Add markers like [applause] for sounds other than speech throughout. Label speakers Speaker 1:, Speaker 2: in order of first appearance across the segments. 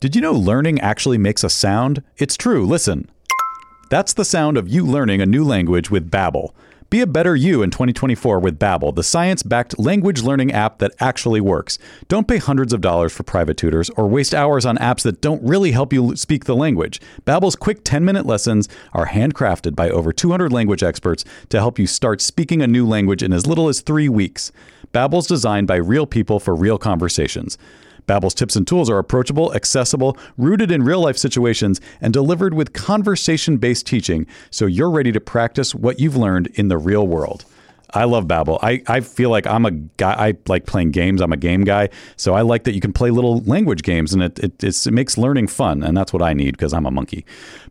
Speaker 1: Did you know learning actually makes a sound? It's true, listen. That's the sound of you learning a new language with Babbel. Be a better you in 2024 with Babbel, the science-backed language learning app that actually works. Don't pay hundreds of dollars for private tutors or waste hours on apps that don't really help you l- speak the language. Babbel's quick 10-minute lessons are handcrafted by over 200 language experts to help you start speaking a new language in as little as 3 weeks. Babbel's designed by real people for real conversations. Babbel's tips and tools are approachable, accessible, rooted in real-life situations, and delivered with conversation-based teaching, so you're ready to practice what you've learned in the real world. I love Babbel. I, I feel like I'm a guy. I like playing games. I'm a game guy, so I like that you can play little language games, and it it, it's, it makes learning fun, and that's what I need because I'm a monkey.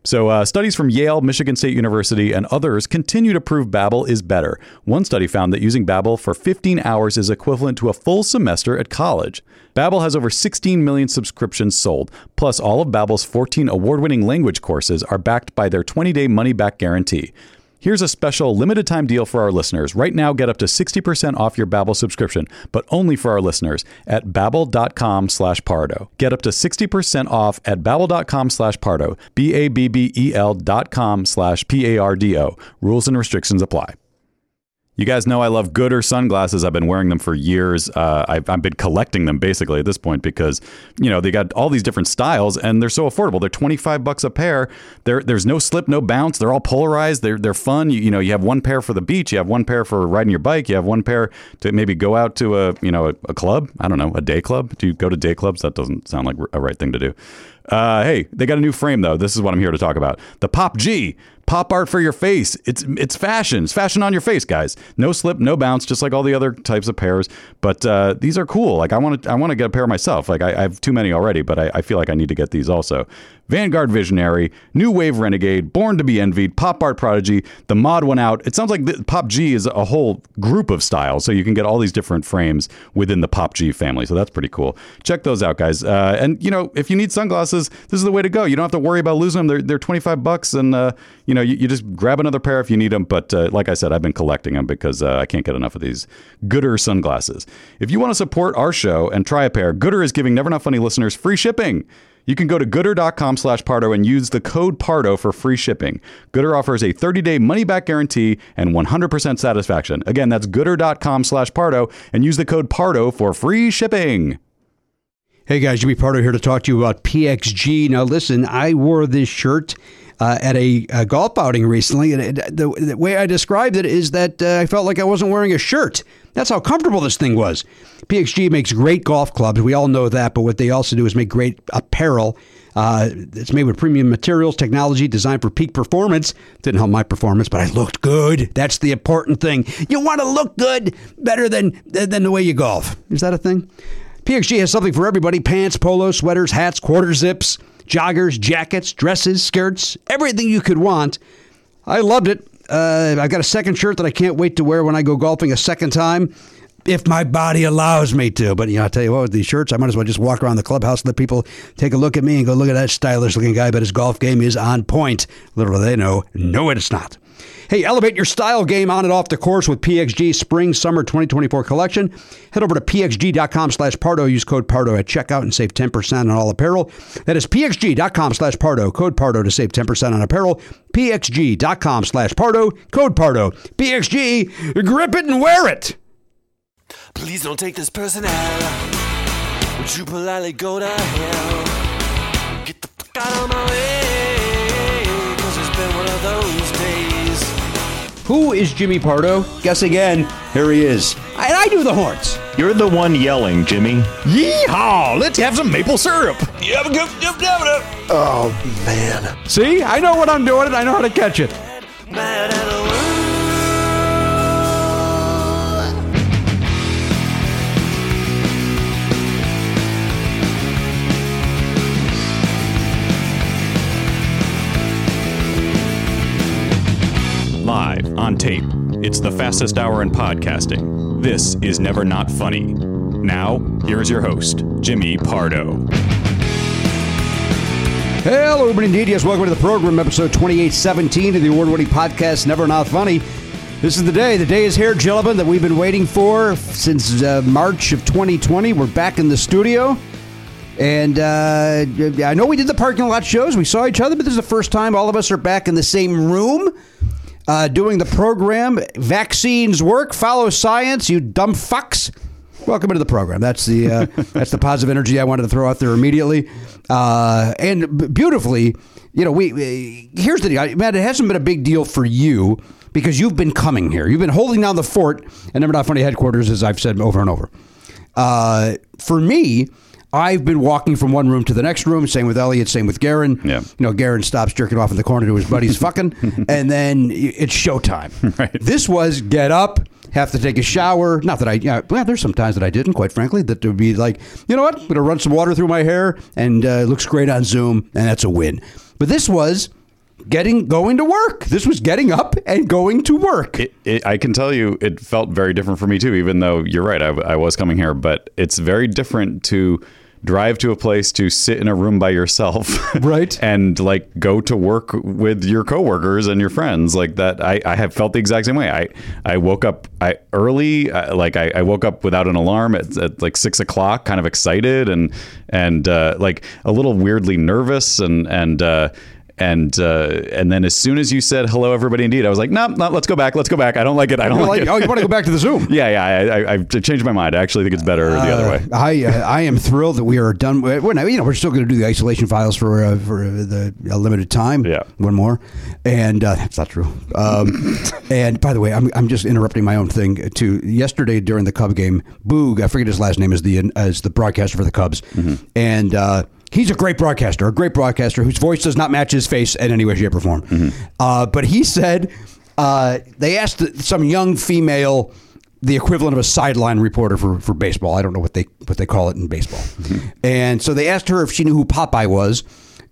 Speaker 1: So uh, studies from Yale, Michigan State University, and others continue to prove Babbel is better. One study found that using Babbel for 15 hours is equivalent to a full semester at college. Babbel has over 16 million subscriptions sold. Plus, all of Babbel's 14 award-winning language courses are backed by their 20-day money-back guarantee. Here's a special limited time deal for our listeners. Right now, get up to 60% off your Babbel subscription, but only for our listeners at babbel.com slash pardo. Get up to 60% off at babbel.com slash pardo, B-A-B-B-E-L E dot com slash P-A-R-D-O. Rules and restrictions apply. You guys know I love Gooder sunglasses. I've been wearing them for years. Uh, I've, I've been collecting them basically at this point because you know they got all these different styles and they're so affordable. They're twenty five bucks a pair. They're, there's no slip, no bounce. They're all polarized. They're they're fun. You, you know you have one pair for the beach. You have one pair for riding your bike. You have one pair to maybe go out to a you know a, a club. I don't know a day club. Do you go to day clubs? That doesn't sound like a right thing to do. Uh, hey, they got a new frame though. This is what I'm here to talk about. The Pop G pop art for your face. It's it's fashion. It's fashion on your face, guys. No slip, no bounce, just like all the other types of pairs. But uh, these are cool. Like I want to I want to get a pair myself. Like I, I have too many already, but I, I feel like I need to get these also. Vanguard Visionary, New Wave Renegade, Born to Be Envied, Pop Art Prodigy, the mod one out. It sounds like the, Pop G is a whole group of styles, so you can get all these different frames within the Pop G family. So that's pretty cool. Check those out, guys. Uh, and you know, if you need sunglasses, this is the way to go. You don't have to worry about losing them. They're, they're 25 bucks, and uh, you know, you, you, just grab another pair if you need them. But uh, like I said, I've been collecting them because uh, I can't get enough of these Gooder sunglasses. If you want to support our show and try a pair, Gooder is giving Never Not Funny listeners free shipping. You can go to gooder.com slash Pardo and use the code Pardo for free shipping. Gooder offers a 30-day money-back guarantee and 100% satisfaction. Again, that's gooder.com slash Pardo and use the code Pardo for free shipping.
Speaker 2: Hey guys, Jimmy Pardo here to talk to you about PXG. Now listen, I wore this shirt uh, at a, a, golf outing recently, and it, the, the, way I described it is that uh, I felt like I wasn't wearing a shirt. That's how comfortable this thing was. PXG makes great golf clubs. We all know that, but what they also do is make great apparel. Uh, it's made with premium materials, technology designed for peak performance. Didn't help my performance, but I looked good. That's the important thing. You want to look good better than than the way you golf. Is that a thing? PXG has something for everybody: pants, polos, sweaters, hats, quarter zips, joggers, jackets, dresses, skirts, everything you could want. I loved it. Uh, I got a second shirt that I can't wait to wear when I go golfing a second time, if my body allows me to. But you know, I tell you what, with these shirts, I might as well just walk around the clubhouse, let people take a look at me and go, look at that stylish looking guy, but his golf game is on point. Little do they know, no, it's not. Hey, elevate your style game on and off the course with PXG Spring Summer 2024 collection. Head over to pxg.com slash Pardo. Use code Pardo at checkout and save 10% on all apparel. That is pxg.com slash Pardo. Code Pardo to save 10% on apparel. pxg.com slash Pardo. Code Pardo. PXG, grip it and wear it.
Speaker 3: Please don't take this person out. Would you politely go to hell? Get the fuck out of my way. Cause it's been one of those days.
Speaker 2: Who is Jimmy Pardo?
Speaker 4: Guess again. Here he is.
Speaker 2: And I do the horns.
Speaker 5: You're the one yelling, Jimmy.
Speaker 6: Yeehaw! Let's have some maple syrup.
Speaker 3: Yep, yep, yep, yep,
Speaker 4: Oh man.
Speaker 2: See, I know what I'm doing, and I know how to catch it.
Speaker 1: Live on tape. It's the fastest hour in podcasting. This is Never Not Funny. Now, here's your host, Jimmy Pardo.
Speaker 2: Hello, everybody, indeed. Yes, welcome to the program, episode 2817 of the award winning podcast, Never Not Funny. This is the day. The day is here, gentlemen, that we've been waiting for since uh, March of 2020. We're back in the studio. And uh, I know we did the parking lot shows. We saw each other, but this is the first time all of us are back in the same room uh, doing the program. Vaccines work. Follow science, you dumb fucks. Welcome into the program. That's the uh, that's the positive energy I wanted to throw out there immediately, uh, and b- beautifully. You know, we, we here's the deal, I- Matt. It hasn't been a big deal for you because you've been coming here. You've been holding down the fort and never not funny headquarters, as I've said over and over. Uh, for me, I've been walking from one room to the next room. Same with Elliot. Same with Garen.
Speaker 1: Yeah.
Speaker 2: You know, Garen stops jerking off in the corner to his
Speaker 1: [laughs]
Speaker 2: buddies fucking, and then it's showtime.
Speaker 1: Right.
Speaker 2: This was get up, have to take a shower. Not that I, yeah, well, there's some times that I didn't, quite frankly, that would be like, you know what, I'm going to run some water through my hair and uh, it looks great on Zoom, and that's a win. But this was getting, going to work. This was getting up and going to work.
Speaker 1: It, it, I can tell you, it felt very different for me too. Even though you're right, I, I was coming here, but it's very different to drive to a place to sit in a room by yourself,
Speaker 2: Right.
Speaker 1: [laughs] and like go to work with your coworkers and your friends. Like that, I, I have felt the exact same way. I I woke up I early, I, like I, I woke up without an alarm at, at like six o'clock, kind of excited and and uh, like a little weirdly nervous and and. Uh, and uh, and then as soon as you said hello, everybody, indeed, I was like, no, no, let's go back, let's go back. I don't like it. I don't
Speaker 2: You're
Speaker 1: like,
Speaker 2: like,
Speaker 1: it.
Speaker 2: oh, you want to go back to the Zoom?
Speaker 1: yeah, yeah. I, I, I've changed my mind. I actually think it's better the other way.
Speaker 2: Uh, I uh, I am thrilled that we are done. With, we're not, you know we're still going to do the isolation files for uh, for uh, the a limited time.
Speaker 1: Yeah.
Speaker 2: one more, and uh, that's not true.
Speaker 1: [laughs]
Speaker 2: Um, and by the way, I'm, I'm just interrupting my own thing. To yesterday during the Cub game, Boog, I forget his last name is the as the broadcaster for the Cubs,
Speaker 1: Mm-hmm.
Speaker 2: and. Uh, He's a great broadcaster, a great broadcaster whose voice does not match his face in any way, shape, or form.
Speaker 1: Mm-hmm.
Speaker 2: Uh, but he said uh, they asked some young female the equivalent of a sideline reporter for, for baseball. I don't know what they what they call it in baseball. And so they asked her if she knew who Popeye was.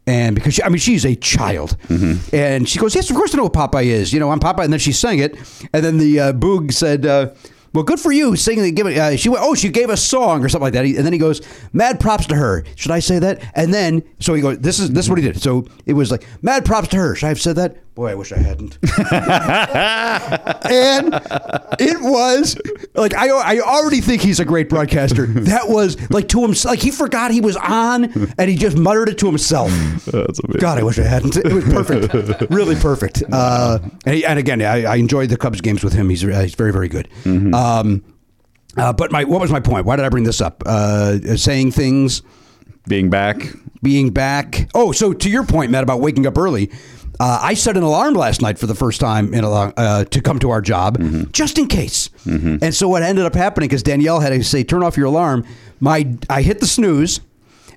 Speaker 2: And because she, I mean, she's a child, and she goes, "Yes, of course I know what Popeye is. You know, I'm Popeye." And then she sang it, and then the uh, boog said, uh, "Well, good for you singing." and giving uh, she went, "Oh, she gave a song or something like that." He- And then he goes, "Mad props to her." Should I say that? And then so he goes, "This is this is what he did." So it was like, "Mad props to her." Should I have said that? Boy, I wish I hadn't and it was like I, I already think he's a
Speaker 1: [laughs]
Speaker 2: great broadcaster. That was like to himself, like he forgot he was on, and he just muttered it to himself.
Speaker 1: That's amazing.
Speaker 2: God, I wish I hadn't. It was perfect,
Speaker 1: [laughs]
Speaker 2: really perfect. Uh, and, he- and again, I, I enjoyed the Cubs games with him. He's uh, he's very very good.
Speaker 1: Mm-hmm.
Speaker 2: Um, uh, but my what was my point? Why did I bring this up? Uh, saying things
Speaker 1: Being back,
Speaker 2: being back. Oh, so to your point, Matt, about waking up early, uh, I set an alarm last night for the first time in a long, uh, to come to our job, just in case. And so what ended up happening because Danielle had to say, "Turn off your alarm." My I hit the snooze,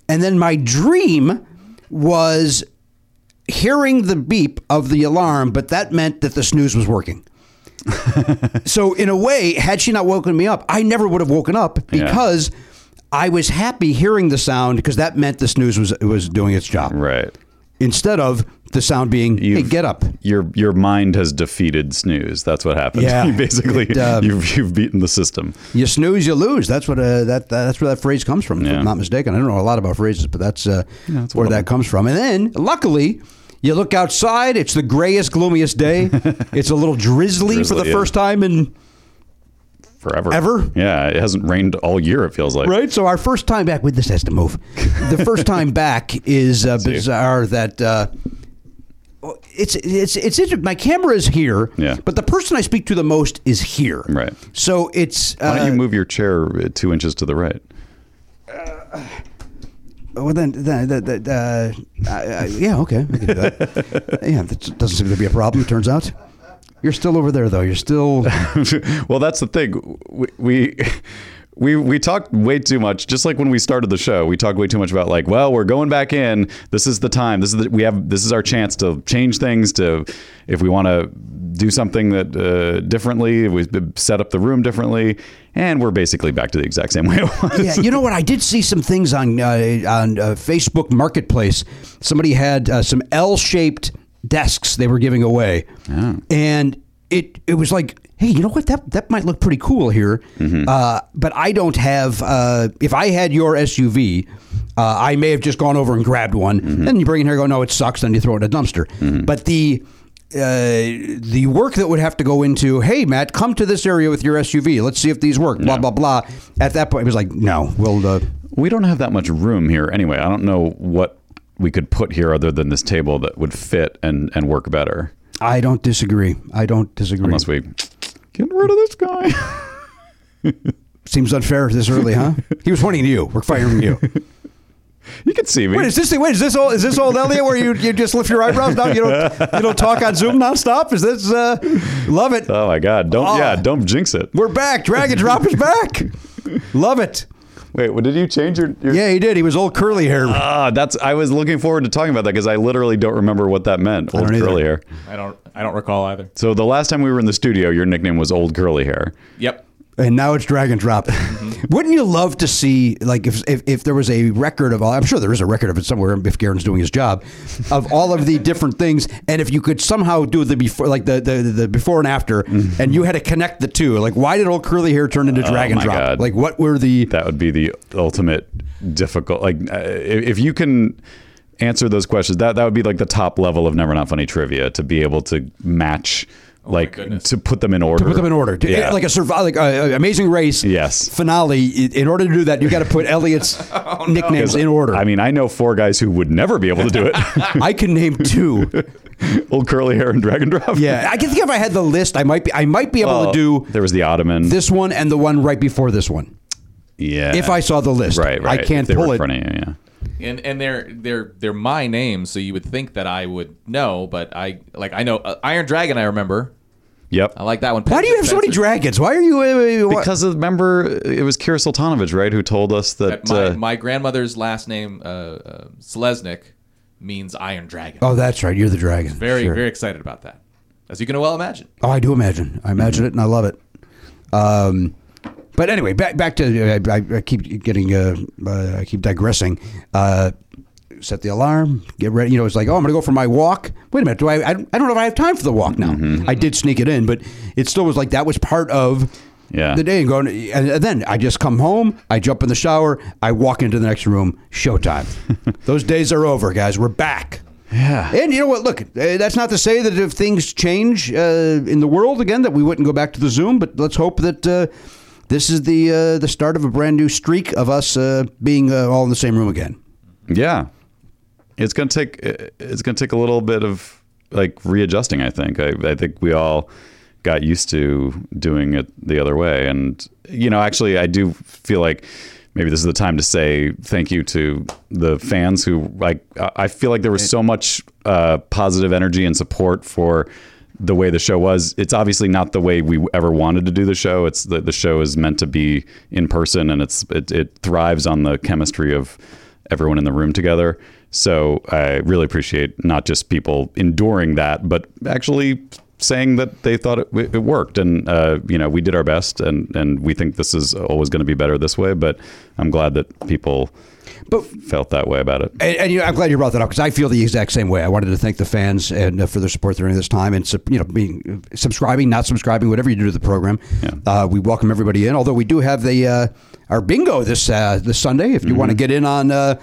Speaker 2: and then my dream was hearing the beep of the alarm, but that meant that the snooze was working. so in a way, had she not woken me up, I never would have woken up
Speaker 1: Yeah.
Speaker 2: because I was happy hearing the sound because that meant the snooze was was doing its job.
Speaker 1: right?
Speaker 2: Instead of the sound being, hey,
Speaker 1: You've-
Speaker 2: get up.
Speaker 1: Your your mind has defeated snooze. That's what happened.
Speaker 2: Yeah.
Speaker 1: [laughs] You basically,
Speaker 2: It, um,
Speaker 1: you've you've beaten the system.
Speaker 2: You snooze, you lose. That's what uh, that that's where that phrase comes from. If
Speaker 1: Yeah.
Speaker 2: I'm not mistaken. I don't know a lot about phrases, but that's, uh,
Speaker 1: that's
Speaker 2: where
Speaker 1: one of
Speaker 2: that comes from. And then, luckily, you look outside. It's the grayest, gloomiest
Speaker 1: [laughs]
Speaker 2: day. it's a little drizzly for
Speaker 1: Drizzly,
Speaker 2: the
Speaker 1: yeah.
Speaker 2: first time in
Speaker 1: Forever.
Speaker 2: Ever?
Speaker 1: Yeah. It hasn't rained all year. It feels like.
Speaker 2: Right. So our first time back. Wait, this has to move. The first
Speaker 1: [laughs]
Speaker 2: time back is uh,
Speaker 1: see.
Speaker 2: bizarre. That uh, oh, it's it's it's interesting. My camera is here.
Speaker 1: Yeah.
Speaker 2: But the person I speak to the most is here.
Speaker 1: Right.
Speaker 2: So it's. Uh,
Speaker 1: Why don't you move your chair uh, two inches to the right?
Speaker 2: Well, then, then, then, then, uh, I- I- yeah, okay, I can
Speaker 1: [laughs]
Speaker 2: do that. yeah, that doesn't seem to be a problem. It turns out. You're still over there, though. You're still.
Speaker 1: [laughs] well, that's the thing. We. we We, we talked way too much, just like when we started the show. We talked way too much about like, well, we're going back in. This is the time. This is the, we have. This is our chance to change things. To if we want to do something that uh, differently, we set up the room differently, and we're basically back to the exact same [laughs] way it was.
Speaker 2: yeah, you know what? I did see some things on uh, on uh, Facebook Marketplace. Somebody had uh, some L-shaped desks they were giving away, and it it was like, hey, you know what? That that might look pretty cool here, uh, but I don't have. Uh, if I had your SUV. Uh, I may have just gone over and grabbed one, and you bring it here. and Go, no, it sucks. Then you throw it in a dumpster. But the uh, the work that would have to go into, hey, Matt, come to this area with your SUV. Let's see if these work. Blah blah blah. At that point, it was like, no, we'll uh,
Speaker 1: We don't have that much room here anyway. I don't know what we could put here other than this table that would fit and, and work better.
Speaker 2: I don't disagree. I don't disagree.
Speaker 1: Unless we get rid of this guy. [laughs]
Speaker 2: Seems unfair this early, huh? he was pointing to you. We're firing you.
Speaker 1: you can see me.
Speaker 2: Wait, is this the wait? Is this old? Is this old Elliot? Where you, you just lift your eyebrows down? You don't you don't talk on Zoom nonstop? Is this uh, love it?
Speaker 1: oh my God. Don't,
Speaker 2: Ah.
Speaker 1: yeah, don't jinx it.
Speaker 2: We're back. Dragon Drop is back. Love it.
Speaker 1: Wait, what, did you change your, your
Speaker 2: Yeah, he did. He was old curly hair.
Speaker 1: Ah, that's. I was looking forward to talking about that because I literally don't remember what that meant. Old
Speaker 2: don't either.
Speaker 1: curly hair.
Speaker 7: I don't. I don't recall either.
Speaker 1: So the last time we were in the studio, your nickname was Old Curly Hair.
Speaker 7: Yep.
Speaker 2: and now it's drag and drop.
Speaker 1: Mm-hmm.
Speaker 2: Wouldn't you love to see like if, if if there was a record of all? I'm sure there is a record of it somewhere if Garen's doing his job of all
Speaker 1: [laughs]
Speaker 2: of the different things, and if you could somehow do the before like the the, the before and after,
Speaker 1: Mm-hmm.
Speaker 2: and you had to connect the two. Like why did old curly hair turn into drag and
Speaker 1: Oh my
Speaker 2: drop?
Speaker 1: God.
Speaker 2: Like what were the
Speaker 1: That would be the ultimate difficult. Like, uh, if if you can answer those questions, that that would be like the top level of Never Not Funny trivia to be able to match, like,
Speaker 7: Oh goodness.
Speaker 1: to put them in order.
Speaker 2: put them in order. To-
Speaker 1: Yeah.
Speaker 2: Like a survive, like a, a amazing race.
Speaker 1: Yes. Oh,
Speaker 2: Finale. I- In order to do that, you got
Speaker 1: [laughs]
Speaker 2: to put Elliot's nicknames in order.
Speaker 1: I
Speaker 2: I,
Speaker 1: mean, I know four guys who would never be able to do
Speaker 2: [laughs]
Speaker 1: it.
Speaker 2: can name
Speaker 1: [laughs]
Speaker 2: two.
Speaker 1: Old Curly Hair and Drag and Drop.
Speaker 2: Yeah, I can think if I had the list, I might be. I might be able
Speaker 1: Well,
Speaker 2: to do
Speaker 1: Oh, there was the Ottoman.
Speaker 2: this one and the one right before this one.
Speaker 1: yeah.
Speaker 2: If I saw the list,
Speaker 1: right, right.
Speaker 2: I can't
Speaker 1: If they were
Speaker 2: pull
Speaker 1: in
Speaker 2: it.
Speaker 1: front of you, yeah.
Speaker 7: And and they're they're they're my names, so you would think that I would know, but I like I know uh, Iron Dragon. I remember.
Speaker 1: Yep.
Speaker 7: I like that one.
Speaker 2: Why do you have so many dragons? Why are you? uh, uh, why-
Speaker 1: Because remember, it was Kira Sultanovich, right, who told us that.
Speaker 7: My,
Speaker 1: uh,
Speaker 7: my grandmother's last name uh, uh, Selesnik means Iron Dragon.
Speaker 2: oh, that's right. You're the dragon.
Speaker 7: very
Speaker 2: Sure.
Speaker 7: very excited about that, as you can well imagine.
Speaker 2: Oh, I do imagine. I imagine it, and I love it. Um, but anyway, back back to I, I, I keep getting uh, uh, I keep digressing. Uh, set the alarm, get ready. You know, it's like oh, I'm going to go for my walk. Wait a minute, do I? I, I don't know if I have time for the walk now. I did sneak it in, but it still was like that was part of.
Speaker 1: Yeah.
Speaker 2: The day and going, and then I just come home. I jump in the shower. I walk into the next room. Showtime. Those days are over, guys. We're back.
Speaker 1: yeah.
Speaker 2: And you know what? Look, uh, that's not to say that if things change uh, in the world again, that we wouldn't go back to the Zoom. But let's hope that uh, this is the uh, the start of a brand new streak of us uh, being uh, all in the same room again.
Speaker 1: yeah. It's going to take it's going to take a little bit of like readjusting, I think. I, I think we all got used to doing it the other way and you know, actually I do feel like maybe this is the time to say thank you to the fans who like I I feel like there was so much uh, positive energy and support for the way the show was. It's obviously not the way we ever wanted to do the show. It's the, the show is meant to be in person and it's it, it thrives on the chemistry of everyone in the room together. So I really appreciate not just people enduring that, but actually saying that they thought it, it worked and uh, you know we did our best and and we think this is always going to be better this way but i'm glad that people
Speaker 2: But
Speaker 1: felt that way about it
Speaker 2: and, and you know, I'm glad you brought that up because I feel the exact same way. I wanted to thank the fans and uh, for their support during this time, and sup- you know, being uh, subscribing, not subscribing, whatever you do to the program. Uh, we welcome everybody in. Although we do have the uh, our bingo this uh, this Sunday. If you want to get in on uh,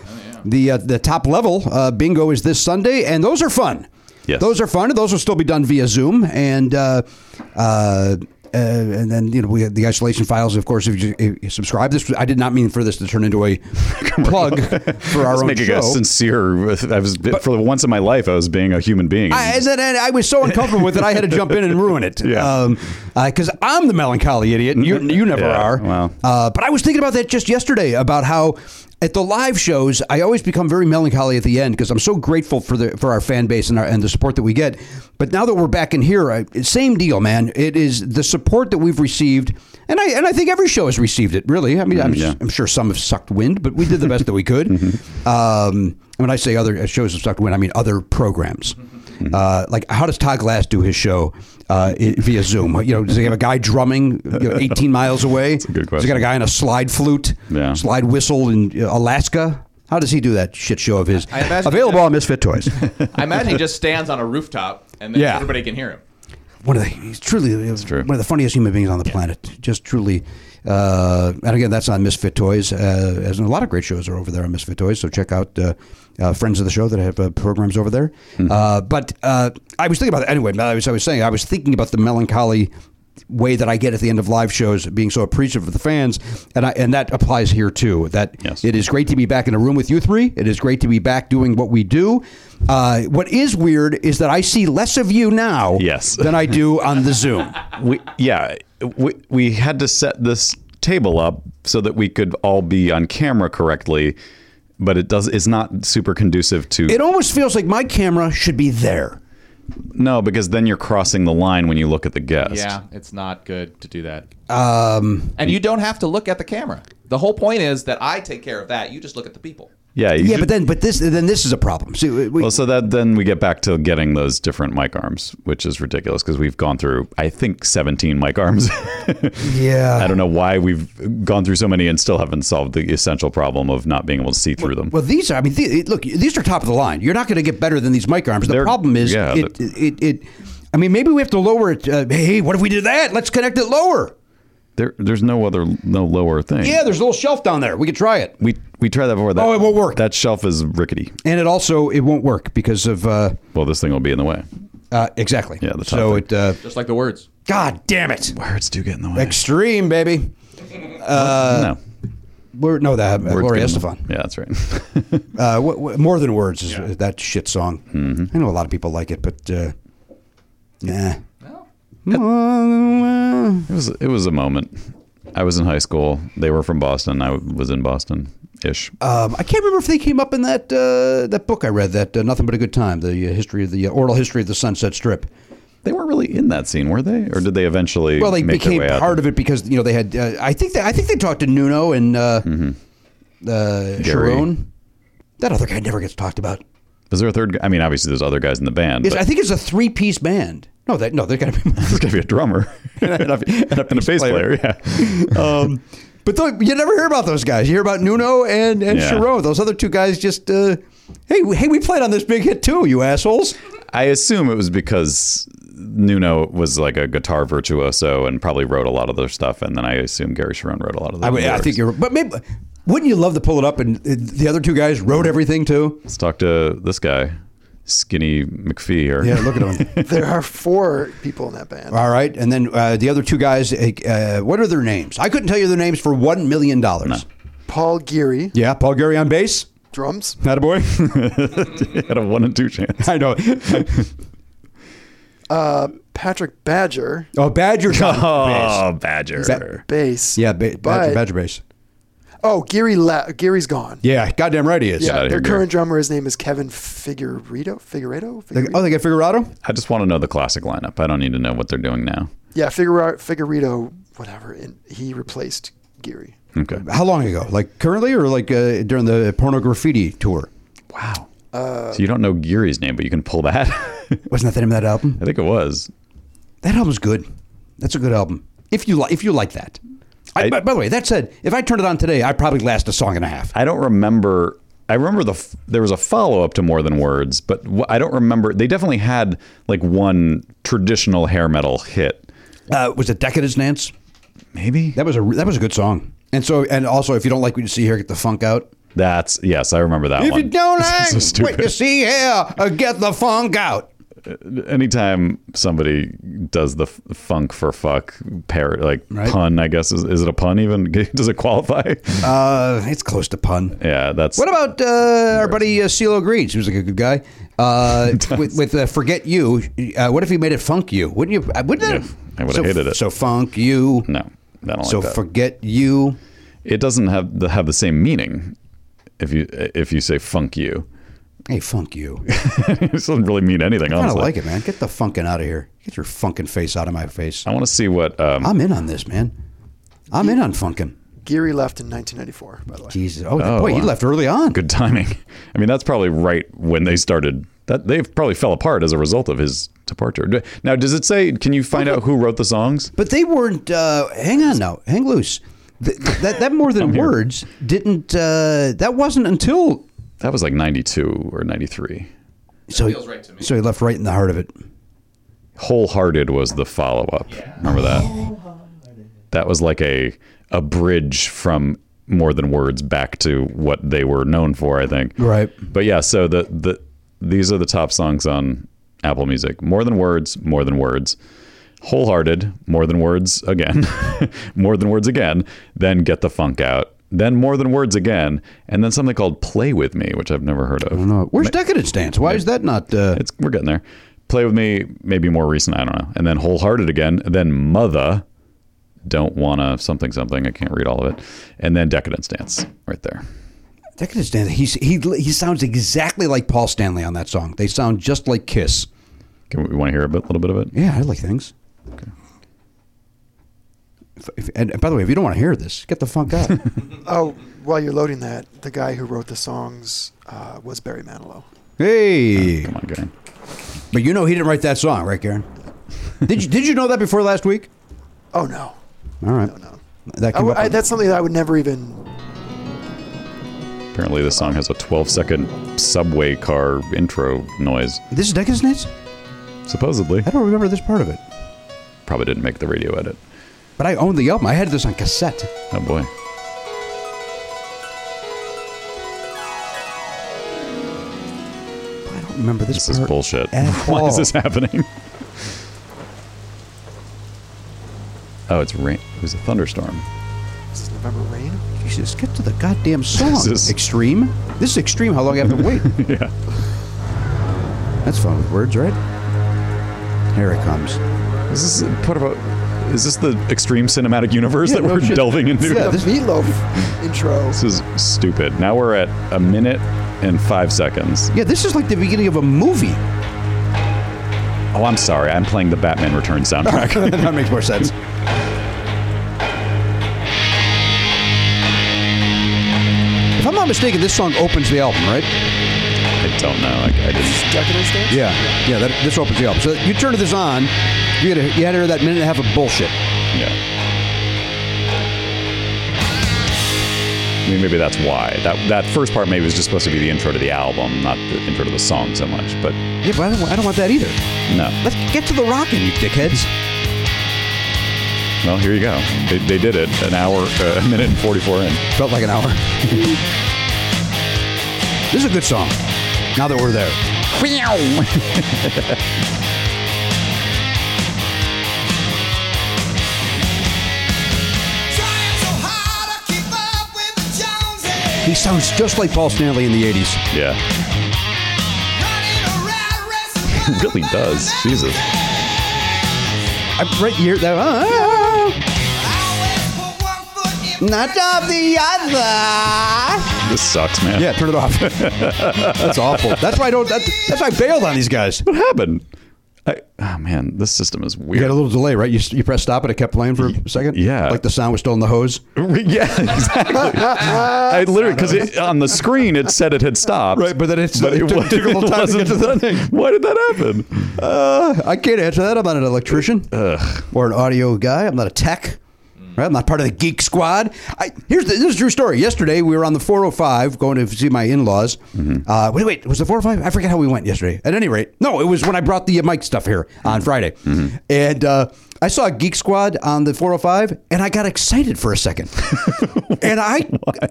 Speaker 2: the uh, the top level uh, bingo is this Sunday, and those are fun.
Speaker 1: Yes.
Speaker 2: those are fun. and Those will still be done via Zoom, and uh, uh, uh, and then you know we had the isolation files. Of course, if you, if you subscribe, this I did not mean for this to turn into a plug for our
Speaker 1: I was
Speaker 2: own
Speaker 1: making
Speaker 2: show.
Speaker 1: a sincere i was for once in my life i was being a human being
Speaker 2: I, as I, said, I was so uncomfortable with it, I had to jump in and ruin it.
Speaker 1: [laughs] Yeah.
Speaker 2: Because I'm the melancholy idiot, and you, you never
Speaker 1: Yeah,
Speaker 2: are.
Speaker 1: wow.
Speaker 2: Uh, but I was thinking about that just yesterday about how at the live shows, I always become very melancholy at the end because I'm so grateful for the for our fan base and, our, and the support that we get. But now that we're back in here, I, same deal, man. It is the support that we've received, and I and I think every show has received it. Really, I mean, I'm,
Speaker 1: yeah.
Speaker 2: I'm sure some have sucked wind, but we did the best that we could. Um, when I say other shows have sucked wind, I mean other programs. Uh, like, how does Todd Glass do his show uh, i- via Zoom? You know, does he have a guy drumming you know, 18 miles away? That's
Speaker 1: a good
Speaker 2: He's got a
Speaker 1: question.
Speaker 2: guy on a slide flute,
Speaker 1: Yeah.
Speaker 2: slide whistle in uh, Alaska. How does he do that shit show of his?
Speaker 7: I imagine-
Speaker 2: Available on
Speaker 1: [laughs]
Speaker 2: Misfit Toys.
Speaker 7: I imagine he just stands on a rooftop and then
Speaker 2: Yeah.
Speaker 7: everybody can hear him.
Speaker 2: one of the he's truly uh,
Speaker 1: true.
Speaker 2: one of the funniest human beings on the planet. Just truly, uh, and again, that's on Misfit Toys. Uh, as in a lot of great shows are over there on Misfit Toys, so check out uh, uh, friends of the show that have uh, programs over
Speaker 1: Hmm.
Speaker 2: there. Uh, but uh, I was thinking about it anyway. I was, I was saying I was thinking about the melancholy way that I get at the end of live shows, being so appreciative of the fans, and I, and that applies here too. That
Speaker 1: Yes.
Speaker 2: it is great to be back in a room with you three. It is great to be back doing what we do. Uh, what is weird is that I see less of you now
Speaker 1: Yes.
Speaker 2: than I do on the Zoom.
Speaker 1: we yeah we, we had to set this table up so that we could all be on camera correctly but it does it's not super conducive to
Speaker 2: It almost feels like my camera should be there.
Speaker 1: no because then you're crossing the line when you look at the guest
Speaker 7: Yeah, it's not good to do that. Um, and you don't have to look at the camera. The whole point is that I take care of that. You just look at the people.
Speaker 1: yeah you
Speaker 2: Yeah,
Speaker 1: ju-
Speaker 2: but then but this then this is a problem. See, we,
Speaker 1: well so that then we get back to getting those different mic arms which is ridiculous because we've gone through i think 17 mic arms [laughs]
Speaker 2: yeah,
Speaker 1: i don't know why we've gone through so many and still haven't solved the essential problem of not being able to see through them
Speaker 2: Well, these are. I mean, the, look, these are top of the line. You're not going to get better than these mic arms. The
Speaker 1: They're-
Speaker 2: problem is,
Speaker 1: yeah,
Speaker 2: it, it, it, I mean, maybe we have to lower it. Uh, hey, what if we did that? Let's connect it lower.
Speaker 1: there, there's no other no lower thing
Speaker 2: Yeah, there's a little shelf down there. We could try it,
Speaker 1: we we tried that before that
Speaker 2: Oh, it won't work.
Speaker 1: that shelf is rickety
Speaker 2: and it also it won't work because of uh,
Speaker 1: well, this thing will be in the way.
Speaker 2: uh, exactly.
Speaker 1: Yeah, the top
Speaker 2: so
Speaker 1: thing.
Speaker 2: it. Uh,
Speaker 7: Just like the words.
Speaker 2: God damn it!
Speaker 1: Words do get in the way.
Speaker 2: Extreme, baby.
Speaker 1: no,
Speaker 2: We're, no, that uh,
Speaker 1: words
Speaker 2: Gloria
Speaker 1: get in the-
Speaker 2: Estefan.
Speaker 1: Yeah, that's right. [laughs]
Speaker 2: Uh, what, what, more than words is that shit song.
Speaker 1: Mm-hmm.
Speaker 2: I know a lot of people like it, but uh, nah.
Speaker 1: it was it was a moment. I was in high school. They were from Boston. I was in Boston ish.
Speaker 2: Um, I can't remember if they came up in that uh, that book I read, that uh, Nothing But a Good Time, the uh, history of the uh, oral history of the Sunset Strip.
Speaker 1: they weren't really in that scene, were they? Or did they eventually?
Speaker 2: Well, they
Speaker 1: make
Speaker 2: became
Speaker 1: their way out?
Speaker 2: part of it because you know they had. Uh, I think they, I think they talked to Nuno and uh, uh,
Speaker 1: Mm-hmm. Gary.
Speaker 2: Sharon. That other guy never gets talked about.
Speaker 1: Is there a third? guy? I mean, obviously there's other guys in the band. [laughs]
Speaker 2: It's,
Speaker 1: but
Speaker 2: I think it's a three piece band. No, that no, they're gonna be.
Speaker 1: there's got to be a drummer
Speaker 2: [laughs]
Speaker 1: and a, and a- and a bass player.
Speaker 2: player.
Speaker 1: Yeah.
Speaker 2: um, but though, you never hear about those guys. You hear about Nuno and and
Speaker 1: Yeah.
Speaker 2: Sharon. Those other two guys just. Uh, hey, we- hey, we played on this big hit too, you assholes.
Speaker 1: I assume it was because Nuno was like a guitar virtuoso and probably wrote a lot of their stuff, and then I assume Gary Sharon wrote a lot of the
Speaker 2: I, would- I
Speaker 1: lyrics.
Speaker 2: think you're, but maybe wouldn't you love to pull it up and uh, the other two guys wrote everything too?
Speaker 1: Let's talk to this guy, Skinny McPhee. Or [laughs]
Speaker 2: Yeah, look at [laughs] them.
Speaker 8: There are four people in that band.
Speaker 2: All right, and then uh, the other two guys. uh, Uh, what are their names? I couldn't tell you their names for one million dollars.
Speaker 8: Paul Geary,
Speaker 2: Yeah, Paul Gary on bass.
Speaker 8: drums.
Speaker 2: Not a boy. [laughs]
Speaker 1: had a one and two chance.
Speaker 2: I know.
Speaker 8: Patrick Badger,
Speaker 2: Oh, [laughs] Badger.
Speaker 1: Oh, Badger.
Speaker 2: Ba-
Speaker 8: bass.
Speaker 2: Yeah, ba- Badger,
Speaker 8: But-
Speaker 2: Badger bass.
Speaker 8: Oh, Geary la- Geary's gone.
Speaker 2: Yeah, goddamn right he is.
Speaker 1: outta
Speaker 8: Yeah,
Speaker 1: here,
Speaker 8: their
Speaker 1: Geary.
Speaker 8: current drummer, his name is Kevin Figueredo. Figueredo?
Speaker 2: They-
Speaker 8: Figueredo?
Speaker 2: oh, they got Figurado.
Speaker 1: I just want to know the classic lineup. I don't need to know what they're doing now.
Speaker 8: yeah, Figueredo, Figueredo, whatever. And he replaced Geary.
Speaker 1: Okay.
Speaker 2: How long ago? Like currently, or like uh, during the porno graffiti tour?
Speaker 1: Wow.
Speaker 2: Uh,
Speaker 1: so you don't know Geary's name, but you can pull that. [laughs] I
Speaker 2: Wasn't that the name of that album?
Speaker 1: think it was.
Speaker 2: That album's good. That's a good album. If you like, if you like that. I,
Speaker 1: I-
Speaker 2: by, by the way, that said, if I turned it on today, I'd probably last a song and a half.
Speaker 1: I don't remember. I remember the f- there was a follow up to More Than Words, but wh- I don't remember. They definitely had like one traditional hair metal hit.
Speaker 2: Uh, was it Decadence Nance?
Speaker 1: Maybe
Speaker 2: That was a that was a good song. And so, and also, if you don't like what you see here, get the funk out.
Speaker 1: that's yes, I remember that
Speaker 2: If
Speaker 1: one.
Speaker 2: you [laughs]
Speaker 1: [laughs]
Speaker 2: don't
Speaker 1: This is
Speaker 2: like
Speaker 1: so
Speaker 2: what you
Speaker 1: stupid.
Speaker 2: see here, uh, get the funk out.
Speaker 1: anytime somebody does the f- funk for fuck parrot like
Speaker 2: Right.
Speaker 1: pun i guess is, is it a pun even [laughs] does it qualify
Speaker 2: Uh, it's close to pun.
Speaker 1: yeah that's
Speaker 2: What about uh, our buddy uh, CeeLo Green? He was like a good guy.
Speaker 1: [laughs]
Speaker 2: Uh, with with uh, "Forget You," uh, what if he made it "Funk You"? Wouldn't you? uh, Wouldn't
Speaker 1: Yeah,
Speaker 2: that?
Speaker 1: I would've
Speaker 2: so,
Speaker 1: hated it.
Speaker 2: So "Funk You."
Speaker 1: no i don't like
Speaker 2: so
Speaker 1: that
Speaker 2: "Forget You."
Speaker 1: it doesn't have the, have the same meaning if you if you say funk you [laughs]
Speaker 2: Hey, "Funk You."
Speaker 1: it doesn't really mean anything
Speaker 2: I don't
Speaker 1: honestly
Speaker 2: like it, man. Get the funkin' out of here. Get your funkin' face out of my face.
Speaker 1: i want to see what
Speaker 2: [laughs]
Speaker 1: um
Speaker 2: I'm in on this, man. I'm in on funkin'.
Speaker 8: Geary left in 1994, by the way.
Speaker 2: Jesus. Oh, boy, he
Speaker 1: wow.
Speaker 2: left early on.
Speaker 1: good timing i mean that's probably right when they started that they've probably fell apart as a result of his departure D- now does it say can you find out who wrote the songs
Speaker 2: But they weren't. Uh, hang on now. Hang loose. Th- that that more than words didn't. Uh, that wasn't until.
Speaker 1: that was like 92 or 93
Speaker 2: So he,
Speaker 7: feels right to me.
Speaker 2: so he left right in the heart of it.
Speaker 1: Wholehearted was the follow up. Remember that? That was like a a bridge from more than words back to what they were known for, I think.
Speaker 2: Right.
Speaker 1: But yeah, so the the these are the top songs on Apple Music. More than words, more than words. Wholehearted, more than words again, [laughs] more than words again, then Get the Funk Out, then More Than Words again, and then something called Play With Me, which I've never heard of.
Speaker 2: No, where's Decadence Dance? Why is that not? Uh,
Speaker 1: It's we're getting there. Play with me, maybe more recent. I don't know. And then wholehearted again. Then mother, don't wanna something something. I can't read all of it. And then decadence dance right there.
Speaker 2: Decadence Dance. He's, he he sounds exactly like Paul Stanley on that song. They sound just like Kiss.
Speaker 1: Can we want to hear a bit, little bit of it?
Speaker 2: Yeah, I like things. If, if, and by the way, if you don't want to hear this, get the funk out.
Speaker 8: Oh, while you're loading that, the guy who wrote the songs uh, was Barry Manilow.
Speaker 2: [laughs] hey,
Speaker 1: Come on, Garen.
Speaker 2: but you know he didn't write that song, right, [laughs] Karen? did you Did you know that before last week?
Speaker 8: Oh no,
Speaker 2: All right,
Speaker 8: no, no.
Speaker 2: that
Speaker 8: I
Speaker 2: came
Speaker 8: w-
Speaker 2: up
Speaker 8: I-
Speaker 2: on-
Speaker 8: that's something that I would never even.
Speaker 1: Apparently, this song has a 12 second subway car intro noise.
Speaker 2: This is Decadence Dance.
Speaker 1: Supposedly,
Speaker 2: I don't remember this part of it,
Speaker 1: probably didn't make the radio edit.
Speaker 2: but I owned the album. I had this on cassette.
Speaker 1: Oh boy.
Speaker 2: I don't remember this.
Speaker 1: This is
Speaker 2: part
Speaker 1: bullshit.
Speaker 2: at
Speaker 1: [laughs] Why is
Speaker 2: all.
Speaker 1: this
Speaker 2: [laughs]
Speaker 1: happening? Oh, it's rain. It was a thunderstorm.
Speaker 8: This is November Rain.
Speaker 2: Jesus, get to the goddamn song.
Speaker 1: This is-
Speaker 2: extreme. This is extreme. How long I have
Speaker 1: [laughs]
Speaker 2: to wait? yeah. That's fun with words, right? Here it comes.
Speaker 1: Is this part of a? Is this the extreme cinematic universe that we're delving into?
Speaker 2: Yeah,
Speaker 8: The
Speaker 1: [laughs]
Speaker 2: this-
Speaker 8: Meatloaf intro.
Speaker 1: This is stupid. Now we're at a minute and five seconds.
Speaker 2: Yeah, this is like the beginning of
Speaker 1: [laughs]
Speaker 2: a movie. [laughs]
Speaker 1: Oh, I'm sorry. I'm playing the Batman Return
Speaker 2: [laughs]
Speaker 1: soundtrack.
Speaker 2: that makes more sense. If I'm not mistaken, this song opens the album, right?
Speaker 1: I don't know. I, I didn't.
Speaker 8: Decadence Dance.
Speaker 2: Yeah, yeah. That, this opens the album. So you turn this on, you had to, you had to hear that minute and a half of bullshit.
Speaker 1: Yeah. I mean, maybe that's why. That that first part maybe was just supposed to be the intro to the album, not the intro to the song so much. But
Speaker 2: Yeah, but I don't, I don't want that either.
Speaker 1: no.
Speaker 2: Let's get to the rockin', you dickheads.
Speaker 1: Well, here you go. They, they did it. An hour, uh, a minute and 44 in.
Speaker 2: Felt like an hour. [laughs] this is a good song. Now that we're there. He sounds just like Paul Stanley in the 80s.
Speaker 1: Yeah. It really does. Jesus.
Speaker 2: I'm right here. That, ah, not of the other.
Speaker 1: This sucks, man.
Speaker 2: Yeah, turn it off. [laughs] that's awful. That's why I don't. That, that's why I bailed on these guys.
Speaker 1: What happened? I, oh, man. This system is
Speaker 2: You
Speaker 1: weird.
Speaker 2: got a little delay, right? You, you press stop and it kept playing for a second.
Speaker 1: Yeah.
Speaker 2: like the sound was still in the hose.
Speaker 1: [laughs] Yeah, exactly. I literally because on the screen it said it had stopped.
Speaker 2: Right, but then it's- it took-
Speaker 1: wa-
Speaker 2: took a little
Speaker 1: it
Speaker 2: time to get to the
Speaker 1: wasn't-
Speaker 2: thing.
Speaker 1: Why did that happen?
Speaker 2: Uh, I can't answer that. I'm not an electrician or an audio guy. I'm not a tech. Right? I'm not part of the geek squad. I, here's the, this is a true story. Yesterday we were on the 405 going to see my in-laws. Uh, wait, wait, was the 405? I forget how we went yesterday. At any rate, no, it was when I brought the uh, mic stuff here on Friday, and uh, I saw Geek Squad on the 405, and I got excited for a second. and I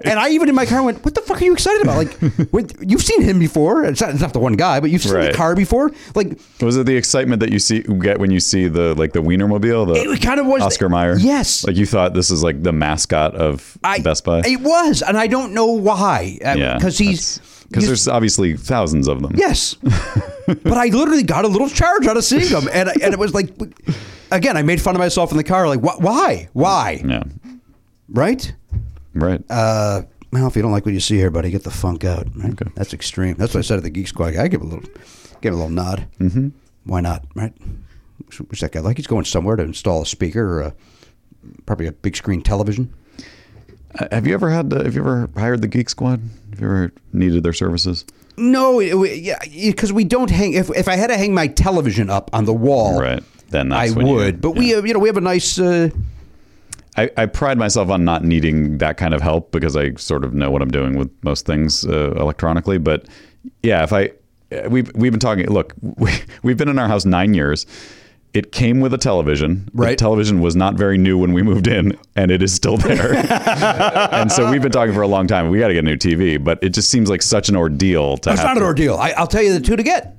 Speaker 2: and I even in my car went, "What the fuck are you excited about? Like, what, you've seen him before. It's not, it's not the one guy, but you've seen
Speaker 1: Right.
Speaker 2: the car before. Like,
Speaker 1: Was it the excitement that you see get when you see the like the Wienermobile? The
Speaker 2: It kind of was the-
Speaker 1: Oscar Mayer.
Speaker 2: Yes.
Speaker 1: like you thought this is like the mascot of
Speaker 2: I,
Speaker 1: Best Buy.
Speaker 2: It was, and I don't know why. Uh,
Speaker 1: yeah,
Speaker 2: because he's
Speaker 1: because
Speaker 2: you-
Speaker 1: there's obviously thousands of them. [laughs]
Speaker 2: yes. but I literally got a little charge out of seeing him, and I- and it was like, again, I made fun of myself in the car, like wh- why, why,
Speaker 1: Yeah.
Speaker 2: right?
Speaker 1: Right.
Speaker 2: Uh, well, if you don't like what you see here, buddy, get the funk out. Right? That's extreme. That's what I said at the Geek Squad. I give a little, give a little nod. Mm-hmm. Why not? Right? What's that guy like? He's going somewhere to install a speaker or a, probably a big screen television.
Speaker 1: have you ever had? The, have you ever hired the Geek Squad? Have you ever needed their services?
Speaker 2: No, it- we- yeah, because we don't hang. If, if I had to hang my television up on the wall,
Speaker 1: Right. Then
Speaker 2: I
Speaker 1: that's when you-
Speaker 2: would. but we, uh, you know, we have a nice. Uh,
Speaker 1: I, I pride myself on not needing that kind of help because I sort of know what I'm doing with most things uh, electronically. But yeah, if I uh, we've we've been talking. Look, [laughs] we, we've been in our house nine years. It came with a television. The
Speaker 2: Right.
Speaker 1: television was not very new when we moved in, and it is still
Speaker 2: [laughs]
Speaker 1: there. and so we've been talking for a long time. We got to get a new TV, but it just seems like such an ordeal to
Speaker 2: it's
Speaker 1: have
Speaker 2: not an
Speaker 1: to-
Speaker 2: ordeal. I, I'll tell you the two to get.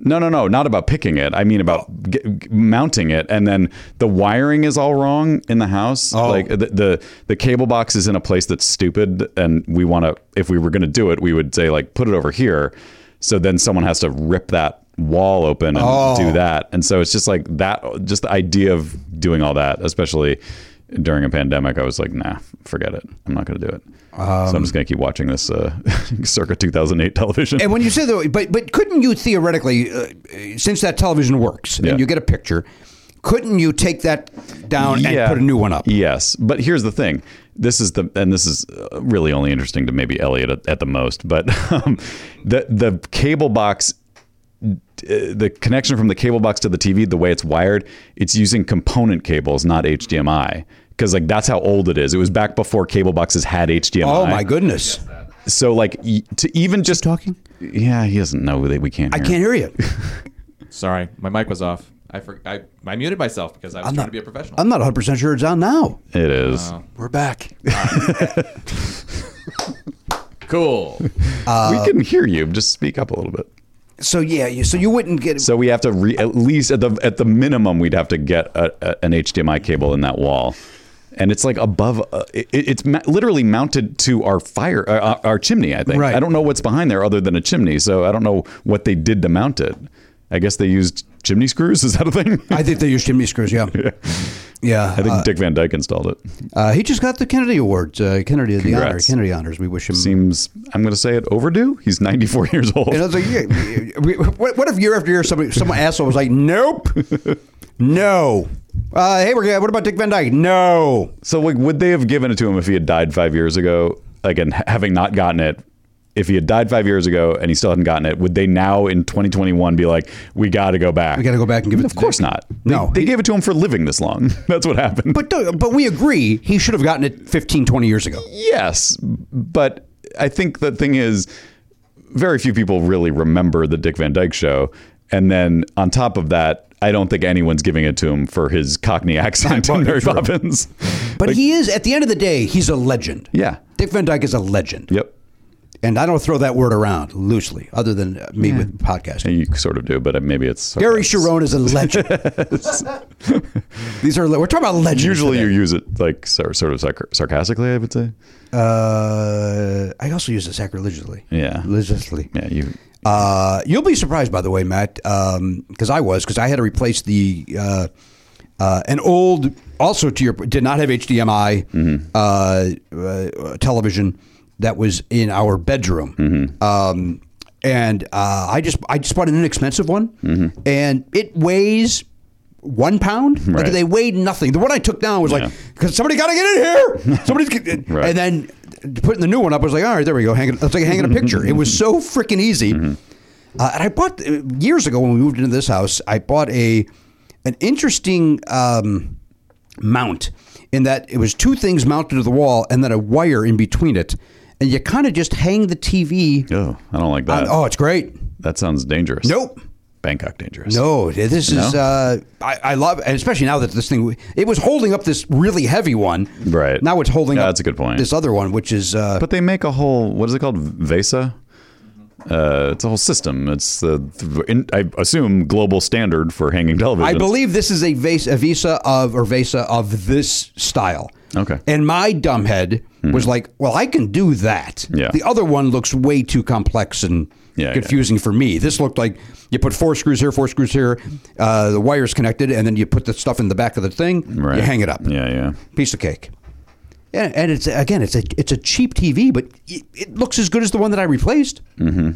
Speaker 1: No, no, no, not about picking it. I mean about g- g- mounting it, and then the wiring is all wrong in the house.
Speaker 2: Oh.
Speaker 1: Like the, the the cable box is in a place that's stupid, and we want to. If we were going to do it, we would say like put it over here. So then someone has to rip that wall open and do that, and so it's just like that. Just the idea of doing all that, especially during a pandemic, I was like, nah, forget it. I'm not going to do it. so I'm just going to keep watching this uh, [laughs] circa 2008 television.
Speaker 2: And when you say though, but but couldn't you theoretically, uh, since that television works
Speaker 1: Yeah.
Speaker 2: and you get a picture, couldn't you take that down and put a new one up?
Speaker 1: Yes, but here's the thing. This is the and this is uh, really only interesting to maybe Elliot at, at the most, but [laughs] um, the the cable box uh, the connection from the cable box to the TV, the way it's wired, it's using component cables, not HDMI. Because like that's how old it is. It was back before cable boxes had HDMI.
Speaker 2: Oh my goodness!
Speaker 1: So like y- to even just
Speaker 2: Talking,
Speaker 1: Yeah, he doesn't know that we can't.
Speaker 2: I can't hear you.
Speaker 7: Sorry, my mic was off. I for, I, I muted myself because I was trying to be a professional.
Speaker 2: I'm not 100 percent sure it's on now.
Speaker 1: It is.
Speaker 8: We're back.
Speaker 7: cool.
Speaker 2: Uh,
Speaker 1: we can hear you. Just speak up a little bit.
Speaker 2: So yeah, you, so you wouldn't get.
Speaker 1: So we have to re- at least at the at the minimum we'd have to get a, a, an HDMI cable in that wall, and it's like above. Uh, it, it's ma- literally mounted to our fire, uh, our- our chimney. I think.
Speaker 2: Right.
Speaker 1: I don't know what's behind there other than a chimney. So I don't know what they did to mount it. I guess they used chimney screws. Is that a thing? [laughs]
Speaker 2: I think they used chimney screws. Yeah, yeah.
Speaker 1: I think Dick Van Dyke installed it.
Speaker 2: Uh, he just got the Kennedy Award, uh, Kennedy the honor,
Speaker 1: Congrats.
Speaker 2: Kennedy honors. We wish him.
Speaker 1: Seems I'm going to say it overdue. He's 94 [laughs] years old.
Speaker 2: and I was like, yeah, we- what, what if year after year somebody, some asshole was like, nope, no. Uh, hey, we're good. What about Dick Van Dyke? No.
Speaker 1: So like, would they have given it to him if he had died five years ago? Again, ha- having not gotten it, if he had died five years ago and he still hadn't gotten it, would they now in 2021 be like, we got to go back?
Speaker 2: We got to go back and give it.
Speaker 1: Of
Speaker 2: to
Speaker 1: course
Speaker 2: Dick.
Speaker 1: not.
Speaker 2: No.
Speaker 1: they, they gave it to him for living this long. [laughs] That's what happened.
Speaker 2: But don't- but we agree he should have gotten it 15, 20 years ago.
Speaker 1: yes, but I think the thing is, very few people really remember the Dick Van Dyke Show, and then on top of that. I don't think anyone's giving it to him for his Cockney
Speaker 2: [laughs]
Speaker 1: accent in Mary Poppins.
Speaker 2: But he is at the end of the day, he's a legend.
Speaker 1: Yeah.
Speaker 2: Dick Van Dyke is a legend.
Speaker 1: Yep.
Speaker 2: And I don't throw that word around loosely, other than uh, me with podcasting.
Speaker 1: You sort of do, but uh, maybe it's
Speaker 2: Gary
Speaker 1: [laughs]
Speaker 2: Sharon is a legend. These are le- we're talking about legends.
Speaker 1: Usually,
Speaker 2: today.
Speaker 1: you use it like sor- sort of sarc- sarcastically. I would say.
Speaker 2: Uh, I also use it sacrilegiously.
Speaker 1: Yeah.
Speaker 2: Religiously.
Speaker 1: Yeah, you.
Speaker 2: Uh, you'll be surprised, by the way, Matt, because I was, because I had to replace the uh, uh, an old, also to your did not have HDMI
Speaker 1: Mm-hmm.
Speaker 2: uh, uh, television that was in our bedroom,
Speaker 1: Mm-hmm.
Speaker 2: um, and uh, I just I just bought an inexpensive one,
Speaker 1: Mm-hmm.
Speaker 2: and it weighs. One pound, like
Speaker 1: Right.
Speaker 2: they weighed nothing. The one I took down was
Speaker 1: Yeah.
Speaker 2: like, because somebody got to
Speaker 1: [laughs]
Speaker 2: get in here. Somebody's, get-"
Speaker 1: Right.
Speaker 2: and then putting the new one up, I was like, all right, there we go. Hang it, it's like hanging a picture. It was so freaking easy.
Speaker 1: Mm-hmm.
Speaker 2: Uh, and I bought uh, years ago when we moved into this house. I bought a an interesting um, mount in that it was two things mounted to the wall and then a wire in between it, and you kind of just hang the TV.
Speaker 1: Oh, I don't like
Speaker 2: on-
Speaker 1: that.
Speaker 2: oh, it's great.
Speaker 1: that sounds dangerous.
Speaker 2: Nope.
Speaker 1: Bangkok dangerous.
Speaker 2: No, this is
Speaker 1: No?
Speaker 2: uh, I, I love, and especially now that this thing it was holding up this really heavy one.
Speaker 1: Right.
Speaker 2: now it's holding
Speaker 1: Yeah,
Speaker 2: up.
Speaker 1: that's a good point.
Speaker 2: This other one, which is uh,
Speaker 1: But they make a whole. What is it called? Vesa. Uh, it's a whole system. It's the, the in, I assume global standard for hanging television.
Speaker 2: I believe this is a Vesa, a Visa of or Vesa of this style.
Speaker 1: Okay. Hmm.
Speaker 2: And my dumb head was like, well, I can do that.
Speaker 1: Yeah.
Speaker 2: The other one looks way too complex and
Speaker 1: Yeah,
Speaker 2: confusing for me. This looked like you put four screws here, four screws here, uh, the wire's connected, and then you put the stuff in the back of the thing,
Speaker 1: Right.
Speaker 2: you hang it up.
Speaker 1: Yeah, yeah.
Speaker 2: Piece of cake. And, and it's again, it's a it's a cheap TV, but it, it looks as good as the one that I replaced. Mm-hmm.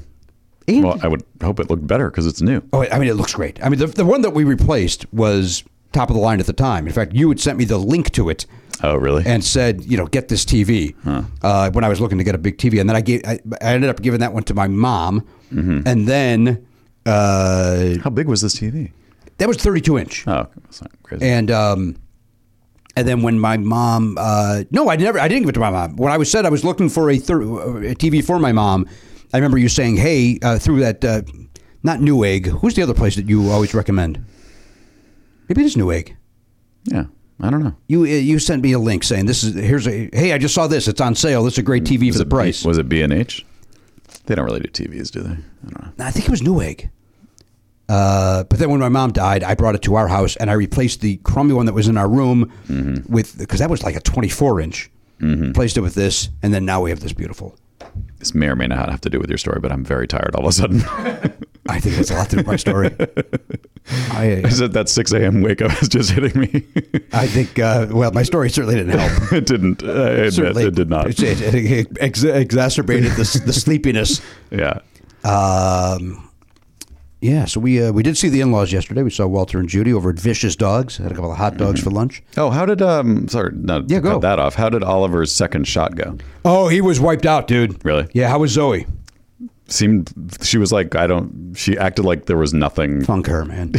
Speaker 2: And
Speaker 1: Well, I would hope it looked better because it's new.
Speaker 2: Oh, I mean, it looks great. I mean, the, the one that we replaced was top of the line at the time. In fact, you had sent me the link to it
Speaker 1: Oh, really?
Speaker 2: and said, you know, get this TV uh, when I was looking to get a big TV. And then I gave, I, I ended up giving that one to my mom. And then uh,
Speaker 1: How big was this TV?
Speaker 2: that was 32 inch.
Speaker 1: Oh, that's not crazy.
Speaker 2: And, um, and then when my mom, uh, no, I never, I didn't give it to my mom. When I was said I was looking for a, thir- a TV for my mom, I remember you saying, hey, uh, through that, uh, not Newegg, who's the other place that you always recommend? Maybe it is Newegg.
Speaker 1: yeah, I don't know.
Speaker 2: You uh, you sent me a link saying this is here's a hey I just saw this it's on sale this is a great TV for the
Speaker 1: it
Speaker 2: price.
Speaker 1: B, was it B and H? They don't really do TVs, do they? I don't know.
Speaker 2: I think it was Newegg. Uh, but then when my mom died, I brought it to our house and I replaced the crummy one that was in our room
Speaker 1: Mm-hmm.
Speaker 2: with because that was like a 24 inch. Placed it with this, and then now we have this beautiful.
Speaker 1: This may or may not have to do with your story, but I'm very tired all of a sudden. [laughs]
Speaker 2: I think that's a lot to do with my story. I, uh,
Speaker 1: Is it that 6 a.m. wake up is just hitting me? [laughs]
Speaker 2: I think uh, well, my story certainly didn't help.
Speaker 1: it didn't. I admit
Speaker 2: Certainly,
Speaker 1: it did not.
Speaker 2: It, it- it ex- exacerbated the, the sleepiness.
Speaker 1: [laughs] Yeah.
Speaker 2: Um, yeah, so we uh, we did see the in laws yesterday. We saw Walter and Judy over at Vicious Dogs. Had a couple of hot dogs for lunch.
Speaker 1: Oh, how did um? Sorry, no.
Speaker 2: Yeah, go.
Speaker 1: Cut that off. How did Oliver's second shot go?
Speaker 2: Oh, he was wiped out, dude.
Speaker 1: Really?
Speaker 2: Yeah. How was Zoe?
Speaker 1: Seemed she was like I don't. She acted like there was nothing.
Speaker 2: Funk
Speaker 1: [laughs]
Speaker 2: her, man.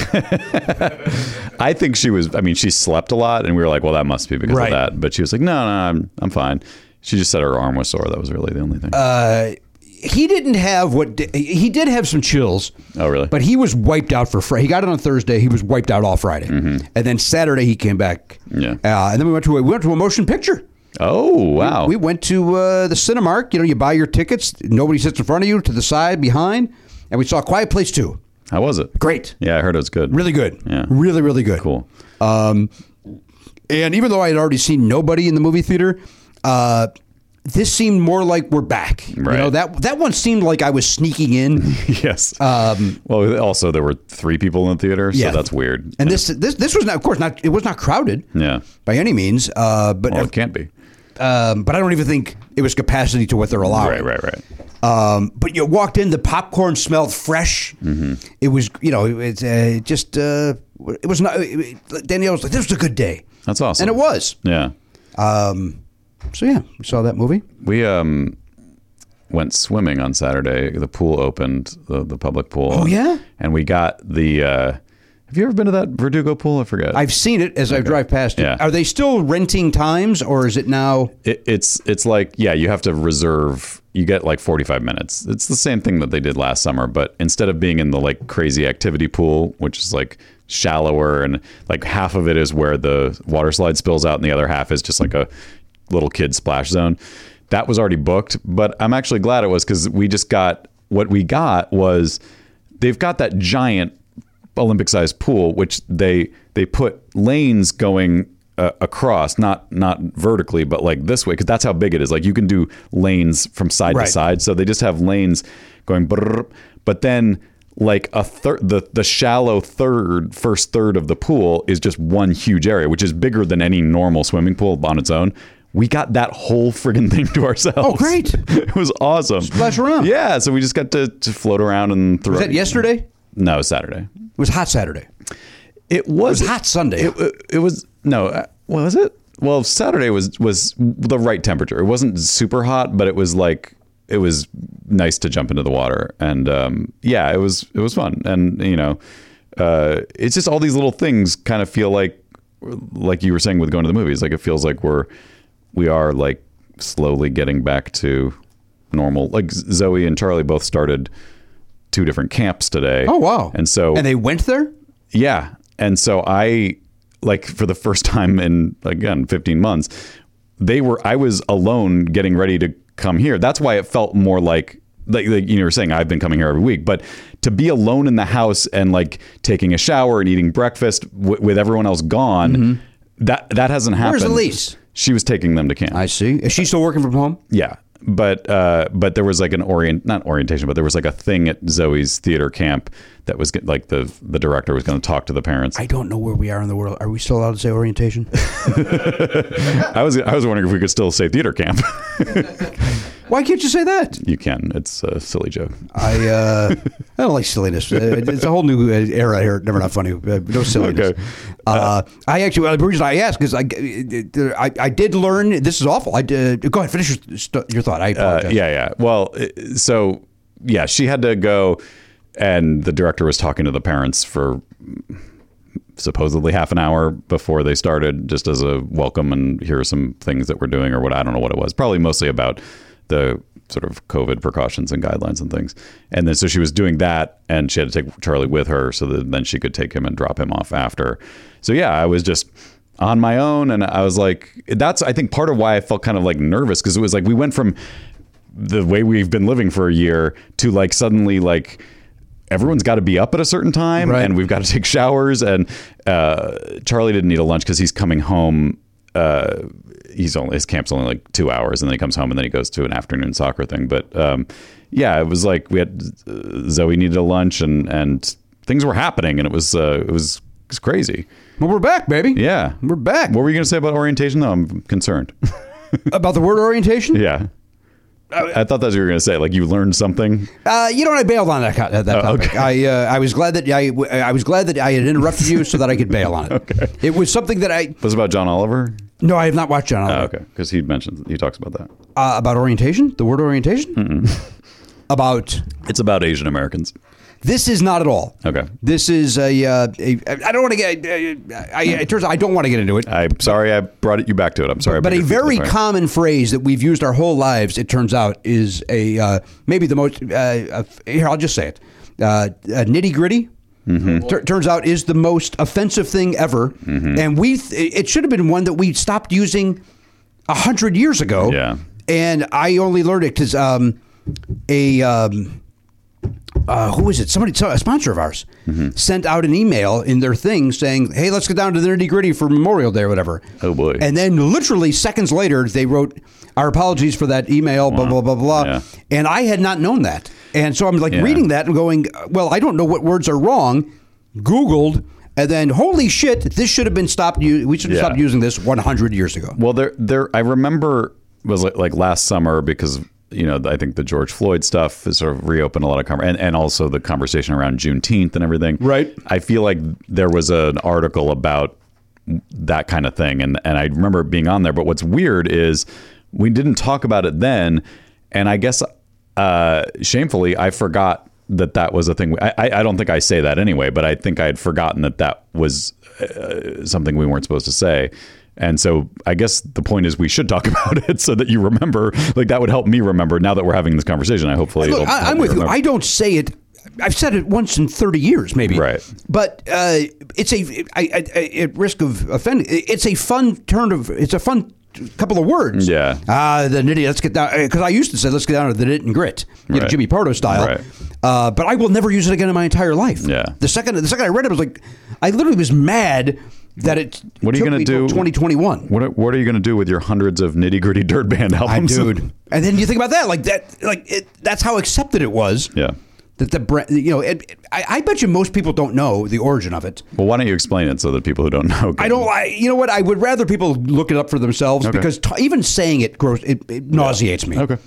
Speaker 1: I think she was. I mean, she slept a lot, and we were like, well, that must be because
Speaker 2: Right.
Speaker 1: of that. But she was like, no, no, I'm I'm fine. She just said her arm was sore. That was really the only thing.
Speaker 2: Uh, he didn't have what he did have some chills.
Speaker 1: Oh, really?
Speaker 2: But he was wiped out for Friday. He got it on Thursday. He was wiped out all Friday, and then Saturday he came back.
Speaker 1: Mm-hmm. Yeah.
Speaker 2: Uh, and then we went to a, we went to a motion picture.
Speaker 1: oh wow.
Speaker 2: We went to uh, the Cinemark. You know, you buy your tickets. Nobody sits in front of you, to the side, behind, and we saw Quiet Place Two.
Speaker 1: how was it?
Speaker 2: Great.
Speaker 1: Yeah, I heard it was good.
Speaker 2: Really good.
Speaker 1: Yeah.
Speaker 2: Really, really good.
Speaker 1: Cool.
Speaker 2: Um, and even though I had already seen nobody in the movie theater, uh, this seemed more like we're back. You
Speaker 1: Right.
Speaker 2: know, that that one seemed like I was sneaking
Speaker 1: [laughs]
Speaker 2: in.
Speaker 1: Yes. well, also there were three people in the theater, so
Speaker 2: Um, Yeah.
Speaker 1: that's weird.
Speaker 2: And this this this was not, of course, not it was not crowded.
Speaker 1: Yeah.
Speaker 2: By any means, uh, but
Speaker 1: Well, it can't be.
Speaker 2: um, but I don't even think it was capacity to what they're allowing.
Speaker 1: Right, right, right.
Speaker 2: Um, but you walked in, the popcorn smelled fresh.
Speaker 1: Mm-hmm.
Speaker 2: It was, you know, it's uh, just uh, it was not. It, it- Danielle was like, "This was a good day."
Speaker 1: That's awesome.
Speaker 2: And it was.
Speaker 1: Yeah.
Speaker 2: Um, so yeah, we saw that movie.
Speaker 1: We um went swimming on Saturday. The pool opened, the, the public pool.
Speaker 2: Oh, yeah?
Speaker 1: And we got the uh have you ever been to that Verdugo pool? I forget.
Speaker 2: I've seen it as I drive past it.
Speaker 1: Yeah.
Speaker 2: Are they still renting times, or is it now?
Speaker 1: it, it's it's like yeah, you have to reserve. You get like 45 minutes. It's the same thing that they did last summer, but instead of being in the like crazy activity pool, which is like shallower and like half of it is where the water slide spills out and the other half is just like a little kid splash zone. That was already booked, but I'm actually glad it was cuz we just got what we got was they've got that giant Olympic sized pool, which they they put lanes going uh, across, not not vertically, but like this way, because that's how big it is. Like you can do lanes from side
Speaker 2: Right.
Speaker 1: to side, so they just have lanes going. brrrr. But then like a third, the the shallow third, first third of the pool is just one huge area, which is bigger than any normal swimming pool on its own. We got that whole friggin' thing to ourselves. Oh,
Speaker 2: great.
Speaker 1: [laughs] it was awesome.
Speaker 2: Splash around.
Speaker 1: Yeah, so we just got to, to float around and throw.
Speaker 2: Was that yesterday? It
Speaker 1: No, Saturday.
Speaker 2: was hot Saturday.
Speaker 1: It was,
Speaker 2: was hot Sunday.
Speaker 1: It, it, it was no. uh, What was it? Well, Saturday was was the right temperature. It wasn't super hot, but it was like it was nice to jump into the water. And um, yeah, it was it was fun. And you know, uh, it's just all these little things kind of feel like like you were saying with going to the movies. Like it feels like we're we are like slowly getting back to normal. Like Zoe and Charlie both started two different camps today.
Speaker 2: Oh wow!
Speaker 1: And so
Speaker 2: and they went there.
Speaker 1: yeah. And so I like for the first [laughs] time in again 15 months, they were I was alone getting ready to come here. That's why it felt more like like, like you were saying I've been coming here every week, but to be alone in the house and like taking a shower and eating breakfast w- with everyone else gone, that that hasn't happened.
Speaker 2: Mm-hmm. Elise?
Speaker 1: She was taking them to camp.
Speaker 2: I see. Is she still working from home?
Speaker 1: Yeah, but uh, but there was like an orient not orientation, but there was like a thing at Zoe's theater camp that was get- like the the director was going to talk to the parents.
Speaker 2: I
Speaker 1: I,
Speaker 2: don't know where we are in the world. Are we still allowed to say orientation?
Speaker 1: was I was wondering if we could still say theater camp.
Speaker 2: [laughs]
Speaker 1: [laughs]
Speaker 2: Why can't you say that?
Speaker 1: you can. It's a silly joke.
Speaker 2: I uh, I don't like silliness. Uh, It's a whole new uh, era here. at Never not funny. Uh, No
Speaker 1: [laughs]
Speaker 2: silliness.
Speaker 1: Okay.
Speaker 2: Uh, I actually well, the reason I asked is I, uh, I I did learn this is awful. I did. Go ahead, finish your, st- your thought. I
Speaker 1: Uh,
Speaker 2: apologize.
Speaker 1: yeah, yeah. Well, i- so yeah, she had to go, and the director was talking to the parents for supposedly half an hour before they started, just as a welcome and here are some things that we're doing or what I don't know what it was. Probably mostly about the sort of COVID precautions and guidelines and things. And then so she was doing that, and she had to take Charlie with her so that then she could take him and drop him off after. So yeah, I was just on my own and I was like that's I think part of why I felt kind of like nervous because it was like we went from the way we've been living for a year to like suddenly like everyone's got to be up at a certain time
Speaker 2: Right.
Speaker 1: and we've got to take showers. And uh, Charlie didn't need a lunch because he's coming home. Uh, he's only his camp's only like two hours, and then he comes home and then he goes to an afternoon soccer thing. But um, yeah, it was like we had uh, Zoe needed a lunch, and and things were happening, and it was uh, it was. it was crazy.
Speaker 2: Well, we're back, baby.
Speaker 1: Yeah.
Speaker 2: We're back.
Speaker 1: What were you going to say about orientation, though? I'm concerned. [laughs]
Speaker 2: About the word orientation?
Speaker 1: yeah. I, I thought that's what you were going to say. Like, you learned something.
Speaker 2: Uh, you know, what? I bailed on that, co- that
Speaker 1: Oh,
Speaker 2: topic. I uh, I was glad that I I was glad that I had interrupted you so that I could
Speaker 1: [laughs]
Speaker 2: bail on it. okay. It was something that I
Speaker 1: Was it about John Oliver?
Speaker 2: no, I have not watched John
Speaker 1: Oh,
Speaker 2: Oliver
Speaker 1: okay. Because he mentions, he talks about that.
Speaker 2: uh, about orientation. The word orientation [laughs] about
Speaker 1: It's about Asian Americans.
Speaker 2: this is not at all.
Speaker 1: Okay.
Speaker 2: This is a, uh, a I don't want to get. I, I, it turns out I don't want to get into it.
Speaker 1: I'm sorry I brought it, you back to it. I'm sorry. I
Speaker 2: but
Speaker 1: brought
Speaker 2: a
Speaker 1: you-
Speaker 2: very
Speaker 1: sorry.
Speaker 2: common phrase that we've used our whole lives, it turns out, is a uh, maybe the most. Uh, uh, here, I'll just say it. Uh, uh, Nitty gritty.
Speaker 1: Mm-hmm.
Speaker 2: Tur- turns out is the most offensive thing ever, and we th- it should have been one that we stopped using a hundred years ago.
Speaker 1: Yeah.
Speaker 2: and I only learned it because um, a um, uh, who is it? Somebody, so- a sponsor of ours,
Speaker 1: Mm-hmm.
Speaker 2: sent out an email in their thing saying, "Hey, let's get down to the nitty gritty for Memorial Day or whatever."
Speaker 1: Oh, boy.
Speaker 2: And then literally seconds later, they wrote, "Our apologies for that email." Blah blah blah blah.
Speaker 1: Yeah.
Speaker 2: And I had not known that, and so I'm like
Speaker 1: Yeah.
Speaker 2: reading that and going, "Well, I don't know what words are wrong." Googled. And then, holy shit! This should have been stopped. u- We should have
Speaker 1: Yeah.
Speaker 2: stopped using this 100 years ago.
Speaker 1: Well, there, there. I remember it was like, like last summer because you know I think the George Floyd stuff has sort of reopened a lot of conver- and and also the conversation around Juneteenth and everything.
Speaker 2: Right.
Speaker 1: I feel like there was an article about that kind of thing, and and I remember it being on there. But what's weird is we didn't talk about it then, and I guess uh, shamefully I forgot that that was a thing. I I I don't think I say that anyway, but I think I had forgotten that that was uh, something we weren't supposed to say. And so I guess the point is we should talk [laughs] about it so that you remember. Like that would help me remember now that we're having this conversation. I hopefully
Speaker 2: Look,
Speaker 1: it'll
Speaker 2: I,
Speaker 1: help
Speaker 2: I'm with you.
Speaker 1: remember.
Speaker 2: I don't say it. I've said it once in 30 years, maybe.
Speaker 1: Right.
Speaker 2: But uh, it's a I, I, I, at risk of offending. It's a fun turn of. It's a fun couple of words.
Speaker 1: Yeah.
Speaker 2: Ah, the nitty. Let's get down. Because I used to say, let's get down to the nit and grit, you know,
Speaker 1: Right.
Speaker 2: Jimmy Pardo style.
Speaker 1: Right.
Speaker 2: Uh, but I will never use it again in my entire life.
Speaker 1: Yeah.
Speaker 2: The second the second I read it, I was like, I literally was mad that it.
Speaker 1: What are you
Speaker 2: took
Speaker 1: gonna
Speaker 2: me till
Speaker 1: do?
Speaker 2: 2021.
Speaker 1: What are, what are you going to do with your hundreds of nitty gritty dirt band [laughs]
Speaker 2: I
Speaker 1: albums?
Speaker 2: dude. And then you think about that, like that, like it, that's how accepted it was.
Speaker 1: Yeah.
Speaker 2: That the brand, you know, it, it- I, I bet you most people don't know the origin of it.
Speaker 1: Well, why don't you explain it so that people who don't know? Can,
Speaker 2: I don't. I, you know what? I would rather people look it up for themselves because t- even saying it gross, it, it nauseates me.
Speaker 1: Okay.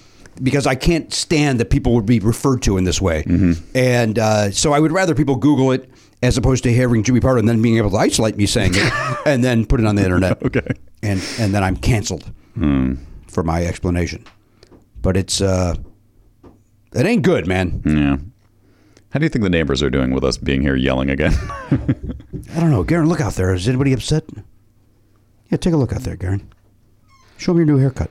Speaker 2: Because I can't stand that people would be referred to in this way,
Speaker 1: Mm-hmm.
Speaker 2: and uh, so I would rather people Google it as opposed to hearing Jimmy Pardo and then being able to isolate me saying it
Speaker 1: [laughs]
Speaker 2: and then put it on the internet.
Speaker 1: Okay. Hmm.
Speaker 2: And and then I'm canceled for my explanation. But it's uh, it ain't good, man.
Speaker 1: Yeah. How do you think the neighbors are doing with us being here yelling again? [laughs]
Speaker 2: I don't know, Garen. Look out there. Is anybody upset? Yeah, take a look out there, Garen. Show me your new haircut.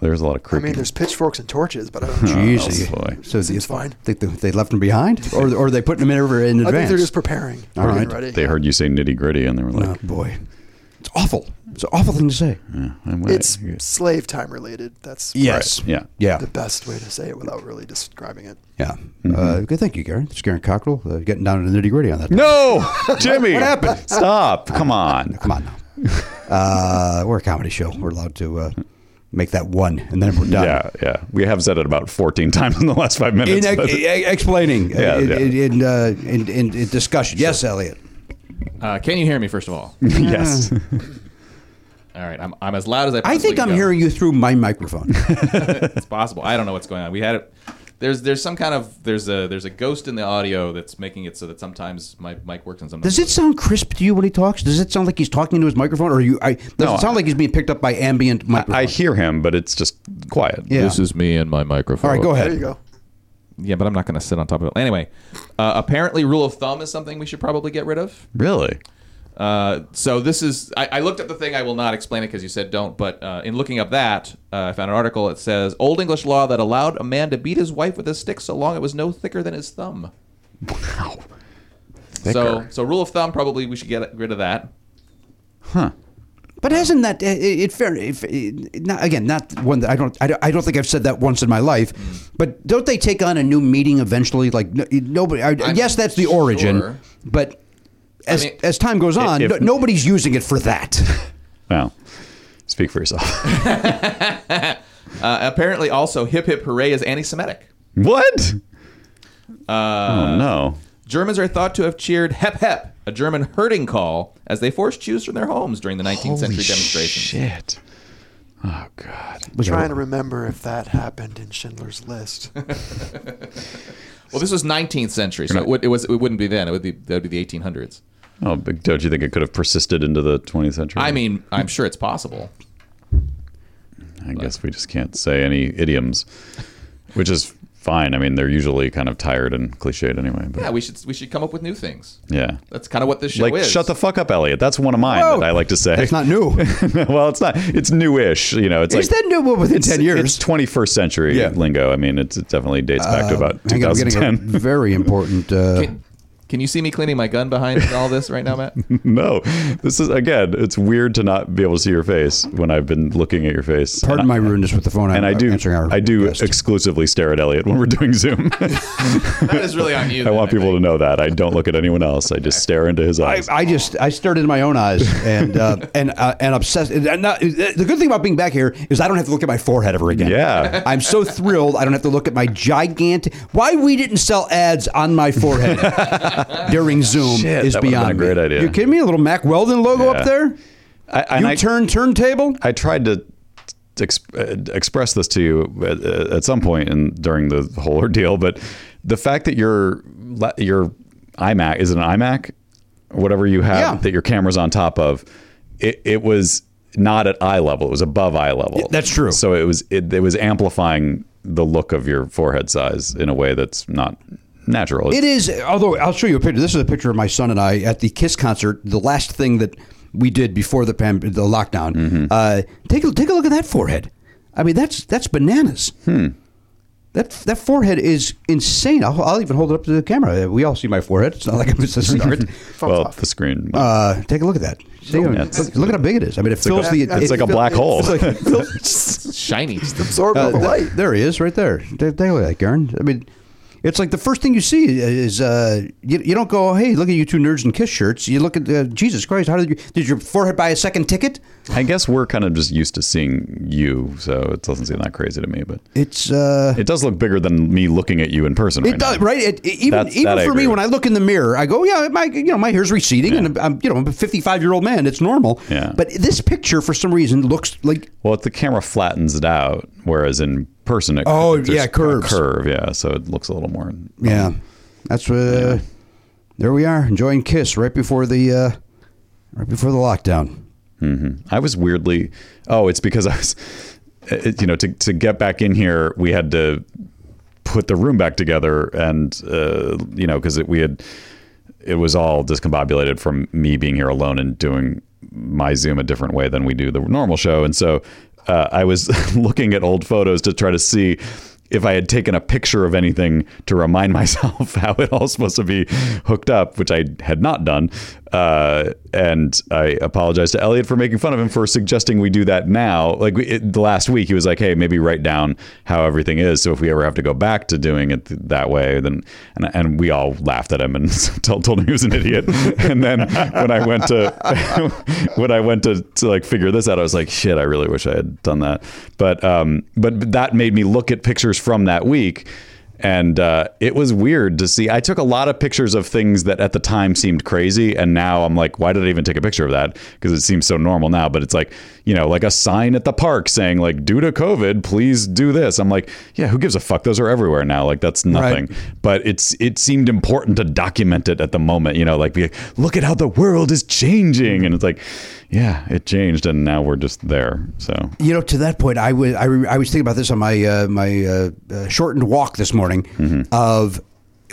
Speaker 1: there's a lot of
Speaker 8: I
Speaker 1: creeping.
Speaker 8: mean, there's pitchforks and torches, but
Speaker 2: [laughs]
Speaker 8: I don't know.
Speaker 2: Jeez.
Speaker 1: Oh, boy.
Speaker 2: So
Speaker 8: Seems fine.
Speaker 2: Think they, they left them behind, or or they put them in over in
Speaker 8: I think
Speaker 2: advance.
Speaker 8: they're just preparing. All
Speaker 2: right.
Speaker 8: Ready.
Speaker 1: they heard you say nitty gritty and they were
Speaker 2: oh
Speaker 1: like,
Speaker 2: boy, it's awful. It's an awful thing to say.
Speaker 1: "I'm with
Speaker 8: It's
Speaker 1: it."
Speaker 8: slave time related. That's
Speaker 2: Yes.
Speaker 1: Yeah.
Speaker 2: Yeah.
Speaker 8: the best way to say it without really describing it.
Speaker 2: Yeah.
Speaker 1: Mm-hmm.
Speaker 2: Uh, good. Thank you, Garen. It's Garen Cockrell uh, getting down to the nitty gritty on that.
Speaker 1: No, Jimmy. what happened? Stop. Come on.
Speaker 2: Come on now. Uh, we're a comedy show. We're allowed to uh, make that one, and then we're done.
Speaker 1: Yeah, yeah. We have said it about 14 [laughs] times in the last five
Speaker 2: In
Speaker 1: minutes. [laughs] but-
Speaker 2: e- e- explaining, uh,
Speaker 1: Yeah,
Speaker 2: in,
Speaker 1: yeah.
Speaker 2: In, uh, in, in, in discussion. Yes, Elliot.
Speaker 7: Uh, can you hear me, first
Speaker 2: [laughs]
Speaker 7: of all?
Speaker 1: yes.
Speaker 7: All right, I'm, I'm as loud as I.
Speaker 2: I
Speaker 7: possibly
Speaker 2: think
Speaker 7: can
Speaker 2: I'm
Speaker 7: go.
Speaker 2: hearing you through my microphone.
Speaker 7: It's possible. I don't know what's going on. We had it. There's there's some kind of there's a there's a ghost in the audio that's making it so that sometimes my mic works and sometimes
Speaker 2: Does it sound crisp to you when he talks? Does it sound like he's talking into his microphone, or are you? I, does
Speaker 1: No,
Speaker 2: it sound like he's being picked up by ambient microphone?
Speaker 1: [laughs] I hear him, but it's just quiet.
Speaker 2: yeah.
Speaker 7: is me and my microphone.
Speaker 2: All right, go
Speaker 8: There you
Speaker 2: ahead.
Speaker 8: go.
Speaker 7: Yeah, but I'm not going to sit on top of it. Anyway, uh, apparently, rule of thumb is something we should probably get rid of.
Speaker 1: Really?
Speaker 7: Uh, so this is I, I looked up the thing. I will not explain it because you said don't. But uh, in looking up that, uh, I found an article. that says old English law that allowed a man to beat his wife with a stick so long it was no thicker than his thumb.
Speaker 1: Wow.
Speaker 7: So so rule of thumb probably we should get rid of that.
Speaker 1: Huh.
Speaker 2: But hasn't that it, it fair? If, it, not, again, not one that I don't, I don't. I don't think I've said that once in my life. But don't they take on a new meaning eventually? Like no, nobody. I,
Speaker 7: I'm
Speaker 2: yes, that's the origin.
Speaker 7: sure.
Speaker 2: But as
Speaker 7: mean-
Speaker 2: as time goes on,
Speaker 1: if-
Speaker 2: no- nobody's using it for that.
Speaker 1: Well, speak for yourself. [laughs]
Speaker 7: Uh, apparently, also, hip hip hooray is anti Semitic.
Speaker 1: what? oh no.
Speaker 7: Germans are thought to have cheered hep hep, a German herding call, as they forced Jews from their homes during the 19th century demonstrations.
Speaker 1: Shit. Oh god.
Speaker 8: trying to remember if that happened in Schindler's List.
Speaker 7: Well, this was 19th century, so it, would, it was it wouldn't be then. It would be that would be the 1800s.
Speaker 1: Oh, but don't you think it could have persisted into the 20th century?
Speaker 7: I mean, I'm sure it's possible.
Speaker 1: I guess we just can't say any idioms, which is fine. I mean, they're usually kind of tired and cliched anyway. But
Speaker 7: Yeah,
Speaker 1: yeah,
Speaker 7: we should we should come up with new things. That's kind of what this show
Speaker 1: like
Speaker 7: is.
Speaker 1: shut the fuck up, Elliot. That's one of mine
Speaker 2: Whoa.
Speaker 1: that I like to say.
Speaker 2: That's not new.
Speaker 1: [laughs] well, it's not. It's newish. You know, it's
Speaker 2: Is
Speaker 1: like
Speaker 2: that new [laughs] within
Speaker 1: it's,
Speaker 2: ten years?
Speaker 1: It's 21st century
Speaker 2: Yeah. Uh,
Speaker 1: lingo. I mean, it's, it definitely dates back to about
Speaker 2: Hang on, I'm getting a
Speaker 1: 2010.
Speaker 2: very important. Uh,
Speaker 7: Can you see me cleaning my gun behind all this right
Speaker 1: [laughs]
Speaker 7: now, Matt?
Speaker 1: [laughs] no, this is again. It's weird to not be able to see your face when I've been looking at your face.
Speaker 2: pardon my rudeness with the phone.
Speaker 1: and I do,
Speaker 2: Uh, Answering our
Speaker 1: I do
Speaker 2: guest.
Speaker 1: exclusively stare at Elliot when we're doing Zoom. [laughs]
Speaker 7: That is really on you.
Speaker 1: I want people to know that I don't look at anyone else. I just stare into his
Speaker 2: I,
Speaker 1: eyes.
Speaker 2: I just I stared into my own eyes
Speaker 1: [laughs]
Speaker 2: and uh, and uh, and obsessed. And not, the good thing about being back here is I don't have to look at my forehead ever again.
Speaker 1: Yeah.
Speaker 2: I'm so thrilled. I don't have to look at my gigantic. Why we didn't sell ads on my
Speaker 1: [laughs]
Speaker 2: forehead during Zoom
Speaker 1: Shit,
Speaker 2: is
Speaker 1: that would've
Speaker 2: beyond
Speaker 1: been a
Speaker 2: me.
Speaker 1: great idea.
Speaker 2: You kidding me? A little Mac Weldon logo
Speaker 1: Yeah.
Speaker 2: up there.
Speaker 1: I, and
Speaker 2: you
Speaker 1: I,
Speaker 2: turn turntable.
Speaker 1: I tried to ex- uh, express this to you at, at some point and during the whole ordeal, but the fact that your la- your iMac is it an iMac, whatever you have
Speaker 2: Yeah.
Speaker 1: that your camera's on top of, it, it was not at eye level. It was above eye level.
Speaker 2: that's true.
Speaker 1: So it was it, it was amplifying the look of your forehead size in a way that's not natural.
Speaker 2: It is, although I'll show you a picture. This is a picture of my son and I at the Kiss concert, the last thing that we did before the pand- the lockdown.
Speaker 1: Mm-hmm.
Speaker 2: Uh, take a take a look at that forehead. I mean, that's that's bananas.
Speaker 1: Hmm.
Speaker 2: That that forehead is insane. I'll, I'll even hold it up to the camera. Uh, We all see my forehead. It's not like I'm just
Speaker 1: [laughs]
Speaker 2: a start.
Speaker 1: well, the screen.
Speaker 2: Uh, take a look at that. See, I mean,
Speaker 1: it's-
Speaker 2: look, look at how big it is. I mean, it
Speaker 1: like
Speaker 2: fills
Speaker 1: a-
Speaker 2: the.
Speaker 1: it's
Speaker 2: it-
Speaker 1: like a
Speaker 2: it-
Speaker 1: black hole. [laughs]
Speaker 2: It's like,
Speaker 7: Shiny.
Speaker 8: Absorb all the
Speaker 2: uh,
Speaker 8: light.
Speaker 2: th- there he is, right there. Take, take a look at that, Garen. I mean, it's like the first thing you see is uh, you, you don't go, hey, look at you two nerds in kiss shirts. You look at uh, Jesus Christ. How did you did your forehead buy a second ticket?
Speaker 1: I guess we're kind of just used to seeing you, so it doesn't seem that crazy to me. But
Speaker 2: It's uh,
Speaker 1: it does look bigger than me looking at you in person.
Speaker 2: it
Speaker 1: right
Speaker 2: does
Speaker 1: now.
Speaker 2: right. It, it- even
Speaker 1: That's-
Speaker 2: even
Speaker 1: that I
Speaker 2: for
Speaker 1: agree
Speaker 2: me, when
Speaker 1: with.
Speaker 2: I look in the mirror, I go, yeah, my you know my hair's receding, and I'm you know I'm a 55 year old man. It's normal.
Speaker 1: Yeah.
Speaker 2: But this picture, for some reason, looks like
Speaker 1: Well, if the camera flattens it out, whereas in person, it
Speaker 2: Oh,
Speaker 1: there's
Speaker 2: yeah,
Speaker 1: a
Speaker 2: curves.
Speaker 1: curve, yeah. So it looks a little more.
Speaker 2: yeah, that's uh, there we are enjoying kiss right before the uh, right before the lockdown.
Speaker 1: I was weirdly. Oh, it's because I was. It, you know, to to get back in here, we had to put the room back together, and uh, you know, because we had it was all discombobulated from me being here alone and doing my Zoom a different way than we do the normal show, and so uh, I was [laughs] looking at old photos to try to see. If I had taken a picture of anything to remind [laughs] myself how it all supposed to be hooked up, which I had not done, uh, and I apologize to Elliot for making fun of him for suggesting we do that now. Like we, it, the last week, he was like, "Hey, maybe write down how everything is, so if we ever have to go back to doing it th- that way, then." And, and we all laughed at him and [laughs] told, told him he was an idiot. and then when I went to [laughs] when I went to, to like figure this out, I was like, "Shit, I really wish I had done that." But um, but that made me look at pictures from that week and uh, it was weird to see. I took a lot of pictures of things that at the time seemed crazy, and now I'm like, why did I even take a picture of that? Because it seems so normal now. But it's like, you know, like a sign at the park saying like, due to COVID, please do this. I'm like, yeah, who gives a fuck? Those are everywhere now. Like that's nothing. But it's it seemed important to document it at the moment. You know, like be like, look at how the world is changing, and it's like, yeah, it changed, and now we're just there. So
Speaker 2: You know, to that point, I was I, re- I was thinking about this on my uh, my uh, uh, shortened walk this morning.
Speaker 1: Mm-hmm.
Speaker 2: Of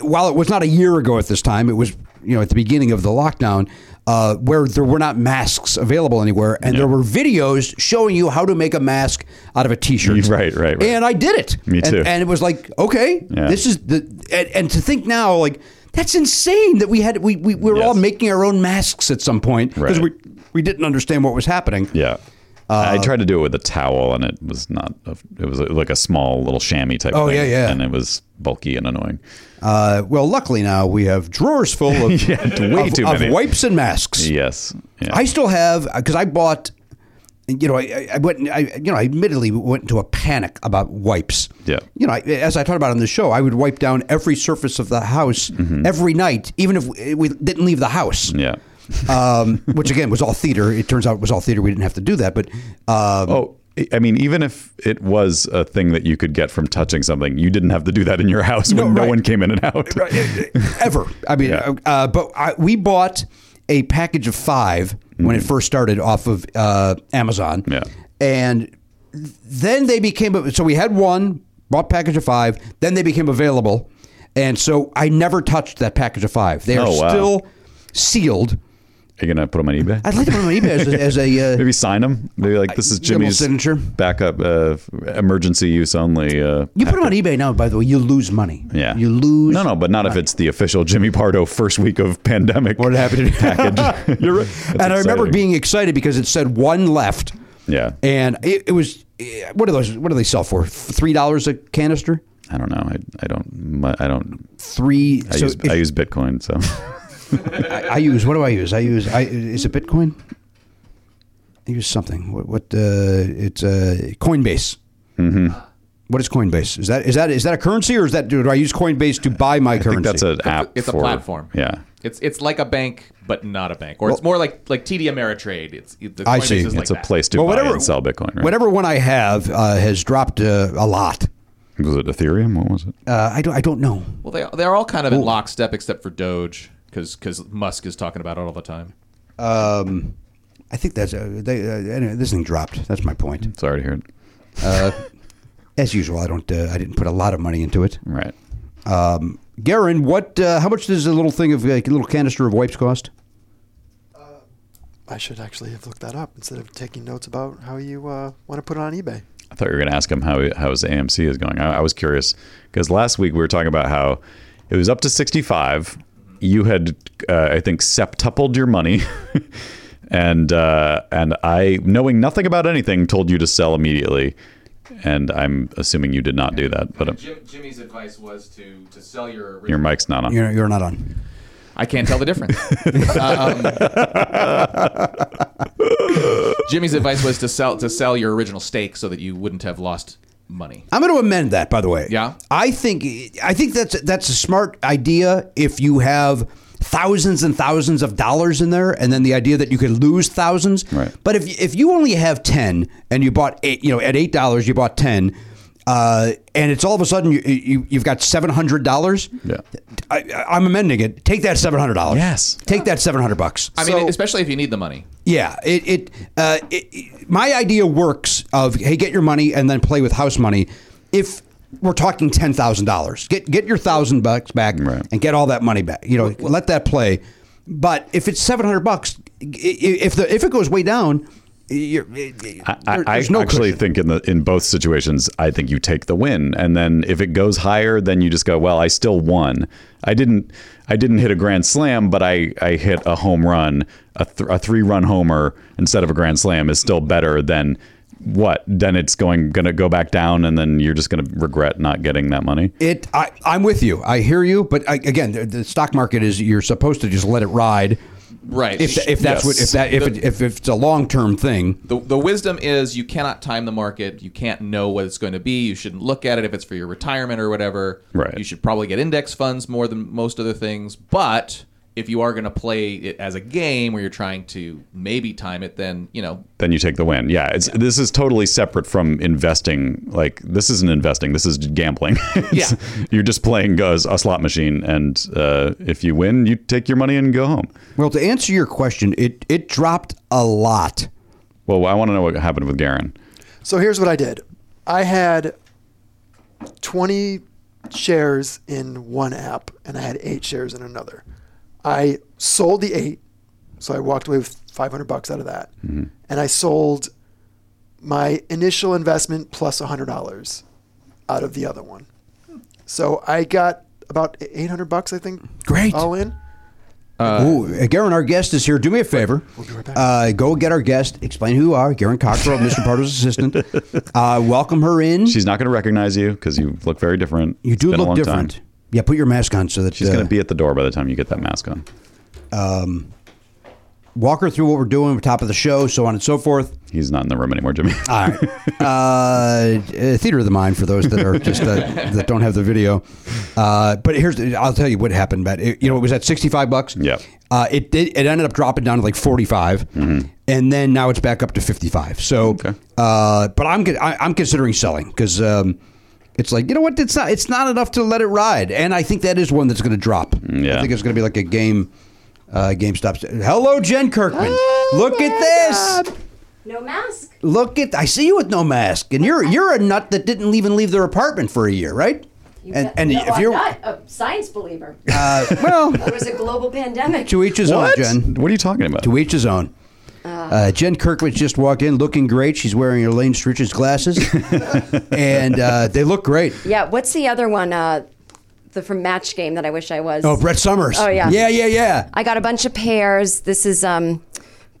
Speaker 2: while it was not a year ago at this time, it was you know at the beginning of the lockdown, uh, where there were not masks available anywhere, and there were videos showing you how to make a mask out of a T-shirt.
Speaker 1: [laughs] Right, right, right.
Speaker 2: And I did it.
Speaker 1: Me
Speaker 2: And-
Speaker 1: too.
Speaker 2: And, it was like, okay,
Speaker 1: Yeah.
Speaker 2: this is the and, and to think now like. That's insane that we had we, we, we were all
Speaker 1: Yes.
Speaker 2: making our own masks at some point because
Speaker 1: Right.
Speaker 2: we we didn't understand what was happening.
Speaker 1: Yeah. I
Speaker 2: Uh,
Speaker 1: tried to do it with a towel, and it was not. A, it was like a small little chamois type.
Speaker 2: Oh,
Speaker 1: thing,
Speaker 2: yeah, yeah.
Speaker 1: And it was bulky and annoying.
Speaker 2: Uh, well, luckily now we have drawers full of,
Speaker 1: [laughs] way
Speaker 2: of-
Speaker 1: too
Speaker 2: of
Speaker 1: many.
Speaker 2: wipes and masks.
Speaker 1: Yes. Yeah.
Speaker 2: I still have because I bought. You know, I, I went. I you know, I admittedly went into a panic about wipes.
Speaker 1: Yeah.
Speaker 2: You know, I, as I talked about on the show, I would wipe down every surface of the house every night, even if we- we didn't leave the house.
Speaker 1: Mm-hmm. yeah.
Speaker 2: Um, which again was all theater. It turns out it was all theater. We didn't have to do that, but um,
Speaker 1: Oh, I- I mean, even if it was a thing that you could get from touching something, you didn't have to do that in your house when
Speaker 2: No,
Speaker 1: no,
Speaker 2: right.
Speaker 1: one came in and out.
Speaker 2: [laughs] ever. I mean,
Speaker 1: Yeah.
Speaker 2: uh, but I, we bought a package of 5 when it first started off of uh, Amazon.
Speaker 1: Mm. Yeah.
Speaker 2: And then they became, so we had one, bought package of five, then they became available. And so I never touched that package of five. They are
Speaker 1: Oh, wow.
Speaker 2: still sealed.
Speaker 1: Are you gonna put them on eBay?
Speaker 2: I'd like to put them on
Speaker 1: [laughs]
Speaker 2: eBay as a, as a uh,
Speaker 1: Maybe sign them. Maybe like this is
Speaker 2: Give 'em a
Speaker 1: Jimmy's
Speaker 2: signature.
Speaker 1: backup, uh, emergency use only. Uh,
Speaker 2: You put them on eBay now, by the way, you lose money.
Speaker 1: yeah,
Speaker 2: You lose. Uh,
Speaker 1: No, no, but not if it's the official Jimmy Pardo first week of pandemic.
Speaker 2: What happened?
Speaker 1: [laughs]
Speaker 2: [laughs]
Speaker 1: package? You're right. That's
Speaker 2: and I remember
Speaker 1: exciting.
Speaker 2: being excited because it said one left.
Speaker 1: Yeah.
Speaker 2: and it, it was eh, what are those? What do they sell for? Three dollars a canister.
Speaker 1: I don't know. I, I don't. my- I don't.
Speaker 2: Three.
Speaker 1: I,
Speaker 2: so
Speaker 1: use,
Speaker 2: if-
Speaker 1: I use Bitcoin. So [laughs]
Speaker 2: I, I use. What do I use? I use. I is it Bitcoin? I use something. What? What? Uh, it's uh, Coinbase. Mm-hmm. is Coinbase? Is that is that is that a currency or is that do I use Coinbase to buy
Speaker 1: I
Speaker 2: my
Speaker 1: think
Speaker 2: currency?
Speaker 1: that's an app.
Speaker 7: It's a
Speaker 1: for-
Speaker 7: platform.
Speaker 1: Yeah.
Speaker 7: It's it's like a bank, but not a bank, or it's more like like TD Ameritrade. It's it, the
Speaker 2: I
Speaker 7: Coinbase
Speaker 2: see.
Speaker 7: Is like
Speaker 1: It's a
Speaker 7: that.
Speaker 1: place to
Speaker 2: Well,
Speaker 1: buy
Speaker 2: whatever-
Speaker 1: and sell Bitcoin. Right?
Speaker 2: Whatever one I have uh, has dropped uh, a lot.
Speaker 1: was it? Ethereum? What was it?
Speaker 2: Uh, I don't. I don't know.
Speaker 7: Well, they they're all kind of in lockstep except for Doge, because Musk is talking about it all the time.
Speaker 2: Um, I think that's uh, they, uh, anyway, this thing dropped. That's my point.
Speaker 1: Sorry to hear it.
Speaker 2: As usual, I don't. Uh, I didn't put a lot of money into it.
Speaker 1: Right.
Speaker 2: Um, Garen, what? Uh, how much does a little thing of like, a little canister of wipes cost?
Speaker 8: I should actually have looked that up instead of taking notes about how you uh, want to put it on eBay.
Speaker 1: I thought you were going to ask him how how his AMC is going. I, I was curious because last week we were talking about how it was up to sixty five. You had, uh, I think, septupled your money, [laughs] and uh, and I, knowing nothing about anything, told you to sell immediately. And I'm assuming you did not do that, but uh,
Speaker 7: Jim, Jimmy's advice was to to sell your
Speaker 1: your mic's not on.
Speaker 2: You're, you're not on.
Speaker 7: I can't tell the difference. Uh, Um, Jimmy's advice was to sell to sell your original stake so that you wouldn't have lost money.
Speaker 2: I'm going to amend that, by the way.
Speaker 7: Yeah?
Speaker 2: I think I think that's that's a smart idea if you have thousands and thousands of dollars in there, and then the idea that you could lose thousands.
Speaker 1: Right.
Speaker 2: But if if you only have ten and you bought eight, you know, at eight dollars you bought ten. Uh, and it's all of a sudden you, you you've got seven hundred dollars.
Speaker 1: Yeah.
Speaker 2: I, I'm amending it. Take that seven hundred dollars.
Speaker 1: Yes.
Speaker 2: Take that seven hundred bucks.
Speaker 7: I mean, especially if you need the money.
Speaker 2: Yeah, it it, uh, it- it my idea works of hey get your money and then play with house money. If we're talking ten thousand dollars, get get your thousand bucks back
Speaker 1: Right.
Speaker 2: and get all that money back. You know, let that play. But if it's seven hundred bucks, i- i- if the if it goes way down, you're,
Speaker 1: I,
Speaker 2: there-
Speaker 1: I, I
Speaker 2: there's no
Speaker 1: actually
Speaker 2: cushion.
Speaker 1: think in the in both situations, I think you take the win, and then if it goes higher, then you just go, well, I still won. I didn't, I didn't hit a grand slam, but I, I hit a home run, a, th- a three run homer instead of a grand slam is still better than what? Then it's going gonna go back down, and then you're just gonna regret not getting that money.
Speaker 2: It, I, I'm with you. I hear you, but I, again, the, the stock market is you're supposed to just let it ride,
Speaker 7: Right.
Speaker 2: If, if that's what if
Speaker 1: Yes.
Speaker 2: that if it, if, if it's a long term thing,
Speaker 7: The, the wisdom is you cannot time the market. You can't know what it's going to be. You shouldn't look at it if it's for your retirement or whatever.
Speaker 1: Right.
Speaker 7: You should probably get index funds more than most other things. But if you are going to play it as a game where you're trying to maybe time it, then you know
Speaker 1: then you take the win. Yeah, it's this is totally separate from investing. Like this isn't investing. This is gambling. [laughs] It's- you're just playing a, a slot machine, and uh, if you win, you take your money and go home.
Speaker 2: Well, to answer your question, it it dropped a lot.
Speaker 1: Well, I want to know what happened with Garen.
Speaker 8: So here's what I did. I had 20 shares in one app and I had 8 shares in another. I sold the 8, so I walked away with 500 bucks out of that. And I sold my initial investment plus $100 out of the other one. So I got about 800 bucks I think Oh,
Speaker 2: Great.
Speaker 8: all in.
Speaker 2: Ooh, uh, Garen, our guest is here. Do me a favor. Uh, go get our guest. Explain who you are. Garen Cockrell, Mr. Pardo's assistant. Uh, welcome her in.
Speaker 1: She's not going to recognize you because you look very different.
Speaker 2: you
Speaker 1: It's
Speaker 2: do
Speaker 1: been a
Speaker 2: look
Speaker 1: long
Speaker 2: different.
Speaker 1: Time.
Speaker 2: Yeah, put your mask on so that
Speaker 1: She's
Speaker 2: uh,
Speaker 1: going to be at the door by the time you get that mask on.
Speaker 2: walk her through what we're doing, top of the show, so on and so forth.
Speaker 1: He's not in the room anymore, Jimmy.
Speaker 2: All right. Uh, uh, theater of the mind for those that are just
Speaker 1: [laughs]
Speaker 2: uh, that don't have the video. Uh, but here's I'll tell you what happened. But it, you know it was at sixty five bucks.
Speaker 1: Yep.
Speaker 2: Uh, it did. It ended up dropping down to like forty
Speaker 1: Mm-hmm.
Speaker 2: and then now it's back up to fifty five. So, uh, but I'm con- I, I'm considering selling because. Um, it's like you know what? It's not. It's not enough to let it ride, and I think that is one that's going to drop.
Speaker 1: yeah.
Speaker 2: I think it's going to be like a game, uh, GameStop. Hello, Jen Kirkman. Look at this.
Speaker 9: No mask.
Speaker 2: Look at I see you with no mask, and you're you're a nut that didn't even leave their apartment for a year, right?
Speaker 9: You
Speaker 2: and
Speaker 9: got-
Speaker 2: and
Speaker 9: no,
Speaker 2: if
Speaker 9: I'm
Speaker 2: you're
Speaker 9: not a science believer, [laughs]
Speaker 2: uh, well,
Speaker 9: there was a global pandemic.
Speaker 2: to each his
Speaker 1: what?
Speaker 2: own, Jen.
Speaker 1: What are you talking about?
Speaker 2: To each his own. Uh, Jen Kirkman's just walked in, looking great. She's wearing Elaine Stritch's glasses, and uh, they look great.
Speaker 9: Yeah. What's the other one? Uh, the from Match Game that I wish I was.
Speaker 2: Oh, Brett Summers.
Speaker 9: Oh, yeah.
Speaker 2: yeah, yeah, yeah.
Speaker 9: I got a bunch of pairs. This is um,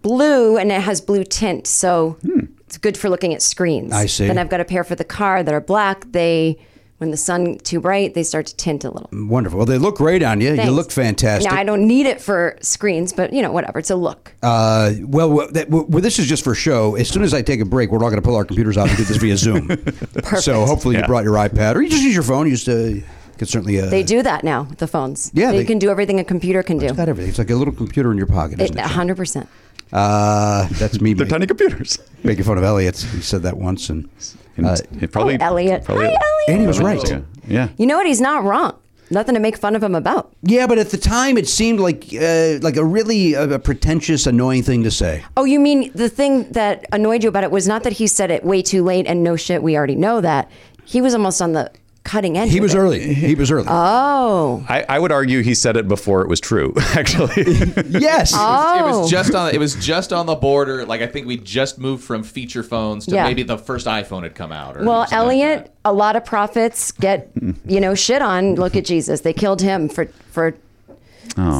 Speaker 9: blue and it has blue tint, so it's good for looking at screens.
Speaker 2: Hmm. I see.
Speaker 9: Then I've got a pair for the car that are black. They, when the sun too bright, they start to tint a little.
Speaker 2: Wonderful. Well, they look great on you. You
Speaker 9: Thanks.
Speaker 2: look fantastic.
Speaker 9: Now I don't need it for screens, but you know whatever. It's a look.
Speaker 2: Uh, well, well, that, well, this is just for show. As soon as I take a break, we're all going to pull our computers out and do this via
Speaker 9: [laughs]
Speaker 2: Zoom. Perfect. So hopefully you brought your iPad, or you just use your phone. You just uh, could certainly. Uh,
Speaker 9: they do that now. with The phones.
Speaker 2: Yeah,
Speaker 9: They,
Speaker 2: they-
Speaker 9: can do everything a computer can do.
Speaker 2: Not everything. It's like a little computer in your pocket, isn't it?
Speaker 9: hundred percent.
Speaker 2: Uh, that's [laughs] me
Speaker 1: They're
Speaker 2: ma-
Speaker 1: tiny computers. [laughs]
Speaker 2: making fun of Elliot. He said that once, and
Speaker 1: And
Speaker 2: uh,
Speaker 1: it probably,
Speaker 9: Oh, Elliot. Hi, Elliot.
Speaker 2: and he was
Speaker 1: Probably-
Speaker 2: right.
Speaker 1: Yeah.
Speaker 9: You know what? He's not wrong. Nothing to make fun of him about.
Speaker 2: Yeah, but at the time, it seemed like uh, like a really uh, pretentious, annoying thing to say.
Speaker 9: Oh, you mean the thing that annoyed you about it was not that he said it way too late and no shit, we already know that. He was almost on the cutting edge.
Speaker 2: He
Speaker 9: of
Speaker 2: was
Speaker 9: it.
Speaker 2: early. He was early.
Speaker 9: Oh,
Speaker 1: I, I would argue he said it before it was true, [laughs]
Speaker 2: [laughs]
Speaker 1: actually.
Speaker 2: yes.
Speaker 7: It
Speaker 9: Oh.
Speaker 7: was just on. It was just on the border. Like I think we just moved from feature phones to
Speaker 9: Yeah.
Speaker 7: maybe the first iPhone had come out. Or
Speaker 9: well,
Speaker 7: something like
Speaker 9: Elliot, a lot of prophets get you know shit on. Look at Jesus; they killed him for for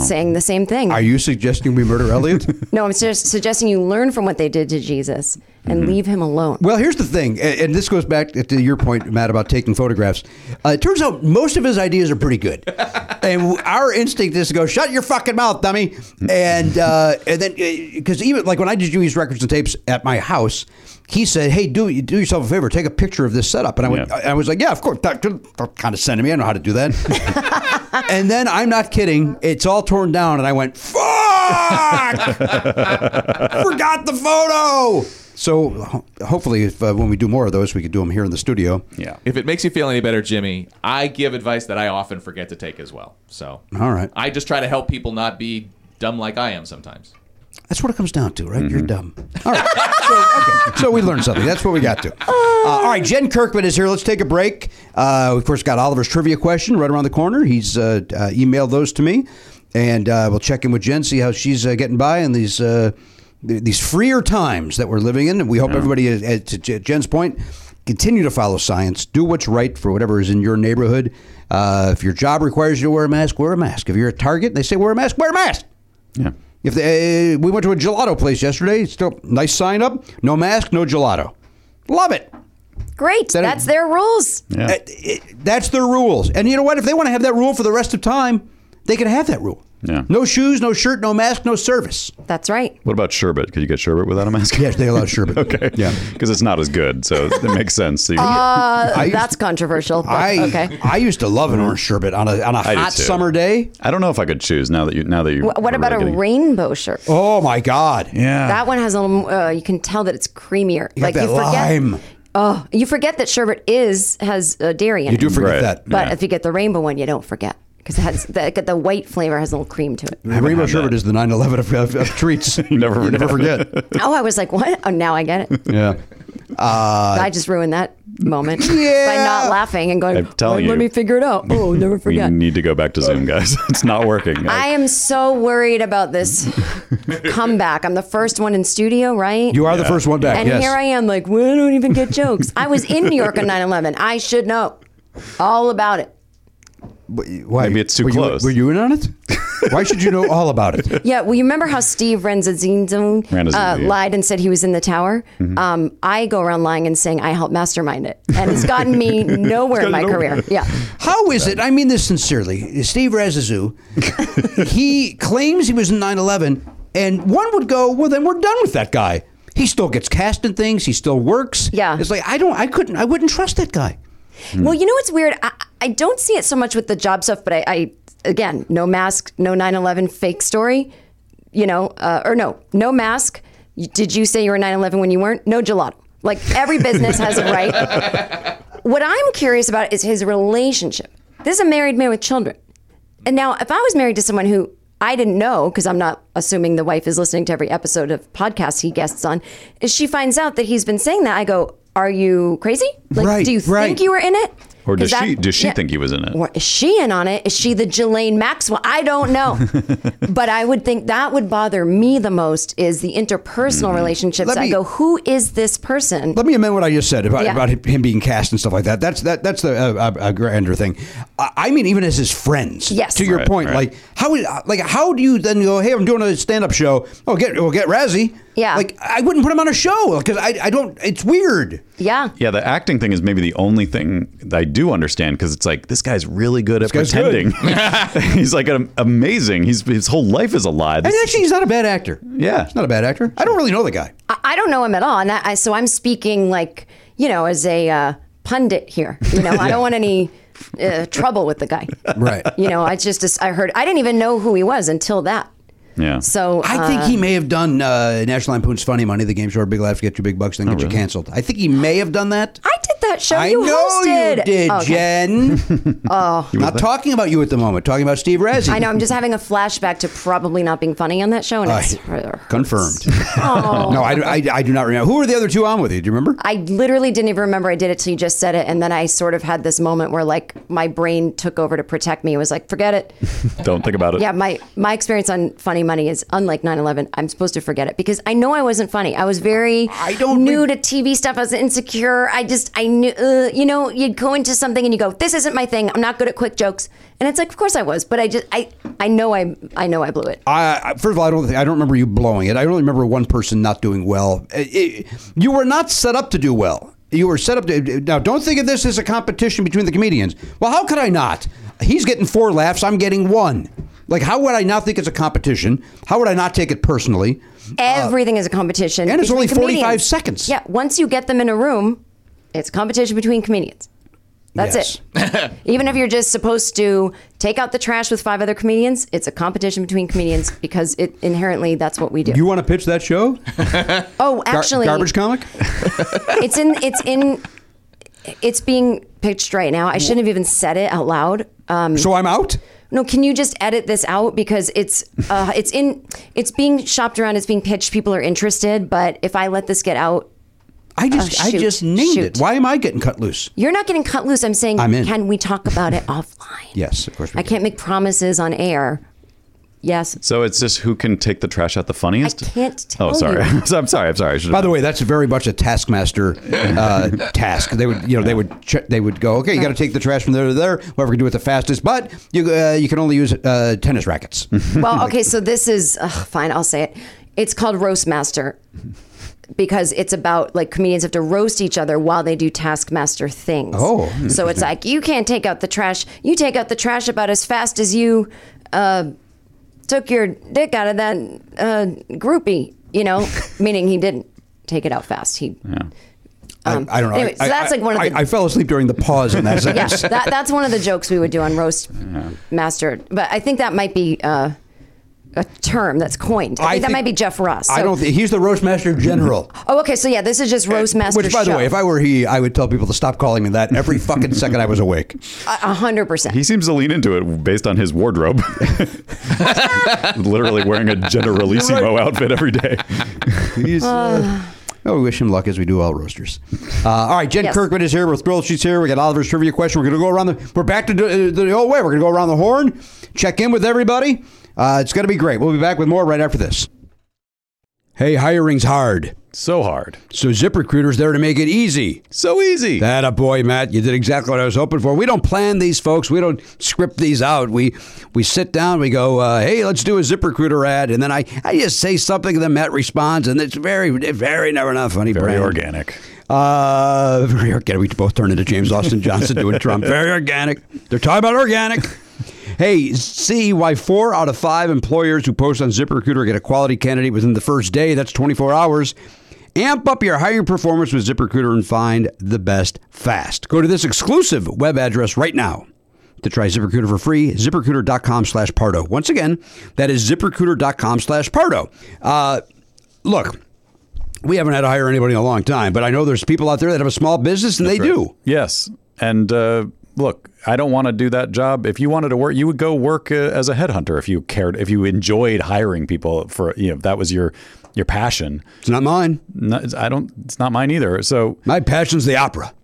Speaker 9: saying the same thing.
Speaker 2: Oh. Are you suggesting we murder [laughs] Elliot?
Speaker 9: no, I'm just suggesting you learn from what they did to Jesus and
Speaker 2: Mm-hmm.
Speaker 9: leave him alone.
Speaker 2: Well, here's the thing, a- and this goes back to your point, Matt, about taking photographs. Uh, it turns out most of his ideas are pretty good, and w- our instinct is to go, "Shut your fucking mouth, dummy," and uh, and then because even like when I did Jimmy's records and tapes at my house, he said, "Hey, do do yourself a favor, take a picture of this setup," and I went,
Speaker 1: Yeah.
Speaker 2: I, I was like, "Yeah, of course." That, that kind of sent me. I know how to do that. and then I'm not kidding. It's all torn down, and I went, "Fuck." forgot the photo. So ho- hopefully, if uh, when we do more of those, we could do them here in the studio.
Speaker 1: yeah.
Speaker 7: If it makes you feel any better, Jimmy, I give advice that I often forget to take as well. So,
Speaker 2: All right.
Speaker 7: I just try to help people not be dumb like I am sometimes.
Speaker 2: That's what it comes down to, right? You're dumb. All right. So, okay. so we learned something. That's what we got to. Uh, all right. Jen Kirkman is here. Let's take a break. Uh, we, of course, got Oliver's trivia question right around the corner. He's uh, uh, emailed those to me, and uh, we'll check in with Jen, see how she's uh, getting by in these. Uh, th- these freer times that we're living in, and we hope everybody, uh, uh, to J- Jen's point, continue to follow science. Do what's right for whatever is in your neighborhood. Uh, if your job requires you to wear a mask, wear a mask. If you're at Target, and they say wear a mask, wear a mask.
Speaker 1: Yeah.
Speaker 2: If they, uh, we went to a gelato place yesterday, still nice sign up, no mask, no gelato. Love it.
Speaker 9: Great,
Speaker 2: That-
Speaker 9: that's their rules.
Speaker 1: Yeah.
Speaker 2: Uh, it- That's their rules. And you know what? If they want to have that rule for the rest of time, they can have that rule.
Speaker 1: Yeah.
Speaker 2: No shoes, no shirt, no mask, no service.
Speaker 9: That's right.
Speaker 1: what about sherbet? Could you get sherbet without a mask? [laughs]
Speaker 2: Yes, they allow sherbet. okay. Yeah.
Speaker 1: Because it's not as good, so
Speaker 2: [laughs]
Speaker 1: it makes sense. So you-
Speaker 9: Uh,
Speaker 2: I
Speaker 9: That's
Speaker 2: used,
Speaker 9: controversial. But,
Speaker 2: I,
Speaker 9: okay.
Speaker 2: I used to love an orange sherbet on a, on a
Speaker 1: I do
Speaker 2: hot
Speaker 1: too.
Speaker 2: summer day.
Speaker 1: I don't know if I could choose now that you now that you.
Speaker 9: Wh- What about a rainbow shirt?
Speaker 2: Oh my God.
Speaker 1: Yeah.
Speaker 9: That one has a little. Uh, you can tell that it's creamier.
Speaker 2: You got that lime.
Speaker 9: Oh, you forget that sherbet is has uh, dairy in
Speaker 2: You
Speaker 9: it.
Speaker 2: do forget
Speaker 1: Right.
Speaker 2: that.
Speaker 9: but
Speaker 1: yeah.
Speaker 9: if you get the rainbow one, you don't forget because it has the, the white flavor has a little cream to it.
Speaker 2: Rainbow sherbet is the 9 11 of, of, of
Speaker 1: [laughs]
Speaker 2: treats. you
Speaker 1: never forget.
Speaker 2: never forget.
Speaker 9: Oh, I was like, what? Oh, now I get
Speaker 2: [laughs]
Speaker 9: it.
Speaker 2: yeah. Uh,
Speaker 9: I just ruined that
Speaker 2: [laughs]
Speaker 9: moment by not laughing and going.
Speaker 1: I'm telling
Speaker 9: "Well, Let
Speaker 1: you.
Speaker 9: me figure it out. Oh, never
Speaker 1: We
Speaker 9: forget.
Speaker 1: need to go back to Zoom, guys. [laughs] It's not working.
Speaker 9: I am so worried about this comeback. I'm the first one in studio, right?
Speaker 2: You are the first one back.
Speaker 9: And
Speaker 2: yes.
Speaker 9: here I am, like, we don't even get jokes. I was in New York on 9 11. I should know all about it.
Speaker 2: Why?
Speaker 1: Maybe it's too
Speaker 2: Were you-
Speaker 1: close. [laughs]
Speaker 2: were you in on it? Why should you know all about it?
Speaker 9: Yeah, well, you remember how Steve Renzazinzone uh,
Speaker 1: Renzazinzone, yeah.
Speaker 9: lied and said he was in the tower? Um, I go around lying and saying I helped mastermind it, and it's gotten me nowhere in my career. Yeah,
Speaker 2: How is it? I mean this sincerely. Steve [laughs] Razazu, he claims he was in 9 11, and one would go, well, then we're done with that guy. He still gets cast in things, he still works.
Speaker 9: Yeah.
Speaker 2: It's like, I don't, I couldn't, I wouldn't trust that guy.
Speaker 9: Well, you know what's weird? I, I don't see it so much with the job stuff, but I, I again, no mask, no 9 11 fake story, you know, uh, or no, no mask. You- Did you say you were 9 11 when you weren't? No gelato. Like every business has a right. what I'm curious about is his relationship. This is a married man with children. And now, if I was married to someone who I didn't know, because I'm not assuming the wife is listening to every episode of podcast he guests on, if she finds out that he's been saying that, I go, Are you crazy? Like,
Speaker 2: Right,
Speaker 9: do you
Speaker 2: right.
Speaker 9: think you were in it?
Speaker 1: Or does
Speaker 9: Is that-
Speaker 1: she does she
Speaker 9: yeah.
Speaker 1: think he was in it?
Speaker 9: Or is she in on it? Is she the Jelaine Maxwell? I
Speaker 2: [laughs]
Speaker 9: don't know, but I would think that would bother me the most is the interpersonal relationships.
Speaker 2: Mm-hmm. Let
Speaker 9: I
Speaker 2: me-
Speaker 9: go, who is this person?
Speaker 2: Let me amend what I just said about,
Speaker 9: Yeah.
Speaker 2: about him being cast and stuff like that. That's that that's the uh, uh, grander thing. I, I mean, even as his friends.
Speaker 9: Yes.
Speaker 2: To your
Speaker 9: Right,
Speaker 2: point,
Speaker 1: right.
Speaker 2: like how is- like how do you then go? Hey, I'm doing a stand up show. Oh, get well, get Razzie.
Speaker 9: Yeah.
Speaker 2: Like I wouldn't put him on a show because I I don't. It's weird.
Speaker 9: yeah.
Speaker 1: Yeah, the acting thing is maybe the only thing that I do understand because it's like this guy's really good at
Speaker 2: guy's
Speaker 1: pretending. [laughs] he's like am- amazing. He's his whole life is a lie.
Speaker 2: And
Speaker 1: This-
Speaker 2: actually, he's not a bad actor.
Speaker 1: Yeah.
Speaker 2: He's not a bad actor. I don't really know the guy.
Speaker 9: I, I don't know him at all, and that, I, so I'm speaking like you know as a uh, pundit here.
Speaker 2: [laughs]
Speaker 9: You know, I don't want any uh, trouble with the guy.
Speaker 2: Right.
Speaker 9: [laughs] You know, I just I heard I didn't even know who he was until that.
Speaker 1: yeah.
Speaker 9: So uh,
Speaker 2: I think he may have done uh, National Lampoon's Funny Money, the game show where Big Laughs get you big bucks, then get you canceled. I think he may have done that.
Speaker 9: I did that show.
Speaker 2: I
Speaker 9: you
Speaker 2: know
Speaker 9: hosted. Oh,
Speaker 2: you did,
Speaker 9: Okay. [laughs]
Speaker 2: Jen. oh, not talking about you at the moment. Talking about Steve Razzie.
Speaker 9: I know. I'm just having a flashback to probably not being funny on that show, and
Speaker 2: Uh,
Speaker 9: it's it
Speaker 2: confirmed.
Speaker 9: hurts. [laughs] Oh.
Speaker 2: [laughs] No, I, I, I do not remember. Who were the other two on with you? Do you remember?
Speaker 9: I literally didn't even remember I did it till you just said it, and then I sort of had this moment where like my brain took over to protect me. It was like, forget it.
Speaker 1: don't think about it.
Speaker 9: Yeah, my my experience on Funny Money is unlike 9/11. I'm supposed to forget it because I know I wasn't funny. I was very
Speaker 2: I don't
Speaker 9: new
Speaker 2: re-
Speaker 9: to TV stuff. I was insecure. I just I knew uh, you know you'd go into something and you go this isn't my thing. I'm not good at quick jokes, and it's like of course I was, but I just I I know I I know I blew it.
Speaker 2: I, I- first of all, I don't think, I don't remember you blowing it. I only remember one person not doing well. It- it- you were not set up to do well. You were set up to now. Don't think of this as a competition between the comedians. Well, how could I not? He's getting four laughs. I'm getting one. Like, how would I not think it's a competition? How would I not take it personally?
Speaker 9: Everything is a competition,
Speaker 2: Uh, and it's
Speaker 9: between
Speaker 2: only 45
Speaker 9: comedians.
Speaker 2: seconds.
Speaker 9: Yeah, once you get them in a room, it's competition between comedians. That's
Speaker 2: Yes.
Speaker 9: it. Even if you're just supposed to take out the trash with five other comedians, it's a competition between comedians because it inherently that's what we do.
Speaker 2: You want to pitch that show? Gar-
Speaker 9: oh, actually,
Speaker 2: garbage comic.
Speaker 9: [laughs] it's in it's in it's being pitched right now. I shouldn't have even said it out loud. Um,
Speaker 2: so I'm out.
Speaker 9: no, can you just edit this out because it's uh, it's in it's being shopped around. It's being pitched. People are interested, but if I let this get out,
Speaker 2: I just
Speaker 9: Oh,
Speaker 2: I
Speaker 9: shoot,
Speaker 2: just named it.
Speaker 9: shoot.
Speaker 2: Why am I getting cut loose?
Speaker 9: You're not getting cut loose. I'm saying,
Speaker 2: I'm in.
Speaker 9: can we talk about it [laughs] offline?
Speaker 2: Yes, of course. We
Speaker 9: I
Speaker 2: can.
Speaker 9: can't make promises on air. Yes.
Speaker 1: So it's just who can take the trash out the funniest.
Speaker 9: can't
Speaker 1: Oh,
Speaker 9: tell
Speaker 1: sorry.
Speaker 9: you.
Speaker 1: [laughs] So I'm sorry. I'm sorry. I should
Speaker 2: By the way, that's very much a taskmaster [laughs] uh, task. They would, you know, they would, ch- they would go, okay, you got to take the trash from there to there. Whoever can do it the fastest, but you, uh, you can only use uh, tennis [laughs] rackets.
Speaker 9: Well, okay. So this is ugh, fine. I'll say it. It's called roast master because it's about like comedians have to roast each other while they do taskmaster things.
Speaker 2: Oh,
Speaker 9: so it's like you can't take out the trash. You take out the trash about as fast as you uh, took your dick out of that uh, groupie. You know, meaning he didn't take it out fast. He. Um,
Speaker 2: I, I don't know.
Speaker 9: anyway, so
Speaker 2: I,
Speaker 9: that's
Speaker 2: I-
Speaker 9: like one of
Speaker 2: I,
Speaker 9: the-
Speaker 2: I fell asleep during the pause on
Speaker 9: [laughs]
Speaker 2: that. [laughs]
Speaker 9: yeah,
Speaker 2: sentence.
Speaker 9: that, that's one of the jokes we would do on roast master. But I think that might be uh, a term that's coined. I think,
Speaker 2: I
Speaker 9: that
Speaker 2: think-
Speaker 9: might be Jeff Ross.
Speaker 2: I
Speaker 9: So-
Speaker 2: don't. Think, he's the roastmaster
Speaker 9: [laughs]
Speaker 2: general.
Speaker 9: Oh, okay. So yeah, this is just roast master.
Speaker 2: Which, by the
Speaker 9: show.
Speaker 2: way, if I were he, I would tell people to stop calling me that every fucking second I was awake.
Speaker 9: a a hundred percent.
Speaker 1: He seems to lean into it based on his [laughs] wardrobe. Literally wearing a Generalissimo outfit every day.
Speaker 2: He's, uh, oh, we wish him luck as we do all roasters. Uh, all right, Jen
Speaker 9: Yes.
Speaker 2: Kirkman is here. We're thrilled she's here. We got Oliver's trivia question. We're going to go around the. We're back to the, the old way. We're going to go around the horn, check in with everybody. Uh, it's going to be great. We'll be back with more right after this. Hey, hiring's hard.
Speaker 1: So hard.
Speaker 2: So ZipRecruiter's there to make it easy.
Speaker 1: So easy.
Speaker 2: That a boy, Matt. You did exactly what I was hoping for. We don't plan these, folks. We don't script these out. We we sit down. We go, uh, hey, let's do a ZipRecruiter ad, and then I, I just say something, and then Matt responds, and it's very very never enough funny.
Speaker 1: Very
Speaker 2: brand.
Speaker 1: organic.
Speaker 2: Uh, [laughs] very organic. We both turned into James Austin Johnson doing Trump. Very organic. They're talking about organic. Hey, see why four out of five employers who post on ZipRecruiter get a quality candidate within the first day. That's 24 hours. Amp up your hiring performance with ZipRecruiter and find the best fast. Go to this exclusive web address right now to try ZipRecruiter for free, ziprecruiter.com slash Pardo. Once again, that is ziprecruiter.com slash Pardo. Uh, look, we haven't had to hire anybody in a long time, but I know there's people out there that have a small business and they do.
Speaker 1: Yes. And uh, look, I don't want to do that job. If you wanted to work, you would go work uh, as a headhunter if you cared, if you enjoyed hiring people for, you know, if that was your your passion.
Speaker 2: It's not mine.
Speaker 1: No, it's- I don't. It's not mine either. So
Speaker 2: My passion's the opera.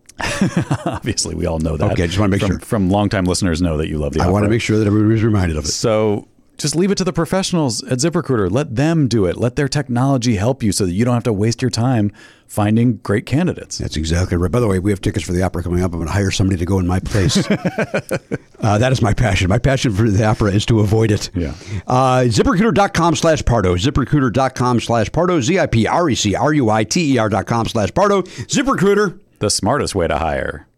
Speaker 1: obviously, we all know that.
Speaker 2: Okay, just wanna make
Speaker 1: from,
Speaker 2: sure.
Speaker 1: From longtime listeners know that you love the.
Speaker 2: I want to
Speaker 1: opera.
Speaker 2: make sure that everybody's reminded of it.
Speaker 1: So just leave it to the professionals at ZipRecruiter. Let them do it. Let their technology help you so that you don't have to waste your time finding great candidates.
Speaker 2: That's exactly right. By the way, we have tickets for the opera coming up. I'm going to hire somebody to go in my place. uh, that is my passion. My passion for the opera is to avoid it.
Speaker 1: Yeah.
Speaker 2: Uh, ZipRecruiter.com slash Pardo. ZipRecruiter.com slash Pardo. Z I P R E C R U I T E R dot com slash Pardo. ZipRecruiter.
Speaker 1: The smartest way to hire.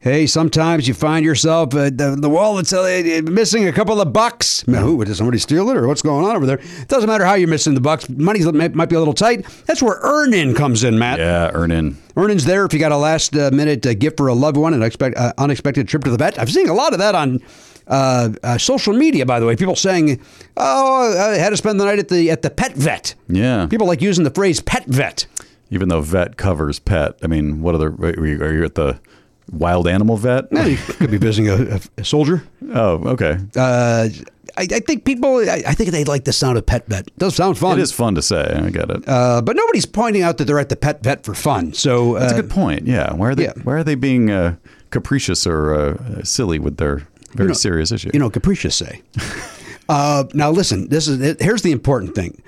Speaker 2: Hey, sometimes you find yourself uh, the, the wallet's uh, uh, missing a couple of bucks. Man, who, did somebody steal it or what's going on over there? Doesn't matter how you're missing the bucks. Money might might be a little tight. That's where earn in comes in, Matt.
Speaker 1: Yeah, earn in.
Speaker 2: Earnings there if you got a last uh, minute uh, gift for a loved one, an expect, uh, unexpected trip to the vet. I've seen a lot of that on uh, uh, social media, by the way. People saying, "Oh, I had to spend the night at the at the pet vet."
Speaker 1: Yeah.
Speaker 2: People like using the phrase "pet vet."
Speaker 1: Even though vet covers pet, I mean, what other are you, are you at the wild animal vet?
Speaker 2: Eh, you could be visiting a, a- a soldier.
Speaker 1: Oh, okay.
Speaker 2: Uh, I, I think people. I, I think they like the sound of pet vet. does sound fun.
Speaker 1: it is fun to say. I get it.
Speaker 2: Uh, but nobody's pointing out that they're at the pet vet for fun. So
Speaker 1: That's
Speaker 2: uh,
Speaker 1: a good point. Yeah. Why are they?
Speaker 2: yeah.
Speaker 1: Why are they being uh, capricious or uh, silly with their very
Speaker 2: know-
Speaker 1: serious issue?
Speaker 2: you know, capricious say. [laughs] uh, now listen, this is here's the important thing.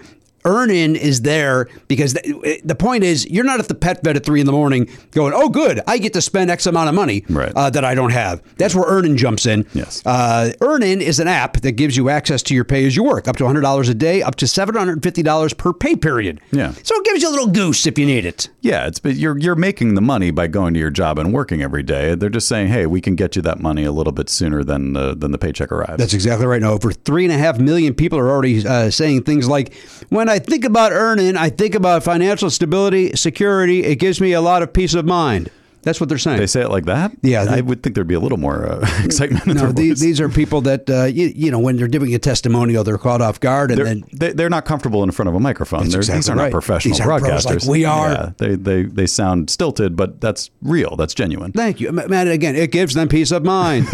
Speaker 2: Earn in is there because the, the point is you're not at the pet vet at three in the morning going, oh, good, I get to spend X amount of money
Speaker 1: Right.
Speaker 2: uh, that I don't have. That's where Earn in jumps in.
Speaker 1: Yes.
Speaker 2: Uh, Earn in is an app that gives you access to your pay as you work, up to $100 a day, up to $750 per pay period.
Speaker 1: Yeah.
Speaker 2: So it gives you a little goose if you need it.
Speaker 1: Yeah, it's but you're you're making the money by going to your job and working every day. They're just saying, hey, we can get you that money a little bit sooner than the than the paycheck arrives.
Speaker 2: That's exactly right. Now, over three and a half million people are already uh, saying things like, "When I think about earning, I think about financial stability, security. It gives me a lot of peace of mind." That's what they're saying.
Speaker 1: they say it like that.
Speaker 2: Yeah, they-
Speaker 1: I would think there''d be a little more uh, [laughs] excitement. In
Speaker 2: no,
Speaker 1: their
Speaker 2: these,
Speaker 1: voice.
Speaker 2: these are people that uh, you, you know when they're giving a testimonial, they're caught off guard, and
Speaker 1: They're,
Speaker 2: then
Speaker 1: they- they're not comfortable in front of a microphone.
Speaker 2: That's
Speaker 1: They're- these
Speaker 2: exactly
Speaker 1: are
Speaker 2: right.
Speaker 1: not professional
Speaker 2: These aren't pros
Speaker 1: broadcasters.
Speaker 2: like we are.
Speaker 1: Yeah, they, they they sound stilted, but that's real. That's genuine.
Speaker 2: Thank you, M- Matt. Again, it gives them peace of mind.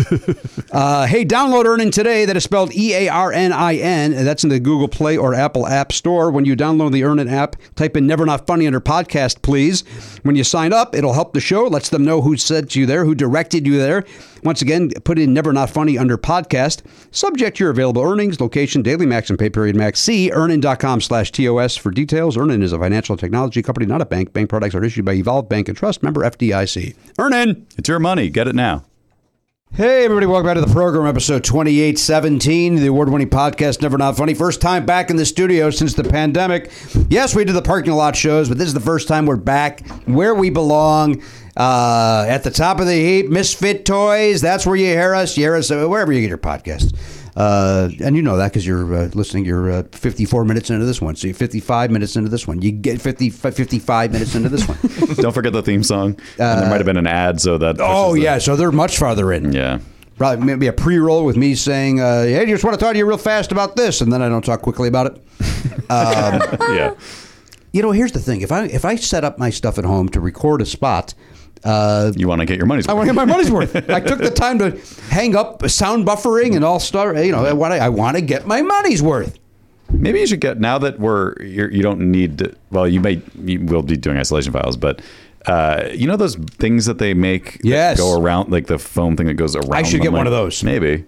Speaker 2: uh, hey, download Earnin today. That is spelled E A R N I N. That's in the Google Play or Apple App Store. When you download the Earnin app, type in "Never Not Funny" under podcast, please. When you sign up, it'll help the show. Lets them know who sent you there, who directed you there. Once again, put in "Never Not Funny" under podcast. Subject to your available earnings, location, daily max, and pay period max. See earnin.com slash TOS for details. Earnin is a financial technology company, not a bank. Bank products are issued by Evolve Bank and Trust, member FDIC. Earnin!
Speaker 1: It's your money. Get it now.
Speaker 2: Hey, everybody, welcome back to the program, episode 2817, the award winning podcast, Never Not Funny. First time back in the studio since the pandemic. Yes, we did the parking lot shows, but this is the first time we're back where we belong. Uh, at the top of the heap, Misfit Toys. That's where you hear us. You hear us uh, wherever you get your podcasts. Uh, and you know that because you're uh, listening. You're uh, 54 minutes into this one. So you're 55 minutes into this one. You get 50, 55 minutes into this one.
Speaker 1: Don't forget the theme song. and there might have been an ad, so that. pushes
Speaker 2: Uh, oh,
Speaker 1: the-
Speaker 2: yeah. So they're much farther in.
Speaker 1: yeah. [laughs]
Speaker 2: Probably maybe a pre-roll with me saying, uh, "Hey, I just want to talk to you real fast about this," and then I don't talk quickly about it. Um,
Speaker 1: yeah.
Speaker 2: you know, here's the thing: if I if I set up my stuff at home to record a spot, uh,
Speaker 1: You want to get your money's worth.
Speaker 2: I want to get my money's worth. I took the time to hang up sound buffering and all star. You know, I want to, I want to get my money's worth.
Speaker 1: Maybe you should get now that we're you're, you don't need to- well you may you will be doing isolation files but uh, you know those things that they make that
Speaker 2: Yes.
Speaker 1: go around like the foam thing that goes around
Speaker 2: I should
Speaker 1: them,
Speaker 2: get one
Speaker 1: like-
Speaker 2: of those.
Speaker 1: maybe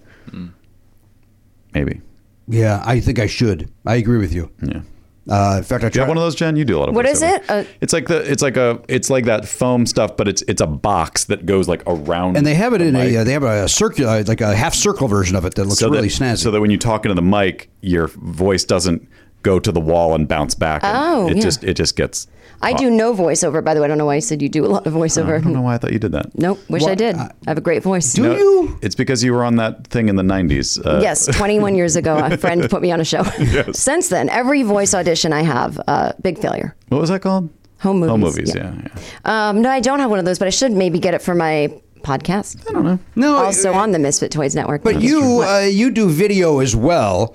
Speaker 1: maybe
Speaker 2: Yeah, I think I should. I agree with you.
Speaker 1: yeah
Speaker 2: Uh, in fact,
Speaker 1: Do
Speaker 2: I
Speaker 1: you
Speaker 2: tried
Speaker 1: have one of those, Jen? You do a lot of.
Speaker 9: What is
Speaker 1: voiceover.
Speaker 9: it? Uh,
Speaker 1: it's like the it's like a it's like that foam stuff, but it's it's a box that goes like around.
Speaker 2: and they have it in
Speaker 1: mic.
Speaker 2: a uh, they have a circular like a half circle version of it that looks
Speaker 1: so
Speaker 2: really
Speaker 1: that,
Speaker 2: snazzy.
Speaker 1: So that when you talk into the mic, your voice doesn't go to the wall and bounce back. and
Speaker 9: Oh,
Speaker 1: it
Speaker 9: yeah.
Speaker 1: just it just gets.
Speaker 9: I do no voiceover, by the way. I don't know why you said you do a lot of voiceover.
Speaker 1: I don't know why I thought you did that.
Speaker 9: Nope. Wish I
Speaker 2: What- Uh,
Speaker 9: did. I have a great voice.
Speaker 2: do you?
Speaker 1: It's because you were on that thing in the '90s. Uh,
Speaker 9: Yes, 21 years ago, a friend put me on a
Speaker 1: [laughs]
Speaker 9: show. Since then, every voice audition I have, uh, big failure.
Speaker 1: What was that called?
Speaker 9: Home movies.
Speaker 1: Home movies.
Speaker 9: yeah.
Speaker 1: Yeah. yeah.
Speaker 9: Um, no, I don't have one of those, but I should maybe get it for my podcast. I don't know.
Speaker 2: No,
Speaker 9: Also on the Misfit Toys Network.
Speaker 2: uh, But you uh, you do video as well,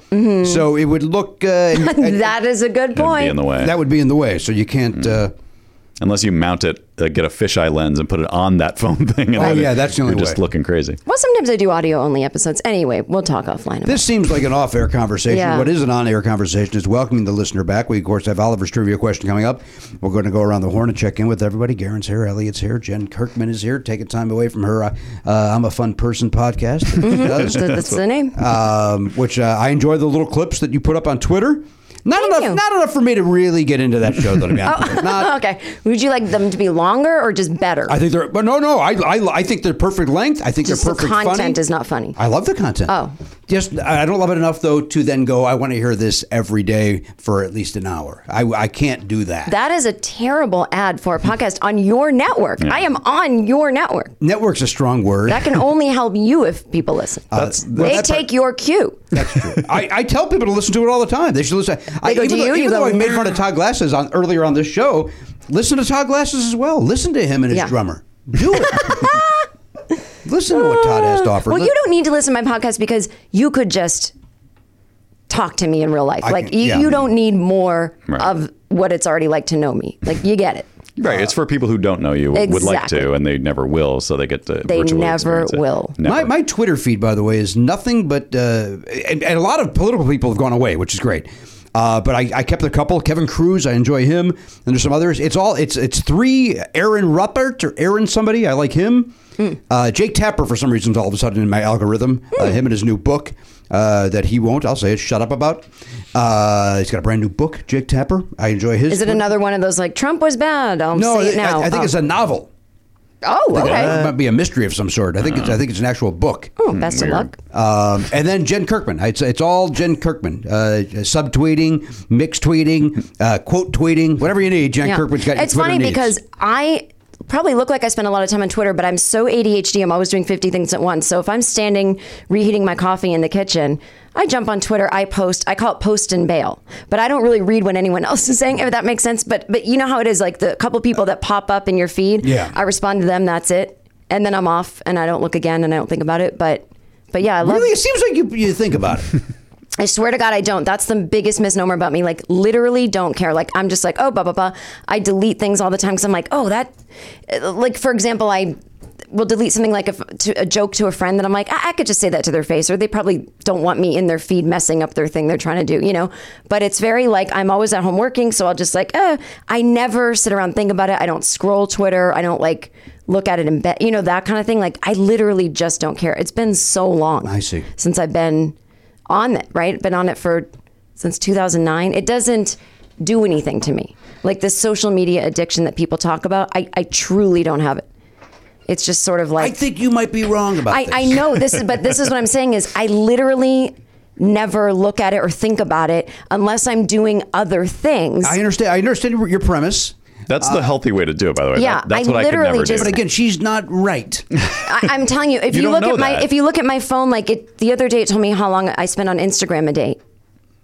Speaker 2: so it would look uh, and-
Speaker 9: [laughs]
Speaker 2: and
Speaker 9: that is a good
Speaker 1: It'd Be in
Speaker 9: point.
Speaker 1: the way.
Speaker 2: that would be in the way. So you can't. Uh,
Speaker 1: Unless you mount it, uh, get a fisheye lens and put it on that [laughs] phone thing. And
Speaker 2: Oh,
Speaker 1: have it-
Speaker 2: yeah, that's the only
Speaker 1: You're just
Speaker 2: way.
Speaker 1: looking crazy.
Speaker 9: Well, sometimes I do audio only episodes. Anyway, we'll talk offline. About
Speaker 2: This seems like an off-air conversation.
Speaker 9: Yeah.
Speaker 2: What is an on-air conversation is welcoming the listener back. We of course have Oliver's trivia question coming up. We're going to go around the horn and check in with everybody. Garen's here, Elliot's here, Jen Kirkman is here. Taking time away from her, uh, uh, I'm a fun person
Speaker 9: [laughs]
Speaker 2: podcast,
Speaker 9: it. Th- That's the name.
Speaker 2: um, which uh, I enjoy the little clips that you put up on Twitter. Not
Speaker 9: Thank
Speaker 2: enough,
Speaker 9: you. Oh,
Speaker 2: not enough for me to really get into that show. Though,
Speaker 9: [laughs]
Speaker 2: to be honest, with you. [laughs] not
Speaker 9: okay. Would you like them to be longer or just better?
Speaker 2: I think they're, but no, no. I, I, I think they're perfect length. I think
Speaker 9: Just
Speaker 2: they're
Speaker 9: the
Speaker 2: perfect.
Speaker 9: content
Speaker 2: funny.
Speaker 9: is not funny.
Speaker 2: I love the content.
Speaker 9: Oh.
Speaker 2: just I I don't love it enough though to then go. I want to hear this every day for at least an hour. I, I can't do that.
Speaker 9: that is a terrible ad for a podcast on your network. I am on your network.
Speaker 2: Network's a strong word. [laughs]
Speaker 9: That can only help you if people listen.
Speaker 2: That's- Uh, well,
Speaker 9: they
Speaker 2: that part-
Speaker 9: take your cue.
Speaker 2: I, I tell people to listen to it all the time. They should listen. I,
Speaker 9: go,
Speaker 2: even
Speaker 9: "Do
Speaker 2: though,
Speaker 9: you?"
Speaker 2: even
Speaker 9: You go,
Speaker 2: though I made
Speaker 9: "Nah." [laughs]
Speaker 2: fun of Todd Glasses on earlier on this show, listen to Todd Glasses as well. Listen to him and his
Speaker 9: Yeah.
Speaker 2: drummer. Do
Speaker 9: [laughs]
Speaker 2: it. listen to what Todd has to offer.
Speaker 9: Well,
Speaker 2: Li-
Speaker 9: you don't need to listen to my podcast because you could just talk to me in real life.
Speaker 2: I
Speaker 9: like
Speaker 2: can-
Speaker 9: you,
Speaker 2: yeah.
Speaker 9: you don't need more
Speaker 1: Right.
Speaker 9: of what it's already like to know me. Like you get it.
Speaker 1: Right. it's for people who don't know you, would like
Speaker 9: Uh, Exactly.
Speaker 1: to, and they never will, so they get to.
Speaker 9: They
Speaker 1: virtually
Speaker 9: never
Speaker 1: experience it.
Speaker 9: will.
Speaker 1: Never.
Speaker 2: My, my Twitter feed, by the way, is nothing but, uh, and, and a lot of political people have gone away, which is great. Uh, but I, I kept a couple. Kevin Cruz, I enjoy him, and there's some others. It's all it's it's three. Aaron Ruppert or Aaron somebody, I like him.
Speaker 9: Hmm.
Speaker 2: Uh, Jake Tapper for some reason's all of a sudden in my algorithm. Uh, him and his new book uh, that he won't. I'll say it. Shut up about. Uh, he's got a brand new book. Jake Tapper. I enjoy his.
Speaker 9: Is it another one of those like Trump was bad? I'll
Speaker 2: No,
Speaker 9: say it
Speaker 2: I-
Speaker 9: now.
Speaker 2: I, I think
Speaker 9: oh.
Speaker 2: it's a novel.
Speaker 9: Oh,
Speaker 2: I think
Speaker 9: okay.
Speaker 2: It might be a Uh, mystery of some sort. I think it's I think it's an actual book.
Speaker 9: oh, best of luck.
Speaker 2: Um, and then Jen Kirkman. It's, it's all Jen Kirkman. Uh, subtweeting, mixed tweeting, uh, quote tweeting, whatever you need. Jen
Speaker 9: Yeah.
Speaker 2: Kirkman's got your
Speaker 9: It's
Speaker 2: Twitter
Speaker 9: funny
Speaker 2: needs.
Speaker 9: because I probably look like I spend a lot of time on Twitter, but I'm so ADHD. I'm always doing 50 things at once. So if I'm standing reheating my coffee in the kitchen, I jump on Twitter. I post. I call it post and bail, but I don't really read what anyone [laughs] else is saying. If that makes sense, but but you know how it is. Like the couple people that pop up in your feed,
Speaker 2: Yeah.
Speaker 9: I respond to them. That's it, and then I'm off, and I don't look again, and I don't think about it. But but yeah, I love.
Speaker 2: really, it seems like you, you think about
Speaker 9: [laughs]
Speaker 2: it.
Speaker 9: I swear to God, I don't. That's the biggest misnomer about me. Like, literally don't care. Like, I'm just like, oh, blah, blah, blah. I delete things all the time because I'm like, oh, that. Like, for example, I will delete something like a, f- to, a joke to a friend that I'm like, I-, I could just say that to their face, or they probably don't want me in their feed messing up their thing they're trying to do, you know? But it's very like, I'm always at home working, so I'll just like, eh. I never sit around and think about it. I don't scroll Twitter. I don't like look at it and bet, you know, that kind of thing. Like, I literally just don't care. It's been so long.
Speaker 2: I see.
Speaker 9: Since I've been on it, right? Been on it for since 2009. It doesn't do anything to me. Like this social media addiction that people talk about, I, I truly don't have it. It's just sort of
Speaker 2: I
Speaker 9: like
Speaker 2: think you might be wrong about
Speaker 9: I,
Speaker 2: this.
Speaker 9: I know this is, but this is what I'm saying is I literally never look at it or think about it unless I'm doing other things.
Speaker 2: I understand. I understand your premise,
Speaker 1: That's
Speaker 2: Uh,
Speaker 1: the healthy way to do it, by the way.
Speaker 9: yeah,
Speaker 1: That- that's
Speaker 9: I
Speaker 1: what I could
Speaker 9: literally
Speaker 1: never
Speaker 9: just-
Speaker 1: do.
Speaker 2: but again, she's not
Speaker 9: [laughs]
Speaker 2: right.
Speaker 9: I, I'm telling you,
Speaker 2: [laughs]
Speaker 9: if
Speaker 1: You
Speaker 9: you,
Speaker 1: don't
Speaker 9: look
Speaker 1: know
Speaker 9: at my
Speaker 1: that.
Speaker 9: if you look at my phone, like it the other day, it told me how long I spent on Instagram a day,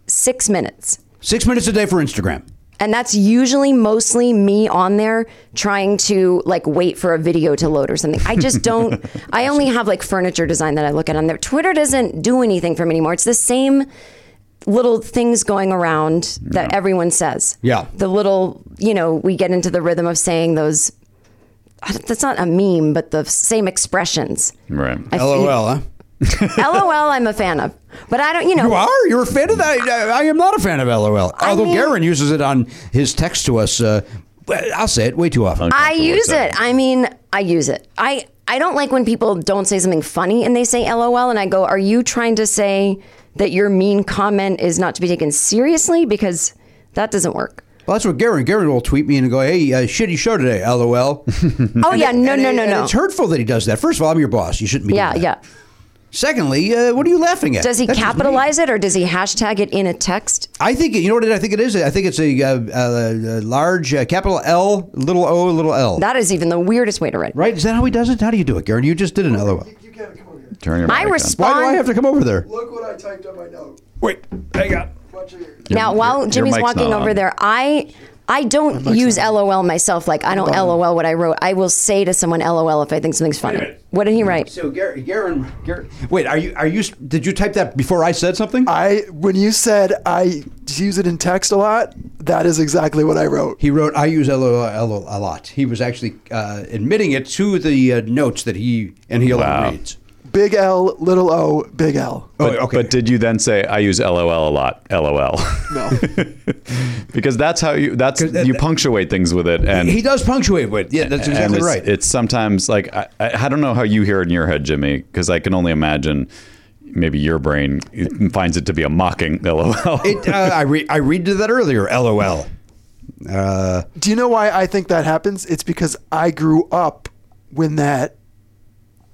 Speaker 9: six minutes.
Speaker 2: Six minutes a day for Instagram.
Speaker 9: And that's usually mostly me on there trying to like wait for a video to load or something. I just don't, I only have like furniture design that I look at on there. Twitter doesn't do anything for me anymore. It's the same little things going around that everyone says.
Speaker 2: Yeah.
Speaker 9: The little, you know, we get into the rhythm of saying those, that's not a meme, but the same expressions.
Speaker 1: Right.
Speaker 9: I-
Speaker 2: LOL. Huh?
Speaker 9: LOL, I'm a fan of. But I don't, you know.
Speaker 2: You are. You're a fan of that. I, I am not a fan of LOL.
Speaker 9: I
Speaker 2: Although
Speaker 9: mean-
Speaker 2: Garen uses it on his text to us. Uh, I'll say it way too often.
Speaker 9: I
Speaker 1: comfortable
Speaker 9: use
Speaker 1: with
Speaker 9: it. I mean, I use it. I I don't like when people don't say something funny and they say LOL and I go, "Are you trying to say that your mean comment is not to be taken seriously because That doesn't work.
Speaker 2: Well, that's what Gary. Gary will tweet me and go, "Hey, uh, shitty show today." LOL.
Speaker 9: Oh yeah, no,
Speaker 2: Hmm. And
Speaker 9: no,
Speaker 2: it-
Speaker 9: no,
Speaker 2: and
Speaker 9: no.
Speaker 2: It's hurtful that he does that. First of all, I'm your boss. You shouldn't be.
Speaker 9: Yeah,
Speaker 2: doing
Speaker 9: yeah.
Speaker 2: that. Secondly, uh, what are you laughing at?
Speaker 9: Does he
Speaker 2: That's just me.
Speaker 9: capitalize it or does he hashtag it in a text?
Speaker 2: I think it- you know what it, I think it is. I think it's a, uh uh a large uh, capital L, little O, little L.
Speaker 9: That is even the weirdest way to write.
Speaker 2: right? Is that how he does it? How do you do it, Gary? You just did an LOL.
Speaker 8: You can't come over here.
Speaker 1: Turn your
Speaker 9: I
Speaker 1: mic on.
Speaker 9: respond
Speaker 2: Why do I have to come over there?
Speaker 8: Look what I typed on my note.
Speaker 1: Wait, hang on.
Speaker 8: Watch here.
Speaker 9: now while
Speaker 1: your
Speaker 9: Jimmy's
Speaker 1: mic's
Speaker 9: walking
Speaker 1: not
Speaker 9: over
Speaker 1: on.
Speaker 9: there. I I don't use LOL myself. Like I don't LOL what I wrote. I will say to someone LOL if I think something's funny. What did he write?
Speaker 2: So, Gary, Gary, Gary, wait, are you are you? Did you type that before I said something?
Speaker 8: I when you said I use it in text a lot, that is exactly what I wrote.
Speaker 2: He wrote, "I use LOL a lot." He was actually uh, admitting it to the uh, notes that he and he
Speaker 1: Wow.
Speaker 2: only reads.
Speaker 8: Big L, little O, big L.
Speaker 2: Oh,
Speaker 1: But, but did you then say I use LOL a lot? [laughs] LOL.
Speaker 8: No.
Speaker 1: because that's how you that's you punctuate things with it, and
Speaker 2: he does punctuate with. Yeah, that's
Speaker 1: and
Speaker 2: exactly
Speaker 1: it's,
Speaker 2: right.
Speaker 1: It's sometimes like I, I I don't know how you hear it in your head, Jimmy, because I can only imagine maybe your brain finds it to be a mocking [laughs] LOL.
Speaker 2: It, uh, I re- I read to that earlier. LOL. Uh,
Speaker 8: [laughs] Do you know why I think that happens? It's because I grew up when that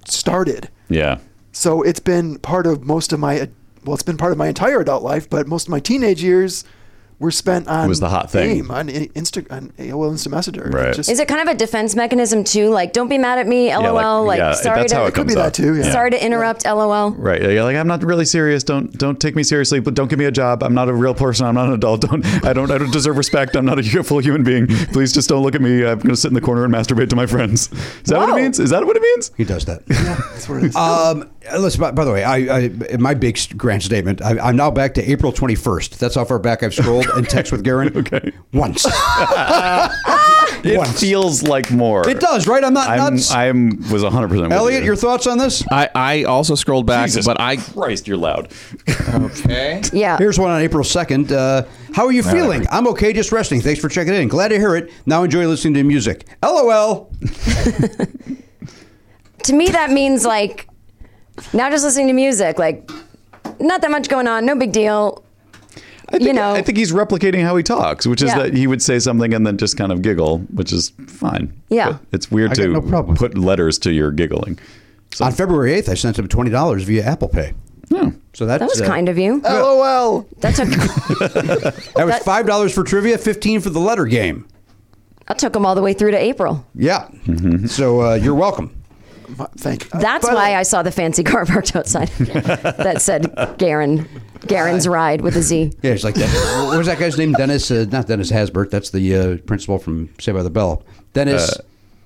Speaker 8: started.
Speaker 1: yeah.
Speaker 8: So it's been part of most of my well, it's been part of my entire adult life, but most of my teenage years were spent on
Speaker 1: Was the hot thing.
Speaker 8: AIM, on I- Insta on AOL Instant Messenger.
Speaker 1: Right.
Speaker 8: Just-
Speaker 9: Is it kind of a defense mechanism too? Like don't be mad at me. LOL. Oh, like,
Speaker 1: yeah,
Speaker 9: sorry
Speaker 1: that's
Speaker 9: to
Speaker 1: how it comes
Speaker 8: be that
Speaker 1: up.
Speaker 8: too, yeah.
Speaker 9: sorry to interrupt. LOL.
Speaker 1: Right. You're like, I'm not really serious. Don't don't take me seriously, but don't give me a job. I'm not a real person. I'm not an adult. Don't I don't I don't deserve respect. I'm not a [laughs] hu- full human being. Please just don't look at me. I'm gonna sit in the corner and masturbate to my friends. Is that what
Speaker 9: Whoa.
Speaker 1: it means? Is that what it means?
Speaker 2: he does that.
Speaker 8: that's what it
Speaker 1: Uh,
Speaker 8: is.
Speaker 2: Um, listen, by, by the way, I, I my big st- grand statement. I, I'm now back to April 21st. That's how far back I've scrolled and text with Garen. [laughs] okay, once
Speaker 1: It
Speaker 2: Once.
Speaker 1: feels like more.
Speaker 2: it does. Right? I'm not
Speaker 1: I'm
Speaker 2: nuts.
Speaker 1: I'm was 100 percent
Speaker 2: Elliot, your thoughts on this?
Speaker 5: I, I also scrolled back,
Speaker 1: Jesus
Speaker 5: but I
Speaker 1: Christ, you're loud.
Speaker 7: Okay.
Speaker 9: Yeah.
Speaker 2: Here's one on April 2nd. Uh, how are you feeling? I'm okay, just resting. Thanks for checking in. Glad to hear it. Now enjoy listening to music. LOL.
Speaker 9: to me that means like now just listening to music like not that much going on no big deal
Speaker 1: I think,
Speaker 9: You know.
Speaker 1: I think he's replicating how he talks, which is
Speaker 9: Yeah.
Speaker 1: that he would say something and then just kind of giggle, which is fine.
Speaker 9: Yeah.
Speaker 1: But it's weird
Speaker 2: I got
Speaker 1: to
Speaker 2: no problem with
Speaker 1: put letters to your giggling.
Speaker 2: On February 8th, I sent him $20 via Apple Pay. So that's,
Speaker 9: that was
Speaker 2: uh,
Speaker 9: kind of you
Speaker 8: LOL.
Speaker 9: that took
Speaker 2: That was
Speaker 9: that-
Speaker 2: $5 for trivia, 15 for the letter game.
Speaker 9: that took him all the way through to april
Speaker 2: Yeah.
Speaker 1: Mm-hmm.
Speaker 2: So uh, you're welcome.
Speaker 8: My- Thank you.
Speaker 9: that's why i saw the fancy [laughs] car parked
Speaker 1: [laughs]
Speaker 9: outside that said garen garen's ride with a z
Speaker 2: Yeah, it's like that. what was that guy's name? Dennis, uh, not Dennis Hasbert. That's the uh, principal from Saved by the Bell. Dennis,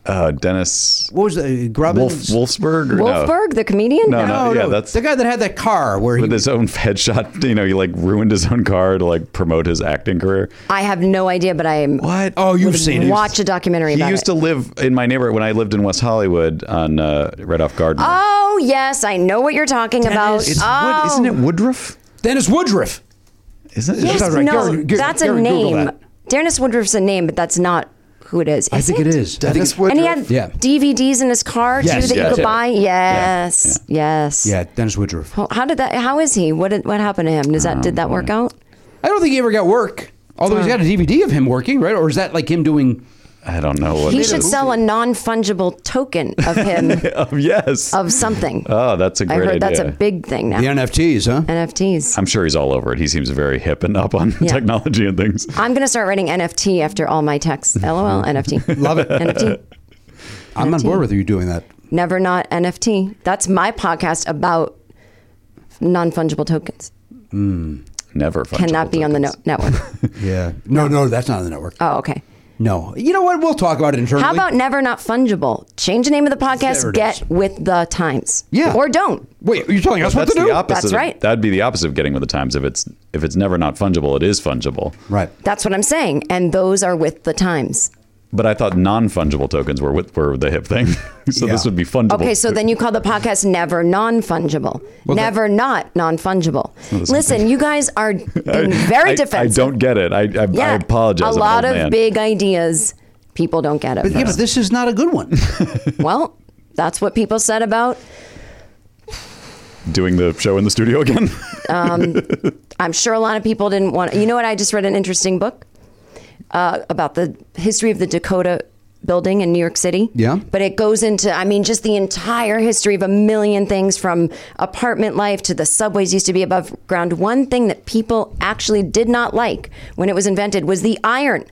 Speaker 1: Uh, Dennis
Speaker 2: what was the, uh,
Speaker 1: Wolf,
Speaker 2: Grubbins? Oh,
Speaker 1: Wolfsburg? Or
Speaker 9: wolfberg the comedian
Speaker 1: No, no, no, yeah, that's
Speaker 2: the guy that had that car where he
Speaker 1: with his own [laughs] headshot. You know, he like ruined his own car to like promote his acting career.
Speaker 9: i have no idea but i
Speaker 1: What?
Speaker 2: Oh, you've seen it.
Speaker 9: watch a
Speaker 1: He
Speaker 9: documentary about
Speaker 1: used
Speaker 9: it
Speaker 1: to live in my neighborhood when I lived in West Hollywood on uh, right off Gardner.
Speaker 9: oh yes i know what you're talking about
Speaker 1: It's
Speaker 9: oh
Speaker 1: Wood- isn't it Woodruff?
Speaker 2: Dennis Woodruff.
Speaker 1: Isn't it?
Speaker 9: Yes,
Speaker 2: That's right.
Speaker 9: no,
Speaker 2: Gary- Gary-
Speaker 9: that's
Speaker 2: Gary,
Speaker 9: a
Speaker 2: Google
Speaker 9: name.
Speaker 2: that.
Speaker 9: Dennis Woodruff's a name, but that's not who it is.
Speaker 2: I
Speaker 9: is
Speaker 2: think it is. I think
Speaker 8: Dennis
Speaker 2: it-
Speaker 8: Woodruff.
Speaker 9: And he had
Speaker 2: Yeah.
Speaker 9: DVDs in his car
Speaker 2: Yes,
Speaker 9: too that
Speaker 1: yes,
Speaker 9: you could
Speaker 1: yeah.
Speaker 9: buy. Yes, yes.
Speaker 2: Yeah, Dennis Woodruff.
Speaker 9: Well, How did that? How is he? What did, what happened to him? Does that did that work out?
Speaker 2: I don't think he ever got work. Although he's got a DVD of him working, right? Or is that like him doing?
Speaker 1: I don't know what
Speaker 9: He
Speaker 1: it
Speaker 9: should
Speaker 1: is. [laughs]
Speaker 9: sell a non fungible token of him
Speaker 1: Oh, yes.
Speaker 9: of something.
Speaker 1: oh, that's a
Speaker 9: I
Speaker 1: great
Speaker 9: heard
Speaker 1: idea.
Speaker 9: that's a big thing now.
Speaker 2: The NFTs, huh?
Speaker 9: NFTs.
Speaker 1: I'm sure he's all over it. He seems very hip and up on [laughs]
Speaker 9: Yeah.
Speaker 1: technology and things.
Speaker 9: I'm gonna start writing NFT after all my texts. LOL NFT.
Speaker 2: Love it.
Speaker 9: NFT.
Speaker 2: I'm on board with you doing
Speaker 1: [laughs]
Speaker 2: that.
Speaker 9: Never not NFT. That's my podcast about non fungible tokens.
Speaker 1: Never fungible
Speaker 9: Cannot be on the no-
Speaker 1: tokens. [laughs]
Speaker 9: network.
Speaker 2: Yeah. No, no, that's not on the network.
Speaker 9: oh, okay.
Speaker 2: No. You know what? We'll talk about it internally.
Speaker 9: How about never not fungible? Change the name of the
Speaker 2: There
Speaker 9: podcast.
Speaker 2: it
Speaker 9: Get
Speaker 2: is.
Speaker 9: with the times.
Speaker 2: Yeah.
Speaker 9: Or don't.
Speaker 2: Wait, you're telling us what
Speaker 1: That's
Speaker 2: to do?
Speaker 1: the opposite.
Speaker 9: That's
Speaker 1: of-
Speaker 9: right.
Speaker 1: That'd be the opposite of getting with the times. If it's if it's never not fungible, it is fungible.
Speaker 2: Right.
Speaker 9: That's what I'm saying. And those are with the times.
Speaker 1: But I thought non fungible tokens were with, were the hip thing. [laughs] so
Speaker 2: Yeah.
Speaker 1: this would be fungible.
Speaker 9: Okay, so then you call the podcast never non fungible. never not non fungible. Listen, you guys
Speaker 1: [laughs]
Speaker 9: are being
Speaker 1: [laughs]
Speaker 9: very
Speaker 1: I, I
Speaker 9: defensive.
Speaker 1: don't get it. I I, I apologize. I'm
Speaker 9: A
Speaker 1: an
Speaker 9: lot
Speaker 1: old
Speaker 9: of
Speaker 1: man.
Speaker 9: big ideas, people don't get it.
Speaker 2: But, yeah, but this is not a good [laughs] one.
Speaker 9: well, that's what people said about.
Speaker 1: doing the show in the studio again. [laughs]
Speaker 9: I'm sure a lot of people didn't want. You know what? I just read an interesting book. uh, about the history of the Dakota building in New York City.
Speaker 2: Yeah.
Speaker 9: But it goes into, I mean, just the entire history of a million things from apartment life to the subways used to be above ground. One thing that people actually did not like when it was invented was the iron.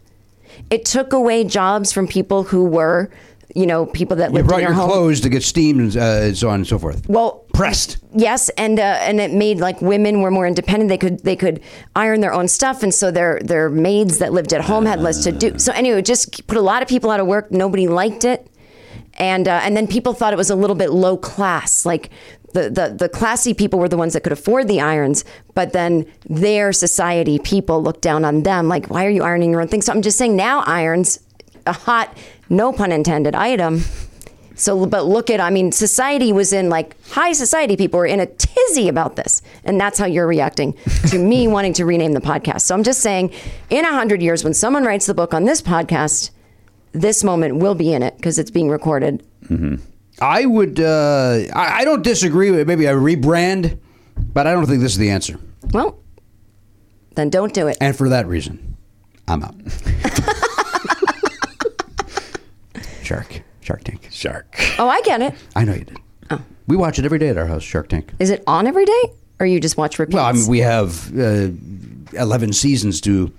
Speaker 9: It took away jobs from people who were, you know, people that
Speaker 2: You
Speaker 9: lived in
Speaker 2: brought
Speaker 9: their
Speaker 2: your
Speaker 9: home.
Speaker 2: clothes to get steamed and uh, so on and so forth.
Speaker 9: Well,
Speaker 2: Pressed.
Speaker 9: Yes, and uh, and it made like women were more independent. They could they could iron their own stuff, and so their their maids that lived at home had less to do. So anyway, it just put a lot of people out of work. Nobody liked it, and uh, and then people thought it was a little bit low class. Like the, the the classy people were the ones that could afford the irons, but then their society people looked down on them. Like why are you ironing your own thing? So I'm just saying now irons, a hot no pun intended item. So, but look at, I mean, society was in like high society. People were in a tizzy about this. And that's how you're reacting
Speaker 2: [laughs]
Speaker 9: to me wanting to rename the podcast. So I'm just saying, in a hundred years, when someone writes the book on this podcast, this moment will be in it because it's being recorded.
Speaker 2: I would. Uh, I, I don't disagree with maybe a rebrand, but I don't think this is the answer.
Speaker 9: Well, then don't do it.
Speaker 2: And for that reason, I'm [laughs] out. Shark. Shark Tank.
Speaker 1: Shark.
Speaker 9: Oh, I get it.
Speaker 2: I know you did. Oh. We watch it every day at our house, Shark Tank.
Speaker 9: Is it on every day or you just watch repeats?
Speaker 2: Well, I mean, we have uh, 11 seasons to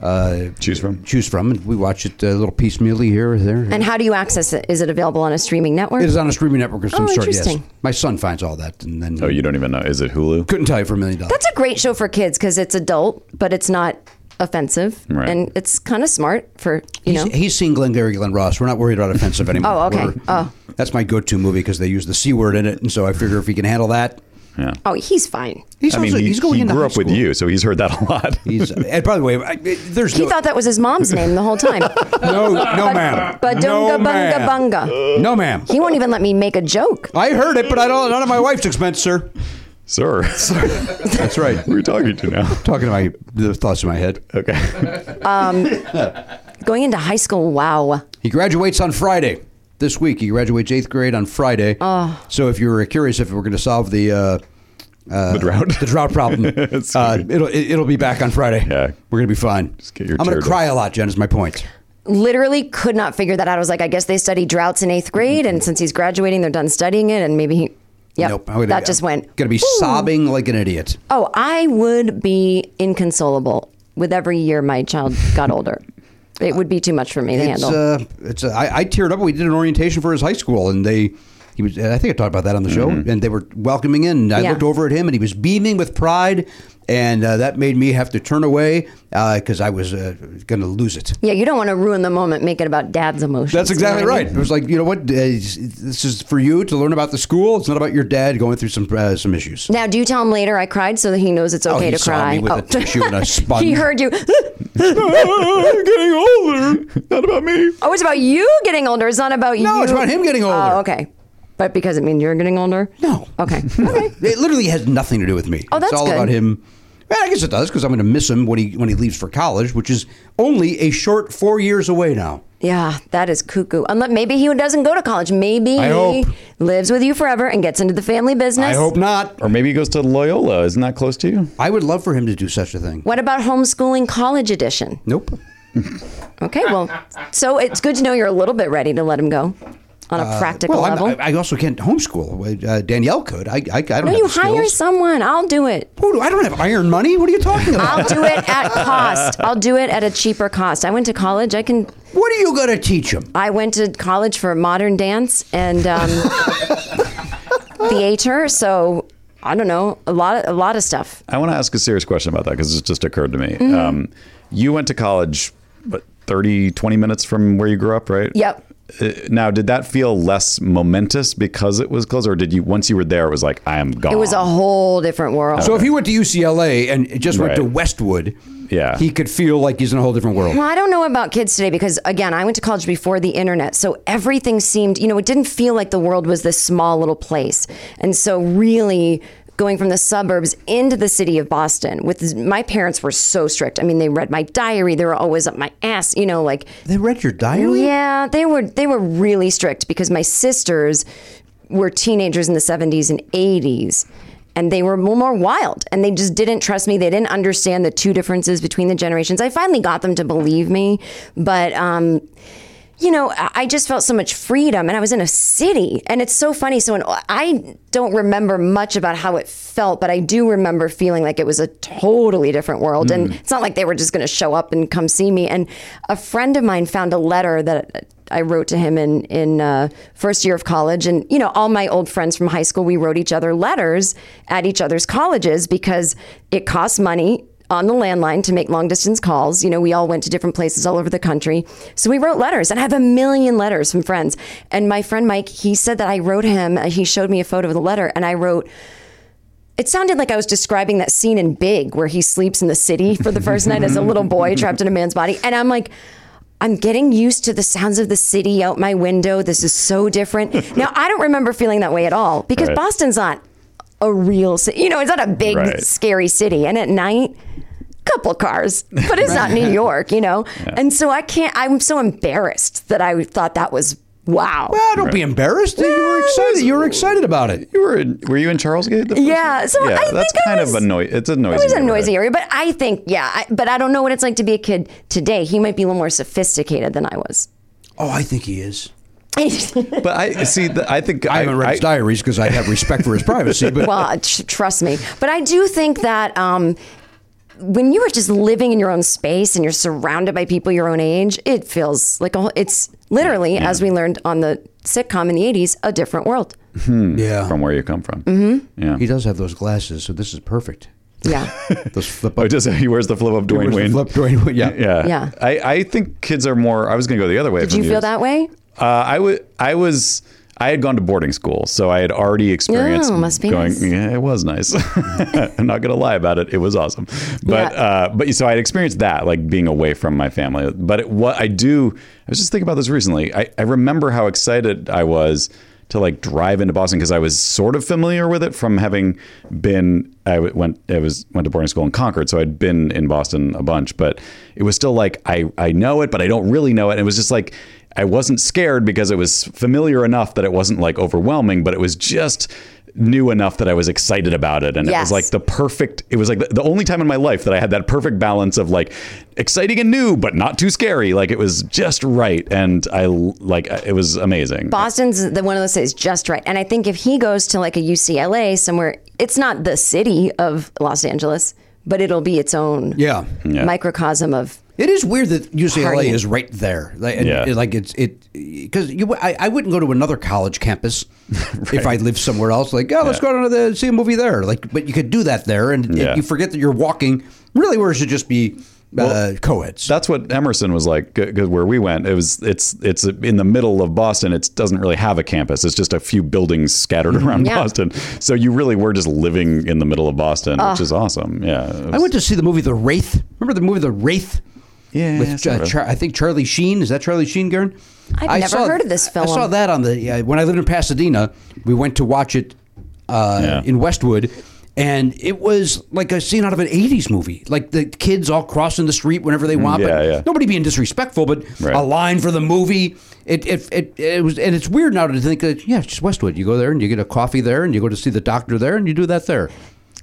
Speaker 2: uh,
Speaker 1: Choose from.
Speaker 2: choose from, and we watch it a little piecemealy here or there.
Speaker 9: and how do you access it? Is it available on a streaming network?
Speaker 2: it is on a streaming network of some
Speaker 9: Oh,
Speaker 2: sort, yes.
Speaker 9: interesting.
Speaker 2: My son finds all that, and then
Speaker 1: Oh, you don't even know. Is it Hulu?
Speaker 2: couldn't tell you for a million dollars.
Speaker 9: That's a great show for kids because it's adult, but it's not offensive,
Speaker 1: Right.
Speaker 9: and it's kind of smart for you know.
Speaker 2: He's, he's seen Glengarry Glen Ross. We're not worried about offensive anymore.
Speaker 9: Oh, okay.
Speaker 2: We're-
Speaker 9: Oh.
Speaker 2: That's my go-to movie because they use the c word in it, and so I figure if he can handle that,
Speaker 9: oh, he's fine.
Speaker 2: he's
Speaker 1: I mean,
Speaker 2: also-
Speaker 1: he,
Speaker 2: he's going
Speaker 1: he
Speaker 2: into
Speaker 1: grew
Speaker 2: high
Speaker 1: up with
Speaker 2: school.
Speaker 1: you, so he's heard that a lot.
Speaker 2: He's, and by the way, I, there's
Speaker 9: He
Speaker 2: no,
Speaker 9: thought that was his
Speaker 2: [laughs]
Speaker 9: mom's name the whole time.
Speaker 2: no, no, ma'am, no,
Speaker 9: Badunga bunga
Speaker 2: ma'am,
Speaker 9: bunga.
Speaker 2: no, ma'am.
Speaker 9: He won't even let me make a joke.
Speaker 2: I heard it, but I don't. Not at my wife's expense, sir.
Speaker 1: [laughs] Sir, [laughs]
Speaker 2: That's right.
Speaker 1: who are you talking to
Speaker 2: [laughs]
Speaker 1: now?
Speaker 2: Talking to my the thoughts in my head.
Speaker 1: Okay.
Speaker 9: Going into high school, wow.
Speaker 2: He graduates on Friday. This week, he graduates eighth grade on Friday.
Speaker 9: Ah.
Speaker 2: Oh. So if you were curious if we're going to solve the uh,
Speaker 1: the drought.
Speaker 2: the drought problem.
Speaker 1: [laughs] It's
Speaker 2: uh,
Speaker 1: good.
Speaker 2: it'll it- it'll be back on Friday.
Speaker 1: Yeah.
Speaker 2: we're gonna be fine.
Speaker 1: get your
Speaker 2: I'm gonna
Speaker 1: tear
Speaker 2: cry a lot, Jen. Is my point.
Speaker 9: Literally could not figure that out. I was like, I guess they study droughts in eighth grade, and since he's graduating, they're done studying it, and maybe he. Yep,
Speaker 2: Nope. Oh, I'm gonna-
Speaker 9: that just
Speaker 2: I'm
Speaker 9: went.
Speaker 2: Gonna be sobbing like an idiot.
Speaker 9: Oh, I would be inconsolable with every year my child got older. It would be too much for me to
Speaker 2: It's
Speaker 9: handle.
Speaker 2: uh, it's uh, I, I teared up. We did an orientation for his high school, and they. He was, I think I talked about that on the show,
Speaker 1: Mm-hmm.
Speaker 2: and they were welcoming in. I
Speaker 9: Yeah.
Speaker 2: looked over at him, and he was beaming with pride, and uh, that made me have to turn away because I was uh, going to lose it.
Speaker 9: yeah, you don't want to ruin the moment, make it about dad's emotions.
Speaker 2: That's
Speaker 9: you know
Speaker 2: exactly
Speaker 9: what I
Speaker 2: right.
Speaker 9: mean?
Speaker 2: It was like you know what, uh, this is for you to learn about the school. It's not about your dad going through some uh, some issues.
Speaker 9: Now, do you tell him later I cried so that he knows it's
Speaker 2: Oh,
Speaker 9: okay
Speaker 2: he
Speaker 9: to
Speaker 2: saw
Speaker 9: cry?
Speaker 2: me with a tissue
Speaker 9: [laughs]
Speaker 2: and a sponge.
Speaker 9: he heard you.
Speaker 1: [laughs]
Speaker 9: [gasps]
Speaker 1: I'm getting older. Not about me.
Speaker 9: Oh, it's about you getting older. It's not about you.
Speaker 2: No, it's about him getting older.
Speaker 9: Oh, okay. But because it means you're getting older?
Speaker 2: No. [laughs]
Speaker 9: Okay. Okay.
Speaker 2: It literally has nothing to do with me.
Speaker 9: Oh, that's
Speaker 2: it's all
Speaker 9: good.
Speaker 2: about him. Well, I guess it does because I'm going to miss him when he when he leaves for college, which is only a short four years away now.
Speaker 9: yeah, that is cuckoo. Unless maybe he doesn't go to college. Maybe
Speaker 2: I
Speaker 9: he
Speaker 2: hope.
Speaker 9: lives with you forever and gets into the family business.
Speaker 2: I hope not.
Speaker 1: Or maybe he goes to Loyola. Isn't that close to you?
Speaker 2: I would love for him to do such a thing.
Speaker 9: What about homeschooling college edition?
Speaker 2: Nope.
Speaker 9: Okay, well, so it's good to know you're a little bit ready to let him go on a practical
Speaker 2: Uh, Well, I'm,
Speaker 9: level.
Speaker 2: I, I also can't homeschool. Uh, Danielle could. I I, I don't.
Speaker 9: no,
Speaker 2: have
Speaker 9: you
Speaker 2: the skills.
Speaker 9: hire someone. I'll do it.
Speaker 2: Who do- I don't have iron money. What are you talking about?
Speaker 9: I'll do it at cost. I'll do it at a cheaper cost. I went to college. I can.
Speaker 2: what are you going to teach him?
Speaker 9: I went to college for modern dance and um, theater. So I don't know a lot. Of, a lot of stuff.
Speaker 1: I want to ask a serious question about that because it just occurred to me.
Speaker 9: Mm-hmm.
Speaker 1: Um, you went to college, what, 30, 20 minutes from where you grew up, right?
Speaker 9: Yep.
Speaker 1: Uh, Now, did that feel less momentous because it was close, or did you once you were there, it was like I am gone?
Speaker 9: It was a whole different world.
Speaker 2: So if he went to UCLA and just went
Speaker 1: Right.
Speaker 2: to Westwood,
Speaker 1: Yeah.
Speaker 2: he could feel like he's in a whole different world.
Speaker 9: Well, I don't know about kids today because, again, I went to college before the internet. So everything seemed, you know, it didn't feel like the world was this small little place. And so, really, going from the suburbs into the city of Boston with my parents were so strict. I mean, they read my diary, they were always up my ass, you know, like,
Speaker 2: They read your diary.
Speaker 9: yeah, they were they were really strict because my sisters were teenagers in the 70s and 80s. and they were more, more wild and they just didn't trust me. They didn't understand the two differences between the generations. I finally got them to believe me, but um, you know, I I just felt so much freedom and I was in a city. And it's so funny. So when, I don't remember much about how it felt, but I do remember feeling like it was a totally different world. And it's not like they were just going to show up and come see me. And a friend of mine found a letter that I wrote to him in, in uh, first year of college. And, you know, all my old friends from high school, we wrote each other letters at each other's colleges because it costs money on the landline to make long distance calls. You know, we all went to different places all over the country. So we wrote letters, and I have a million letters from friends. And my friend Mike, he said that I wrote him, he showed me a photo of the letter, and I wrote, it sounded like I was describing that scene in Big where he sleeps in the city for the first night as a
Speaker 5: [laughs]
Speaker 9: little boy trapped in a man's body. And I'm like, I'm getting used to the sounds of the city out my window. This is so
Speaker 5: [laughs]
Speaker 9: different. Now, I don't remember feeling that way at all because
Speaker 5: Right.
Speaker 9: Boston's not a real city. You know, it's not a big,
Speaker 5: Right.
Speaker 9: scary city. And at night, couple cars, but it's not New York,
Speaker 5: [laughs]
Speaker 9: you know? And so I can't, I'm so embarrassed that I thought that was wow.
Speaker 2: Ah, don't be embarrassed. you were excited. You were excited about it.
Speaker 1: You were in, were you in Charlesgate? the first
Speaker 9: Yeah, so
Speaker 1: time? yeah,
Speaker 9: I
Speaker 1: that's
Speaker 9: think I
Speaker 1: kind
Speaker 9: was-
Speaker 1: of a noisy. It's a noisy.
Speaker 9: It was a
Speaker 1: neighborhood.
Speaker 9: noisy area, but I think, yeah, I, but I don't know what it's like to be a kid today. He might be a little more sophisticated than I was.
Speaker 2: Oh, I think he is.
Speaker 1: But I see. The, I think
Speaker 2: I haven't read his diaries because I have respect for his privacy. But
Speaker 9: well, uh, tr- trust me. But I do think that um, when you are just living in your own space and you're surrounded by people your own age, it feels like a whole, it's literally, as we learned on the sitcom in the 80s, a different world.
Speaker 2: yeah,
Speaker 1: [laughs] from where you come from. Mm-hmm. Yeah.
Speaker 2: he does have those glasses, so this is perfect.
Speaker 9: Yeah.
Speaker 2: Those flip
Speaker 1: [laughs] Oh,
Speaker 2: up.
Speaker 1: does he wears the flip of Oh, Dwayne
Speaker 2: Where's the
Speaker 1: Wayne?
Speaker 2: flip Dwayne Wayne? Yeah.
Speaker 1: Yeah.
Speaker 9: Yeah.
Speaker 1: I, I think kids are more. I was going to go the other way.
Speaker 9: Did you feel that way?
Speaker 1: Uh, I wa- I was. I had gone to boarding school, so I had already experienced
Speaker 9: Oh, must be
Speaker 1: going.
Speaker 9: nice.
Speaker 1: Yeah, it was nice. [laughs] I'm not gonna lie about it; it was awesome. But
Speaker 9: Yeah.
Speaker 1: uh, but so I had experienced that, like being away from my family. But it, what I do, I was just thinking about this recently. I, I remember how excited I was to like drive into Boston because I was sort of familiar with it from having been. I w- went I was went to boarding school in Concord, so I'd been in Boston a bunch. But it was still like I I know it, but I don't really know it. And it was just like I wasn't scared because it was familiar enough that it wasn't like overwhelming, but it was just new enough that I was excited about it. And it
Speaker 9: Yes.
Speaker 1: was like the perfect, it was like the, the only time in my life that I had that perfect balance of like exciting and new, but not too scary. Like it was just right. And I l- like, it was amazing.
Speaker 9: Boston's the one of those cities just right. And I think if he goes to like a UCLA somewhere, it's not the city of Los Angeles, but it'll be its own
Speaker 2: Yeah.
Speaker 1: Mm.
Speaker 9: microcosm of
Speaker 2: It is weird that UCLA
Speaker 9: Party.
Speaker 2: is right there. Like, and-
Speaker 1: Yeah.
Speaker 2: like it's it because you I, I wouldn't go to another
Speaker 1: [laughs]
Speaker 2: college campus if I lived somewhere else. Like oh, let's
Speaker 1: Yeah.
Speaker 2: go to the see a movie there. Like, but you could do that there, and it-
Speaker 1: Yeah.
Speaker 2: you forget that you're walking. Really, where it should just be uh, co-eds.
Speaker 1: That's what Emerson was like because where we went, it was it's it's in the middle of Boston. It doesn't really have a campus. It's just a few buildings scattered around
Speaker 9: Mm-hmm. Yeah.
Speaker 1: Boston. So you really were just living in the middle of Boston, which is awesome. Yeah, it
Speaker 2: I
Speaker 1: was-
Speaker 2: went to see the movie The Wraith. Remember the movie The Wraith?
Speaker 1: Yeah,
Speaker 2: with
Speaker 1: sort
Speaker 2: uh,
Speaker 1: of.
Speaker 2: Char- I think Charlie Sheen. Is that Charlie Sheen, Garen?
Speaker 9: I've
Speaker 2: I
Speaker 9: never heard of this
Speaker 2: I saw
Speaker 9: film.
Speaker 2: that on the uh, when I lived in Pasadena. We went to watch it uh,
Speaker 1: Yeah.
Speaker 2: in Westwood, and it was like a scene out of an '80s movie. Like the kids all crossing the street whenever they want.
Speaker 1: Mm, yeah,
Speaker 2: but
Speaker 1: yeah.
Speaker 2: Nobody being disrespectful, but
Speaker 1: Right.
Speaker 2: a line for the movie. It, it it it was, and it's weird now to think that yeah, it's just Westwood. You go there and you get a coffee there, and you go to see the doctor there, and you do that there.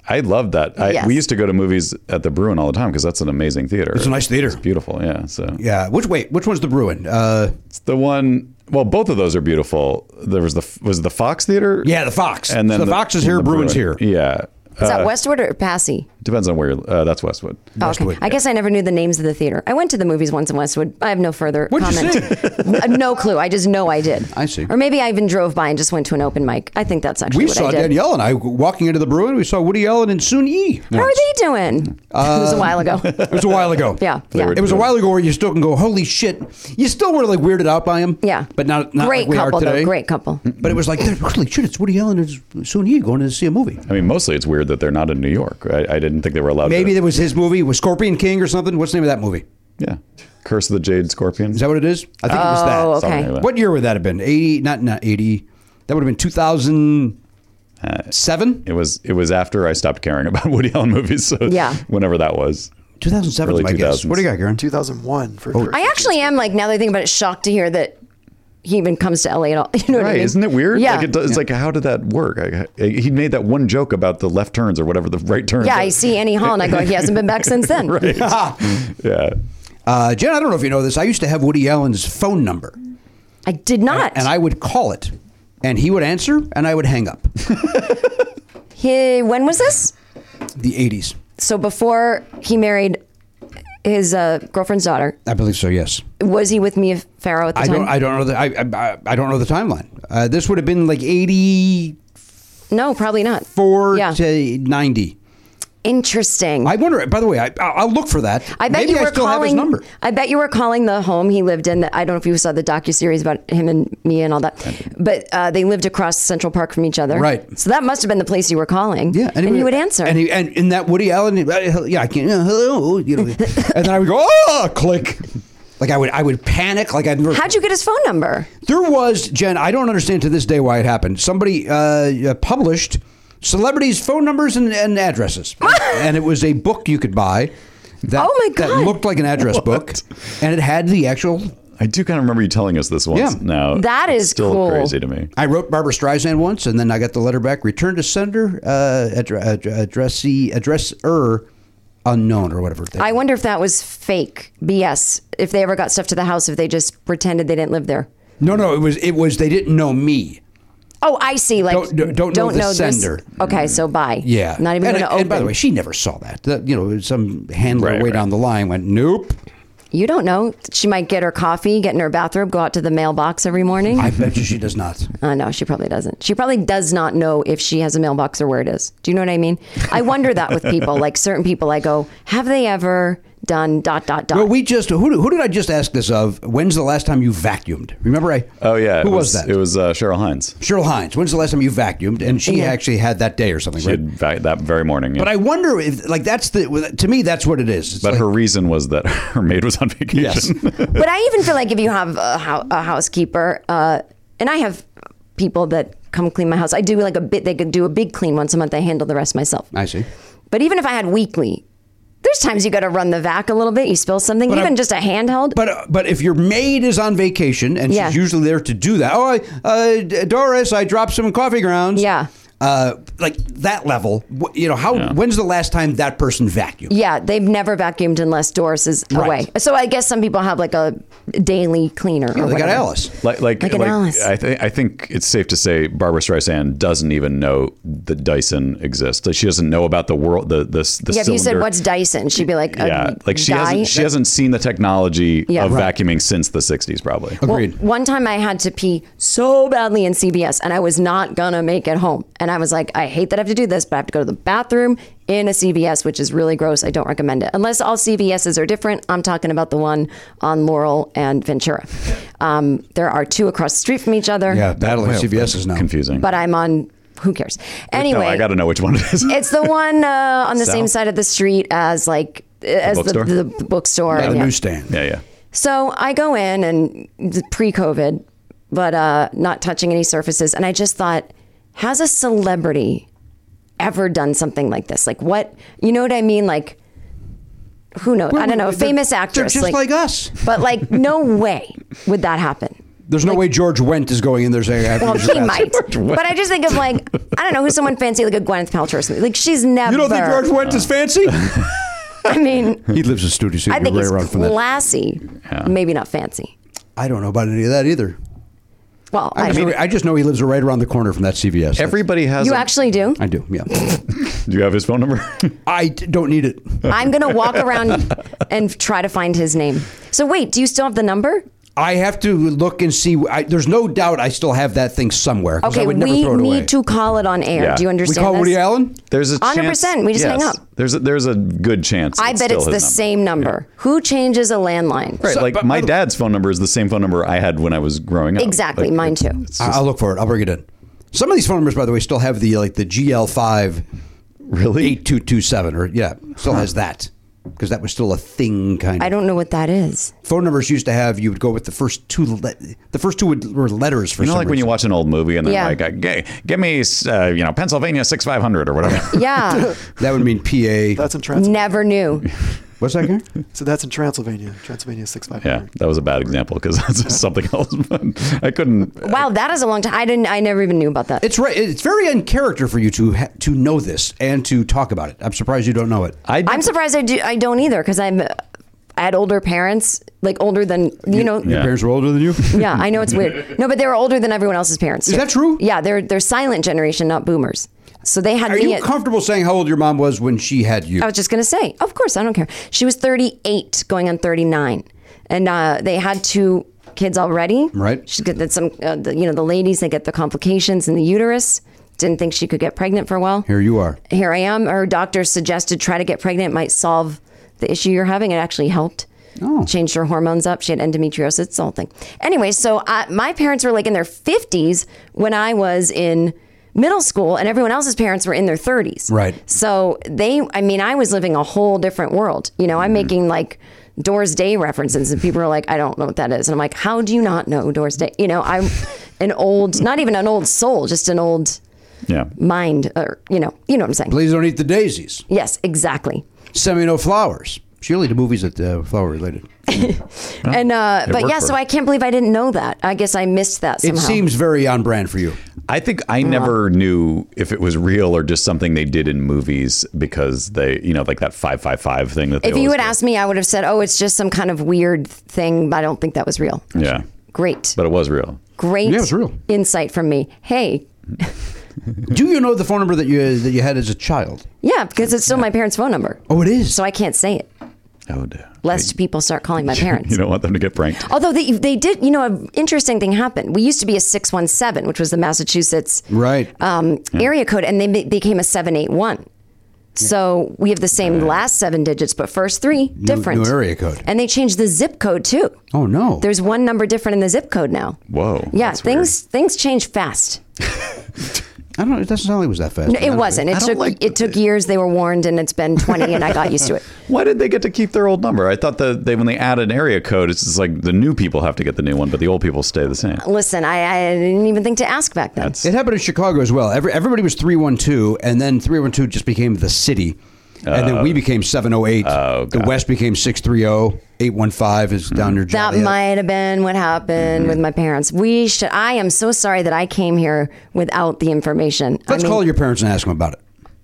Speaker 1: I loved that. I,
Speaker 9: Yes.
Speaker 1: We used to go to movies at the Bruin all the time because that's an amazing theater.
Speaker 2: It's a nice theater.
Speaker 1: It's beautiful. Yeah. So
Speaker 2: Yeah. Which wait, which one's the Bruin? Uh,
Speaker 1: it's the one. Well, both of those are beautiful. There was the was it the Fox Theater.
Speaker 2: yeah, the Fox.
Speaker 1: And then
Speaker 2: So the, Fox is here,
Speaker 1: the
Speaker 2: Bruin's
Speaker 1: Bruin.
Speaker 2: here.
Speaker 1: Yeah.
Speaker 9: is that
Speaker 1: Uh,
Speaker 9: Westwood or Passy?
Speaker 1: depends on where you're. Uh, that's Westwood.
Speaker 9: Oh, okay. I guess I never knew the names of the theater. I went to the movies once in Westwood. I have no further
Speaker 2: What'd you
Speaker 9: comment. [laughs] Uh, no clue. I just know I did.
Speaker 2: I see.
Speaker 9: Or maybe I even drove by and just went to an open mic. I think that's actually
Speaker 2: We
Speaker 9: what
Speaker 2: saw
Speaker 9: I did.
Speaker 2: Danielle and I walking into the Bruin. We saw Woody Allen and Soon Yi.
Speaker 9: How are they doing? [laughs] it
Speaker 2: Uh,
Speaker 9: was a while ago.
Speaker 2: [laughs] It was a while ago.
Speaker 9: Yeah, yeah.
Speaker 2: It was a while ago where you still can go, holy shit. You still were like weirded out by him.
Speaker 9: Yeah.
Speaker 2: But not, not
Speaker 9: great
Speaker 2: like we
Speaker 9: couple
Speaker 2: are today. Mm.
Speaker 9: though. Great couple.
Speaker 2: But it was like, holy shit, it's Woody Allen and Soon Yi going to see a movie.
Speaker 1: I mean, mostly it's weird that they're not in New York. I, I didn't think they were allowed.
Speaker 2: Maybe
Speaker 1: to,
Speaker 2: that was his movie with Scorpion King or something. What's the name of that movie?
Speaker 1: Yeah. Curse of the Jade Scorpion.
Speaker 2: Is that what it is? I think it was that.
Speaker 9: Oh,
Speaker 1: Something
Speaker 9: okay.
Speaker 1: like that.
Speaker 2: What year would that have been? 80, not, not 80. That would have been 2007?
Speaker 1: It was. It was after I stopped caring [laughs] about Woody Allen movies. So
Speaker 9: Yeah.
Speaker 1: Whenever that was.
Speaker 2: 2007 is
Speaker 1: early
Speaker 2: my guess.
Speaker 1: 2000s.
Speaker 2: What do you got, Garen?
Speaker 8: 2001 for
Speaker 1: Oh,
Speaker 9: I actually am like now that I think about it, shocked to hear that he even comes to LA at all. [laughs] You know what I
Speaker 1: Right,
Speaker 9: mean?
Speaker 1: isn't it weird?
Speaker 9: Yeah.
Speaker 1: Like it does, it's like, how did that work? I, I- he made that one joke about the left turns or whatever the right turns.
Speaker 9: yeah,
Speaker 1: are.
Speaker 9: I see Annie Hall and I go, he hasn't been back
Speaker 2: [laughs]
Speaker 9: since
Speaker 1: [laughs]
Speaker 9: then.
Speaker 1: Right. yeah.
Speaker 2: Uh, Jen, I don't know if you know this. I used to have Woody Allen's phone number,
Speaker 9: I did not.
Speaker 2: and I would call it, and he would answer, and I would hang
Speaker 9: [laughs]
Speaker 2: up.
Speaker 9: he, when was this?
Speaker 2: the 80s.
Speaker 9: So before he married his uh, girlfriend's daughter,
Speaker 2: I believe so, yes.
Speaker 9: was he with Mia Farrow at the
Speaker 2: I
Speaker 9: time?
Speaker 2: don't. I don't know the. I, I, I don't know the timeline. Uh, this would have been like eighty-four
Speaker 9: no, probably not. yeah.
Speaker 2: to ninety.
Speaker 9: Interesting.
Speaker 2: I wonder. By the way, I, I'll I'll look for that.
Speaker 9: I bet
Speaker 2: Maybe
Speaker 9: you were
Speaker 2: I still
Speaker 9: calling.
Speaker 2: have his number.
Speaker 9: I bet you were calling the home he lived in. That I don't know if you saw the docu series about him and Mia and all that, but uh, they lived across Central Park from each other.
Speaker 2: Right.
Speaker 9: So that must have been the place you were calling.
Speaker 2: Yeah,
Speaker 9: And,
Speaker 2: he
Speaker 9: he would answer.
Speaker 2: And he and in that Woody Allen. Yeah, I can. Uh, hello, you
Speaker 9: [laughs]
Speaker 2: know. and then I would go, oh, click. Like I would, I would panic. Like I'd. never-
Speaker 9: How'd you get his phone number?
Speaker 2: There was Jen. I don't understand to this day why it happened. Somebody uh, uh, published celebrities' phone numbers and, and addresses, and it was a book you could buy. That,
Speaker 9: Oh, my
Speaker 2: That
Speaker 9: God.
Speaker 2: looked like an address book, and it had the actual.
Speaker 1: I do kind of remember you telling us this once.
Speaker 2: Yeah.
Speaker 1: Now
Speaker 9: That
Speaker 1: it's
Speaker 9: is
Speaker 1: still
Speaker 9: cool.
Speaker 1: crazy to me.
Speaker 2: I wrote Barbara Streisand once, and then I got the letter back. Return to sender, uh, addre- addre- addressee, addresser, unknown or whatever. They
Speaker 9: I wonder if that was fake BS. If they ever got stuff to the house, if they just pretended they didn't live there.
Speaker 2: no, no, it was it was they didn't know me.
Speaker 9: Oh, I see. Like
Speaker 2: Don't- don't- don't know the sender.
Speaker 9: This. Okay, so bye.
Speaker 2: Yeah,
Speaker 9: Not even
Speaker 2: and,
Speaker 9: going to
Speaker 2: and
Speaker 9: open.
Speaker 2: by the way, she never saw that. That, you know, some handler
Speaker 1: Right,
Speaker 2: way
Speaker 1: right.
Speaker 2: down the line went, nope.
Speaker 9: you don't know. She might get her coffee, get in her bathrobe, go out to the mailbox every morning.
Speaker 2: I bet you she does not.
Speaker 9: Uh, no, she probably doesn't. She probably does not know if she has a mailbox or where it is. Do you know what I mean? I wonder that with
Speaker 2: [laughs]
Speaker 9: people, like certain people, I go, have they ever done dot dot dot?
Speaker 2: Well, we just who, who did I just ask this of? When's the last time you vacuumed? Remember, I
Speaker 1: Oh yeah.
Speaker 2: who
Speaker 1: it
Speaker 2: was, that?
Speaker 1: It was uh, Cheryl Hines.
Speaker 2: Cheryl Hines. When's the last time you vacuumed? And she actually had that day or something,
Speaker 1: She
Speaker 2: right?
Speaker 1: had va- that very morning. yeah.
Speaker 2: But I wonder if like that's the to me that's what it is. It's
Speaker 1: But
Speaker 2: like-
Speaker 1: her reason was that [laughs] her maid was on vacation.
Speaker 2: Yes.
Speaker 9: but I even feel like if you have a, hou- a housekeeper, uh, and I have people that come clean my house, I do like a bit. They could do a big clean once a month. I handle the rest myself.
Speaker 2: I see.
Speaker 9: But even if I had weekly, there's times you got to run the vac a little bit. You spill something, even
Speaker 2: I'm-
Speaker 9: just a handheld.
Speaker 2: But uh, but if your maid is on vacation and
Speaker 9: Yeah.
Speaker 2: she's usually there to do that. Oh, I, uh, D- Doris, I dropped some coffee grounds.
Speaker 9: Yeah.
Speaker 2: Uh, like that level. Wh- You know how? When's the last time that person vacuumed?
Speaker 9: Yeah, they've never vacuumed unless Doris is
Speaker 2: Right.
Speaker 9: away. So I guess some people have like a daily cleaner. or
Speaker 2: they got
Speaker 9: whatever.
Speaker 2: Alice.
Speaker 1: [laughs] Like, like,
Speaker 9: Like
Speaker 1: like,
Speaker 9: an Alice.
Speaker 1: I, th- I think it's safe to say Barbara Streisand doesn't even know that Dyson exists. Like she doesn't know about the world, the the, the
Speaker 9: Yeah, if you said
Speaker 1: cylinder-
Speaker 9: what's Dyson, she'd be like, "Um, a
Speaker 1: yeah, like she
Speaker 9: dye?
Speaker 1: hasn't she hasn't seen the technology
Speaker 9: Yeah.
Speaker 1: of
Speaker 9: Right.
Speaker 1: vacuuming since the '60s, probably.
Speaker 9: Well,
Speaker 2: Agreed.
Speaker 9: one time I had to pee so badly in CBS, and I was not gonna make it home. And I was like, I hate that I have to do this, but I have to go to the bathroom in a CVS, which is really gross. I don't recommend it unless all CVSs are different. I'm talking about the one on Laurel and Ventura. Um, there are two across the street from each other.
Speaker 2: Yeah, battling CVS is now.
Speaker 1: confusing.
Speaker 9: but I'm on. Who cares?
Speaker 1: no,
Speaker 9: Anyway,
Speaker 1: I got to know which one it is.
Speaker 9: It's the one uh, on the
Speaker 1: South?
Speaker 9: same side of the street as like as the
Speaker 1: bookstore?
Speaker 9: the, the bookstore.
Speaker 2: The
Speaker 9: Yeah.
Speaker 2: newsstand.
Speaker 1: [laughs] yeah, yeah.
Speaker 9: So I go in and pre-COVID, but uh, not touching any surfaces, and I just thought, has a celebrity ever done something like this? Like what? You know what I mean? Like who knows? I don't know. A
Speaker 2: They're-
Speaker 9: famous
Speaker 2: they're
Speaker 9: actress,
Speaker 2: just like us.
Speaker 9: But like, no way would that
Speaker 2: [laughs]
Speaker 9: happen.
Speaker 2: There's no way George Wendt is going in there saying, I have to
Speaker 9: Well,
Speaker 2: use your
Speaker 9: he might,
Speaker 2: bathroom."
Speaker 9: but I just think of like I don't know who's someone fancy like a Gwyneth Paltrow or something. Like she's
Speaker 2: [laughs]
Speaker 9: never.
Speaker 2: You don't think George Wendt is
Speaker 9: [laughs]
Speaker 2: fancy? [laughs]
Speaker 9: I mean,
Speaker 2: he lives in Studio City.
Speaker 9: I think
Speaker 2: right
Speaker 9: it's
Speaker 2: around from that.
Speaker 9: classy, maybe not fancy.
Speaker 2: I don't know about any of that either.
Speaker 9: Well,
Speaker 2: I,
Speaker 9: I,
Speaker 2: just know, I just know he lives right around the corner from that CVS.
Speaker 1: Everybody has.
Speaker 9: you
Speaker 1: a-
Speaker 9: actually do.
Speaker 2: I do, yeah.
Speaker 1: Do you have his phone
Speaker 9: [laughs]
Speaker 1: number?
Speaker 2: I d- don't need it.
Speaker 9: I'm gonna walk around and try to find his name. So wait, do you still have the number?
Speaker 2: I have to look and see. I, there's no doubt I still have that thing somewhere. 'cause I
Speaker 9: Okay,
Speaker 2: would never
Speaker 9: we
Speaker 2: throw it
Speaker 9: need
Speaker 2: away.
Speaker 9: to call it on air.
Speaker 1: Yeah.
Speaker 9: Do you
Speaker 1: We
Speaker 2: We
Speaker 9: understand?
Speaker 2: call
Speaker 9: this?
Speaker 2: Woody Allen?
Speaker 1: There's a [laughs] chance-
Speaker 9: 100%, we just hang
Speaker 1: yes.
Speaker 9: up.
Speaker 1: There's a, there's a good chance.
Speaker 9: I bet
Speaker 1: still
Speaker 9: it's the
Speaker 1: his number.
Speaker 9: same number. Who changes a landline?
Speaker 1: Right, like my dad's phone number is the same phone number I had when I was growing up.
Speaker 9: Exactly,
Speaker 1: Like,
Speaker 9: mine
Speaker 1: it-
Speaker 9: too.
Speaker 1: It's
Speaker 2: I-
Speaker 1: just,
Speaker 2: I'll look for it. I'll bring it in. Some of these phone numbers, by the way, still have the like the GL5
Speaker 1: really?
Speaker 2: 8227 or yeah, still has that because that was still a thing kind
Speaker 9: I
Speaker 2: of.
Speaker 9: don't know what that is.
Speaker 2: Phone numbers used to have you would go with the first two le- the first two would, were letters for
Speaker 1: You know,
Speaker 2: some
Speaker 1: like when you
Speaker 2: reason.
Speaker 1: watch an old movie and they're
Speaker 9: Yeah.
Speaker 1: like, "G- "Give me, uh, you know, Pennsylvania 6500 or whatever."
Speaker 2: [laughs]
Speaker 9: [laughs] Yeah,
Speaker 2: that would mean PA
Speaker 8: That's entrancing.
Speaker 9: never knew.
Speaker 2: What's that again?
Speaker 8: So that's in Transylvania. Transylvania six
Speaker 1: [laughs]
Speaker 8: five
Speaker 1: Yeah,
Speaker 8: hundred.
Speaker 1: that was a bad example because [laughs] that's something else. I couldn't.
Speaker 9: Wow, that is a long time. I didn't. I never even knew about that.
Speaker 2: It's right. It's very uncharacter for you to ha- to know this and to talk about it. I'm surprised you don't know it.
Speaker 1: I
Speaker 9: I'm surprised I do. I don't either because I'm. I had older parents, like older than you know.
Speaker 2: Your
Speaker 9: Yeah.
Speaker 2: parents were
Speaker 1: [laughs]
Speaker 2: older than you.
Speaker 9: I know it's weird. No, but they were older than everyone else's parents.
Speaker 2: Is
Speaker 9: too.
Speaker 2: that true?
Speaker 9: Yeah, they're they're silent generation, not boomers. So they had
Speaker 2: [laughs] Are
Speaker 9: me
Speaker 2: you
Speaker 9: at.
Speaker 2: comfortable saying how old your mom was when she had you?
Speaker 9: I was just gonna say, of course, I don't care. She was 38, going on 39, and uh, they had two kids already.
Speaker 2: Right.
Speaker 9: She got that some, uh, the, you know, the ladies they get the complications in the uterus. Didn't think she could get pregnant for a while.
Speaker 2: Here you are.
Speaker 9: Here I am. Her doctor suggested try to get pregnant. It might solve the issue you're having. It actually helped.
Speaker 2: Oh.
Speaker 9: Changed her hormones up. She had endometriosis. It's the whole thing. Anyway, so I, my parents were like in their 50s when I was in middle school, and everyone else's parents were in their 30s.
Speaker 2: Right.
Speaker 9: So they, I mean, I was living a whole different world. You know,
Speaker 2: Mm-hmm.
Speaker 9: I'm making like Doors Day references, and people are like, I don't know what that is. And I'm like, how do you not know Doors Day? You know, I'm an old, not even an old soul, just an old
Speaker 1: Yeah.
Speaker 9: mind, or, you know, you know what I'm saying.
Speaker 2: Please don't eat the daisies.
Speaker 9: Yes, exactly.
Speaker 2: Send me no flowers. She only did movies that uh, flower related.
Speaker 9: and uh, but
Speaker 1: worked
Speaker 9: yeah,
Speaker 1: for
Speaker 9: so
Speaker 1: her.
Speaker 9: I can't believe I didn't know that. I guess I missed that
Speaker 2: It
Speaker 9: somehow.
Speaker 2: seems very on brand for you.
Speaker 1: I think I never knew if it was real or just something they did in movies because they, you know, like that 555 thing that they
Speaker 9: if you
Speaker 1: always
Speaker 9: had
Speaker 1: do.
Speaker 9: asked me, I would have said, "Oh, it's just some kind of weird thing." But I don't think that was real.
Speaker 1: Yeah.
Speaker 9: Great,
Speaker 1: But it was real.
Speaker 9: great
Speaker 2: Yeah, it's real.
Speaker 9: insight from me. Hey,
Speaker 2: Do you know the phone number that you that you had as a child?
Speaker 9: yeah, because it's still my parents' phone number,
Speaker 2: Oh, it is.
Speaker 9: so I can't say it
Speaker 1: Oh, dear.
Speaker 9: lest people start calling my
Speaker 1: [laughs]
Speaker 9: parents.
Speaker 1: You don't want them to get pranked.
Speaker 9: Although they, they did, you know, an interesting thing happened. We used to be a 617, which was the Massachusetts
Speaker 2: right.
Speaker 9: um, area code, and they be- became a 781. So we have the same last seven digits, but first three different.
Speaker 2: new area code.
Speaker 9: And they changed the zip code too.
Speaker 2: oh no.
Speaker 9: There's one number different in the zip code now.
Speaker 1: Whoa.
Speaker 9: Yeah,
Speaker 1: that's weird.
Speaker 9: things things change fast.
Speaker 2: I don't. know. It doesn't sound like it was that fast.
Speaker 9: No, it wasn't. It
Speaker 1: don't
Speaker 9: took
Speaker 1: like
Speaker 9: it took years. They were warned, and it's been 20, and I got used
Speaker 2: [laughs]
Speaker 9: to it.
Speaker 1: Why did they get to keep their old number? I thought that they, when they add an area code, it's just like the new people have to get the new one, but the old people stay the same.
Speaker 9: Listen, I, I didn't even think to ask back then.
Speaker 2: It happened in Chicago as well. Every, everybody was 312, and then 312 just became the city. And then we became 708. the West became oh. 630. 815 is down near
Speaker 9: that
Speaker 2: Joliet.
Speaker 9: might have been what happened
Speaker 2: Mm-hmm.
Speaker 9: with my parents. We should. I am so sorry that I came here without the information. I
Speaker 2: Let's
Speaker 9: mean,
Speaker 2: call your parents and ask them about it.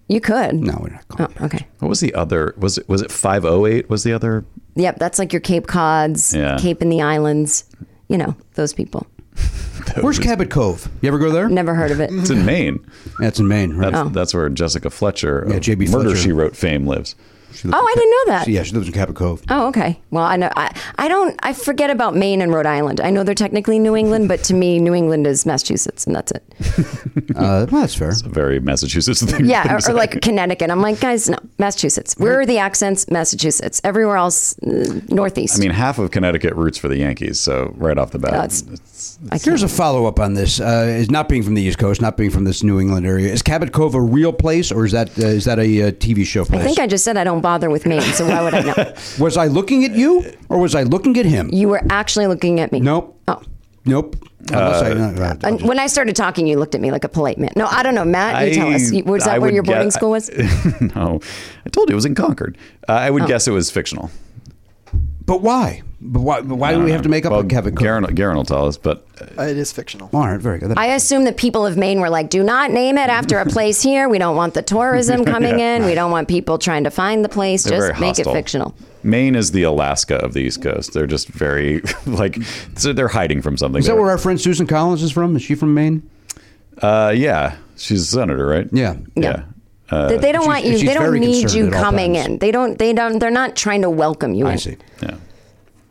Speaker 9: You could.
Speaker 2: No, we're not
Speaker 9: Oh,
Speaker 2: calling.
Speaker 9: okay.
Speaker 1: What was the other? Was it was it 508? Was the other?
Speaker 9: Yep, that's like your Cape Cods,
Speaker 1: Yeah.
Speaker 9: Cape in the Islands. You know those people. Uh,
Speaker 2: Where's Cabot Cove? You ever go there?
Speaker 9: Never heard
Speaker 2: [laughs]
Speaker 9: of it.
Speaker 1: It's in Maine.
Speaker 2: That's in Maine, right?
Speaker 1: That's, that's where Jessica Fletcher, of
Speaker 2: Oh. Yeah, J.B.
Speaker 1: Murder
Speaker 2: Fletcher.
Speaker 1: She Wrote fame lives.
Speaker 9: Oh, I didn't know that.
Speaker 2: Yeah, she lives in Cabot Cove.
Speaker 9: Oh, okay. Well, I know. I, I don't. I forget about Maine and Rhode Island. I know they're technically New England, but to me, New England is Massachusetts, and
Speaker 2: [laughs]
Speaker 9: that's it.
Speaker 2: Uh, well, that's fair.
Speaker 1: A very Massachusetts thing. [laughs]
Speaker 9: Yeah, or, or like Connecticut. I'm like, guys, no, Massachusetts. Where are the accents? Massachusetts. Everywhere else, uh, Northeast.
Speaker 1: I mean, half of Connecticut roots for the Yankees. So right off the bat,
Speaker 9: That's-
Speaker 1: it's- [laughs]
Speaker 9: I can't-
Speaker 2: Here's a follow up on this. Uh, is not being from the East Coast, not being from this New England area. Is Cabot Cove a real place, or is that uh, is that a uh, TV show place?
Speaker 9: I think I just said I don't bother with Maine, so why would
Speaker 2: [laughs]
Speaker 9: I know?
Speaker 2: was I looking at you, or was I looking at him?
Speaker 9: You were actually looking at me.
Speaker 2: Nope.
Speaker 9: Oh.
Speaker 2: Nope. Unless I- no, no,
Speaker 9: And when I started talking, you looked at me like a polite man. No, I don't know, Matt. You tell us.
Speaker 1: I-
Speaker 9: You- Was
Speaker 1: I
Speaker 9: that where
Speaker 1: would
Speaker 9: your
Speaker 1: get-
Speaker 9: boarding school was?
Speaker 1: no, I told you it was in Concord. Uh, I
Speaker 2: Oh.
Speaker 1: would guess it was fictional. Um,
Speaker 2: But why? But why, but why do we have to make up
Speaker 1: Well,
Speaker 2: a Kevin Cook?
Speaker 1: Garen, Garen will tell us, but
Speaker 8: Uh, it is fictional.
Speaker 2: All right, very good. That-
Speaker 9: I assume the people of Maine were like, do not name it after a place here. We don't want
Speaker 2: [laughs]
Speaker 9: the tourism coming in. We don't want people trying to find the place.
Speaker 1: They're
Speaker 9: Just
Speaker 1: very
Speaker 9: make
Speaker 1: hostile.
Speaker 9: it fictional.
Speaker 1: Maine is the Alaska of the East Coast. They're just very [laughs] like so they're hiding from something.
Speaker 2: is that
Speaker 1: They're-
Speaker 2: where our friend Susan Collins is from? Is she from Maine?
Speaker 1: uh, yeah, she's a senator, right?
Speaker 2: Yeah.
Speaker 1: yeah.
Speaker 9: They- they
Speaker 2: Uh,
Speaker 9: don't
Speaker 2: she's-
Speaker 9: want you.
Speaker 2: she's
Speaker 9: They don't
Speaker 2: very
Speaker 9: need
Speaker 2: concerned
Speaker 9: you
Speaker 2: at all
Speaker 9: coming
Speaker 2: times.
Speaker 9: in. They don't. They don't. They're not trying to welcome you in.
Speaker 2: I see.
Speaker 1: yeah.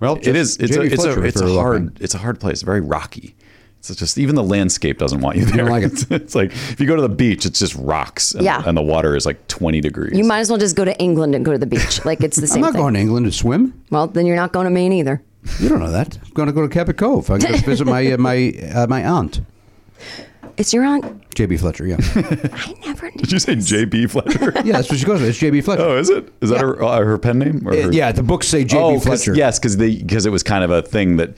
Speaker 2: Well,
Speaker 1: It is. It's a,
Speaker 2: Jamie
Speaker 1: it's a,
Speaker 2: Fletcher, if
Speaker 1: it's a
Speaker 2: you're
Speaker 1: hard.
Speaker 2: looking.
Speaker 1: It's a hard place. Very rocky. It's just even the landscape doesn't want you there.
Speaker 2: like
Speaker 1: [laughs]
Speaker 2: it.
Speaker 1: It's, it's like if you go to the beach, it's just rocks. And,
Speaker 9: Yeah.
Speaker 1: and the water is like twenty degrees.
Speaker 9: You might as well just go to England and go to the beach. Like it's the
Speaker 2: I'm
Speaker 9: same
Speaker 2: not
Speaker 9: thing.
Speaker 2: going to England to swim.
Speaker 9: Well, then you're not going to Maine either.
Speaker 2: You don't know that. I'm going to go to Cabot Cove. I'm going to visit my uh, my uh, my aunt,
Speaker 9: It's your aunt.
Speaker 2: JB
Speaker 1: [laughs]
Speaker 2: Fletcher. Yeah,
Speaker 9: I never
Speaker 1: [laughs]
Speaker 9: knew.
Speaker 1: Did
Speaker 9: [laughs]
Speaker 1: you say J.B. Fletcher? [laughs]
Speaker 2: yeah, that's what she goes with. It's JB Fletcher.
Speaker 1: Oh, is it? Is that her, uh, her pen name? Or
Speaker 2: Uh,
Speaker 1: her-
Speaker 2: yeah, the books say JB
Speaker 1: Oh, 'cause-
Speaker 2: Fletcher.
Speaker 1: yes, because because it was kind of a thing that.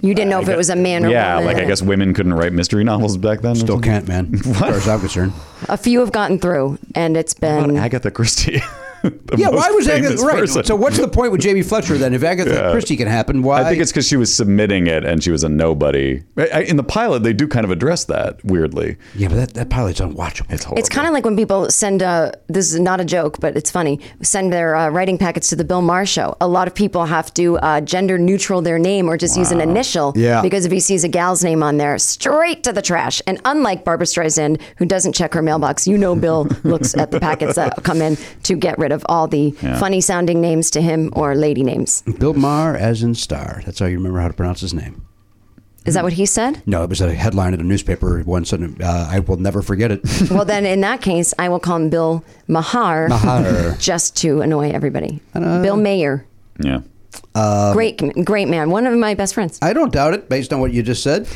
Speaker 9: You didn't know if it was a man or
Speaker 1: yeah,
Speaker 9: woman.
Speaker 1: like I guess women couldn't write mystery novels back then. or
Speaker 2: Still
Speaker 1: something.
Speaker 2: can't,
Speaker 1: [laughs]
Speaker 2: man. As far as I'm concerned.
Speaker 9: a few have gotten through, and it's
Speaker 1: What about
Speaker 9: been
Speaker 1: Agatha Christie. [laughs] the
Speaker 2: Mm. yeah,
Speaker 1: most
Speaker 2: why was
Speaker 1: famous
Speaker 2: Agatha right?
Speaker 1: person.
Speaker 2: So what's the point with Jamie Fletcher then? If Agatha Christie can happen, why?
Speaker 1: I think it's because she was submitting it and she was a nobody. I, I, in the pilot, they do kind of address that weirdly.
Speaker 2: yeah, but that, that pilot's unwatchable. It's
Speaker 9: It's kind of like when people send, uh, this is not a joke, but it's funny, send their uh, writing packets to the Bill Maher show. A lot of people have to uh, gender neutral their name or just use an initial.
Speaker 2: Yeah.
Speaker 9: Because if he sees a gal's name on there, straight to the trash. And unlike Barbara Streisand, who doesn't check her mailbox, you know Bill
Speaker 2: [laughs]
Speaker 9: looks at the packets that come in to get rid of all the funny sounding names to him or lady names.
Speaker 2: Bill Maher as in star. That's how you remember how to pronounce his name.
Speaker 9: Is that what he
Speaker 2: [laughs]
Speaker 9: said?
Speaker 2: No, it was a headline in a newspaper once, and uh, I will never forget it.
Speaker 9: Well, then in that case, I will call him Bill Mahar,
Speaker 2: Maher.
Speaker 9: just to annoy everybody. Bill Mayer.
Speaker 1: Yeah.
Speaker 9: great, great man. One of my best friends.
Speaker 2: Um, I don't doubt it, based on what you just said.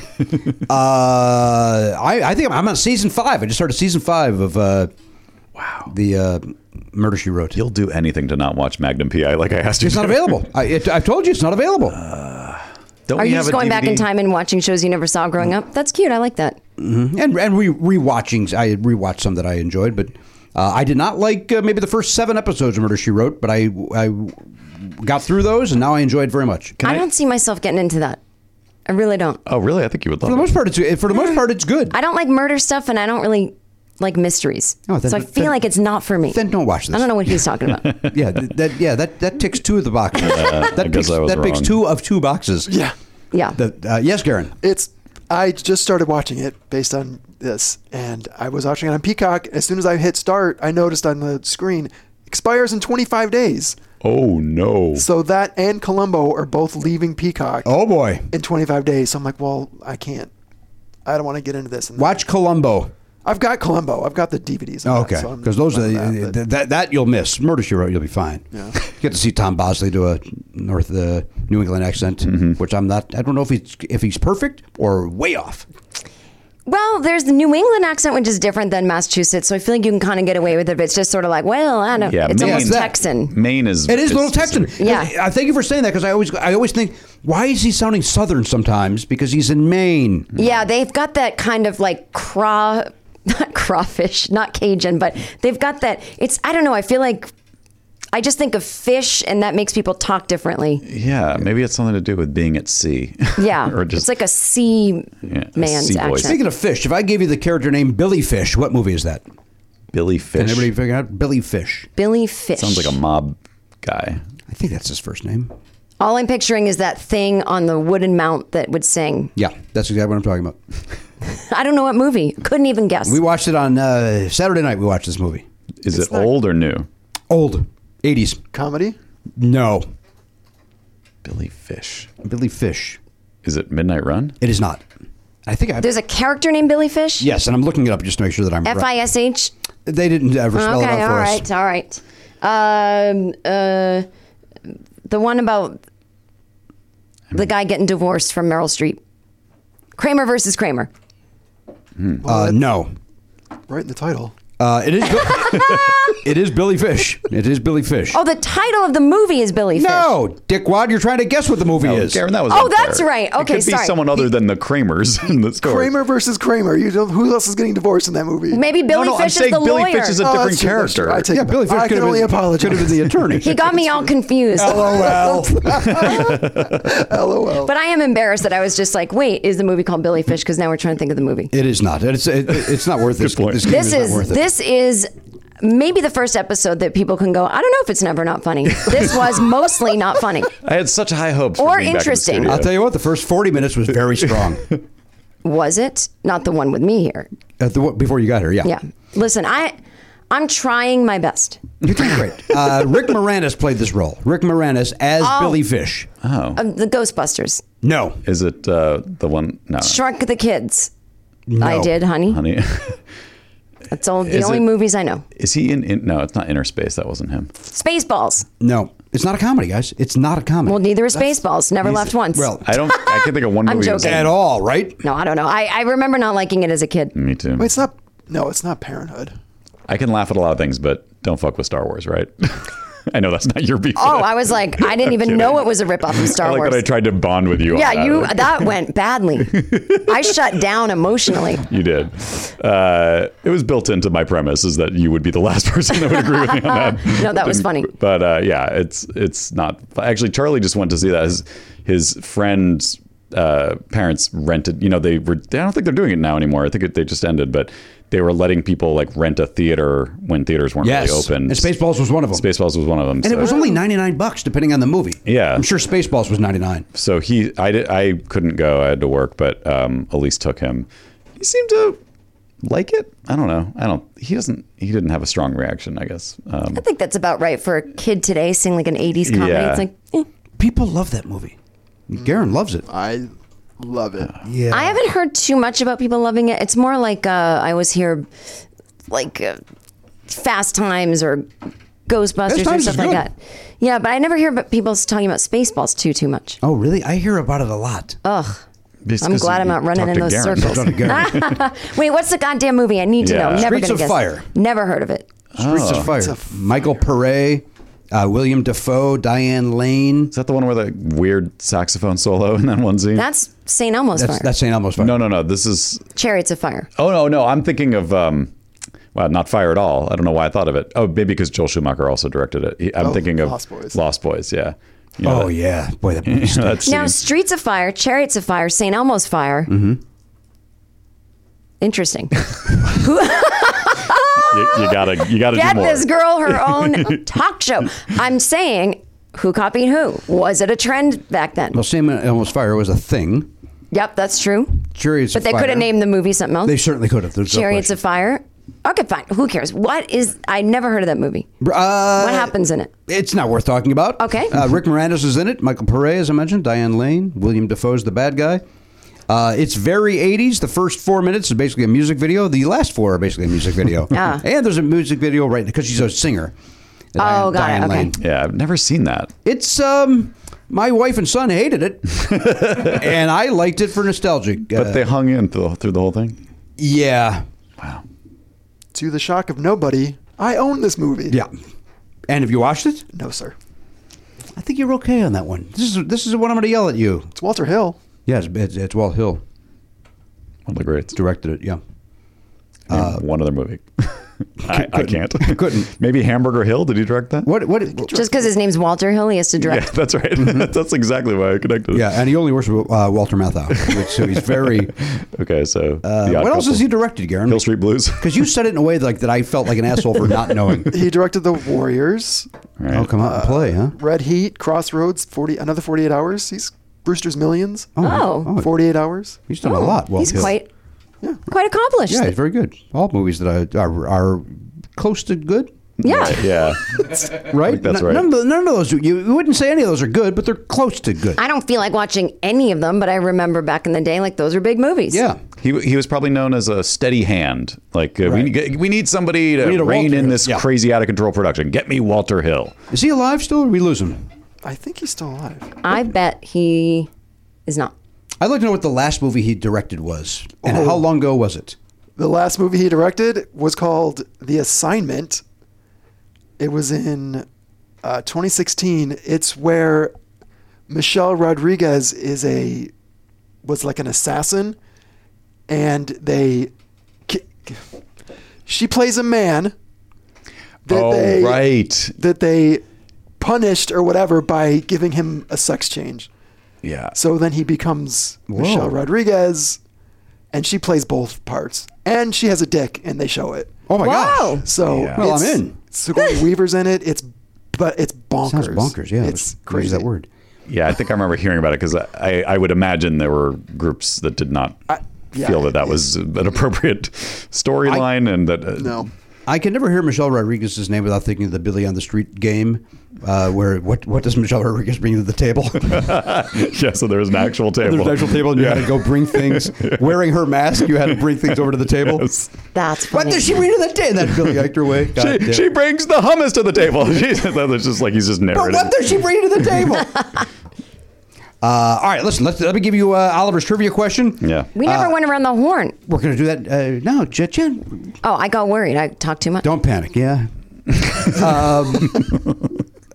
Speaker 2: uh, I, I think I'm on season five. I just started season five of uh, wow the uh, Murder
Speaker 1: [laughs]
Speaker 2: She Wrote.
Speaker 1: You'll do anything to not watch Magnum PI like I asked you.
Speaker 2: It's not
Speaker 1: to.
Speaker 2: available. I, it, I've told you it's not available.
Speaker 1: Don't
Speaker 9: Are
Speaker 1: we
Speaker 9: you
Speaker 1: have
Speaker 9: just
Speaker 1: a
Speaker 9: going back
Speaker 1: DVD?
Speaker 9: in time and watching shows you never saw growing
Speaker 2: Mm-hmm.
Speaker 9: up? That's cute. I like that.
Speaker 2: and and re rewatchings. I had rewatched some that I enjoyed, but uh, I did not like uh, maybe the first seven episodes of Murder She Wrote. But I I got through those, and now I Um, enjoy it very much.
Speaker 9: I, don't see myself getting into that. I really don't.
Speaker 1: Oh, really? I think you would
Speaker 2: For
Speaker 1: love
Speaker 2: the
Speaker 1: it.
Speaker 2: most part, it's for the most part it's good.
Speaker 9: Mm. I don't like murder stuff, and I don't really like mysteries.
Speaker 2: Oh, then-
Speaker 9: so I feel
Speaker 2: then-
Speaker 9: like it's not for me.
Speaker 2: then don't watch this.
Speaker 9: I don't know what he's talking
Speaker 2: [laughs]
Speaker 9: about.
Speaker 2: yeah, th- that yeah that that ticks two of the
Speaker 1: [laughs]
Speaker 2: boxes.
Speaker 1: I
Speaker 2: that
Speaker 1: guess
Speaker 2: picks,
Speaker 1: I was
Speaker 2: that picks
Speaker 1: wrong.
Speaker 2: two of two boxes.
Speaker 8: Yeah.
Speaker 9: Yeah.
Speaker 2: That, uh, yes, Garen.
Speaker 8: It's. I just started watching it based on this, and I was watching it on Peacock. As soon as I hit start, I noticed on the screen expires in 25 days.
Speaker 1: Oh no.
Speaker 8: So that and Columbo are both leaving Peacock
Speaker 2: Oh boy,
Speaker 8: in 25 days. So I'm like, well, I can't. I don't want to get into this. And that.
Speaker 2: watch Columbo.
Speaker 8: I've got Columbo. I've got the DVDs. on
Speaker 2: Oh,
Speaker 8: that,
Speaker 2: okay,
Speaker 8: so I'm
Speaker 2: because those are
Speaker 8: fine with
Speaker 2: the,
Speaker 8: that,
Speaker 2: that, that you'll miss. Murder She Wrote, you'll be fine. [laughs] Get to see Tom Bosley do a North uh, New England accent,
Speaker 1: Mm-hmm.
Speaker 2: which I'm not. I don't know if he's if he's perfect or way off.
Speaker 9: Well, there's the New England accent, which is different than Massachusetts. So I feel like you can kind of get away with it. But it's just sort of like, well, I don't.
Speaker 1: Yeah,
Speaker 9: it's
Speaker 1: Maine-
Speaker 9: almost
Speaker 2: Yes, that-
Speaker 9: Texan.
Speaker 1: Maine is.
Speaker 2: It is a little Texan.
Speaker 9: Yeah.
Speaker 2: I thank you for saying that because I always I always think why is he sounding Southern sometimes because he's in Maine.
Speaker 9: Yeah, they've got that kind of like craw, [laughs] not crawfish, not Cajun, but they've got that. It's I don't know. I feel like I just think of fish, and that makes people talk differently.
Speaker 1: Yeah, maybe it's something to do with being at sea. [laughs]
Speaker 9: Yeah,
Speaker 1: or just
Speaker 9: it's like a sea
Speaker 1: Yeah, a
Speaker 9: man's
Speaker 1: sea voice.
Speaker 9: accent.
Speaker 2: Speaking of fish, if I gave you the character name Billy Fish, what movie is that?
Speaker 1: Billy
Speaker 2: Can
Speaker 1: Fish.
Speaker 2: everybody figure out Billy Fish?
Speaker 9: Billy Fish.
Speaker 1: Sounds like a mob guy.
Speaker 2: I think that's his first name.
Speaker 9: All I'm picturing is that thing on the wooden mount that would sing.
Speaker 2: Yeah, that's exactly what I'm talking about.
Speaker 9: I don't know what movie. Couldn't even guess.
Speaker 2: We watched it on uh, Saturday night. We watched this movie.
Speaker 1: Is it old or new?
Speaker 2: Old, 80s.
Speaker 8: comedy.
Speaker 2: Uh, No,
Speaker 1: Billy Fish.
Speaker 2: Billy Fish.
Speaker 1: Is it Midnight Run?
Speaker 2: It is not. I think I.
Speaker 9: There's a character named Billy Fish.
Speaker 2: yes, and I'm looking it up just to make sure that I'm
Speaker 9: F I
Speaker 2: right.
Speaker 9: S H.
Speaker 2: They didn't ever spell it
Speaker 9: Okay.
Speaker 2: out
Speaker 9: All
Speaker 2: for
Speaker 9: right.
Speaker 2: us.
Speaker 9: All right. Um, uh, the one about the guy getting divorced from Meryl Streep. Kramer versus Kramer.
Speaker 2: Uh, no,
Speaker 8: Right in the title.
Speaker 2: uh, it is. Bill- [laughs] it is Billy Fish. It is Billy Fish.
Speaker 9: Oh, the title of the movie is Billy Fish.
Speaker 2: no, Dick Wad, you're trying to guess what the movie
Speaker 1: No,
Speaker 2: is.
Speaker 1: Karen, that was
Speaker 9: Oh,
Speaker 1: unfair.
Speaker 9: that's right.
Speaker 1: It
Speaker 9: Okay,
Speaker 1: could be
Speaker 9: sorry.
Speaker 1: someone other than the Kramers [laughs] in the story.
Speaker 8: Kramer versus Kramer. You don't, who else is getting divorced in that movie?
Speaker 9: Maybe
Speaker 1: No,
Speaker 9: Billy
Speaker 1: no, I'm
Speaker 9: Fish is
Speaker 1: saying
Speaker 9: the
Speaker 1: Billy
Speaker 9: lawyer.
Speaker 1: Fish is a
Speaker 8: Oh,
Speaker 1: different
Speaker 8: that's true, that's true.
Speaker 1: character.
Speaker 8: I take
Speaker 2: yeah,
Speaker 8: it
Speaker 2: Billy
Speaker 8: back.
Speaker 2: Fish could
Speaker 8: I can
Speaker 2: have
Speaker 8: only
Speaker 2: been,
Speaker 8: apologize.
Speaker 2: Could have been the attorney.
Speaker 9: [laughs] he got me all confused.
Speaker 2: Oh,
Speaker 8: LOL. LOL.
Speaker 9: But I am embarrassed that I was just like, wait, is the movie called Billy Fish? Because now we're trying to think of the movie.
Speaker 2: it is not. It's it, it's not worth this.
Speaker 1: point.
Speaker 2: This, game
Speaker 9: This
Speaker 2: not
Speaker 9: is
Speaker 2: worth it.
Speaker 9: this is maybe the first episode that people can go. I don't know if it's never not funny. This was mostly not funny.
Speaker 1: I had such high hopes. for being
Speaker 9: Or
Speaker 1: back in the
Speaker 9: interesting.
Speaker 1: studio.
Speaker 2: I'll tell you what. The first 40 minutes was very strong.
Speaker 9: Was it not the one with me here?
Speaker 2: At the, one- before you got here, yeah.
Speaker 9: Yeah. Listen, I I'm trying my best.
Speaker 2: You're doing great. Uh, Rick Moranis played this role. Rick Moranis as
Speaker 9: Oh.
Speaker 2: Billy Fish.
Speaker 9: Uh, the Ghostbusters,
Speaker 2: No.
Speaker 1: Oh. Is it uh, the one? No, no.
Speaker 9: Shrunk the Kids. I
Speaker 2: No.
Speaker 9: did, honey.
Speaker 1: honey.
Speaker 9: That's all the
Speaker 1: Is
Speaker 9: only
Speaker 1: it-
Speaker 9: movies I know.
Speaker 1: [laughs] Is he in, in? No, it's not Inner Space. That wasn't him.
Speaker 9: Spaceballs.
Speaker 2: No. It's not a comedy, guys. It's not a comedy.
Speaker 9: Well, neither is Spaceballs. Never left once.
Speaker 2: well,
Speaker 1: I don't. I can think of one
Speaker 9: [laughs] I'm
Speaker 1: movie.
Speaker 9: joking.
Speaker 2: at all, right?
Speaker 9: no, I don't know. I, I remember not liking it as
Speaker 1: [laughs]
Speaker 9: a kid.
Speaker 1: Me too.
Speaker 8: Wait, it's not. No, it's not Parenthood.
Speaker 1: I can laugh at a lot of things, but don't fuck with Star Wars, right? [laughs] I know that's not your beef.
Speaker 9: Oh,
Speaker 1: [laughs]
Speaker 9: I was like, I didn't even know it was a ripoff of Star
Speaker 1: I like
Speaker 9: Wars.
Speaker 1: that I tried to bond with you. on
Speaker 9: yeah,
Speaker 1: that.
Speaker 9: you that
Speaker 1: [laughs]
Speaker 9: went badly. I shut down emotionally.
Speaker 1: You did. Uh, it was built into my premise is that you would be the last [laughs] person that would agree with me on [laughs] that.
Speaker 9: Uh, No, that was funny.
Speaker 1: But uh, yeah, it's it's not actually. Charlie just went to see that his his friend's uh, parents rented. You know, they were. I don't think they're doing it now anymore. I think it, they just ended, but they were letting people like rent a theater when theaters weren't
Speaker 2: Yes.
Speaker 1: really open.
Speaker 2: And Spaceballs was one of them.
Speaker 1: Spaceballs was one of them.
Speaker 2: And it
Speaker 1: so-
Speaker 2: was only 99 bucks depending on the movie.
Speaker 1: Yeah.
Speaker 2: I'm sure Spaceballs was 99.
Speaker 1: so he I, di- I couldn't go i had to work but um elise took him he seemed to like it i don't know i don't he doesn't he didn't have a strong reaction i guess um
Speaker 9: I think that's about right for a kid today seeing like an 80s comedy.
Speaker 1: Yeah.
Speaker 9: It's like, eh.
Speaker 2: People love that movie. Garen loves it.
Speaker 8: I love it.
Speaker 2: Yeah.
Speaker 9: I haven't heard too much about people loving it. It's more like uh, I always hear like uh, Fast Times or
Speaker 2: Fast
Speaker 9: Ghostbusters or
Speaker 2: Times
Speaker 9: stuff
Speaker 2: is
Speaker 9: like
Speaker 2: good.
Speaker 9: that. Yeah, but I never hear about people talking about Spaceballs too too much.
Speaker 2: oh, really? I hear about it a lot.
Speaker 1: it's
Speaker 9: I'm
Speaker 1: 'cause
Speaker 9: glad
Speaker 1: you
Speaker 9: I'm not running
Speaker 1: talked to
Speaker 9: in those
Speaker 1: Garen.
Speaker 9: circles.
Speaker 2: Don't Garen.
Speaker 9: [laughs] Wait, what's the goddamn movie? I need to know.
Speaker 1: Yeah.
Speaker 9: I'm never
Speaker 2: Streets
Speaker 9: gonna
Speaker 2: of
Speaker 9: guess.
Speaker 2: Fire.
Speaker 9: Never heard of it.
Speaker 2: Streets of Fire. Michael Pere, uh, William Defoe, Diane Lane.
Speaker 1: is that the one with a weird saxophone solo in that one scene
Speaker 9: That's St. Elmo's
Speaker 2: Mm. That's
Speaker 9: Fire.
Speaker 2: that's St. Elmo's Fire.
Speaker 1: no no no this is
Speaker 9: Chariots of Fire.
Speaker 1: oh no no i'm thinking of um well, not fire at all. I don't know why I thought of it. Oh, maybe because Joel Schumacher also directed it. He- I'm thinking of
Speaker 8: Lost Boys.
Speaker 1: Lost Boys, yeah. You know
Speaker 2: Oh
Speaker 1: that-
Speaker 2: yeah, boy, that movie.
Speaker 1: you [laughs] know that
Speaker 9: Now,
Speaker 1: scene?
Speaker 9: Streets of Fire, Chariots of Fire, St. Elmo's Fire. Mm-hmm. Interesting.
Speaker 1: you, you gotta, you gotta
Speaker 9: Get
Speaker 1: do more.
Speaker 9: this girl her
Speaker 2: [laughs]
Speaker 9: own talk show. I'm saying, who copied who? Was it a trend back then?
Speaker 2: well, St. Elmo's Fire was a thing.
Speaker 9: Yep, that's true.
Speaker 2: Chariots
Speaker 9: But
Speaker 2: of
Speaker 9: they
Speaker 2: Fire.
Speaker 9: could have named the movie something else.
Speaker 2: They certainly could have. There's no
Speaker 9: Chariots
Speaker 2: question.
Speaker 9: of Fire. Okay, fine. Who cares? What is? I never heard of that movie.
Speaker 2: Uh,
Speaker 9: what happens in it?
Speaker 2: It's not worth talking about.
Speaker 9: Okay.
Speaker 2: Uh, Rick Moranis is in it. Michael Pere, as I mentioned. Diane Lane. William Defoe's the bad guy. Uh, it's very 80s. The first four minutes is basically a music video. The last four are basically a music video.
Speaker 9: [laughs] Ah.
Speaker 2: And there's a music video right because she's a singer. Oh,
Speaker 9: got it. Okay.
Speaker 1: yeah, I've never seen that.
Speaker 2: It's um, my wife and son
Speaker 1: [laughs]
Speaker 2: hated it, and I liked it for nostalgic.
Speaker 1: But
Speaker 2: uh,
Speaker 1: they hung in through, through the whole thing.
Speaker 2: yeah,
Speaker 8: To the shock of nobody, I own this movie.
Speaker 2: yeah. And have you watched it?
Speaker 8: No, sir.
Speaker 2: I think you're okay on that one. This is this is the one I'm going to yell at you.
Speaker 8: It's Walter Hill.
Speaker 2: Yes, it's, it's Walt Hill
Speaker 1: One of the greats.
Speaker 2: directed it. Yeah.
Speaker 1: Name one other movie. [laughs] I, I can't.
Speaker 2: Uh, [laughs] couldn't.
Speaker 1: Maybe Hamburger Hill. Did he direct that?
Speaker 2: What what?
Speaker 9: Just because his name's Walter Hill, he has to direct.
Speaker 1: Yeah, [laughs] that's right.
Speaker 2: Mm-hmm.
Speaker 1: that's exactly why I connected. it.
Speaker 2: Yeah, and he only works with uh, Walter Matthau, which, so
Speaker 1: [laughs]
Speaker 2: he's very.
Speaker 1: Okay, so
Speaker 2: Uh, what else has he directed, Garen?
Speaker 1: Hill Street Blues.
Speaker 2: [laughs] Because you said it in a way like that, I felt like an asshole for not
Speaker 1: [laughs]
Speaker 2: knowing.
Speaker 8: He directed The Warriors,
Speaker 1: Right.
Speaker 2: I'll come out and play, huh?
Speaker 8: Red Heat, Crossroads, 40, another 48 hours. He's Brewster's Millions,
Speaker 9: Oh,
Speaker 2: Oh,
Speaker 8: 48 hours.
Speaker 2: he's done a lot. Walt
Speaker 9: he's
Speaker 2: Hill.
Speaker 9: quite quite accomplished.
Speaker 2: Yeah, it's very good. All movies that are, are, are close to good,
Speaker 9: Yeah.
Speaker 1: Yeah.
Speaker 2: right?
Speaker 1: that's
Speaker 2: N-
Speaker 1: right.
Speaker 2: None of, the- none of those, you, you wouldn't say any of those are good, but they're close to good.
Speaker 9: I don't feel like watching any of them, but I remember back in the day, like those were big movies.
Speaker 2: yeah.
Speaker 1: He, he was probably known as a steady hand. Like uh, we
Speaker 2: Right.
Speaker 1: need we need somebody to
Speaker 2: need a
Speaker 1: rein
Speaker 2: Walter
Speaker 1: in
Speaker 2: Hill.
Speaker 1: this
Speaker 2: Yeah.
Speaker 1: crazy out of control production. Get me Walter Hill.
Speaker 2: Is he alive still or we lose him?
Speaker 8: I think he's still alive.
Speaker 9: I bet he is not.
Speaker 2: I'd like to know what the last movie he directed was and how long ago was it?
Speaker 8: The last movie he directed was called The Assignment. It was in uh, 2016. It's where Michelle Rodriguez is a was like an assassin, and they ki- she plays a man that
Speaker 1: oh
Speaker 8: they
Speaker 1: right.
Speaker 8: that they punished or whatever by giving him a sex change.
Speaker 1: Yeah.
Speaker 8: So then he becomes Michelle Rodriguez, and she plays both parts, and she has a dick, and they show it.
Speaker 2: Oh my
Speaker 9: Wow.
Speaker 2: gosh.
Speaker 8: So
Speaker 1: Yeah.
Speaker 2: Well, I'm
Speaker 8: it's-
Speaker 2: in.
Speaker 9: [laughs]
Speaker 8: Sigourney Weaver's in it. It's but it's bonkers.
Speaker 2: Sounds bonkers, yeah.
Speaker 8: it's
Speaker 2: Let's use
Speaker 8: crazy.
Speaker 2: that word.
Speaker 1: Yeah, I think I remember hearing about it because I, I, I would imagine there were groups that did not
Speaker 8: yeah.
Speaker 1: feel that that was an appropriate storyline and that. Uh,
Speaker 8: No,
Speaker 2: I can never hear Michelle Rodriguez's name without thinking of the Billy on the Street game, uh, where what what does Michelle Rodriguez bring to the [laughs] table?
Speaker 1: [laughs] Yeah, so there was an actual table.
Speaker 2: There's an actual table, and you had to go bring things. [laughs] Wearing her mask, you had to bring things over to the table.
Speaker 9: That's
Speaker 2: What
Speaker 9: funny.
Speaker 2: does she bring to the table? That Billy Eichner way. God damn.
Speaker 1: She, she brings the hummus to the table. [laughs] She- That's just like he's just
Speaker 2: but
Speaker 1: narrating.
Speaker 2: what does she bring to the table? uh, all right, listen. Let's, let me give you uh, Oliver's trivia question.
Speaker 1: yeah.
Speaker 9: We never went around the horn.
Speaker 2: We're going to do that uh, now. Jen, Jen,
Speaker 9: Oh, I got worried. I talked too much.
Speaker 2: don't panic. Yeah. um,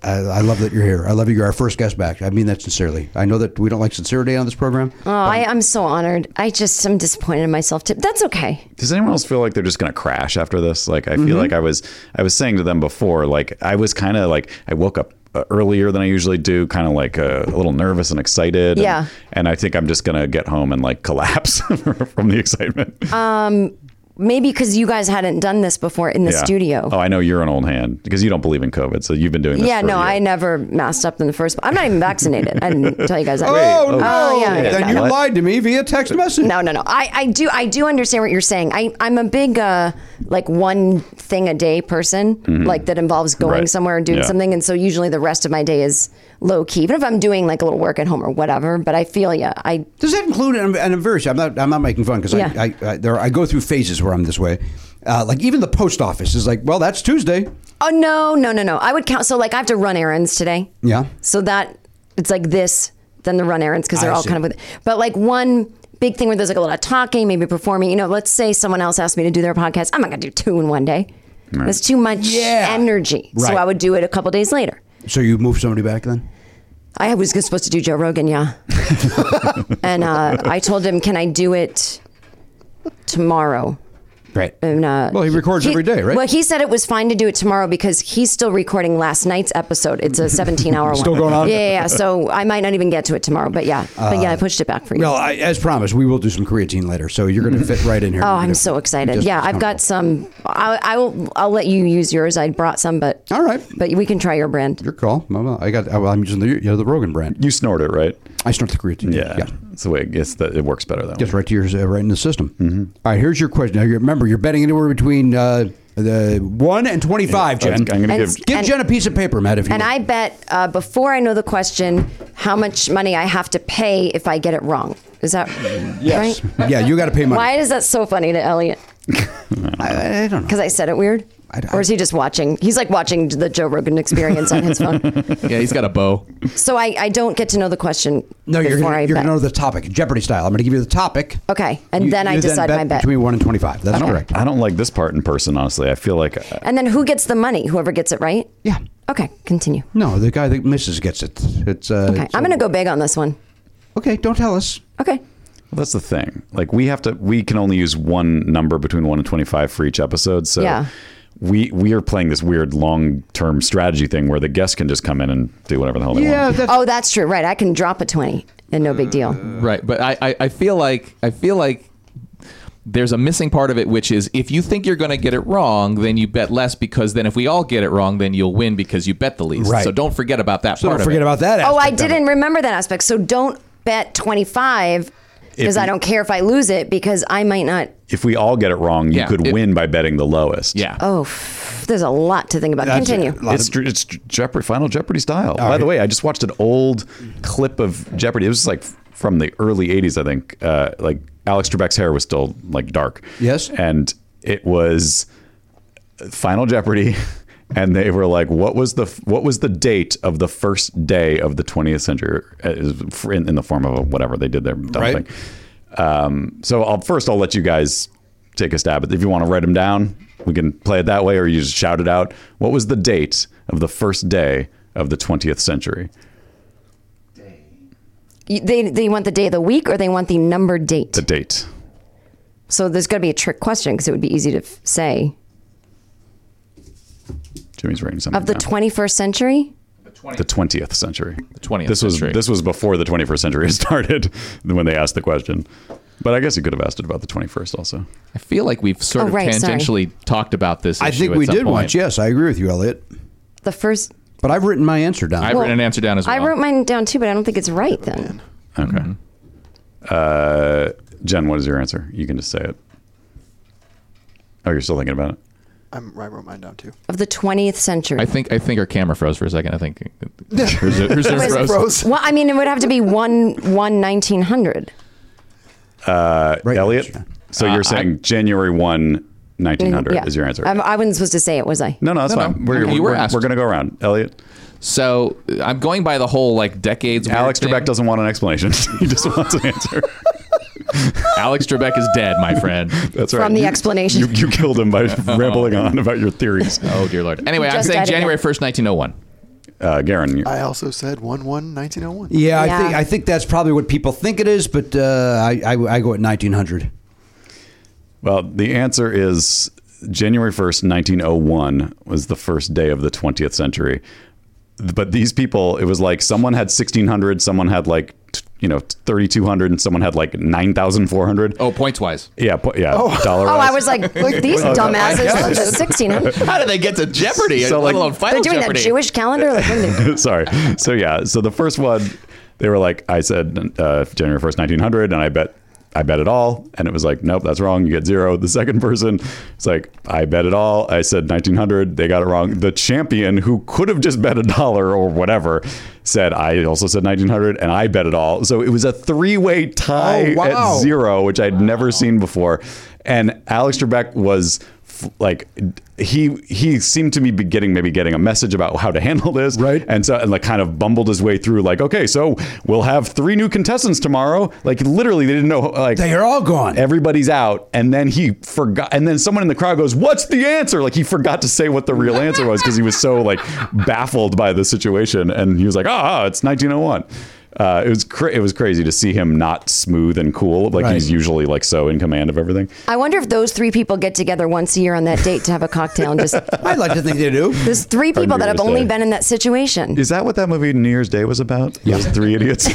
Speaker 2: I, I love that you're here. I love you. You're our first guest back. I mean that sincerely. I know that we don't like sincerity on this program.
Speaker 9: Oh, I, I'm so honored. I just am disappointed in myself. Too. That's okay.
Speaker 1: Does anyone else feel like they're just going to crash after this? Like, I feel like
Speaker 9: Mm-hmm.
Speaker 1: I was, I was saying to them before, like, I was kind of like, I woke up uh, earlier than I usually do, kind of like uh, a little nervous and excited. and-
Speaker 9: Yeah.
Speaker 1: And, I think I'm just going to get home and like [laughs] collapse from the excitement.
Speaker 9: Uh, Maybe because you guys hadn't done this before in the
Speaker 1: Yeah.
Speaker 9: studio.
Speaker 1: Oh, I know you're an old hand because you don't believe in COVID. So you've been doing this.
Speaker 9: yeah,
Speaker 1: for a
Speaker 9: no,
Speaker 1: year.
Speaker 9: I never masked up in the first. I'm not even vaccinated.
Speaker 1: [laughs]
Speaker 9: I didn't tell you guys that.
Speaker 2: Oh, no!
Speaker 9: Oh, yeah, yeah,
Speaker 2: then
Speaker 9: yeah.
Speaker 2: you
Speaker 1: What?
Speaker 2: lied to me via text message.
Speaker 9: No, no, no. I, I do I do understand what you're saying. I I'm a big uh like one thing a day person, like that involves going
Speaker 1: Mm-hmm. Right.
Speaker 9: somewhere and doing
Speaker 1: Yeah.
Speaker 9: something, and so usually the rest of my day is low key. Even if I'm doing like a little work at home or whatever, but I feel yeah, I
Speaker 2: Does that include? And I'm, and I'm very. I'm not. I'm not making fun because
Speaker 9: Yeah.
Speaker 2: I, I, I, there, I go through phases where I'm this way. Uh, like even the post office is like, well, that's Tuesday.
Speaker 9: oh no no no no. I would count. So like I have to run errands today.
Speaker 2: Yeah.
Speaker 9: So that it's like this, then the run errands because they're
Speaker 2: I
Speaker 9: all
Speaker 2: see.
Speaker 9: kind of with. But like one big thing where there's like a lot of talking, maybe performing. You know, let's say someone else asked me to do their podcast. I'm not gonna do two in one day. That's too much
Speaker 2: Yeah.
Speaker 9: energy. So
Speaker 2: Right.
Speaker 9: I would do it a couple days later.
Speaker 2: So you move somebody back then?
Speaker 9: I was just supposed to do Joe
Speaker 2: [laughs]
Speaker 9: Rogan, yeah. and uh, I told him, "Can I do it tomorrow?"
Speaker 2: Right.
Speaker 9: And, uh,
Speaker 2: Well, he records every day, right?
Speaker 9: Well, he said it was fine to do it tomorrow because he's still recording last night's episode. It's a 17-hour
Speaker 2: [laughs]
Speaker 9: one.
Speaker 2: Still going on? Uh,
Speaker 9: Yeah, yeah, yeah. So I might not even get to it tomorrow, but yeah, but yeah, I pushed it back for you.
Speaker 2: Well, I, as promised, we will do some creatine later, so you're going to fit right in here.
Speaker 9: oh, I'm so excited.
Speaker 2: Just-
Speaker 9: yeah, I've got some. I, I will. I'll let you use yours. I brought some, but
Speaker 2: All right.
Speaker 9: but we can try your brand.
Speaker 2: Your call. Well, well, I got. well, I'm using the you know, the Rogan brand.
Speaker 1: You snort it, right?
Speaker 2: I snort the creatine.
Speaker 1: Yeah. It's the way it gets that it works better though.
Speaker 2: Just right to your uh, right in the system. Mm-hmm. All right. Here's your question. Now, you- remember, you're betting anywhere between uh, the one and twenty-five, Jen.
Speaker 1: I'm going to
Speaker 9: And-
Speaker 1: give
Speaker 2: Give
Speaker 9: And-
Speaker 2: Jen a piece of paper, Matt, if you
Speaker 9: And
Speaker 2: will.
Speaker 9: I bet uh, before I know the question, how much money I have to pay if I get it wrong. Is that right?
Speaker 2: [laughs] yeah, you got to pay money.
Speaker 9: Why is that so funny to Elliot?
Speaker 2: I, I don't know.
Speaker 9: Because I said it weird.
Speaker 2: I-
Speaker 9: or is he just watching? He's like watching the Joe Rogan Experience on his
Speaker 2: [laughs]
Speaker 9: phone.
Speaker 7: Yeah, he's got a bow.
Speaker 9: So I, I don't get to know the question
Speaker 2: No, you're
Speaker 9: before
Speaker 2: gonna,
Speaker 9: I
Speaker 2: you're
Speaker 9: bet.
Speaker 2: gonna know the topic, Jeopardy style. I'm gonna give you the topic.
Speaker 9: Okay, and
Speaker 2: You-
Speaker 9: then I
Speaker 2: you
Speaker 9: decide my bet.
Speaker 2: between one and twenty-five. That's correct.
Speaker 1: I don't like this part in person, honestly. I feel like
Speaker 9: and then who gets the money? Whoever gets it right.
Speaker 2: Yeah.
Speaker 9: Okay, continue.
Speaker 2: No, the guy that misses gets it. It's uh,
Speaker 9: Okay, I'm gonna go big on this one.
Speaker 2: Okay, don't tell us.
Speaker 9: Okay.
Speaker 1: Well, that's the thing. Like we have to, we can only use one number between one and twenty-five for each episode. So
Speaker 9: Yeah.
Speaker 1: we we are playing this weird long-term strategy thing where the guest can just come in and do whatever the hell they want.
Speaker 2: that's
Speaker 9: Oh, that's true. Right, I can drop a twenty and no big deal.
Speaker 2: Uh,
Speaker 7: Right, but I, I, I feel like I feel like there's a missing part of it, which is if you think you're going to get it wrong, then you bet less because then if we all get it wrong, then you'll win because you bet the least.
Speaker 2: Right.
Speaker 7: So don't forget about that
Speaker 2: so
Speaker 7: part.
Speaker 2: don't forget
Speaker 7: of it.
Speaker 2: about that.
Speaker 9: Oh, I
Speaker 2: aspect of it.
Speaker 9: didn't remember that aspect. So don't bet 25 because
Speaker 1: If
Speaker 9: I
Speaker 1: you-
Speaker 9: don't care if I lose it because I might not.
Speaker 1: If we all get it wrong, you
Speaker 7: Yeah,
Speaker 1: could
Speaker 7: it-
Speaker 1: win by betting the lowest.
Speaker 7: Yeah.
Speaker 9: Oh, f- there's a lot to think about.
Speaker 2: That's
Speaker 9: Continue.
Speaker 2: it. A lot
Speaker 1: it's
Speaker 2: of-
Speaker 1: tr- it's tr- Jeopardy, Final Jeopardy style. By the way, I just watched an old clip of Jeopardy. It was like from the early '80s, I think. Uh, like Alex Trebek's hair was still like dark.
Speaker 2: Yes.
Speaker 1: and it was Final Jeopardy, [laughs] and they were like, "What was the what was the date of the first day of the 20th century?" Uh, is- for- In, in the form of a whatever they did their dumb
Speaker 2: Right.
Speaker 1: thing. Um, so I'll first I'll let you guys take a stab at if you want to write them down. We can play it that way, or you just shout it out. What was the date of the first day of the 20th century?
Speaker 9: You- They, they want the day of the week or they want the number date.
Speaker 1: The date.
Speaker 9: so there's going to be a trick question because it would be easy to f- say.
Speaker 1: Jimmy's writing something.
Speaker 9: Of the
Speaker 1: down.
Speaker 9: 21st century?
Speaker 1: the 20th century. The
Speaker 7: 20th
Speaker 1: This was
Speaker 7: century.
Speaker 1: this was before the 21st century [laughs] started when they asked the question. But I guess you could have asked it about the 21st also.
Speaker 7: I feel like we've sort
Speaker 9: Oh,
Speaker 7: of
Speaker 9: right, sorry.
Speaker 7: tangentially talked about this.
Speaker 2: I
Speaker 7: issue
Speaker 2: think
Speaker 7: at
Speaker 2: we
Speaker 7: some
Speaker 2: did
Speaker 7: point.
Speaker 2: once. Yes, I agree with you, Elliot.
Speaker 9: The first.
Speaker 2: But I've written my answer down.
Speaker 7: I've
Speaker 9: Well,
Speaker 7: written an answer down as well.
Speaker 9: I wrote mine down too, but I don't think it's right then.
Speaker 1: Okay.
Speaker 7: Mm-hmm.
Speaker 1: Uh, Jen, what is your answer? You can just say it. Oh, you're still thinking about it.
Speaker 8: I'm, I wrote mine down too.
Speaker 9: Of the 20th century.
Speaker 7: I think I think our camera froze for a second.
Speaker 2: [laughs]
Speaker 7: I think Here's a- here's a
Speaker 9: Where's-
Speaker 7: froze.
Speaker 8: Rose.
Speaker 9: Well, I mean, it would have to be 1 1 1900.
Speaker 2: Right.
Speaker 1: Elliot. So
Speaker 7: Uh,
Speaker 1: you're saying January 1, 1900
Speaker 9: Yeah.
Speaker 1: is your answer?
Speaker 9: I'm, I wasn't supposed to say it, was I?
Speaker 1: no, no, that's
Speaker 7: No, no.
Speaker 1: fine. We're,
Speaker 7: Okay, you were
Speaker 1: we're,
Speaker 7: asked.
Speaker 1: we're going to go around. Elliot.
Speaker 7: So uh, I'm going by the whole like decades. weird
Speaker 1: Alex
Speaker 7: thing.
Speaker 1: Trebek doesn't want an explanation. [laughs] he just wants an answer.
Speaker 7: Alex Trebek is dead, my friend.
Speaker 1: That's right.
Speaker 9: From the
Speaker 1: You-
Speaker 9: explanation.
Speaker 1: You, you [laughs] killed him by rambling on about your theories.
Speaker 9: [laughs]
Speaker 7: Oh dear lord. Anyway, I'm
Speaker 9: Just
Speaker 7: saying
Speaker 9: edited.
Speaker 7: January 1st, 1901.
Speaker 1: uh, Garen.
Speaker 8: I also said 1 1 1901.
Speaker 2: Yeah, I
Speaker 9: Yeah.
Speaker 2: think I think that's probably what people think it is, but uh, I, I I go at 1900.
Speaker 1: Well, the answer is January 1st, 1901 was the first day of the 20th century. But these people, it was like someone had 1600, someone had like, t- you know, 3200, and someone had like 9400.
Speaker 7: Oh, points wise.
Speaker 1: Yeah, po- yeah, dollar.
Speaker 9: Oh, I was like, look, these dumbasses look at
Speaker 7: [laughs]
Speaker 6: [laughs]
Speaker 9: 1600.
Speaker 6: How did they get to Jeopardy?
Speaker 1: So,
Speaker 6: let
Speaker 1: like-
Speaker 6: alone
Speaker 9: They're
Speaker 6: Final
Speaker 9: doing
Speaker 6: Jeopardy?
Speaker 9: that Jewish calendar. Like, what are they-
Speaker 1: [laughs] Sorry. So yeah. So the first one, they were like, I said uh, January first, nineteen hundred, and I bet, I bet it all, and it was like, nope, that's wrong. You get zero. The second person, it's like, I bet it all. I said nineteen hundred. They got it wrong. The champion, who could have just bet a dollar or whatever, said I also said nineteen hundred, and I bet it all. So it was a three-way tie
Speaker 2: Oh, wow.
Speaker 1: at zero, which I'd never seen before, and Alex Trebek was f- like he he seemed to me be getting maybe getting a message about how to handle this
Speaker 2: Right.
Speaker 1: and so and like kind of bumbled his way through like okay so we'll have three new contestants tomorrow like literally they didn't know like
Speaker 2: They are all gone.
Speaker 1: everybody's out and then he forgot and then someone in the crowd goes what's the answer like he forgot to say what the real answer was because he was so like baffled by the situation and he was like ah it's 1901 uh, it was cra- it was crazy to see him not smooth and cool like
Speaker 2: Right.
Speaker 1: he's usually like so in command of everything
Speaker 9: I wonder if those three people get together once a year on that date to have a cocktail and just.
Speaker 2: I'd like to think they do.
Speaker 9: There's three people that have
Speaker 1: Year's
Speaker 9: only
Speaker 1: Day.
Speaker 9: been in that situation.
Speaker 1: Is that what that movie New Year's Day was about? Those three [laughs] idiots.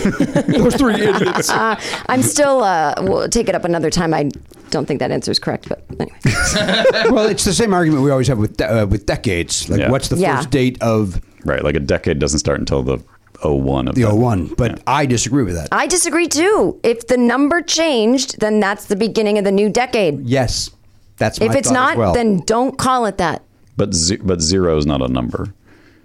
Speaker 2: Those three idiots.
Speaker 1: [laughs]
Speaker 9: [laughs] I'm still. Uh, we'll take it up another time. I don't think that answer is correct, but
Speaker 2: [laughs]
Speaker 9: anyway.
Speaker 2: well, it's the same argument we always have with de- uh, with decades. Like,
Speaker 1: Yeah.
Speaker 2: what's the
Speaker 9: Yeah.
Speaker 2: first date of
Speaker 1: right, like a decade doesn't start until the oh- 01 of
Speaker 2: the
Speaker 1: that.
Speaker 2: 01? But I disagree with that.
Speaker 9: I disagree too. If the number changed, then that's the beginning of the new decade.
Speaker 2: yes, that's my
Speaker 9: if it's
Speaker 2: thought as
Speaker 9: not,
Speaker 2: well.
Speaker 9: then don't call it that.
Speaker 1: But ze- but zero is not a number.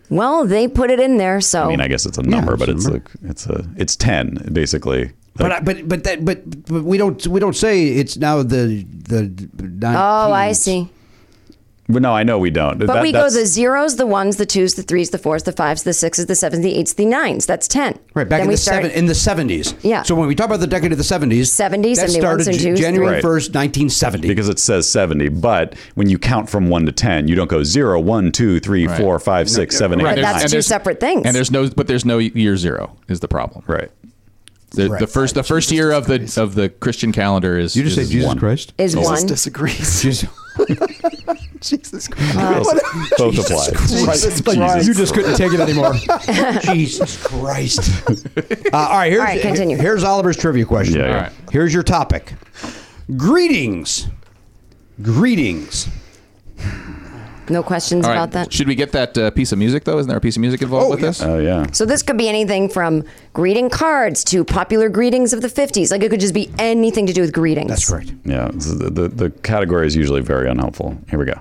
Speaker 9: Well, they put it in there, so
Speaker 1: I mean, I guess it's a number,
Speaker 2: it's
Speaker 1: but
Speaker 2: a
Speaker 1: it's
Speaker 2: number.
Speaker 1: like it's a it's 10 basically.
Speaker 2: But I, but but that but, but we don't we don't say it's now the the.
Speaker 9: Oh, I
Speaker 2: 19s.
Speaker 9: see.
Speaker 1: But no, I know we don't.
Speaker 9: But we go the zeros, the ones, the twos, the threes, the fours, the fives, the sixes, the sevens, the eights, the nines. That's ten.
Speaker 2: Right back
Speaker 9: then
Speaker 2: in
Speaker 9: we
Speaker 2: the
Speaker 9: start
Speaker 2: seven in the seventies.
Speaker 9: Yeah.
Speaker 2: So when we talk about the decade of the seventies,
Speaker 9: 70s,
Speaker 2: that
Speaker 9: 71s,
Speaker 2: started
Speaker 9: and
Speaker 2: J-
Speaker 9: twos,
Speaker 2: January
Speaker 1: Right.
Speaker 2: first, nineteen seventy. [laughs]
Speaker 1: because it says 70, but when you count from 1 to 10, you don't go 0 1 2 3 4 5 6 7 8
Speaker 9: But
Speaker 7: There's-
Speaker 9: that's
Speaker 7: and
Speaker 9: two
Speaker 7: there's-
Speaker 9: separate things.
Speaker 7: And there's no, but there's no year zero is the problem.
Speaker 1: Right.
Speaker 7: The, the first, the first year of the of the Christian calendar is. is one.
Speaker 2: Christ?
Speaker 9: is
Speaker 8: Jesus
Speaker 9: one.
Speaker 8: disagrees. [laughs]
Speaker 2: [laughs]
Speaker 8: Jesus Christ.
Speaker 9: Uh,
Speaker 1: Both apply.
Speaker 8: Jesus Christ.
Speaker 2: You just couldn't take it anymore. [laughs] Jesus Christ! [laughs] Uh, all right, here's,
Speaker 9: All right, continue.
Speaker 2: here's Oliver's trivia question.
Speaker 1: Yeah, yeah.
Speaker 7: All right.
Speaker 2: Here's your topic. Greetings. Greetings.
Speaker 9: No questions
Speaker 7: All right.
Speaker 9: about that.
Speaker 7: Should we get that uh, piece of music though? Isn't there a piece of music involved
Speaker 2: Oh,
Speaker 7: with this?
Speaker 1: Oh yeah.
Speaker 9: So this could be anything from greeting cards to popular greetings of the 50s. Like it could just be anything to do with greetings.
Speaker 2: That's correct.
Speaker 1: Yeah, so the, the the category is usually very unhelpful. Here we go.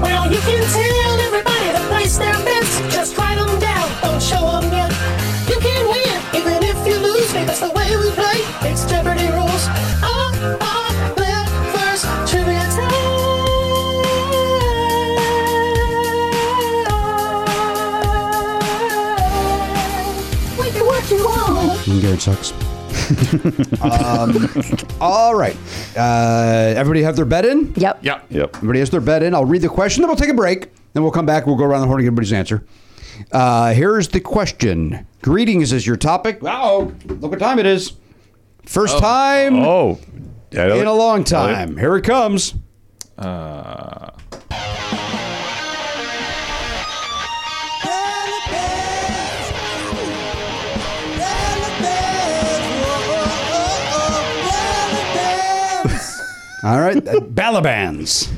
Speaker 10: Well, you can tell everybody to place their bets. Just write them down, don't show them yet. You can win, even if you lose, because the way we play, it's Jeopardy rules. Up, up, left, first, trivia time. We can work you on.
Speaker 2: Garrett sucks. [laughs] um, all right. Uh, everybody have their bet in?
Speaker 9: Yep.
Speaker 7: Yeah.
Speaker 1: Yep.
Speaker 2: Everybody has their bet in. I'll read the question, then we'll take a break. Then we'll come back. We'll go around the horn and get everybody's answer. Uh, here's the question. Greetings is your topic. Wow. Look what time it is. First time
Speaker 1: Oh.
Speaker 2: in a long time. Here it comes.
Speaker 9: Uh,
Speaker 2: All right. uh, Balabans.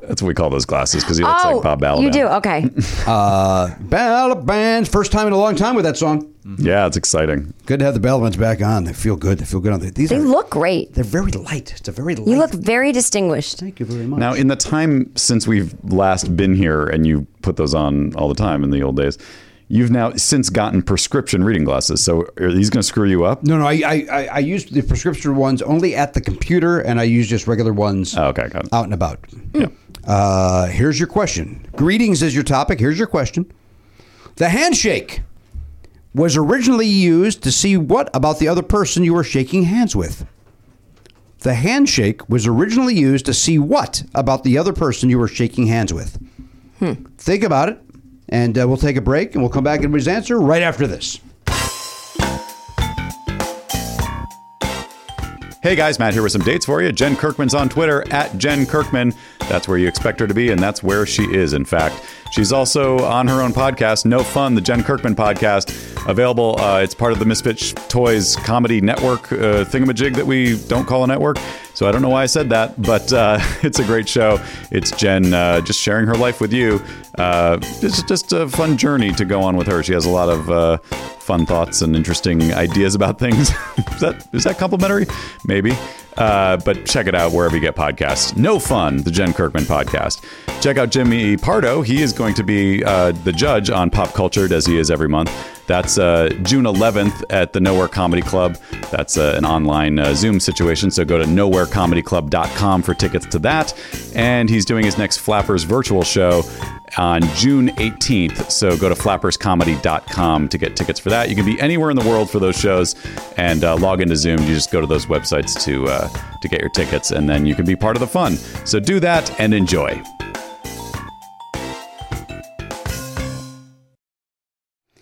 Speaker 1: That's what we call those glasses because he looks
Speaker 9: Oh,
Speaker 1: like Bob Balaban.
Speaker 9: you do. Okay.
Speaker 2: Balabans. First time in a long time with that song.
Speaker 1: Yeah, it's exciting.
Speaker 2: Good to have the Balabans back on. They feel good. They feel good on the, these.
Speaker 9: They
Speaker 2: are,
Speaker 9: look great.
Speaker 2: They're very light. It's a very light.
Speaker 9: You look very distinguished.
Speaker 2: Thank you very much.
Speaker 1: Now, in the time since we've last been here, and you put those on all the time in the old days, you've now since gotten prescription reading glasses. So are these going to screw you up?
Speaker 2: No, no, I, I, I- I used the prescription ones only at the computer, and I use just regular ones
Speaker 1: Oh, okay, got it.
Speaker 2: out and about. Uh, here's your question. Greetings is your topic. Here's your question. The handshake was originally used to see what about the other person you were shaking hands with. The handshake was originally used to see what about the other person you were shaking hands with. Think about it. And uh, we'll take a break and we'll come back and his answer right after this.
Speaker 1: Hey guys, Matt here with some dates for you. Jen Kirkman's on Twitter at Jen Kirkman. That's where you expect her to be, and that's where she is, in fact. She's also on her own podcast, No Fun, the Jen Kirkman podcast, available. Uh, it's part of the Misfit Toys Comedy Network uh, thingamajig that we don't call a network. So I don't know why I said that, but uh, [laughs] it's a great show. It's Jen uh, just sharing her life with you. Uh, it's just a fun journey to go on with her. She has a lot of uh, fun thoughts and interesting ideas about things. [laughs] is that is that complimentary? Maybe. Uh, but check it out wherever you get podcasts. No fun, the Jen Kirkman podcast. Check out Jimmy Pardo. He is going to be uh, the judge on Pop Cultured as he is every month. That's uh, June 11th at the Nowhere Comedy Club. That's uh, an online uh, Zoom situation. So go to nowherecomedyclub.com for tickets to that. And he's doing his next Flappers virtual show on June 18th. So go to flapperscomedy.com to get tickets for that. You can be anywhere in the world for those shows and uh, log into Zoom. You just go to those websites to uh, to get your tickets, and then you can be part of the fun. So do that and enjoy.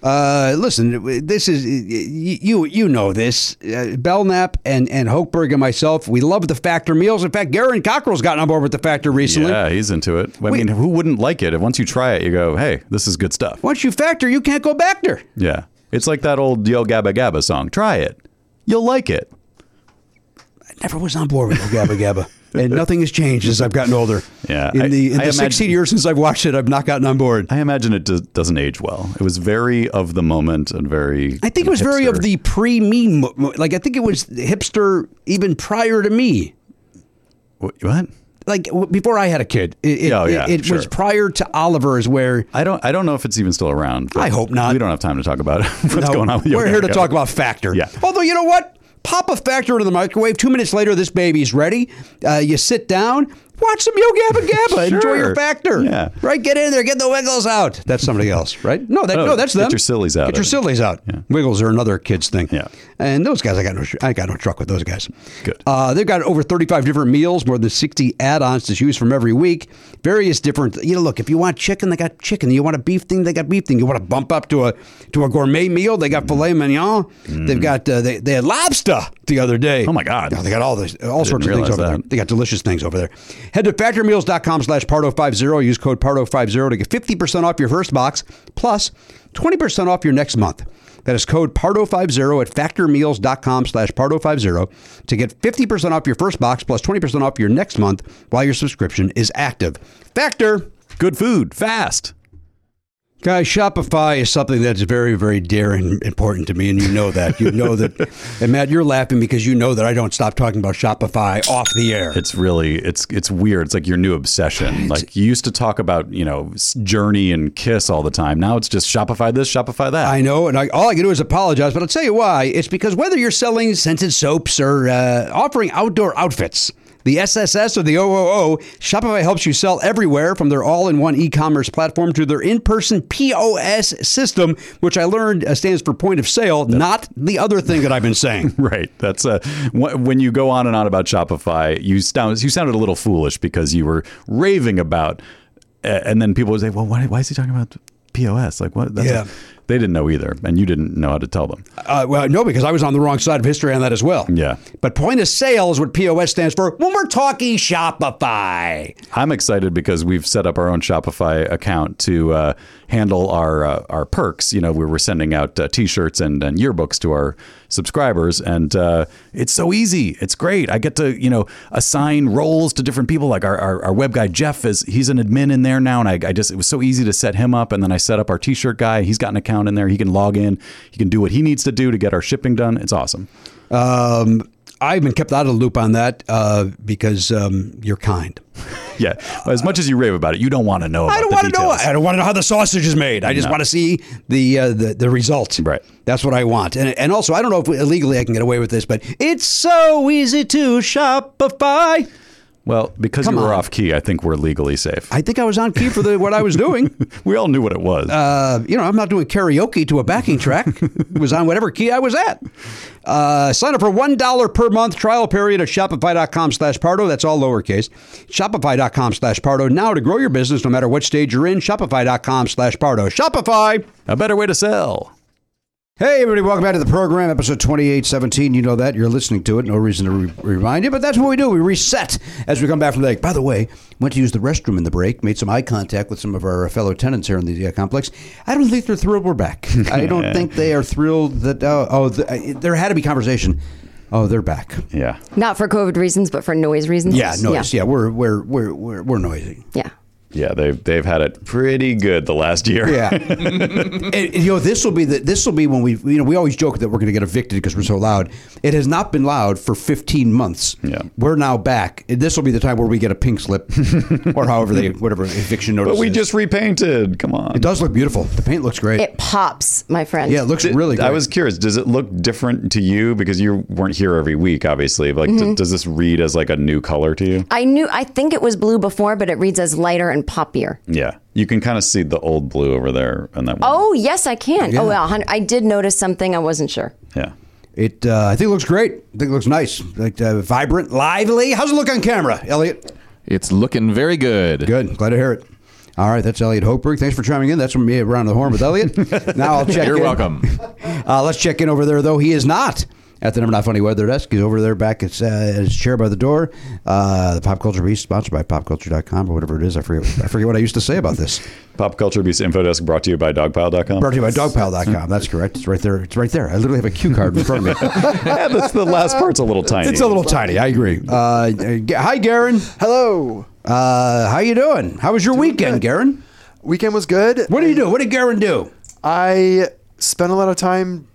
Speaker 2: Uh, listen, this is you. You know this. Uh, Belknap and and Hochberg and myself. We love the Factor meals. In fact, Garen Cockrell's gotten on board with the Factor recently.
Speaker 1: Yeah, he's into it. I mean, who wouldn't like it? If once you try it, you go, "Hey, this is good stuff."
Speaker 2: Once you factor, you can't go back there.
Speaker 1: Yeah, it's like that old Yo Gabba Gabba song. Try it, you'll like it.
Speaker 2: I never was on board with the
Speaker 1: [laughs]
Speaker 2: Gabba Gabba. And nothing has changed as I've gotten older.
Speaker 1: Yeah,
Speaker 2: in
Speaker 1: I-
Speaker 2: the, in
Speaker 1: I
Speaker 2: the
Speaker 1: imagine-
Speaker 2: 16 years since I've watched it, I've not gotten on board.
Speaker 1: I imagine it do- doesn't age well. It was very of the moment and very.
Speaker 2: I think it was very of
Speaker 1: hipster.
Speaker 2: the pre me, mo- mo- like I think it was hipster even prior to me,
Speaker 1: Wh- what?
Speaker 2: like w- before I had a kid. It, it,
Speaker 1: Yeah, oh, yeah,
Speaker 2: it, it
Speaker 1: sure.
Speaker 2: was prior to Oliver's, where
Speaker 1: I don't. I don't know if it's even still around. but
Speaker 2: I hope not.
Speaker 1: We don't have time to talk about [laughs] what's
Speaker 2: No,
Speaker 1: going on with you.
Speaker 2: We're here to talk about Factor.
Speaker 1: Yeah.
Speaker 2: Although you know what, pop a Factor into the microwave. Two minutes later, this baby's ready. Uh, you sit down, watch some Yo Gabba
Speaker 1: [laughs]
Speaker 2: Gabba, enjoy your
Speaker 1: Sure.
Speaker 2: Factor.
Speaker 1: Yeah.
Speaker 2: Right. Get in there, get the Wiggles out. That's somebody else, right? No, that,
Speaker 1: Oh,
Speaker 2: no, that's
Speaker 1: get
Speaker 2: them.
Speaker 1: your sillies out,
Speaker 2: Get your
Speaker 1: I think.
Speaker 2: sillies out. Wiggles are another kids thing.
Speaker 1: Yeah.
Speaker 2: And those guys, I got no, I got no truck with those guys.
Speaker 1: Good.
Speaker 2: Uh, they've got over 35 different meals, more than 60 add-ons to choose from every week. Various different, you know, look, if you want chicken, they got chicken. You want a beef thing, they got beef thing. You want to bump up to a to a gourmet meal, they got filet mignon. They've got uh, they, they had lobster the other day.
Speaker 1: Mm. Oh, my God.
Speaker 2: Yeah, they got all this all sorts of
Speaker 1: didn't realize
Speaker 2: things over there.
Speaker 1: that.
Speaker 2: They got delicious things over there. Head to factormeals.com slash pardo50. Use code pardo50 to get 50% off your first box plus 20% off your next month. That is code pardo50 at factormeals.com slash pardo50 to get 50% off your first box plus 20% off your next month while your subscription is active. Factor!
Speaker 1: Good food, fast.
Speaker 2: Guys, Shopify is something that's very, very dear and important to me, and you know that. You know that. [laughs] And Matt, you're laughing because you know that I don't stop talking about Shopify off the air.
Speaker 1: It's really it's it's weird. It's like your new obsession. Like you used to talk about you know s- Journey and Kiss all the time. Now it's just Shopify this, Shopify that.
Speaker 2: I know, and I, all I can do is apologize, but I'll tell you why. It's because whether you're selling scented soaps or uh, offering outdoor outfits, the SSS or the OOO, Shopify helps you sell everywhere from their all in one e commerce platform to their in person POS system, which I learned uh, stands for point of sale, not the other thing that I've been saying.
Speaker 1: [laughs] Right. That's uh, wh- when you go on and on about Shopify, you sound you sounded a little foolish because you were raving about, a- and then people would say, "Well, why, why is he talking about POS? Like what?" That's
Speaker 2: Yeah.
Speaker 1: they didn't know either, and you didn't know how to tell them.
Speaker 2: Uh, well, no, because I was on the wrong side of history on that as well.
Speaker 1: Yeah.
Speaker 2: But point of sale is what POS stands for when we're talking Shopify.
Speaker 1: I'm excited because we've set up our own Shopify account to uh, handle our uh, our perks. You know, we were sending out uh, T-shirts and, and yearbooks to our subscribers, and uh, it's so easy. It's great. I get to you know assign roles to different people. Like our, our, our web guy Jeff is he's an admin in there now, and I, I just it was so easy to set him up, and then I set up our T-shirt guy. He's got an account in there. He can log in. He can do what he needs to do to get our shipping done. It's awesome.
Speaker 2: Um, I've been kept out of the loop on that uh, because um, you're kind.
Speaker 1: Yeah, as much as you rave about it, you don't want to know. About
Speaker 2: I don't
Speaker 1: the
Speaker 2: want to know.
Speaker 1: details.
Speaker 2: I don't want to know how the sausage is made. I just
Speaker 1: No.
Speaker 2: want to see the, uh, the the result.
Speaker 1: Right.
Speaker 2: That's what I want. And and also, I don't know if illegally I can get away with this, but it's so easy to Shopify.
Speaker 1: Well, because
Speaker 2: Come
Speaker 1: you were
Speaker 2: on.
Speaker 1: off key, I think we're legally safe.
Speaker 2: I think I was on key for the, what I was [laughs] doing.
Speaker 1: we all knew what it was.
Speaker 2: Uh, you know, I'm not doing karaoke to a backing track. it was on whatever key I was at. Uh, sign up for $1 per month trial period at Shopify.com slash Pardo. That's all lowercase. Shopify.com slash Pardo. Now to grow your business, no matter what stage you're in, Shopify.com slash Pardo. Shopify.
Speaker 1: a better way to sell.
Speaker 2: Hey, everybody, welcome back to the program, episode 2817. You know that. You're listening to it. No reason to re- remind you, but that's what we do. We reset as we come back from the break. By the way, went to use the restroom in the break, made some eye contact with some of our fellow tenants here in the uh, complex. I don't think they're thrilled we're back. I don't think they are thrilled that, oh, oh th- there had to be conversation. Oh, they're back.
Speaker 1: Yeah.
Speaker 9: Not for COVID reasons, but for noise reasons.
Speaker 2: Yeah, noise. Yeah, we're, we're, we're, we're, we're noisy.
Speaker 9: Yeah.
Speaker 1: Yeah, they've they've had it pretty good the last year.
Speaker 2: Yeah, And, and, you know this will be the this will be when we you know we always joke that we're going to get evicted because we're so loud. It has not been loud for 15 months.
Speaker 1: Yeah.
Speaker 2: we're now back. This will be the time where we get a
Speaker 1: [laughs]
Speaker 2: pink slip or however they whatever eviction
Speaker 1: [laughs]
Speaker 2: notice.
Speaker 1: but we
Speaker 2: is.
Speaker 1: just repainted. Come on.
Speaker 2: it does look beautiful. The paint looks great.
Speaker 9: It pops, my friend.
Speaker 2: yeah, it looks
Speaker 1: Did-
Speaker 2: really. Great.
Speaker 1: I was curious. Does it look different to you because you weren't here every week? Obviously, like d-
Speaker 2: Mm-hmm.
Speaker 1: does this read as like a new color to you?
Speaker 9: I knew, I think it was blue before, but it reads as lighter and poppier.
Speaker 1: Yeah, you can kind of see the old blue over there and that. one.
Speaker 9: Oh, yes, I can. Oh, well, hun- I did notice something. I wasn't sure.
Speaker 1: yeah.
Speaker 2: It uh, I think it looks great. I think it looks nice, like uh, vibrant, lively. How's it look on camera, Elliot?
Speaker 7: It's looking very good.
Speaker 2: Good. Glad to hear it. All right, that's Elliot Hochberg. Thanks for chiming in. That's from me around the horn
Speaker 1: [laughs]
Speaker 2: with Elliot. now I'll check.
Speaker 7: You're
Speaker 6: [laughs]
Speaker 2: in.
Speaker 7: welcome.
Speaker 2: Uh, let's check in over there, though. He is not at the number not funny weather desk. He's over there back at, uh, at his chair by the door. Uh, the Pop Culture Beast, sponsored by popculture.com or whatever it is. I forget. I forget what I used to say about this.
Speaker 1: Pop Culture Beast Info Desk brought to you by dogpile.com.
Speaker 2: Brought to you by dogpile.com. That's correct. It's right there. It's right there. I literally have a cue card in front of me.
Speaker 1: [laughs] yeah, that's Eh, the last part's a little tiny.
Speaker 2: [laughs] It's a little tiny. I agree. Uh, Uh, G- hi, Garen.
Speaker 8: Hello.
Speaker 2: Uh, how you doing? How was your weekend, Garen?
Speaker 8: Weekend was good.
Speaker 2: What did you do? What did Garen do?
Speaker 8: I spent a lot of time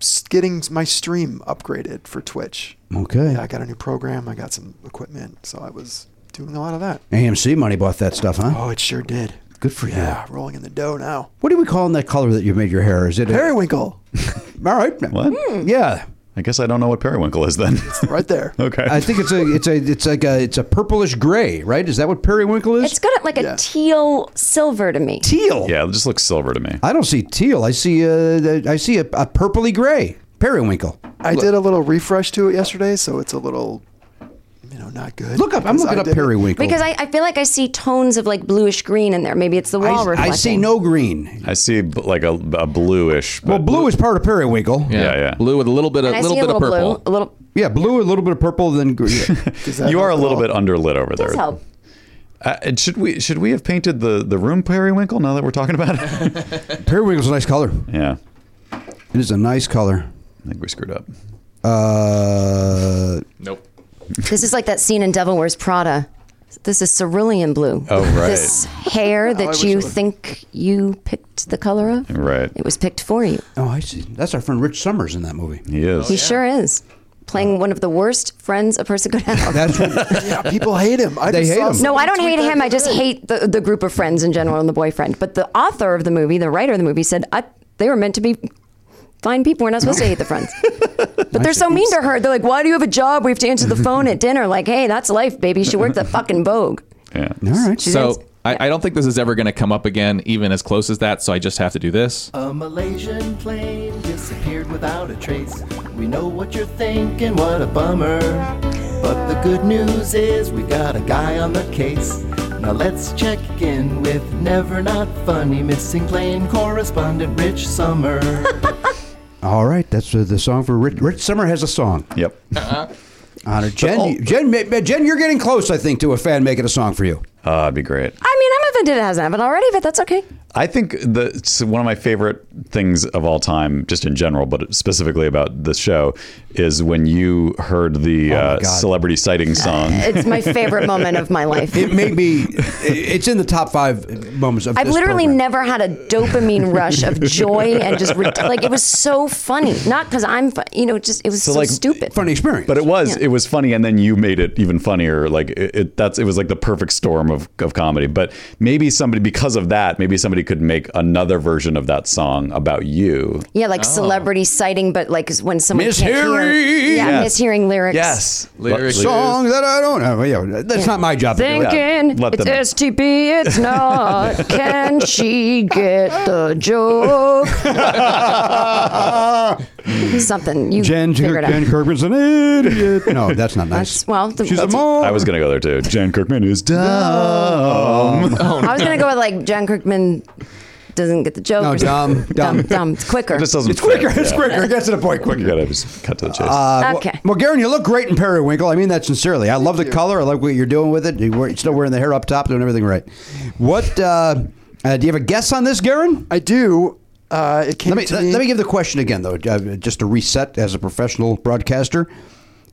Speaker 8: s- getting my stream upgraded for Twitch.
Speaker 2: Okay.
Speaker 8: Yeah, I got a new program. I got some equipment, so I was doing a lot of that.
Speaker 2: AMC money bought that stuff, huh?
Speaker 8: Oh, it sure did.
Speaker 2: Good for you.
Speaker 8: Yeah, Ah, rolling in the dough now.
Speaker 2: What do we call in that color that you made your hair? Is it a-
Speaker 8: Periwinkle,
Speaker 2: All right. Hmm.
Speaker 1: What?
Speaker 2: Yeah.
Speaker 1: I guess I don't know what periwinkle is then. [laughs]
Speaker 2: [laughs]
Speaker 8: right there.
Speaker 1: okay.
Speaker 2: I think it's a it's a it's like a it's a purplish gray, right? Is that what periwinkle is?
Speaker 9: It's got like a
Speaker 8: Yeah.
Speaker 9: teal silver to me.
Speaker 2: teal.
Speaker 1: yeah, it just looks silver to me.
Speaker 2: I don't see teal. I see uh I see a, a purpley gray periwinkle.
Speaker 8: I did a little refresh to it yesterday, so it's a little, you know, not good.
Speaker 2: Look up. I'm
Speaker 8: because
Speaker 2: looking
Speaker 8: I
Speaker 2: up
Speaker 8: did it.
Speaker 2: periwinkle
Speaker 9: Because I, I feel like I see tones of like bluish green in there. Maybe it's the
Speaker 2: I,
Speaker 9: wall
Speaker 2: I
Speaker 9: reflecting.
Speaker 2: see no green.
Speaker 1: I see b- like a, a bluish.
Speaker 2: Well,
Speaker 1: but-
Speaker 2: blue is part of periwinkle.
Speaker 1: Yeah, yeah.
Speaker 7: Blue with a little bit of
Speaker 9: And I
Speaker 7: little
Speaker 9: see
Speaker 7: bit
Speaker 9: a little
Speaker 7: of purple.
Speaker 9: blue, a little.
Speaker 2: Yeah, blue a little bit of purple, then green.
Speaker 8: [laughs] Does that
Speaker 1: You are a
Speaker 8: help at
Speaker 1: little
Speaker 8: all?
Speaker 1: bit underlit over there.
Speaker 9: Does help.
Speaker 1: Uh, and should we should we have painted the, the room periwinkle now that we're talking about
Speaker 9: [laughs]
Speaker 1: it?
Speaker 2: periwinkle's a nice color.
Speaker 1: yeah,
Speaker 2: It is a nice color.
Speaker 1: I think we screwed up.
Speaker 2: Uh,
Speaker 7: Nope.
Speaker 9: This is like that scene in Devil Wears Prada. This is cerulean blue.
Speaker 1: Oh, right.
Speaker 9: This hair that you think you picked the color of.
Speaker 1: Right,
Speaker 9: It was picked for you.
Speaker 2: oh, I see. That's our friend Rich Summers in that movie.
Speaker 1: he is.
Speaker 9: He sure is. Playing one of the worst friends a person could have.
Speaker 2: That's
Speaker 1: [laughs]
Speaker 2: what,
Speaker 8: Yeah, people hate him. I
Speaker 2: They
Speaker 8: just
Speaker 2: hate
Speaker 8: saw
Speaker 2: him.
Speaker 9: No,
Speaker 8: someone
Speaker 9: I don't
Speaker 8: tweet
Speaker 9: hate
Speaker 8: that
Speaker 9: him. I just
Speaker 8: today.
Speaker 9: hate the, the group of friends in general and the boyfriend. But the author of the movie, the writer of the movie, said I, they were meant to be fine people. We're not supposed to hate the friends. But they're so mean to her. They're like, why do you have a job? We have to answer the phone at dinner. Like, hey, that's life, baby. She worked at fucking Vogue.
Speaker 1: Yeah.
Speaker 2: all right.
Speaker 9: She's
Speaker 7: So I, I don't think this is ever going to come up again, even as close as that. So I just have to do this.
Speaker 10: A Malaysian plane disappeared without a trace. We know what you're thinking, what a bummer. But the good news is we got a guy on the case. Now let's check in with Never Not Funny Missing Plane correspondent Rich Summer.
Speaker 2: All right, that's uh, the song for Rich. Rich Summer has a song.
Speaker 1: Yep.
Speaker 2: Honor Jen, you- Jen, ma- Jen, you're getting close, I think, to a fan making a song for you.
Speaker 1: Uh, it'd be great.
Speaker 9: I mean, I'm offended it hasn't happened already, but that's okay.
Speaker 1: I think the it's one of my favorite things of all time, just in general, but specifically about this show, is when you heard the uh,
Speaker 2: Oh God.
Speaker 1: celebrity sighting song.
Speaker 9: It's my favorite moment of my life.
Speaker 2: It may
Speaker 1: [laughs]
Speaker 2: be, it's in the top five moments of.
Speaker 9: I've
Speaker 2: this
Speaker 9: literally
Speaker 2: program.
Speaker 9: never had a dopamine rush of joy and just rid- like it was so funny. Not because I'm, fu- you know, just it was so,
Speaker 1: like,
Speaker 9: stupid.
Speaker 2: funny experience.
Speaker 1: But it was
Speaker 9: Yeah.
Speaker 1: it was funny, and then you made it even funnier. Like it, it that's it was like the perfect storm of, of comedy. But maybe somebody because of that, maybe somebody could make another version of that song about you.
Speaker 9: Yeah,
Speaker 2: Oh.
Speaker 9: like celebrity sighting, but like when someone
Speaker 1: Miss
Speaker 9: can't hear,
Speaker 1: Harry!
Speaker 9: yeah,
Speaker 1: Yes.
Speaker 9: mishearing lyrics.
Speaker 7: Lyrics.
Speaker 2: Song that I don't know. Yeah, that's not my job. To do it.
Speaker 1: Thinking, Let it's them-
Speaker 9: STP,
Speaker 2: [laughs]
Speaker 9: it's not. Can she get the joke?
Speaker 2: [laughs]
Speaker 9: Something. You
Speaker 2: Jen,
Speaker 9: figure it out.
Speaker 2: Jen Kirkman's an idiot. No, that's not nice.
Speaker 9: That's- well, the-
Speaker 2: She's a
Speaker 9: that's-
Speaker 2: mole.
Speaker 1: I was going to go there too. Jan Kirkman is dumb.
Speaker 9: I was gonna go with like John Kirkman doesn't get the joke.
Speaker 2: No,
Speaker 9: or something.
Speaker 2: dumb, dumb.
Speaker 9: [laughs] dumb, dumb. It's quicker.
Speaker 1: This doesn't
Speaker 2: It's quicker.
Speaker 1: fit.
Speaker 2: It's
Speaker 1: Yeah.
Speaker 2: quicker. It gets to the point quicker.
Speaker 1: You gotta just cut to the chase.
Speaker 2: Uh, well-
Speaker 9: Okay.
Speaker 2: Well, Garen, you look great in periwinkle. I mean that sincerely. I love the color. I like what you're doing with it. You're still wearing the hair up top, doing everything right. What uh, uh, do you have a guess on this, Garen?
Speaker 8: I do. Uh, it came
Speaker 2: Let me
Speaker 8: to
Speaker 2: let,
Speaker 8: me.
Speaker 2: let me give the question again, though, uh, just to reset as a professional broadcaster.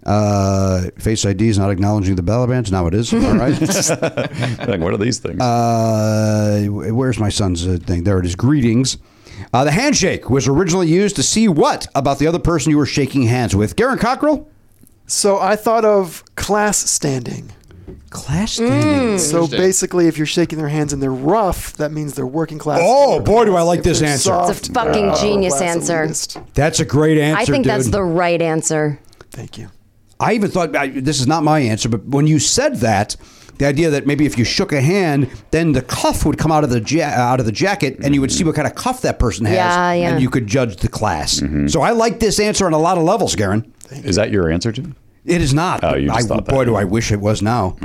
Speaker 2: Uh, Face ID is not acknowledging the Balabans. Now it is. All [laughs] right.
Speaker 1: like, what are these things?
Speaker 2: Uh, where's my son's uh, thing? There it is. Greetings. Uh, the handshake was originally used to see what about the other person you were shaking hands with? Garen Cockrell?
Speaker 8: so I thought of class standing.
Speaker 2: Class standing.
Speaker 8: So
Speaker 7: Interesting.
Speaker 8: basically, if you're shaking their hands and they're rough, that means they're working class.
Speaker 2: Oh, boy, do I like
Speaker 8: If
Speaker 2: this
Speaker 8: they're
Speaker 2: answer.
Speaker 8: soft,
Speaker 9: It's a fucking
Speaker 8: they're
Speaker 9: genius
Speaker 8: class
Speaker 9: answer.
Speaker 8: elitist.
Speaker 2: That's a great answer.
Speaker 9: I think that's
Speaker 2: dude.
Speaker 9: the right answer.
Speaker 8: Thank you.
Speaker 2: I even thought I, this is not my answer, but when you said that, the idea that maybe if you shook a hand, then the cuff would come out of the ja- out of the jacket, and you would see what kind of cuff that person has,
Speaker 9: Yeah, yeah.
Speaker 2: and you could judge the class.
Speaker 1: Mm-hmm.
Speaker 2: So I like this answer on a lot of levels, Garen.
Speaker 1: is that your answer, Jim?
Speaker 2: It is not.
Speaker 1: Oh, you just
Speaker 2: I,
Speaker 1: thought that.
Speaker 2: boy, do I wish it was now.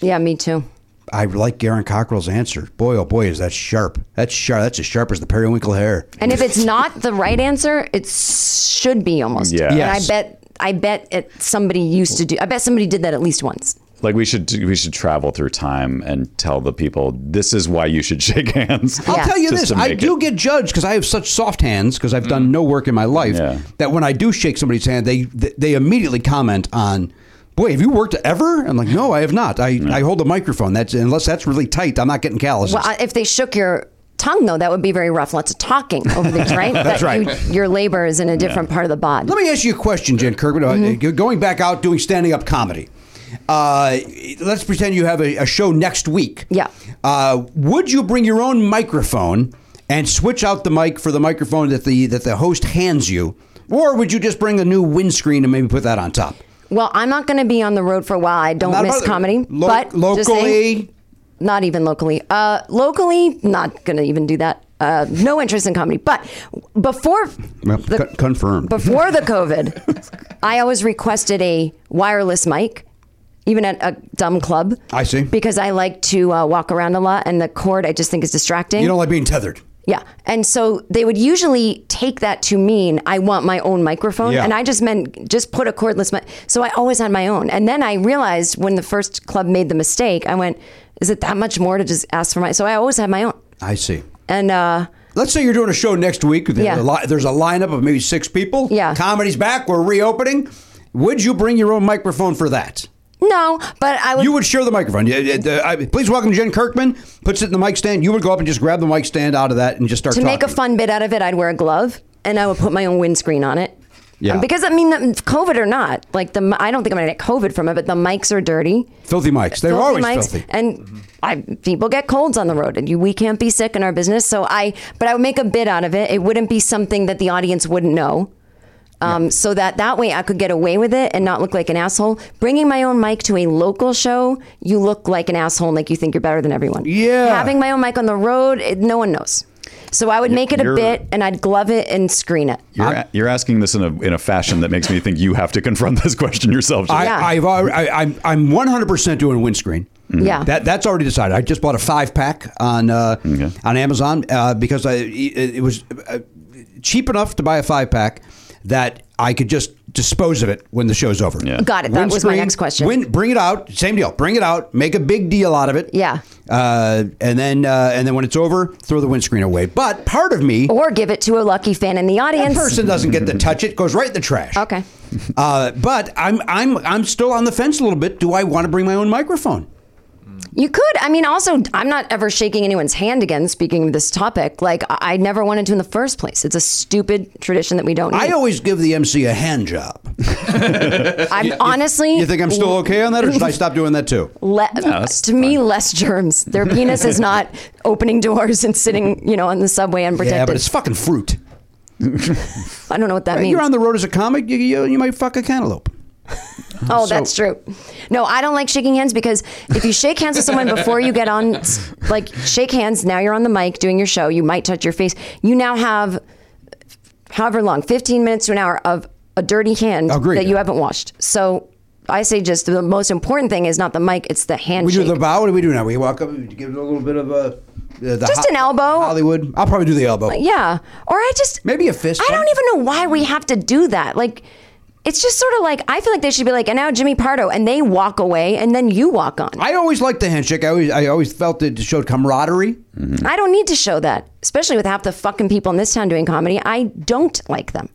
Speaker 9: Yeah, me too.
Speaker 2: I like Garen Cockrell's answer. Boy, oh boy, is that sharp. That's sharp. That's as sharp as the periwinkle hair.
Speaker 9: And if it's not the right answer, it should be almost.
Speaker 1: Yeah.
Speaker 9: And I
Speaker 2: Yes.
Speaker 9: bet I bet it somebody used to do. I bet somebody did that at least once.
Speaker 1: Like we should do- we should travel through time and tell the people this is why you should [laughs] shake hands.
Speaker 2: I'll
Speaker 9: Yeah.
Speaker 2: tell you
Speaker 1: Just
Speaker 2: this:
Speaker 1: to
Speaker 2: I
Speaker 1: make
Speaker 2: do
Speaker 1: it- Mm.
Speaker 2: get judged because I have such soft hands because I've done no work in my life
Speaker 1: Yeah.
Speaker 2: that when I do shake somebody's hand, they they immediately comment on, "Boy, have you worked ever?" I'm like, "No, I have not. I, I hold a microphone. That's unless that's really tight, I'm not getting calluses."
Speaker 9: Well, I- if they shook your tongue though, that would be very rough. Lots of talking
Speaker 2: [laughs]
Speaker 9: over the right. That's
Speaker 2: right.
Speaker 9: You, your labor is in a different part of the bod.
Speaker 2: Let me ask you a question, Jen Kirkman. Uh,
Speaker 9: Mm-hmm.
Speaker 2: Going back out doing standing up comedy. Uh, let's pretend you have a, a show next week.
Speaker 9: Yeah.
Speaker 2: Uh, would you bring your own microphone and switch out the mic for the microphone that the that the host hands you, or would you just bring a new windscreen and maybe put that on top?
Speaker 9: Well, I'm not going to be on the road for a while. I don't
Speaker 2: Not
Speaker 9: miss
Speaker 2: about-
Speaker 9: comedy,
Speaker 2: lo-
Speaker 9: but just saying-
Speaker 2: locally,
Speaker 9: not even locally. Uh, locally, not going to even do that. Uh, no interest in comedy. But before
Speaker 2: well,
Speaker 9: the-
Speaker 2: con- confirmed. [laughs]
Speaker 9: before the COVID, I always requested a wireless mic, even at a dumb club.
Speaker 2: I see.
Speaker 9: Because I like to uh, walk around a lot, and the cord I just think is distracting.
Speaker 2: you don't like being tethered.
Speaker 9: Yeah. And so they would usually take that to mean I want my own microphone.
Speaker 2: Yeah.
Speaker 9: And I just meant just put a cordless mic. So I always had my own. And then I realized when the first club made the mistake, I went, is it that much more to just ask for my? So I always had my own.
Speaker 2: I see.
Speaker 9: And uh,
Speaker 2: Let's say you're doing a show next week. There's,
Speaker 9: Yeah.
Speaker 2: a, li- there's a lineup of maybe six people.
Speaker 9: Yeah.
Speaker 2: Comedy's back. We're reopening. Would you bring your own microphone for that?
Speaker 9: no, but I would.
Speaker 2: You would share the microphone. Yeah, yeah, the- I- Please welcome Jen Kirkman. Puts it in the mic stand. You would go up and just grab the mic stand out of that and just start
Speaker 9: to make a
Speaker 2: talking.
Speaker 9: fun bit out of it, I'd wear a glove and I would put my own windscreen on it.
Speaker 2: Yeah.
Speaker 9: Because I mean, COVID or not, like the mi- I don't think I'm gonna get COVID from it, but the mics are dirty.
Speaker 2: Filthy mics. They're
Speaker 9: filthy
Speaker 2: always
Speaker 9: mics,
Speaker 2: filthy.
Speaker 9: And I, people get colds on the road, and you, we can't be sick in our business. So I, but I would make a bit out of it. It wouldn't be something that the audience wouldn't know. Um, So that that way I could get away with it and not look like an asshole. Bringing my own mic to a local show, you look like an asshole, and like you think you're better than everyone.
Speaker 2: Yeah.
Speaker 9: Having my own mic on the road, it, no one knows. So I would make it a
Speaker 1: you're-
Speaker 9: bit, and I'd glove it and screen it.
Speaker 1: You're, a- you're asking this in a in a fashion that makes me think you have to confront this question yourself. Jim.
Speaker 2: I,
Speaker 9: Yeah.
Speaker 2: I've already, I, I'm I'm 100% doing windscreen.
Speaker 9: Yeah.
Speaker 2: Mm. That that's already decided. I just bought a five pack on uh, on Amazon uh, because I it, it was uh, cheap enough to buy a five pack that I could just dispose of it when the show's over.
Speaker 1: Yeah.
Speaker 9: Got it. That was my
Speaker 2: Windscreen,
Speaker 9: next question.
Speaker 2: Win, bring it out. Same deal. Bring it out. Make a big deal out of it.
Speaker 9: Yeah.
Speaker 2: Uh, and then uh, and then when it's over, throw the windscreen away. But part of me,
Speaker 9: or give it to a lucky fan in the
Speaker 2: that
Speaker 9: audience.
Speaker 2: person doesn't get to touch it. Goes right in the trash.
Speaker 9: Okay.
Speaker 2: Uh, but I'm I'm I'm still on the fence a little bit. Do I want to bring my own microphone?
Speaker 9: You could. I mean, also, I'm not ever shaking anyone's hand again. Speaking of this topic, like I I never wanted to in the first place. It's a stupid tradition that we don't. Need.
Speaker 2: I always give the MC a hand job.
Speaker 9: I'm honestly.
Speaker 2: You think I'm still okay on that, or should I stop doing that
Speaker 9: [laughs]
Speaker 2: too?
Speaker 9: Le-
Speaker 1: that's
Speaker 9: to me, less germs.
Speaker 2: [laughs]
Speaker 9: Their penis is not opening doors and sitting, you know, on the subway unprotected.
Speaker 2: Yeah, but it's fucking fruit.
Speaker 9: I don't know what that means.
Speaker 2: You're on the road as a comic. You, you, you might fuck a cantaloupe.
Speaker 9: Oh, that's true. No, I don't like shaking hands because if you shake hands with someone before you get on, s- like shake hands, now you're on the mic doing your show, you might touch your face. You now have however long, 15 minutes to an hour of a dirty hand
Speaker 2: Agreed.
Speaker 9: that you haven't washed. So I say just the most important thing is not the mic, it's the
Speaker 2: We
Speaker 9: handshake.
Speaker 2: do the bow. What do we do now? We walk up. We give it a little bit of a uh, the, the
Speaker 9: Just an elbow.
Speaker 2: Hollywood. I'll probably do the elbow.
Speaker 9: yeah. Or I just.
Speaker 2: Maybe a fist
Speaker 9: I don't
Speaker 2: bump.
Speaker 9: even know why we have to do that. Like, it's just sort of like, I feel like they should be like, and now Jimmy Pardo, and they walk away, and then you walk on.
Speaker 2: I always liked the handshake. I always I always felt it showed camaraderie.
Speaker 9: I don't need to show that, especially with half the fucking people in this town doing comedy. I don't
Speaker 1: [laughs]
Speaker 9: like them.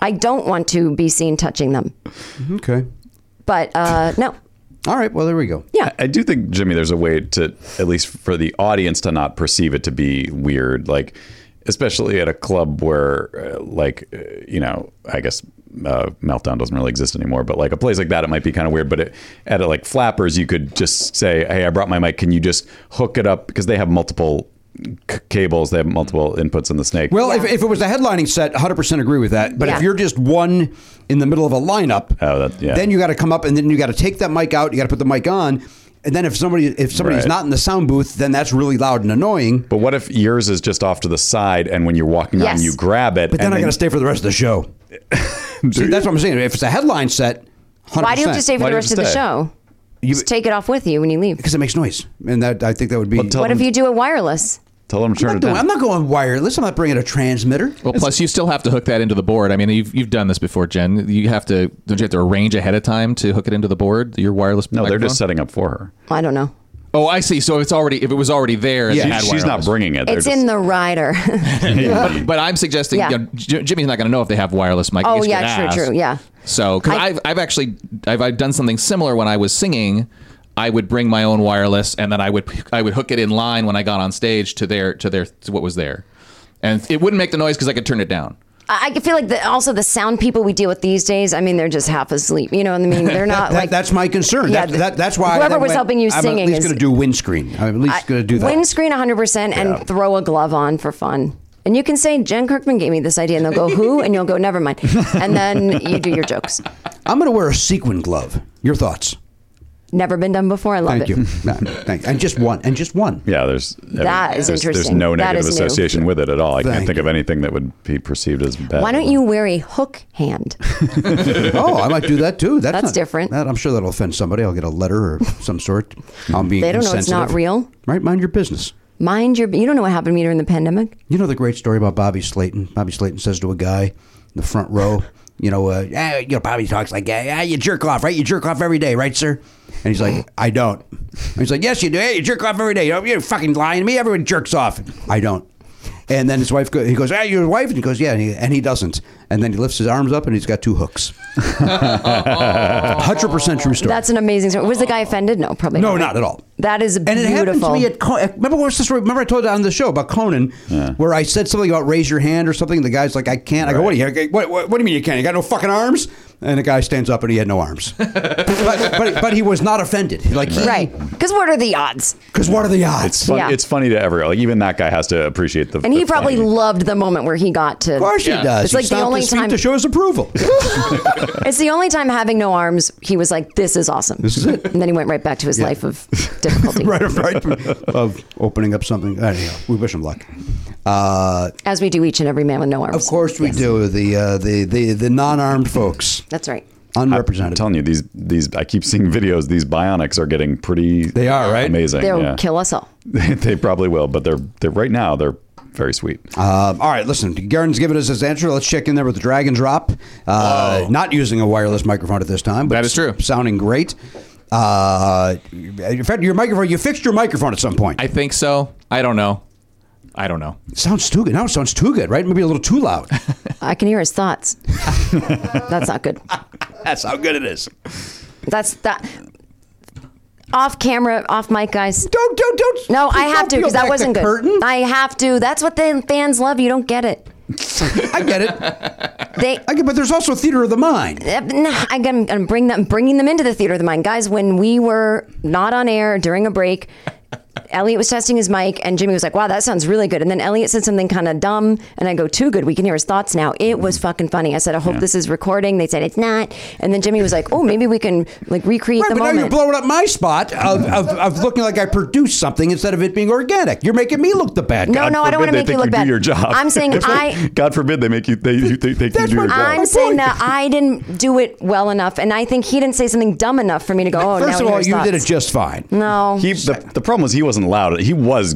Speaker 9: I don't want to be seen touching them.
Speaker 2: Mm-hmm, Okay.
Speaker 9: But uh, no,
Speaker 2: All right. Well, there we go.
Speaker 9: yeah,
Speaker 1: I do think, Jimmy, there's [laughs] a way to, at least for the audience, to not perceive it to be weird. Like, especially at a club where, uh, like, uh, you know, I guess uh, Meltdown doesn't really exist anymore, but like a place like that, it might be kind of weird. But it, at a, like Flappers, you could just say, hey, I brought my mic. Can you just hook it up? Because they have multiple c- cables, they have multiple inputs in the snake.
Speaker 2: Well, if, if it was a headlining set, 100% agree with that. But
Speaker 9: Yeah.
Speaker 2: if you're just one in the middle of a lineup,
Speaker 1: Oh, that- yeah.
Speaker 2: then you got to come up and then you got to take that mic out. You got to put the mic on. And then if somebody if somebody's
Speaker 1: Right.
Speaker 2: not in the sound booth, then that's really loud and annoying.
Speaker 1: but what if yours is just off to the side, and when you're walking
Speaker 9: Yes.
Speaker 1: on, you grab it?
Speaker 2: But then I got to stay for the rest of
Speaker 1: [laughs]
Speaker 2: the show. See, that's what I'm saying. If it's a headline set, 100%.
Speaker 9: why do you have to stay for
Speaker 1: Why
Speaker 9: the
Speaker 1: do you
Speaker 9: rest of
Speaker 1: have to
Speaker 9: the
Speaker 1: stay?
Speaker 9: show? just take it off with you when you leave.
Speaker 2: Because it makes noise, and that I think that would be.
Speaker 1: tell
Speaker 9: What
Speaker 1: them,
Speaker 9: if you do it wireless?
Speaker 1: tell them to turn
Speaker 2: I'm, not
Speaker 1: it
Speaker 2: doing,
Speaker 1: down.
Speaker 2: I'm not going wireless. I'm not bringing a transmitter.
Speaker 7: Well, plus you still have to hook that into the board. I mean, you've you've done this before, Jen. You have to don't you have to arrange ahead of time to hook it into the board? Your wireless.
Speaker 1: no, they're just
Speaker 7: microphone?
Speaker 1: setting up for her.
Speaker 9: I don't know.
Speaker 7: Oh, I see. So it's already if it was already there. and
Speaker 2: Yeah.
Speaker 7: you
Speaker 2: She-
Speaker 7: had
Speaker 1: She's not
Speaker 7: wireless.
Speaker 1: bringing it.
Speaker 9: It's in the rider. [laughs]
Speaker 7: But, but I'm suggesting
Speaker 9: Yeah.
Speaker 7: you know, J- Jimmy's not going to know if they have wireless mic.
Speaker 9: Oh,
Speaker 7: He's
Speaker 9: yeah,
Speaker 7: gonna
Speaker 9: true,
Speaker 7: ask.
Speaker 9: true, yeah.
Speaker 7: So 'cause
Speaker 9: I-
Speaker 7: I've I've actually I've, I've done something similar when I was singing. I would bring my own wireless, and then I would I would hook it in line when I got on stage to their to their to what was there, and it wouldn't make the noise because I could turn it down.
Speaker 9: I I feel like the, also the sound people we deal with these days. I mean, they're just half asleep. You know what I
Speaker 1: [laughs]
Speaker 9: mean? They're not
Speaker 2: That-
Speaker 9: like
Speaker 2: that's my concern.
Speaker 9: Yeah,
Speaker 2: That-
Speaker 9: the-
Speaker 2: that- that's why. I
Speaker 9: whoever
Speaker 2: then
Speaker 9: was
Speaker 2: went,
Speaker 9: helping you
Speaker 2: I'm at
Speaker 9: singing
Speaker 2: least
Speaker 9: is-
Speaker 2: going to do windscreen. I'm at least going to do that.
Speaker 9: Windscreen 100% and throw a glove on for fun. And you can say, Jen Kirkman gave me this idea. And they'll
Speaker 2: [laughs]
Speaker 9: go, who? And you'll go, never mind. And then you do your jokes.
Speaker 2: I'm going to wear a sequin glove. Your thoughts?
Speaker 9: Never been done before. I love
Speaker 2: Thank
Speaker 9: it.
Speaker 2: you.
Speaker 9: [laughs]
Speaker 2: No, Thank And just one. And just one.
Speaker 1: Yeah, there's
Speaker 9: That is
Speaker 1: there's, There's
Speaker 9: interesting.
Speaker 1: no
Speaker 9: That
Speaker 1: negative
Speaker 9: is new.
Speaker 1: association with it at all. I
Speaker 2: Thank
Speaker 1: can't think of
Speaker 2: you.
Speaker 1: anything that would be perceived as bad.
Speaker 9: Why don't you wear a hook hand?
Speaker 2: [laughs] Oh, I might do that too. That's,
Speaker 9: That's
Speaker 2: not-
Speaker 9: different.
Speaker 2: that- I'm sure that'll offend somebody. I'll get a letter or some sort. I'm being.
Speaker 9: [laughs] They don't know it's not
Speaker 2: insensitive.
Speaker 9: real.
Speaker 2: Right? Mind your business.
Speaker 9: Mind your, you don't know what happened to me during the pandemic.
Speaker 2: You know the great story about Bobby Slayton. Bobby Slayton says to a guy in the front row, you know, uh, "Ah, you know, Bobby talks like, ah, you jerk off, right? You jerk off every day, right, sir? And he's like, I don't. And he's like, yes, you do. Hey, you jerk off every day. You're- You're fucking lying to me. Everyone jerks off. I don't. And then his wife, go, he goes, ah, your wife? And he goes, yeah. And he, and he doesn't. And then he lifts his arms up and he's got two hooks. [laughs] 100% true story.
Speaker 9: That's an amazing story. Was the guy offended? No, probably
Speaker 2: No,
Speaker 9: not.
Speaker 2: not at all.
Speaker 9: That is
Speaker 2: And it happened to
Speaker 9: beautiful.
Speaker 2: me at Con- remember what's the story? Remember I told you on the show about Conan, where I said something about raise your hand or something. And the guy's like, I can't. I go, what do you? What, what, what do you mean you can't? You got no fucking arms? And the guy stands up and he had no [laughs] arms. but, but but he was not offended. Like he-
Speaker 9: right. Because what are the odds?
Speaker 2: Because what are the
Speaker 1: It's
Speaker 2: odds?
Speaker 1: fun,
Speaker 9: Yeah.
Speaker 1: It's funny to everyone. Like even that guy has to appreciate the.
Speaker 9: And he
Speaker 1: the
Speaker 9: probably
Speaker 1: funny.
Speaker 9: loved the moment where he got to.
Speaker 2: of course he does.
Speaker 9: It's
Speaker 2: He
Speaker 9: like the
Speaker 2: stomped
Speaker 9: only
Speaker 2: his feet
Speaker 9: time-
Speaker 2: to show his approval. [laughs]
Speaker 9: [laughs] It's the only time having no arms, he was like, this is awesome. This is it. And then he went right back to his life of difficulty.
Speaker 2: right, right. Of opening up something. Anyhow, we wish him luck. Uh,
Speaker 9: As we do each and every man with no arms.
Speaker 2: of course we do. The uh, the the the non-armed folks,
Speaker 9: That's right.
Speaker 1: I'm
Speaker 2: unrepresented.
Speaker 1: telling you, these these I keep seeing videos. These bionics are getting pretty.
Speaker 2: They are, right?
Speaker 1: Amazing.
Speaker 9: They'll
Speaker 1: yeah.
Speaker 9: kill us all.
Speaker 1: [laughs] they probably will, but they're they're right now they're very sweet.
Speaker 2: Um, all right, listen. Garen's given us his answer. Let's check in there with the Dragon Drop. Uh, not using a wireless microphone at this time, but
Speaker 7: That is true.
Speaker 2: Sounding great. Uh, in fact, your microphone. You fixed your microphone at some point.
Speaker 7: I think so. I don't know. I don't know.
Speaker 2: sounds too good. Now it sounds too good, right? Maybe a little too
Speaker 7: [laughs]
Speaker 2: loud.
Speaker 9: I can hear his thoughts. That's not good.
Speaker 2: That's how good it is.
Speaker 9: That's that. off camera, off mic, guys.
Speaker 2: Don't, don't, don't.
Speaker 9: No, I
Speaker 2: don't
Speaker 9: have to
Speaker 2: peel
Speaker 9: because that
Speaker 2: back
Speaker 9: wasn't
Speaker 2: the
Speaker 9: good.
Speaker 2: curtain.
Speaker 9: I have to. That's what the fans love. You don't get it.
Speaker 2: I get it.
Speaker 9: They.
Speaker 2: I get, but there's also theater of the mind.
Speaker 9: Uh, nah, I got- I'm, I'm bring them, bringing them into the theater of the mind, guys. When we were not on air during a break, [laughs] Elliot was testing his mic, and Jimmy was like, "Wow, that sounds really good." And then Elliot said something kind of dumb, and I go, "Too good. We can hear his thoughts now." It was fucking funny. I said, "I hope this is recording." They said it's not, and then Jimmy was like, "Oh, maybe we can like recreate
Speaker 2: Right,
Speaker 9: the
Speaker 2: but now
Speaker 9: moment."
Speaker 2: you're blowing up my spot of, of, of looking like I produced something instead of it being organic. You're making me look the bad guy.
Speaker 9: Oh, no, no, I don't want to
Speaker 1: They
Speaker 9: make you
Speaker 1: think
Speaker 9: look
Speaker 1: you
Speaker 9: bad.
Speaker 1: do your job.
Speaker 2: [laughs]
Speaker 9: I'm saying
Speaker 1: [laughs] That's right.
Speaker 9: I.
Speaker 1: God forbid they make you. They, you think they can
Speaker 2: That's
Speaker 1: do your
Speaker 2: my-
Speaker 1: job.
Speaker 9: I'm
Speaker 2: My
Speaker 9: saying
Speaker 2: point.
Speaker 9: that I didn't do it well enough, and I think he didn't say something dumb enough for me to go. Oh, now
Speaker 2: First
Speaker 9: he
Speaker 2: of all,
Speaker 9: hears
Speaker 2: you did
Speaker 9: thoughts."
Speaker 2: it just fine.
Speaker 9: No,
Speaker 1: He the, the problem was he wasn't loud. He was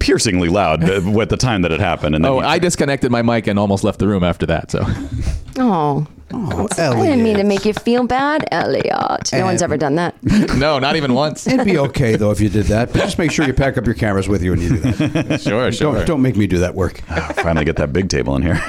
Speaker 1: piercingly loud
Speaker 9: [laughs]
Speaker 1: th- at the time that it happened. And then
Speaker 7: Oh,
Speaker 1: he-
Speaker 7: I disconnected my mic and almost left the room after that. So [laughs]
Speaker 9: Oh,
Speaker 2: Oh,
Speaker 9: I didn't mean to
Speaker 2: Elliot.
Speaker 9: make you feel bad, Elliot.
Speaker 1: Eh.
Speaker 9: No one's
Speaker 2: Um,
Speaker 9: ever done that.
Speaker 7: no, not
Speaker 2: [laughs]
Speaker 7: even once.
Speaker 2: It'd be okay though if you did that, but just make sure you pack up your cameras with you when you do that.
Speaker 7: [laughs] Sure, sure.
Speaker 2: Don't don't make me do that
Speaker 7: [laughs]
Speaker 2: work.
Speaker 1: finally get that big table in here.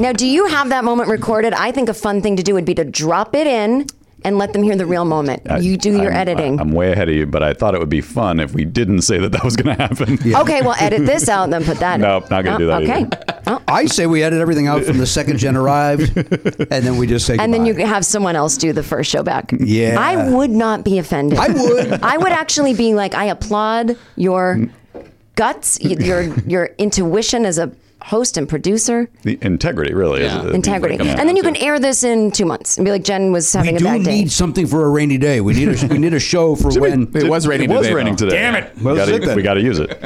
Speaker 9: Now, do you have that moment recorded? I think a fun thing to do would be to drop it in and let them hear the real moment. [laughs] you do your
Speaker 1: I'm-
Speaker 9: editing.
Speaker 1: I'm way ahead of you, but I thought it would be fun if we didn't say that that was going to happen.
Speaker 9: Okay, well, edit this out and then put that. in.
Speaker 1: Nope, not gonna do that
Speaker 9: Okay,
Speaker 1: either.
Speaker 9: Oh,
Speaker 2: I say we edit everything out from the second gen arrived, and then we just say.
Speaker 9: and then you
Speaker 2: goodbye.
Speaker 9: have someone else do the first show back.
Speaker 2: Yeah.
Speaker 9: I would not be offended.
Speaker 2: I would.
Speaker 9: [laughs] I would actually be like, I applaud your guts, y- your your intuition as a host and producer.
Speaker 1: [laughs] The integrity, really. is-
Speaker 7: Yeah.
Speaker 1: it needs to
Speaker 9: integrity.
Speaker 1: come out.
Speaker 9: And then you can air this in two months and be like, Jen was having
Speaker 2: We
Speaker 9: a
Speaker 2: do
Speaker 9: bad day.
Speaker 2: need something for a rainy day. We need a we need a show for when.
Speaker 7: It was raining
Speaker 1: It was
Speaker 7: today,
Speaker 1: raining
Speaker 7: though.
Speaker 1: today.
Speaker 2: Damn it.
Speaker 1: We
Speaker 2: Well,
Speaker 1: gotta-
Speaker 2: zip it.
Speaker 1: we got to use
Speaker 7: [laughs]
Speaker 1: it.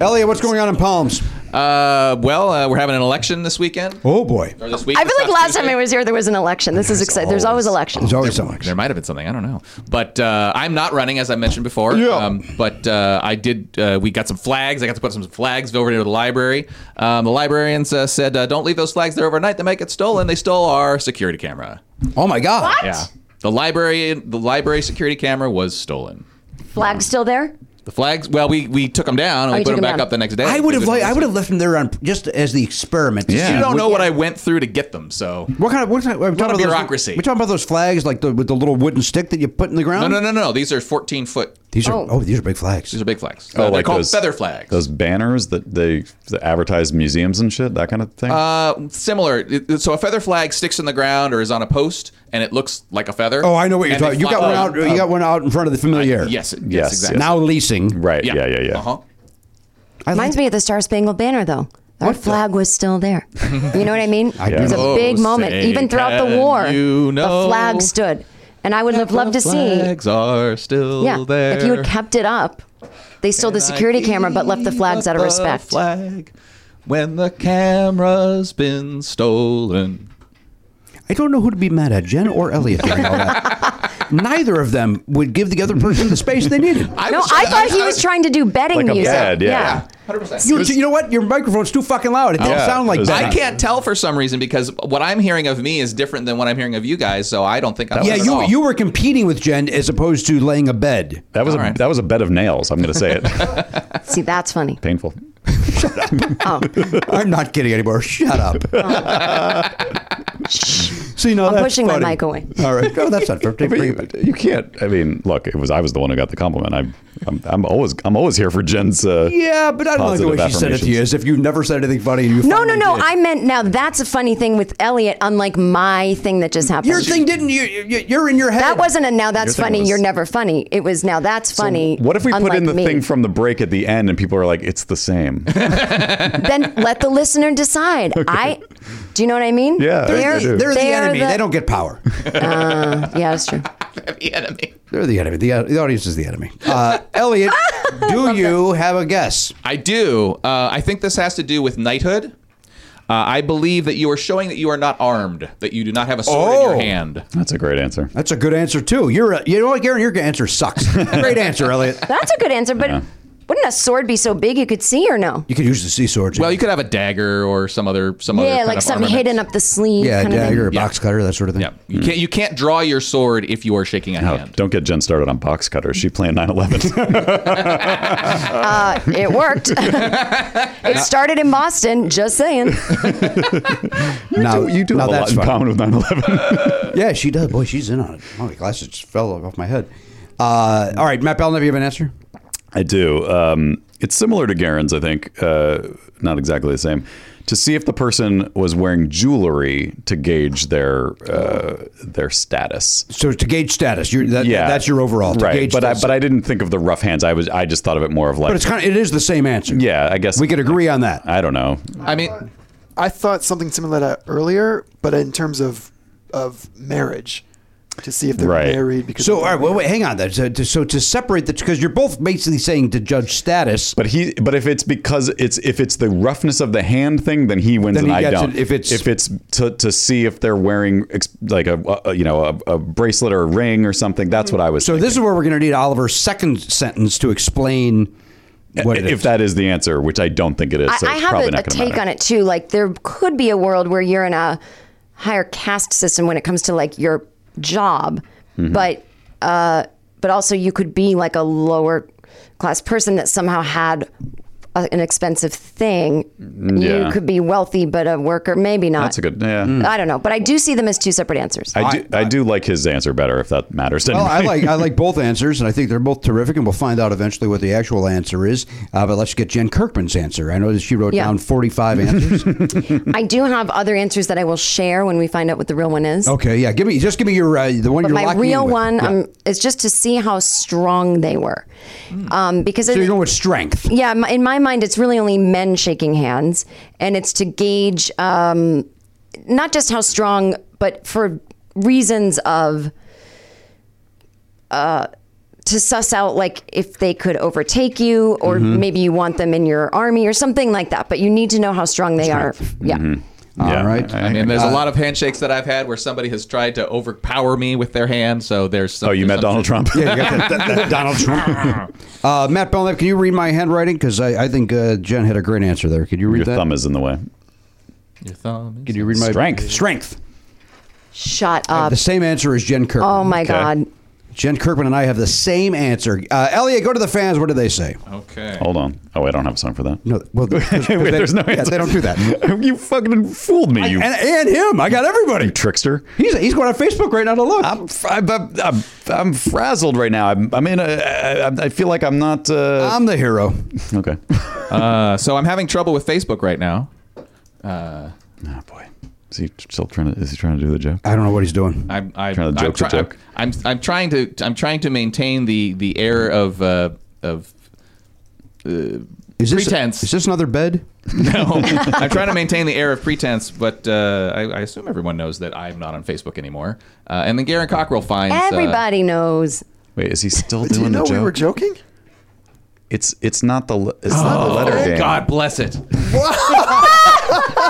Speaker 1: Oh,
Speaker 2: Elliot, what's going on in Palms?
Speaker 7: Uh, well, uh, we're having an election this weekend.
Speaker 2: Oh boy,
Speaker 7: Or this week.
Speaker 9: I feel
Speaker 7: this
Speaker 9: like
Speaker 7: past
Speaker 9: last time
Speaker 7: Tuesday.
Speaker 9: I was here, there was an election. This is exciting. There's always elections.
Speaker 2: there's always so much.
Speaker 7: There might have been something I don't know, but uh, I'm not running as I mentioned before. Yeah. Um, but uh, I did. Uh, we got some flags. I got to put some flags over to the library. Um, the librarians uh, said, uh, "Don't leave those flags there overnight. They might get stolen." They stole our security camera.
Speaker 2: Oh my God!
Speaker 7: Yeah. The library, the library security camera was stolen.
Speaker 9: Flag still there?
Speaker 7: The flags. Well, we we took them down and
Speaker 9: Oh,
Speaker 7: we
Speaker 9: you
Speaker 7: put
Speaker 9: took
Speaker 7: them
Speaker 9: 'em
Speaker 7: back
Speaker 9: down.
Speaker 7: up the next day.
Speaker 2: I would have
Speaker 7: Because
Speaker 2: like I would have left him there on just as the experiment.
Speaker 1: Yeah.
Speaker 7: You don't know what I went through to get them, so.
Speaker 2: What kind of what kind of, we're talking
Speaker 7: What a
Speaker 2: about those-
Speaker 7: bureaucracy.
Speaker 2: we're talking about those flags like the, with the little wooden stick that you put in the
Speaker 7: No,
Speaker 2: ground.
Speaker 7: no, no, no. These are 14 foot.
Speaker 2: These are
Speaker 9: Oh.
Speaker 2: oh, these are big flags.
Speaker 7: These are big flags.
Speaker 1: Oh,
Speaker 7: Uh, they're
Speaker 1: like
Speaker 7: called
Speaker 1: those,
Speaker 7: feather flags.
Speaker 1: Those banners that they that advertise museums and shit, that kind of thing.
Speaker 7: Uh, similar. It- So a feather flag sticks in the ground or is on a post, and it looks like a feather.
Speaker 2: oh, I know what you're
Speaker 7: And they
Speaker 2: talking. You
Speaker 7: flop
Speaker 2: got one out.
Speaker 7: around.
Speaker 2: You got one out in front of the familiar.
Speaker 7: Yes, yes,
Speaker 1: Yes,
Speaker 7: exactly.
Speaker 2: Now leasing.
Speaker 1: right. Yeah. Yeah. Yeah.
Speaker 7: Uh-huh.
Speaker 2: I like
Speaker 9: Reminds me of the Star Spangled Banner, though. Our flag was still there. You know what I mean?
Speaker 2: I do
Speaker 9: It was
Speaker 2: know.
Speaker 9: a big
Speaker 7: Oh,
Speaker 9: moment.
Speaker 7: say,
Speaker 9: Even throughout the
Speaker 7: can
Speaker 9: war,
Speaker 7: you know
Speaker 9: the flag stood. And I would have loved to see.
Speaker 7: Flags are still
Speaker 9: Yeah,
Speaker 7: there.
Speaker 9: if you had kept it up, they stole the
Speaker 7: And I
Speaker 9: security camera but left the
Speaker 7: keep
Speaker 9: flags out of
Speaker 7: the
Speaker 9: respect.
Speaker 7: Flag when the camera's been stolen.
Speaker 2: I don't know who to be mad at, Jen or Elliot. during all
Speaker 9: [laughs]
Speaker 2: that. Neither of them would give the other person the space they needed.
Speaker 9: no, I thought he was trying to do betting
Speaker 1: Like a
Speaker 9: music.
Speaker 1: bad, yeah.
Speaker 7: Hundred percent.
Speaker 2: You, you know what? Your microphone's too fucking loud. It doesn't
Speaker 1: Yeah.
Speaker 2: sound like
Speaker 1: It was
Speaker 2: that.
Speaker 7: I can't tell for some reason because what I'm hearing of me is different than what I'm hearing of you guys, so I don't think I'm.
Speaker 2: Yeah,
Speaker 7: at
Speaker 2: you
Speaker 7: all.
Speaker 2: [laughs] you were competing with Jen as opposed to laying a bed.
Speaker 1: That was a,
Speaker 7: All right.
Speaker 1: that was a bed of nails. I'm going to say
Speaker 7: [laughs]
Speaker 1: it.
Speaker 9: See, that's funny. Oh.
Speaker 1: Painful.
Speaker 2: I'm not kidding anymore. Shut
Speaker 9: [laughs]
Speaker 2: up. See, no,
Speaker 9: I'm
Speaker 2: that's
Speaker 9: pushing my
Speaker 2: funny.
Speaker 9: mic away.
Speaker 2: All right, no, that's not fair.
Speaker 1: [laughs]
Speaker 2: Take-
Speaker 1: But
Speaker 2: bring it
Speaker 1: you,
Speaker 2: back.
Speaker 1: you can't. I mean, look, it was I was the one who got the compliment. I'm I'm, I'm always I'm always here for Jen's. Uh,
Speaker 2: Yeah, but I don't like the
Speaker 1: positive
Speaker 2: way she said it to you.
Speaker 1: affirmations.
Speaker 2: As if you never said anything funny. and You
Speaker 9: No, no,
Speaker 2: finally
Speaker 9: no.
Speaker 2: did.
Speaker 9: I meant now that's a funny thing with Elliot, unlike my thing that just happened.
Speaker 2: Your thing didn't. You, you, you're in your head.
Speaker 9: that wasn't a now that's
Speaker 1: Your thing
Speaker 9: funny,
Speaker 1: was-
Speaker 9: you're never funny. It was now that's funny.
Speaker 1: What if we put
Speaker 9: unlike
Speaker 1: in the
Speaker 9: me.
Speaker 1: thing [laughs] from the break at the end and people are like, it's the same?
Speaker 9: [laughs] then let the listener decide. I do you know what I mean?
Speaker 1: Yeah,
Speaker 2: They're,
Speaker 1: I do.
Speaker 2: they're, the enemy. they
Speaker 9: [laughs]
Speaker 2: don't get power.
Speaker 9: Uh, Yeah, that's true.
Speaker 7: the enemy.
Speaker 2: [laughs] They're the enemy. The, the audience is the enemy. [laughs] Uh, Elliot, do you have a guess?
Speaker 7: I do. Uh, I think this has to do with knighthood. Uh, I believe that you are showing that you are not armed, that you do not have a sword in
Speaker 2: Oh.
Speaker 7: your hand.
Speaker 1: That's a great answer.
Speaker 2: That's a good answer too. You're a, you know what, Garen, your answer sucks. [laughs] Great answer, Elliot.
Speaker 9: That's a good answer, but wouldn't a sword be so big you could see or
Speaker 1: Oh,
Speaker 9: no?
Speaker 2: You could use the sea sword. Jim.
Speaker 7: Well, you could have a dagger or some other some other
Speaker 9: Yeah,
Speaker 7: kind
Speaker 9: like
Speaker 7: of
Speaker 9: something
Speaker 7: armament.
Speaker 9: hidden up the sleeve.
Speaker 2: yeah,
Speaker 9: kind
Speaker 2: dagger,
Speaker 9: Of
Speaker 2: a
Speaker 9: thing.
Speaker 2: box cutter, that sort of thing.
Speaker 7: Yeah, you can't you can't draw your sword if you are shaking a
Speaker 1: Oh,
Speaker 7: hand.
Speaker 1: don't get Jen started on box cutters. She playing 9/11.
Speaker 9: Uh, it
Speaker 2: [laughs]
Speaker 9: worked. [laughs] it started in Boston. Just saying.
Speaker 2: Now
Speaker 1: you do
Speaker 2: now
Speaker 1: have [laughs] a lot
Speaker 2: that's
Speaker 1: in
Speaker 2: fun.
Speaker 1: common with 9/11.
Speaker 2: Yeah, she does. Boy, she's in on it. Oh, my glasses just fell off my head. Uh, all right, Matt Bell, have you have an answer?
Speaker 1: [laughs] I do. Um, it's similar to Garen's, I think. Uh, not exactly the same. To see if the person was wearing jewelry to gauge their uh, their status.
Speaker 2: So to gauge status, you that, that's your overall to
Speaker 1: right.
Speaker 2: gauge
Speaker 1: but I,
Speaker 2: status.
Speaker 1: but I didn't think of the rough hands. I was I just thought of it more of like.
Speaker 2: But it's kind of it is the same answer.
Speaker 1: yeah, I guess
Speaker 2: we could agree on that.
Speaker 1: I don't know.
Speaker 7: I mean,
Speaker 8: I thought something similar to that earlier, but in terms of of marriage, to see if they're
Speaker 1: Right.
Speaker 8: married. Because
Speaker 2: So
Speaker 8: of
Speaker 2: all
Speaker 8: their
Speaker 2: right, wait,
Speaker 8: marriage.
Speaker 2: wait, hang on. There. So, to, so to separate the because you're both basically saying to judge status.
Speaker 1: But he, but if it's because it's if it's the roughness of the hand thing, then he wins
Speaker 2: Then
Speaker 1: and
Speaker 2: he
Speaker 1: I
Speaker 2: gets
Speaker 1: don't.
Speaker 2: it. If it's-
Speaker 1: if it's to, to see if they're wearing ex- like a, a you know a, a bracelet or a ring or something. That's what I was.
Speaker 2: Mm. So this is where we're going to need Oliver's second sentence to explain what it
Speaker 1: if
Speaker 2: is.
Speaker 1: that is the answer, which I don't think it is.
Speaker 9: I,
Speaker 1: so
Speaker 9: I
Speaker 1: it's
Speaker 9: have
Speaker 1: probably
Speaker 9: a, a
Speaker 1: not gonna
Speaker 9: take
Speaker 1: matter.
Speaker 9: on it too. Like there could be a world where you're in a higher caste system when it comes to like your job,
Speaker 1: Mm-hmm.
Speaker 9: but uh, but also you could be like a lower class person that somehow had a, an expensive thing.
Speaker 1: Mm, yeah.
Speaker 9: You could be wealthy but a worker, maybe not.
Speaker 1: That's a good. Yeah,
Speaker 2: Mm.
Speaker 9: I don't know, but I do see them as two separate answers.
Speaker 1: I do. I, do like his answer better if that matters. to
Speaker 2: Well, I
Speaker 1: anybody.
Speaker 2: like I like both answers, and I think they're both terrific, and we'll find out eventually what the actual answer is. Uh, but let's get Jen Kirkman's answer. I know that she wrote
Speaker 9: Yeah.
Speaker 2: down
Speaker 1: [laughs]
Speaker 2: 45 answers.
Speaker 9: I do have other answers that I will share when we find out what the real one is.
Speaker 1: Oh,
Speaker 2: okay, yeah, give me just give me your uh, the one
Speaker 9: But
Speaker 2: you're
Speaker 9: my
Speaker 2: locking in
Speaker 9: real
Speaker 2: with.
Speaker 9: one
Speaker 2: Yeah.
Speaker 9: um, is just to see how strong they were,
Speaker 1: Mm.
Speaker 9: um, because I
Speaker 2: So you're
Speaker 9: think-
Speaker 2: going with strength.
Speaker 9: yeah, my- in my mind, it's really only men shaking hands, and it's to gauge um, not just how strong, but for reasons of uh, to suss out like if they could overtake you, or maybe you want them in your army or something like that. But you need to know how strong they are. Yeah.
Speaker 1: Yeah,
Speaker 2: All right.
Speaker 1: I-
Speaker 7: I mean,
Speaker 2: Uh,
Speaker 7: there's a lot of handshakes that I've had where somebody has tried to overpower me with their hand. So there's
Speaker 1: [laughs]
Speaker 7: some,
Speaker 1: oh, you met
Speaker 2: [laughs]
Speaker 7: there's some-
Speaker 1: Donald Trump.
Speaker 2: Yeah, you got that, that- that
Speaker 1: [laughs]
Speaker 2: Donald Trump. uh, Matt Belknap, can you read my handwriting? Because I, I think uh, Jen had a great answer there. Could you read
Speaker 1: Your
Speaker 2: that?
Speaker 1: thumb is in the way.
Speaker 7: Your thumb.
Speaker 2: Can you read my
Speaker 1: Strength.
Speaker 2: Strength.
Speaker 9: Shut up.
Speaker 2: The same answer as Jen Kirkman.
Speaker 9: Oh my God.
Speaker 2: Jen Kirkman and I have the same answer. Uh, Elliot, go to the fans. What do they say?
Speaker 7: Okay.
Speaker 1: Hold on. Oh, I don't have a song for that.
Speaker 2: No, well, because
Speaker 1: Wait,
Speaker 2: they,
Speaker 1: there's no
Speaker 2: yeah,
Speaker 1: answer.
Speaker 2: they don't do that.
Speaker 1: [laughs] you fucking fooled me. you
Speaker 2: and, and him, I got everybody.
Speaker 1: you trickster.
Speaker 2: He's he's going on Facebook right now to look.
Speaker 1: I'm, fr- I'm, I'm, I'm frazzled right now. I'm, I'm in a. I, I- I feel like I'm not. Uh,
Speaker 2: I'm the hero.
Speaker 1: [laughs] okay.
Speaker 7: Uh, so I'm having trouble with Facebook right now.
Speaker 1: Oh boy. Is he still trying to? Is he trying to do the joke?
Speaker 2: I don't know what he's doing.
Speaker 7: I'm, I'm
Speaker 1: Trying to
Speaker 7: I'm
Speaker 1: joke the joke.
Speaker 7: I'm, I'm, I'm trying to I'm trying to maintain the the air of uh, of [laughs]
Speaker 2: Is this
Speaker 7: pretense.
Speaker 2: Is this another bed?
Speaker 7: no. I'm trying to maintain the air of pretense, but uh, I, I assume everyone knows that I'm not on Facebook anymore. Uh, and then Garen Cockrell finds uh,
Speaker 9: Everybody knows.
Speaker 1: Wait, is he still
Speaker 8: Do
Speaker 1: doing
Speaker 8: you know
Speaker 1: the joke?
Speaker 8: we were joking?
Speaker 1: It's it's not the le- it's not the letter game.
Speaker 7: Oh, God bless it. [laughs]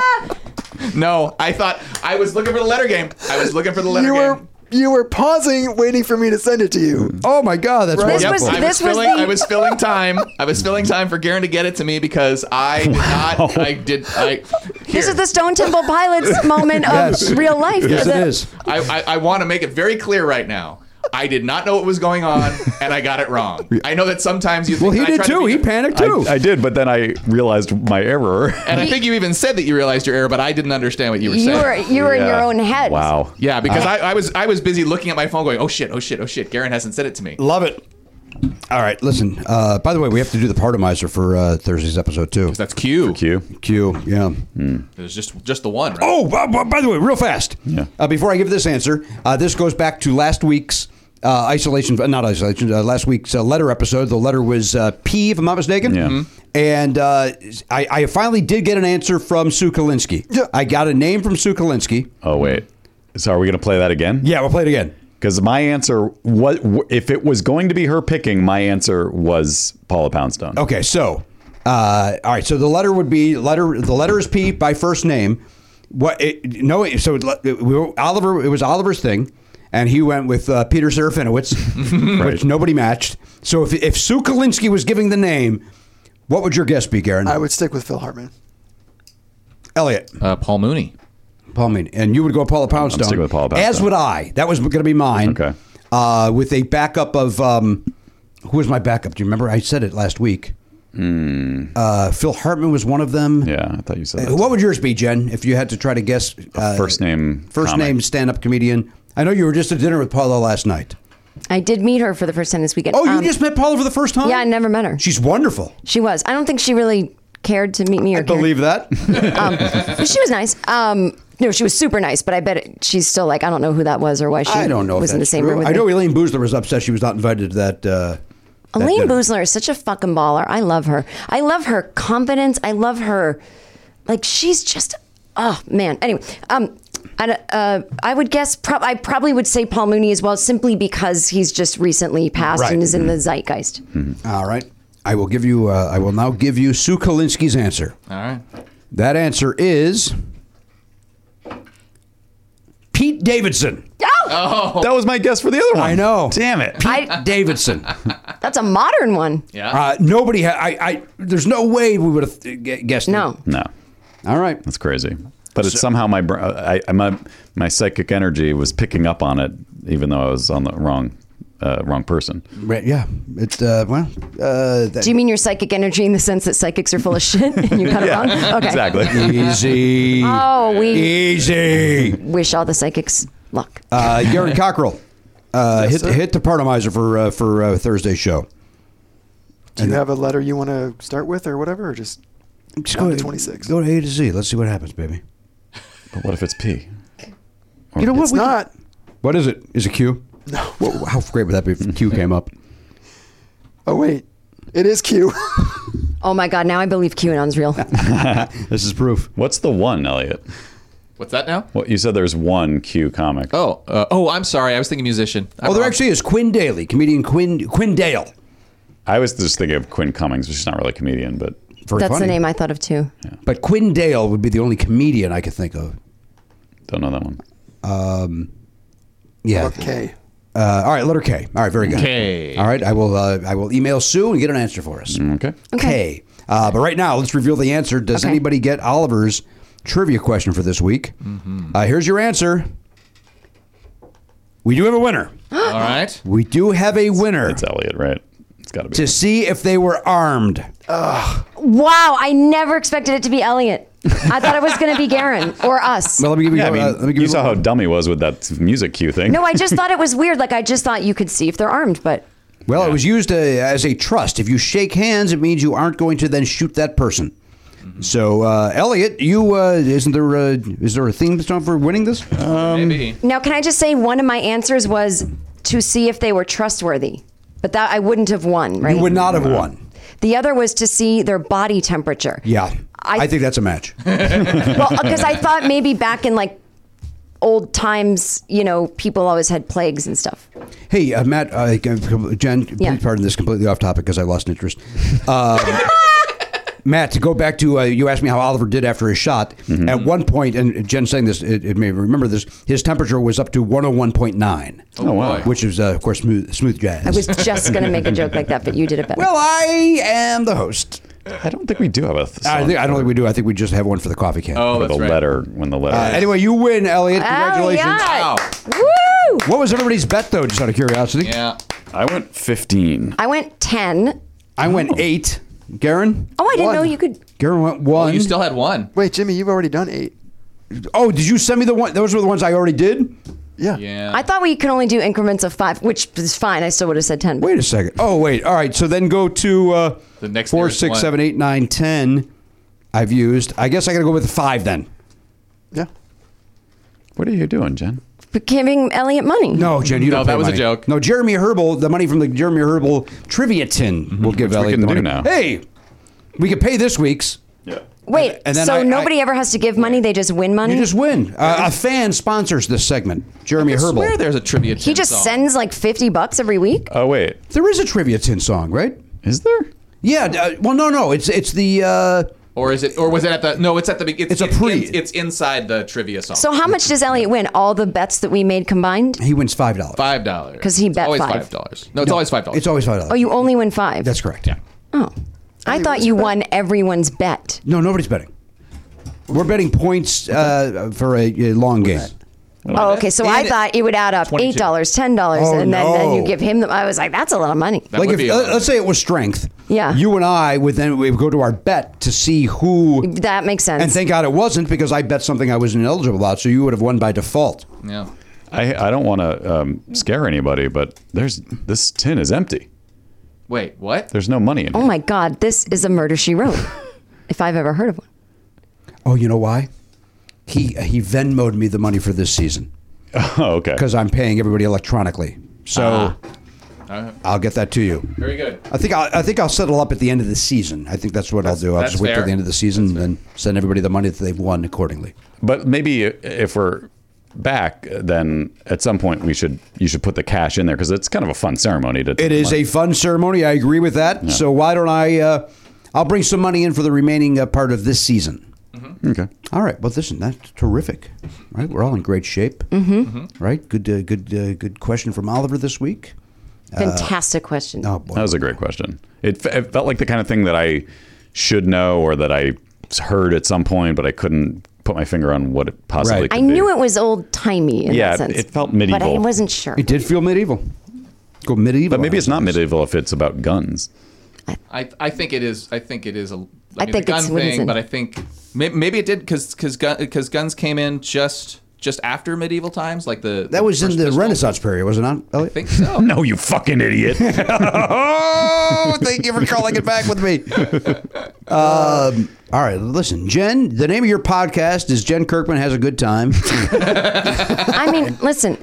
Speaker 7: no, I thought I was looking for the letter game. I was looking for the letter
Speaker 8: You
Speaker 7: game.
Speaker 8: were you were pausing, waiting for me to send it to
Speaker 1: Mm-hmm.
Speaker 8: you.
Speaker 2: Oh my God, that's
Speaker 8: This
Speaker 7: Yep,
Speaker 2: wonderful.
Speaker 9: was-
Speaker 7: I, was
Speaker 9: this was
Speaker 7: filling,
Speaker 9: the-
Speaker 7: I was filling time. I was filling time for Garen to get it to me because I did not. I did. I,
Speaker 9: This
Speaker 7: here.
Speaker 9: is the Stone Temple Pilots moment of
Speaker 2: Yes.
Speaker 9: real life.
Speaker 2: yes,
Speaker 9: The-
Speaker 2: it is.
Speaker 7: I, I, I want to make it very clear right now. I did not know what was going on, and I got it
Speaker 2: [laughs]
Speaker 7: wrong. I know that sometimes you. Think
Speaker 2: Well, he
Speaker 7: that I
Speaker 2: did
Speaker 7: tried to
Speaker 2: too.
Speaker 7: be
Speaker 2: He
Speaker 7: good-
Speaker 2: panicked too.
Speaker 1: I, I did, but then I realized my
Speaker 9: [laughs]
Speaker 1: error.
Speaker 7: And I think you even said that you realized your error, but I didn't understand what you were
Speaker 9: You
Speaker 7: saying.
Speaker 9: were you were in your
Speaker 1: Yeah.
Speaker 9: own head.
Speaker 1: Wow.
Speaker 7: yeah, because
Speaker 2: Uh-huh.
Speaker 7: I, I was I was busy looking at my phone, going, "Oh shit, oh shit, oh shit." Garen hasn't said it to me.
Speaker 2: Love it. All right, listen. Uh, by the way, we have to do the partomizer for uh, Thursday's episode too.
Speaker 7: That's Q.
Speaker 1: Q.
Speaker 2: Q. Yeah.
Speaker 7: It was just just the one. Right?
Speaker 2: Oh, by, by- by the way, real fast. Yeah. Uh, before I give this answer, uh, this goes back to last week's uh, isolation, uh, not isolation, uh, last week's uh, letter episode. The letter was uh, P, if I'm not mistaken.
Speaker 1: Yeah. Mhm.
Speaker 2: And uh, I, I finally did get an answer from Sue Kalinsky.
Speaker 8: Yeah.
Speaker 2: I got a name from Sue Kalinsky.
Speaker 1: Oh wait. So are we gonna play that again?
Speaker 2: Yeah, we'll play it again.
Speaker 1: Because my answer, what if it was going to be her picking? My answer was Paula Poundstone.
Speaker 2: Okay, so uh, all right, so the letter would be letter. The letter is P by first name. What? It, no, it- so it, it- we were- Oliver. It was Oliver's thing, and he went with uh, Peter Serafinowicz, which
Speaker 1: [laughs] Right.
Speaker 2: nobody matched. So if if Sue Kalinsky was giving the name, what would your guess be, Garen?
Speaker 8: I would stick with Phil Hartman.
Speaker 2: Elliot,
Speaker 7: Uh, Paul Mooney.
Speaker 2: Paul Meany, and you would go Paula Poundstone.
Speaker 1: sticking with Paula
Speaker 2: As
Speaker 1: Poundstone.
Speaker 2: would I. That was going to be mine.
Speaker 1: Okay.
Speaker 2: Uh, with a backup of um, who was my backup? Do you remember? I said it last week.
Speaker 1: Hmm.
Speaker 2: Uh, Phil Hartman was one of them.
Speaker 1: Yeah, I thought you said that.
Speaker 2: What would yours be, Jen, if you had to try to guess? Uh,
Speaker 1: first name
Speaker 2: First
Speaker 1: comic.
Speaker 2: name stand up comedian. I know you were just at dinner with Paula last night.
Speaker 9: I did meet her for the first time this weekend.
Speaker 2: Oh, you
Speaker 9: Um,
Speaker 2: just met Paula for the first time?
Speaker 9: Yeah, I never met her.
Speaker 2: She's wonderful.
Speaker 9: She was. I don't think she really cared to meet me or cared-
Speaker 2: Believe that?
Speaker 9: um, but she was nice. Um, no, she was super nice, but I bet it, she's still like, I don't know who that was or why she
Speaker 2: [laughs] I don't know. if
Speaker 9: was in the
Speaker 2: that's
Speaker 9: same
Speaker 2: true.
Speaker 9: room with
Speaker 2: I
Speaker 9: me.
Speaker 2: know Elaine Boozler was upset she was not invited to that. Uh, that
Speaker 9: Elaine
Speaker 2: dinner.
Speaker 9: Boozler is such a fucking baller. I love her. I love her confidence. I love her. Like she's just, oh man. Anyway, um, I, uh, I would guess. Prob- I probably would say Paul Mooney as well, simply because he's just recently passed
Speaker 2: Right.
Speaker 9: and is in the zeitgeist. Oh,
Speaker 2: All right. I will give you. Uh, I will now give you Sue Kalinsky's answer.
Speaker 7: All right.
Speaker 2: That answer is Pete Davidson.
Speaker 9: Oh,
Speaker 1: That was my guess for the other one.
Speaker 2: I know.
Speaker 1: Damn it.
Speaker 9: I,
Speaker 7: [laughs]
Speaker 2: Davidson.
Speaker 9: that's a modern one.
Speaker 7: Yeah.
Speaker 2: Uh, nobody. Ha- I, I. There's no way we would have gu- guessed.
Speaker 9: No,
Speaker 1: No,
Speaker 2: it. All right.
Speaker 1: that's crazy. But it's somehow my br- I, I- my my psychic energy was picking up on it, even though I was on the wrong uh, wrong person.
Speaker 2: Right, Yeah. It's uh, well. Uh,
Speaker 9: [laughs]
Speaker 2: that,
Speaker 9: do you mean your psychic energy in the sense that psychics are full of shit
Speaker 2: [laughs]
Speaker 9: and you got
Speaker 1: [laughs]
Speaker 9: it wrong? Okay. [laughs]
Speaker 1: Exactly.
Speaker 2: easy.
Speaker 9: Oh, we
Speaker 2: Easy.
Speaker 9: [laughs] wish all the psychics luck.
Speaker 2: Uh, Garen Cockrell. Uh, hit, hit the partomizer for uh, for uh, Thursday show.
Speaker 8: Do you have a letter you want to start with or whatever? Or just
Speaker 2: Just
Speaker 8: Down
Speaker 2: go
Speaker 8: to 26.
Speaker 2: Go to A to Z. Let's see what happens, baby.
Speaker 1: But what if it's P?
Speaker 2: You know what?
Speaker 8: it's not.
Speaker 2: What is it? Is it Q? [laughs] No. how great would that be if Q came up?
Speaker 8: Oh wait, it
Speaker 1: [laughs]
Speaker 8: is Q.
Speaker 9: Oh my God! Now I believe QAnon's real.
Speaker 2: This is proof.
Speaker 1: What's the one, Elliot?
Speaker 7: What's that now?
Speaker 1: What you said? There's one Q comic.
Speaker 7: Oh, uh, oh, I'm sorry. I was thinking musician. I'm
Speaker 2: Oh, there
Speaker 7: wrong.
Speaker 2: actually is Quinn Daly, comedian Quinn Quinn Dale.
Speaker 1: I was just thinking of Quinn Cummings, which is not really a comedian, but
Speaker 2: Very
Speaker 9: That's the
Speaker 2: funny.
Speaker 9: name I thought of too.
Speaker 2: But Quinn Dale would be the only comedian I could think of.
Speaker 1: don't know that one.
Speaker 2: Yeah.
Speaker 8: okay.
Speaker 2: Uh, all right, letter K. All right, very good.
Speaker 7: K.
Speaker 2: All right, I will uh, I will email Sue and get an answer for us.
Speaker 1: Okay.
Speaker 2: K. Uh, but right now, let's reveal the answer. Does
Speaker 9: Okay.
Speaker 2: anybody get Oliver's trivia question for this week?
Speaker 1: Mm-hmm.
Speaker 2: Uh, here's your answer. We do have a winner.
Speaker 7: All right.
Speaker 2: We do have a winner.
Speaker 1: It's Elliot, right? It's got to be.
Speaker 2: to see if they were armed.
Speaker 9: Wow! I never expected it to be Elliot. I thought it was going to be Garen or us.
Speaker 2: [laughs] Well, let me give you.
Speaker 1: yeah, I
Speaker 2: uh,
Speaker 1: mean,
Speaker 2: let me give
Speaker 1: you
Speaker 2: a
Speaker 1: saw how
Speaker 2: little-
Speaker 1: dumb he was with that music cue thing.
Speaker 9: no, I just thought it was weird. Like I just thought you could see if they're armed, but
Speaker 2: Well, it was used uh, as a trust. If you shake hands, it means you aren't going to then shoot that person.
Speaker 1: Mm-hmm.
Speaker 2: So, uh, Elliot, you uh, isn't there? A, is there a theme song for winning this? Um,
Speaker 7: Maybe.
Speaker 9: now can I just say one of my answers was to see if they were trustworthy, but that I wouldn't have won. Right?
Speaker 2: you would not have won.
Speaker 9: The other was to see their body temperature.
Speaker 2: Yeah, I,
Speaker 9: I-
Speaker 2: think that's a
Speaker 9: [laughs]
Speaker 2: match.
Speaker 9: Well, because I thought maybe back in like old times, you know, people always had plagues and stuff.
Speaker 2: hey, uh, Matt, uh, Jen, please
Speaker 9: Yeah.
Speaker 2: pardon this completely off topic because I lost interest.
Speaker 9: [laughs]
Speaker 2: Uh, Matt, to go back to uh, you asked me how Oliver did after his shot.
Speaker 7: Mm-hmm.
Speaker 2: At one point, and Jen saying this, it, it may remember this. His temperature was up to one hundred one point nine.
Speaker 7: Oh, wow.
Speaker 2: which is uh, of course smooth, smooth jazz.
Speaker 9: I was just going to make a joke like that, but you did it better.
Speaker 2: Well, I am the host.
Speaker 1: I don't think we do have a. Th-
Speaker 2: I,
Speaker 1: song
Speaker 2: think, I don't
Speaker 1: for-
Speaker 2: think we do. I think we just have one for the coffee can.
Speaker 7: Oh,
Speaker 1: for
Speaker 7: that's
Speaker 1: the
Speaker 7: right.
Speaker 1: letter when the letter.
Speaker 2: Uh, anyway, you win, Elliot. Congratulations.
Speaker 9: Oh, yeah. Woo!
Speaker 2: What was everybody's bet, though, just out of curiosity?
Speaker 7: Yeah.
Speaker 1: I went 15.
Speaker 9: I went 10.
Speaker 2: I
Speaker 7: Oh.
Speaker 2: went eight. Garen?
Speaker 9: Oh, I didn't
Speaker 2: One.
Speaker 9: know you could.
Speaker 2: Garen went one.
Speaker 7: Well, Oh, you still had one.
Speaker 8: Wait, Jimmy, you've already done eight.
Speaker 2: oh, did you send me the one? Those were the ones I already did?
Speaker 8: Yeah.
Speaker 7: Yeah.
Speaker 9: I thought we could only do increments of five, which is fine. I still would have said 10.
Speaker 2: Wait a second. Oh, wait. All right. So then go to uh,
Speaker 7: The next
Speaker 2: four,
Speaker 7: nearest
Speaker 2: six,
Speaker 7: one.
Speaker 2: seven, eight, nine, ten. I've used. I guess I got to go with five then.
Speaker 8: Yeah.
Speaker 1: What are you doing, Jen?
Speaker 9: But giving Elliot money.
Speaker 2: No, Jen, you
Speaker 7: No,
Speaker 2: don't.
Speaker 7: that
Speaker 2: pay
Speaker 7: was a
Speaker 2: money.
Speaker 7: joke.
Speaker 2: No, Jeremy Herbal, the money from the Jeremy Herbal trivia tin
Speaker 7: Mm-hmm.
Speaker 2: will give
Speaker 1: Which we
Speaker 2: Elliot
Speaker 1: can
Speaker 2: the money.
Speaker 1: do now.
Speaker 2: Hey, we could pay this week's.
Speaker 1: Yeah.
Speaker 9: Wait,
Speaker 2: and then
Speaker 9: so
Speaker 2: I- I-
Speaker 9: nobody ever has to give money, they just win money?
Speaker 2: You just win. Uh, a fan sponsors this segment. Jeremy
Speaker 7: I
Speaker 2: Herbal.
Speaker 7: swear there's a trivia.
Speaker 9: he just sends like 50 bucks every week?
Speaker 1: Oh wait,
Speaker 2: there is a trivia tin song, right?
Speaker 1: is there?
Speaker 2: Yeah. Uh, well, no, no. It's it's the. Uh,
Speaker 7: Or is it? Or was it at the? No, it's at the. be-
Speaker 2: It's a
Speaker 7: it's
Speaker 2: pre.
Speaker 7: It's, it's inside the trivia song.
Speaker 9: So how much does Elliot win? All the bets that we made combined?
Speaker 2: he wins five dollars.
Speaker 7: five dollars.
Speaker 9: 'Cause he
Speaker 7: It's
Speaker 9: bet
Speaker 7: always
Speaker 9: five.
Speaker 7: five dollars. No, it's always five dollars.
Speaker 2: It's always five dollars.
Speaker 9: Oh, you only win five?
Speaker 2: That's correct. Yeah.
Speaker 9: Oh. I thought you won everyone's bet.
Speaker 2: No, nobody's betting. We're betting points uh, for a, a long game.
Speaker 9: Oh, okay. So I
Speaker 2: And-
Speaker 9: thought it would add up $8, $10,
Speaker 2: Oh,
Speaker 9: and then, then you
Speaker 2: no.
Speaker 9: give him the. I was like, that's a lot of money.
Speaker 7: That
Speaker 2: like
Speaker 7: would
Speaker 2: if
Speaker 7: be a-
Speaker 2: let- let's say it was strength.
Speaker 9: Yeah.
Speaker 2: You and I would then we would go to our bet to see who.
Speaker 9: That makes sense.
Speaker 2: And thank God it wasn't because I bet something I was ineligible about, so you would have won by default.
Speaker 7: yeah.
Speaker 1: I I don't want to um, scare anybody, but there's this tin is empty.
Speaker 7: Wait, what?
Speaker 1: There's no money in
Speaker 9: Oh
Speaker 1: here.
Speaker 9: my God, this is a murder she wrote, [laughs] if I've ever heard of one.
Speaker 2: Oh, you know why? He he Venmoed me the money for this season
Speaker 1: Oh, [laughs] okay.
Speaker 2: because I'm paying everybody electronically. So
Speaker 7: Uh,
Speaker 2: I'll get that to you.
Speaker 7: very good.
Speaker 2: I think I'll, I think I'll settle up at the end of the season. I think that's what I'll do. I'll
Speaker 7: that's
Speaker 2: just wait till
Speaker 7: fair.
Speaker 2: the end of the season and then send everybody the money that they've won accordingly.
Speaker 1: But maybe if we're back, then at some point we should you should put the cash in there because it's kind of a fun ceremony to.
Speaker 2: It is a fun ceremony. I agree with that. So why don't I? Uh, I'll bring some money in for the remaining uh, part of this season.
Speaker 1: okay.
Speaker 2: All right. Well, listen, that's terrific. Right, we're all in great shape. Mm-hmm. Right. Good. Uh, good. Uh, good question from Oliver this week. Uh,
Speaker 9: Fantastic question.
Speaker 2: Oh boy.
Speaker 1: That was a great question. It, fe- it felt like the kind of thing that I should know or that I heard at some point, but I couldn't put my finger on what it possibly.
Speaker 2: Right.
Speaker 1: Could
Speaker 9: I knew
Speaker 1: be.
Speaker 9: it was old timey in
Speaker 1: Yeah,
Speaker 9: that sense.
Speaker 1: it felt medieval.
Speaker 9: But I wasn't sure.
Speaker 2: It did feel medieval. Go medieval.
Speaker 1: But maybe it's not medieval if it's about guns.
Speaker 7: I, I think it is. I think it is a. I mean,
Speaker 9: I think
Speaker 7: the gun
Speaker 9: it's what is
Speaker 7: thing,
Speaker 9: in-
Speaker 7: but I think may- maybe it did because because guns came in just just after medieval times, like the
Speaker 2: That was in
Speaker 7: first
Speaker 2: the
Speaker 7: pistol.
Speaker 2: Renaissance period, was it not?
Speaker 7: I think so.
Speaker 1: Oh, No, you fucking
Speaker 2: [laughs]
Speaker 1: idiot.
Speaker 2: Oh, thank you for calling it back with me. [laughs] Um, all right, listen, Jen. The name of your podcast is Jen Kirkman has a good [laughs] time.
Speaker 9: I mean,
Speaker 2: [laughs]
Speaker 9: listen,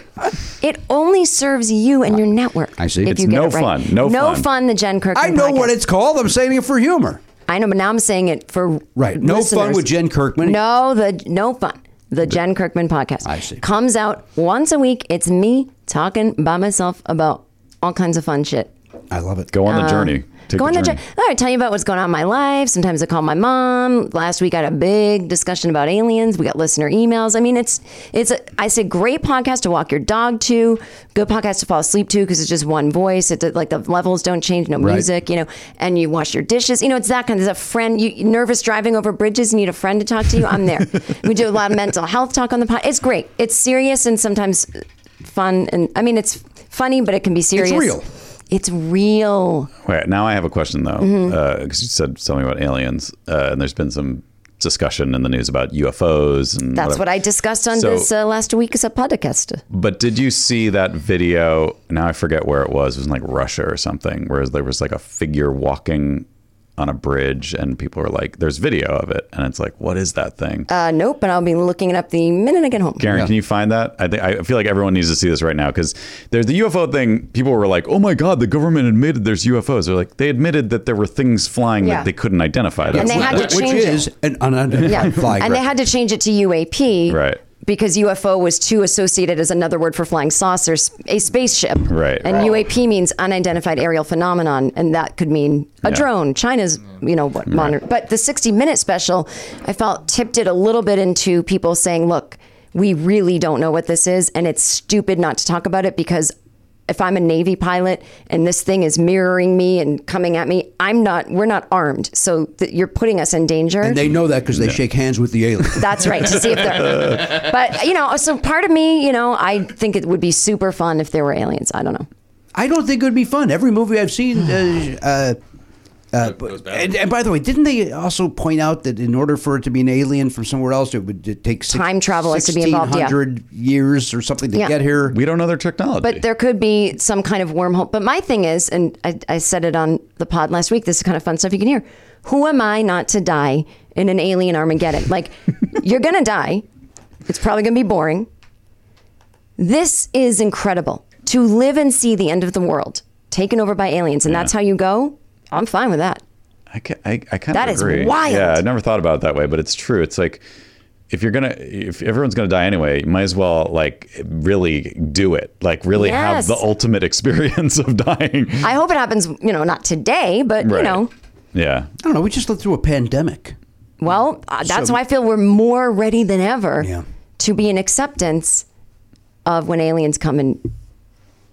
Speaker 9: it only serves you and your network.
Speaker 2: I see.
Speaker 9: If
Speaker 2: It's
Speaker 9: you get
Speaker 1: no
Speaker 9: it right.
Speaker 1: fun, no
Speaker 9: no
Speaker 1: fun.
Speaker 9: fun. The Jen Kirkman.
Speaker 2: I know
Speaker 9: podcast.
Speaker 2: what it's called. I'm saying it for humor.
Speaker 9: I know, but now I'm saying it for
Speaker 2: Right. No fun
Speaker 9: listeners.
Speaker 2: with Jen Kirkman.
Speaker 9: No, the no fun. The Jen Kirkman podcast.
Speaker 2: I see.
Speaker 9: Comes out once a week. It's me talking by myself about all kinds of fun shit.
Speaker 2: I love it.
Speaker 1: Go on the journey. Take
Speaker 9: Uh, Go on the
Speaker 1: journey.
Speaker 9: journey. All right, tell you about what's going on in my life. Sometimes I call my mom. Last week I had a big discussion about aliens. We got listener emails. I mean, it's it's a, I say great podcast to walk your dog to. Good podcast to fall asleep to because it's just one voice. It's like the levels don't change, no
Speaker 2: Right.
Speaker 9: music, you know. And you wash your dishes. You know, it's that kind of a friend. You nervous driving over bridges. You need a friend to talk to you. I'm there. we do a lot of mental health talk on the pod. It's great. It's serious and sometimes fun. And I mean, it's funny, but it can be serious.
Speaker 2: real.
Speaker 9: It's real.
Speaker 1: Wait, now I have a question though, because
Speaker 9: Mm-hmm.
Speaker 1: you said something about aliens, uh, and there's been some discussion in the news about UFOs and
Speaker 9: That's what
Speaker 1: whatever.
Speaker 9: I discussed on
Speaker 1: So-
Speaker 9: this uh, last week's uh, podcast.
Speaker 1: But did you see that video? Now I forget where it was. It was in like Russia or something, where there was like a figure walking on a bridge, and people were like, "There's video of it," and it's like, "What is that thing?"
Speaker 9: Uh, nope, but I'll be looking it up the minute I get home.
Speaker 1: Garen, can you find that? I think I feel like everyone needs to see this right now because there's the UFO thing. People were like, "Oh my god, the government admitted there's UFOs." They're like, they admitted that there were things flying
Speaker 9: Yeah.
Speaker 1: that they couldn't identify. That's
Speaker 9: they
Speaker 1: what
Speaker 9: had
Speaker 1: that-
Speaker 9: to
Speaker 2: Which
Speaker 9: change
Speaker 2: is an
Speaker 1: [laughs]
Speaker 2: unidentified
Speaker 9: Yeah,
Speaker 2: flying
Speaker 9: and they
Speaker 2: object.
Speaker 9: had to change it to UAP,
Speaker 1: Right.
Speaker 9: Because UFO was too associated as another word for flying saucer, s- a spaceship,
Speaker 1: Right.
Speaker 9: And
Speaker 1: Right.
Speaker 9: UAP means unidentified aerial phenomenon, and that could mean a
Speaker 1: Yeah. Mm-hmm.
Speaker 9: drone. China's, you know, what monitor. But the 60 minute special, I felt tipped it a little bit into people saying, "Look, we really don't know what this is, and it's stupid not to talk about it because." If I'm a Navy pilot and this thing is mirroring me and coming at me, I'm not. We're not armed, so th- you're putting us in danger.
Speaker 2: and they know that because they shake hands with the alien.
Speaker 9: That's right. To see if they're. but you know, so part of me, you know, I think it would be super fun if there were aliens. I don't know.
Speaker 2: [laughs] I don't think it would be fun. Every movie I've seen. Uh, uh, uh, and, and by the way, didn't they also point out that in order for it to be an alien from somewhere else, it would it take six,
Speaker 9: Time travel has to be involved, yeah.
Speaker 2: 1,600 years or something to
Speaker 9: Yeah.
Speaker 2: get here?
Speaker 1: we don't know their technology.
Speaker 9: But there could be some kind of wormhole. But my thing is, and I, I said it on the pod last week. This is kind of fun stuff you can hear. Who am I not to die in an alien Armageddon? Like, you're gonna die. It's probably gonna be boring. This is incredible to live and see the end of the world taken over by aliens, and that's how you go. I'm fine with that.
Speaker 1: I, ca- I, I kind
Speaker 9: That
Speaker 1: of
Speaker 9: is
Speaker 1: agree.
Speaker 9: wild.
Speaker 1: Yeah, I never thought about it that way, but it's true. It's like if you're gonna, if everyone's gonna die anyway, you might as well like really do it, like really have
Speaker 9: Yes.
Speaker 1: the ultimate [laughs] experience of dying.
Speaker 9: I hope it happens, you know, not today, but you
Speaker 1: Right.
Speaker 9: know,
Speaker 1: Yeah,
Speaker 2: I don't know. We just lived through a pandemic.
Speaker 9: well, uh, that's
Speaker 2: Mm. So-
Speaker 9: why I feel we're more ready than ever
Speaker 2: Yeah.
Speaker 9: to be in acceptance of when aliens come and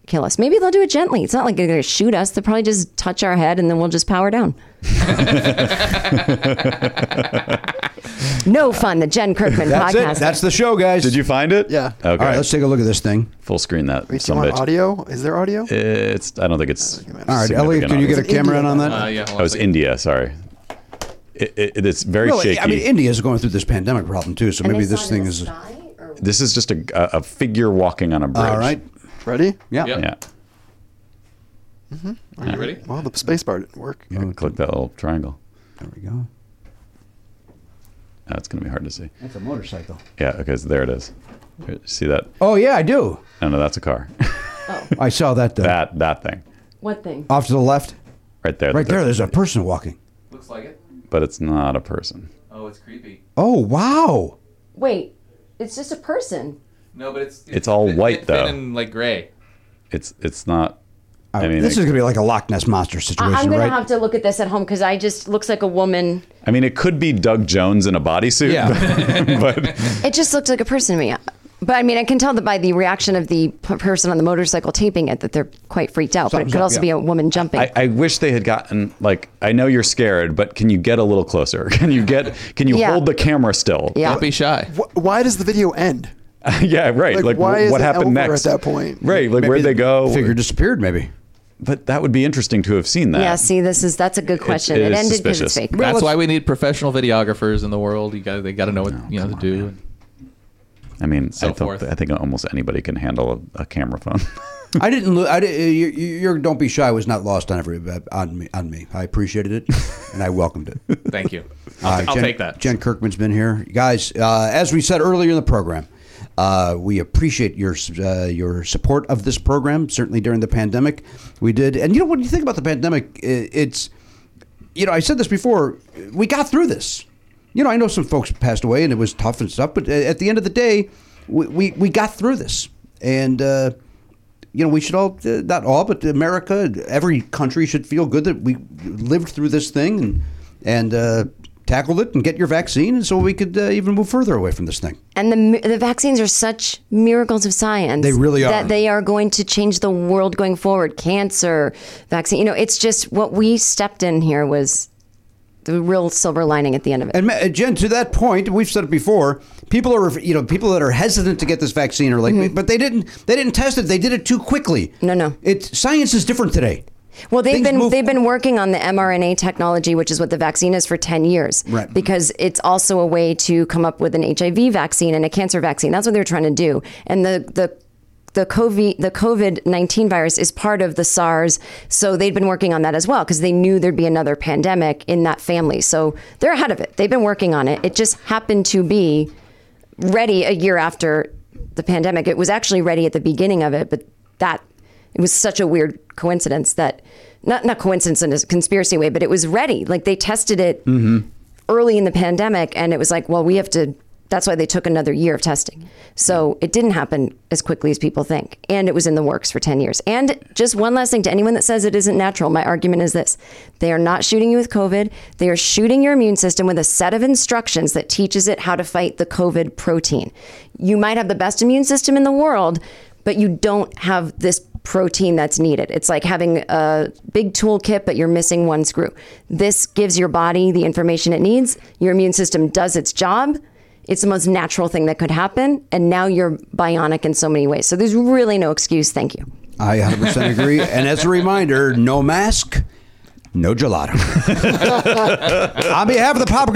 Speaker 9: kill us. Maybe they'll do it gently. It's not like they're going to shoot us. They'll probably just touch our head and then we'll just power
Speaker 2: [laughs]
Speaker 9: down. no fun. The Jen Kirkman
Speaker 2: That's
Speaker 9: podcast.
Speaker 2: it. That's the show, guys.
Speaker 1: did you find it?
Speaker 8: Yeah.
Speaker 1: Okay.
Speaker 2: All right, let's take a look at this thing.
Speaker 1: Full screen that.
Speaker 8: Wait, do you
Speaker 1: some
Speaker 8: want
Speaker 1: bitch.
Speaker 8: audio? Is there audio?
Speaker 1: It's. I don't think it's.
Speaker 2: All right,
Speaker 1: significant
Speaker 2: Elliot, can you get a
Speaker 1: audio.
Speaker 8: It's
Speaker 2: camera in
Speaker 8: India.
Speaker 2: on that?
Speaker 7: Uh, yeah, hold on
Speaker 1: I
Speaker 7: a
Speaker 1: was
Speaker 7: second.
Speaker 1: India. Sorry. It, it, it's very
Speaker 2: Really,
Speaker 1: shaky.
Speaker 2: I mean, India's going through this pandemic problem too, so maybe this thing is.
Speaker 1: This is just a, a, a figure walking on a bridge.
Speaker 2: All right.
Speaker 8: Ready?
Speaker 2: [laughs] Yeah.
Speaker 7: Yep.
Speaker 1: Yeah.
Speaker 7: Are you ready?
Speaker 8: Well, the space bar didn't work.
Speaker 1: Click that little triangle.
Speaker 2: There we go.
Speaker 1: That's going to be hard to see.
Speaker 2: That's a motorcycle.
Speaker 1: Yeah. Okay. So there it is. Here, See that?
Speaker 2: Oh yeah, I do.
Speaker 1: No, no, that's a car. [laughs]
Speaker 2: I saw that though.
Speaker 1: that that thing
Speaker 9: What thing?
Speaker 2: Off to the left,
Speaker 1: right there.
Speaker 2: right
Speaker 1: the-
Speaker 2: there. There's a person walking.
Speaker 7: Looks like it.
Speaker 1: But it's not a person.
Speaker 7: Oh, it's creepy.
Speaker 2: Oh wow.
Speaker 9: Wait, it's just a person.
Speaker 7: No, but it's
Speaker 1: It's all
Speaker 7: thin-
Speaker 1: white,
Speaker 7: thin
Speaker 1: though.
Speaker 7: and like gray.
Speaker 1: It's it's not.
Speaker 2: All
Speaker 1: I
Speaker 2: right,
Speaker 1: mean,
Speaker 2: this
Speaker 1: it,
Speaker 2: is gonna be like a Loch Ness monster situation,
Speaker 9: I- I'm gonna
Speaker 2: right?
Speaker 9: have to look at this at home because I just looks like a woman.
Speaker 1: I mean, it could be Doug Jones in a bodysuit.
Speaker 2: Yeah.
Speaker 1: [laughs] but
Speaker 9: It just looked like a person to me. But I mean, I can tell that by the reaction of the p- person on the motorcycle taping it that they're quite freaked out. but it
Speaker 2: Something's
Speaker 9: could
Speaker 2: up,
Speaker 9: also
Speaker 2: yeah.
Speaker 9: be a woman jumping.
Speaker 1: I, I wish they had gotten like. I know you're scared, but can you get a little closer? [laughs] Can you get? Can you
Speaker 9: Yeah.
Speaker 1: hold the camera still?
Speaker 9: yeah.
Speaker 7: Don't be shy.
Speaker 8: Wh- why does the video end?
Speaker 1: [laughs] yeah. Right. Like,
Speaker 8: Like, why
Speaker 1: wh-
Speaker 8: is
Speaker 1: what
Speaker 8: it
Speaker 1: happened
Speaker 8: over at
Speaker 1: next
Speaker 8: that point?
Speaker 1: Right. Like where'd they go?
Speaker 2: Figure disappeared, maybe. [laughs]
Speaker 1: But that would be interesting to have seen that.
Speaker 9: yeah. See, this is that's a good question. It,
Speaker 1: uh, it is
Speaker 9: ended because
Speaker 1: suspicious.
Speaker 9: it's fake.
Speaker 7: That's
Speaker 2: let's-
Speaker 7: why we need professional videographers in the world. You got they got to know
Speaker 1: Oh,
Speaker 7: what you know to do.
Speaker 1: I mean, I,
Speaker 7: So
Speaker 1: thought-
Speaker 7: forth.
Speaker 1: I think almost anybody can handle a, a camera phone.
Speaker 2: I didn't. Lo- I uh, didn't. Your, your "Don't Be Shy" was not lost on every uh, on me. On me, I appreciated it, and I welcomed it.
Speaker 1: [laughs]
Speaker 7: Thank you.
Speaker 2: Uh,
Speaker 7: I'll, I'll
Speaker 2: Jen-
Speaker 7: take that.
Speaker 2: Jen Kirkman's been here, guys. Uh, as we said earlier in the program, uh, we appreciate your uh, your support of this program. Certainly during the pandemic, we did. And you know, when you think about the pandemic, i it's you know, I said this before. We got through this. You know, I know some folks passed away, and it was tough and stuff. But a- at the end of the day, we we, we got through this, and. Uh, you know, we should all, uh, not all, but America, every country should feel good that we lived through this thing and, and uh, tackled it and get your vaccine, and so we could uh, even move further away from this thing.
Speaker 9: And the mi- the vaccines are such miracles of science.
Speaker 2: They really are.
Speaker 9: That they are going to change the world going forward. Cancer vaccine. You know, it's just what we stepped in here was the real silver lining at the end of it.
Speaker 2: And Ma- uh, Jen, to that point, we've said it before. People are, you know, people that are hesitant to get this vaccine are like, but they didn't, they didn't test it. They did it too quickly.
Speaker 9: Mm-hmm. No, no.
Speaker 2: It's science is different today.
Speaker 9: Well, they've
Speaker 2: Things
Speaker 9: been
Speaker 2: move-
Speaker 9: they've been working on the mRNA technology, which is what the vaccine is for ten years,
Speaker 2: Right.
Speaker 9: Because it's also a way to come up with an HIV vaccine and a cancer vaccine. That's what they're trying to do. And the the the COVID the COVID nineteen virus is part of the SARS, so they'd been working on that as well because they knew there'd be another pandemic in that family. So they're ahead of it. They've been working on it. It just happened to be ready a year after the pandemic. It was actually ready at the beginning of it, but that it was such a weird coincidence that not not coincidence in a conspiracy way, but it was ready. Like they tested it early in the pandemic, and it was like, well, we have to. That's why they took another year of testing. So it didn't happen as quickly as people think. And it was in the works for 10 years. And just one last thing to anyone that says it isn't natural, my argument is this they are not shooting you with COVID. They are shooting your immune system with a set of instructions that teaches it how to fight the COVID protein. You might have the best immune system in the world, but you don't have this protein that's needed. It's like having a big toolkit, but you're missing one screw. This gives your body the information it needs. Your immune system does its job. It's the most natural thing that could happen. And now you're bionic in so many ways. So there's really no excuse. Thank you.
Speaker 2: I 100% agree. and as a reminder, no mask, no gelato. [laughs] On behalf of the Pop,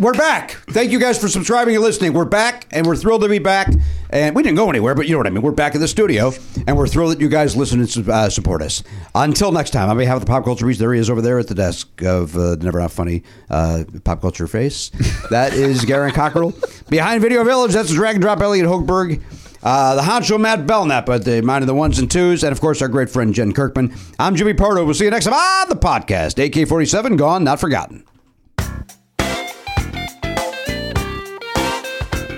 Speaker 2: we're back. Thank you guys for subscribing and listening. We're back, and we're thrilled to be back. And we didn't go anywhere, but you know what I mean. We're back in the studio, and we're thrilled that you guys listen and su- uh, support us. Until next time, on behalf of the Pop Culture Beast, there he is over there at the desk of uh, the Never Not Funny uh, Pop Culture Face. That is Garen Cockrell. Behind Video Village, that's Drag and Drop Elliot Hochberg. Uh, the honcho Matt Belknap at the Mind of the Ones and Twos, and of course our great friend Jen Kirkman. I'm Jimmy Pardo. We'll see you next time on the podcast. AK 47, gone, not forgotten.
Speaker 1: [laughs]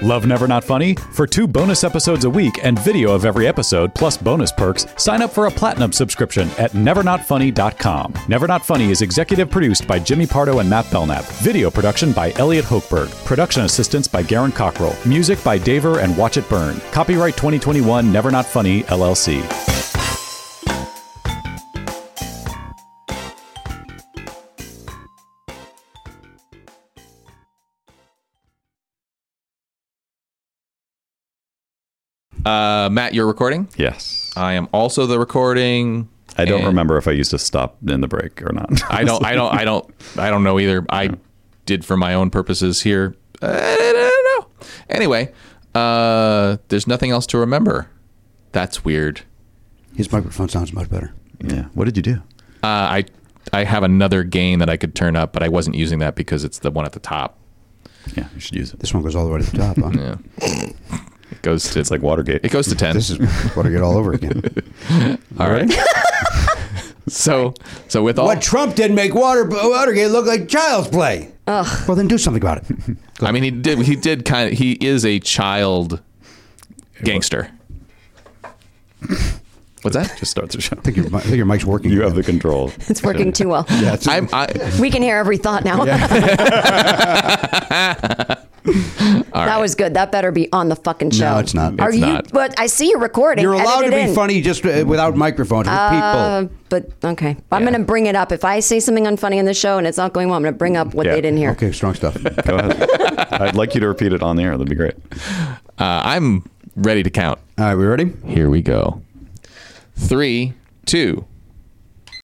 Speaker 1: Love Never Not Funny? For two bonus episodes a week and video of every episode, plus bonus perks, sign up for a platinum subscription at nevernotfunny.com. Never Not Funny is executive produced by Jimmy Pardo and Matt Belknap. Video production by Elliot Hochberg. Production assistance by Garen Cockrell. Music by Daver and Watch It Burn. Copyright 2021 Never Not Funny, LLC.
Speaker 7: Uh, Matt, you're recording.
Speaker 1: Yes.
Speaker 7: I am also the recording.
Speaker 1: I don't
Speaker 7: Uh, and
Speaker 1: remember if I used to stop in the break or not.
Speaker 7: I don't.
Speaker 1: [laughs]
Speaker 7: I don't. I don't. I don't Uh, know either. I did for my own purposes here. I don't know. Anyway, Uh, there's nothing else to remember. That's weird.
Speaker 2: His microphone sounds much better.
Speaker 1: Yeah. What did you do?
Speaker 7: Uh, I I have another gain that I could turn up, but I wasn't using that because it's the one at the top.
Speaker 1: Yeah, you should use it.
Speaker 2: This one goes all the way to the top.
Speaker 1: [laughs]
Speaker 2: Huh?
Speaker 7: Yeah. It goes to
Speaker 1: It's like Watergate. [laughs]
Speaker 7: it goes to ten.
Speaker 2: This is what I get all over again.
Speaker 7: All right. [laughs] so so with all
Speaker 2: What Trump did make water Watergate look like child's play. Well, then do something about it.
Speaker 7: I mean he did he did kind of he is a child gangster. What's that?
Speaker 1: Just start the show.
Speaker 2: I think your, mi- I think your mic's working.
Speaker 1: You have the control.
Speaker 9: It's working too well.
Speaker 2: Yeah, it's-
Speaker 7: I'm I, uh,
Speaker 9: We can hear every thought now. [laughs]
Speaker 2: [laughs]
Speaker 9: that was good. That better be on the fucking show.
Speaker 2: it's not.
Speaker 9: Are
Speaker 2: It's
Speaker 9: you?
Speaker 7: not.
Speaker 9: But I see you're recording.
Speaker 2: you're allowed to
Speaker 9: Edit
Speaker 2: be
Speaker 9: it in.
Speaker 2: funny just uh, without microphones with
Speaker 9: Uh,
Speaker 2: people.
Speaker 9: but okay, I'm going to bring it up. If I say something unfunny in the show and it's not going well, I'm going to bring up what
Speaker 1: Yeah.
Speaker 9: they didn't hear.
Speaker 2: Okay, strong stuff.
Speaker 1: Go ahead. I'd like you to repeat it on the air. That'd be great.
Speaker 7: uh, I'm ready to count.
Speaker 2: All right, we ready?
Speaker 7: Here we go. Three, two,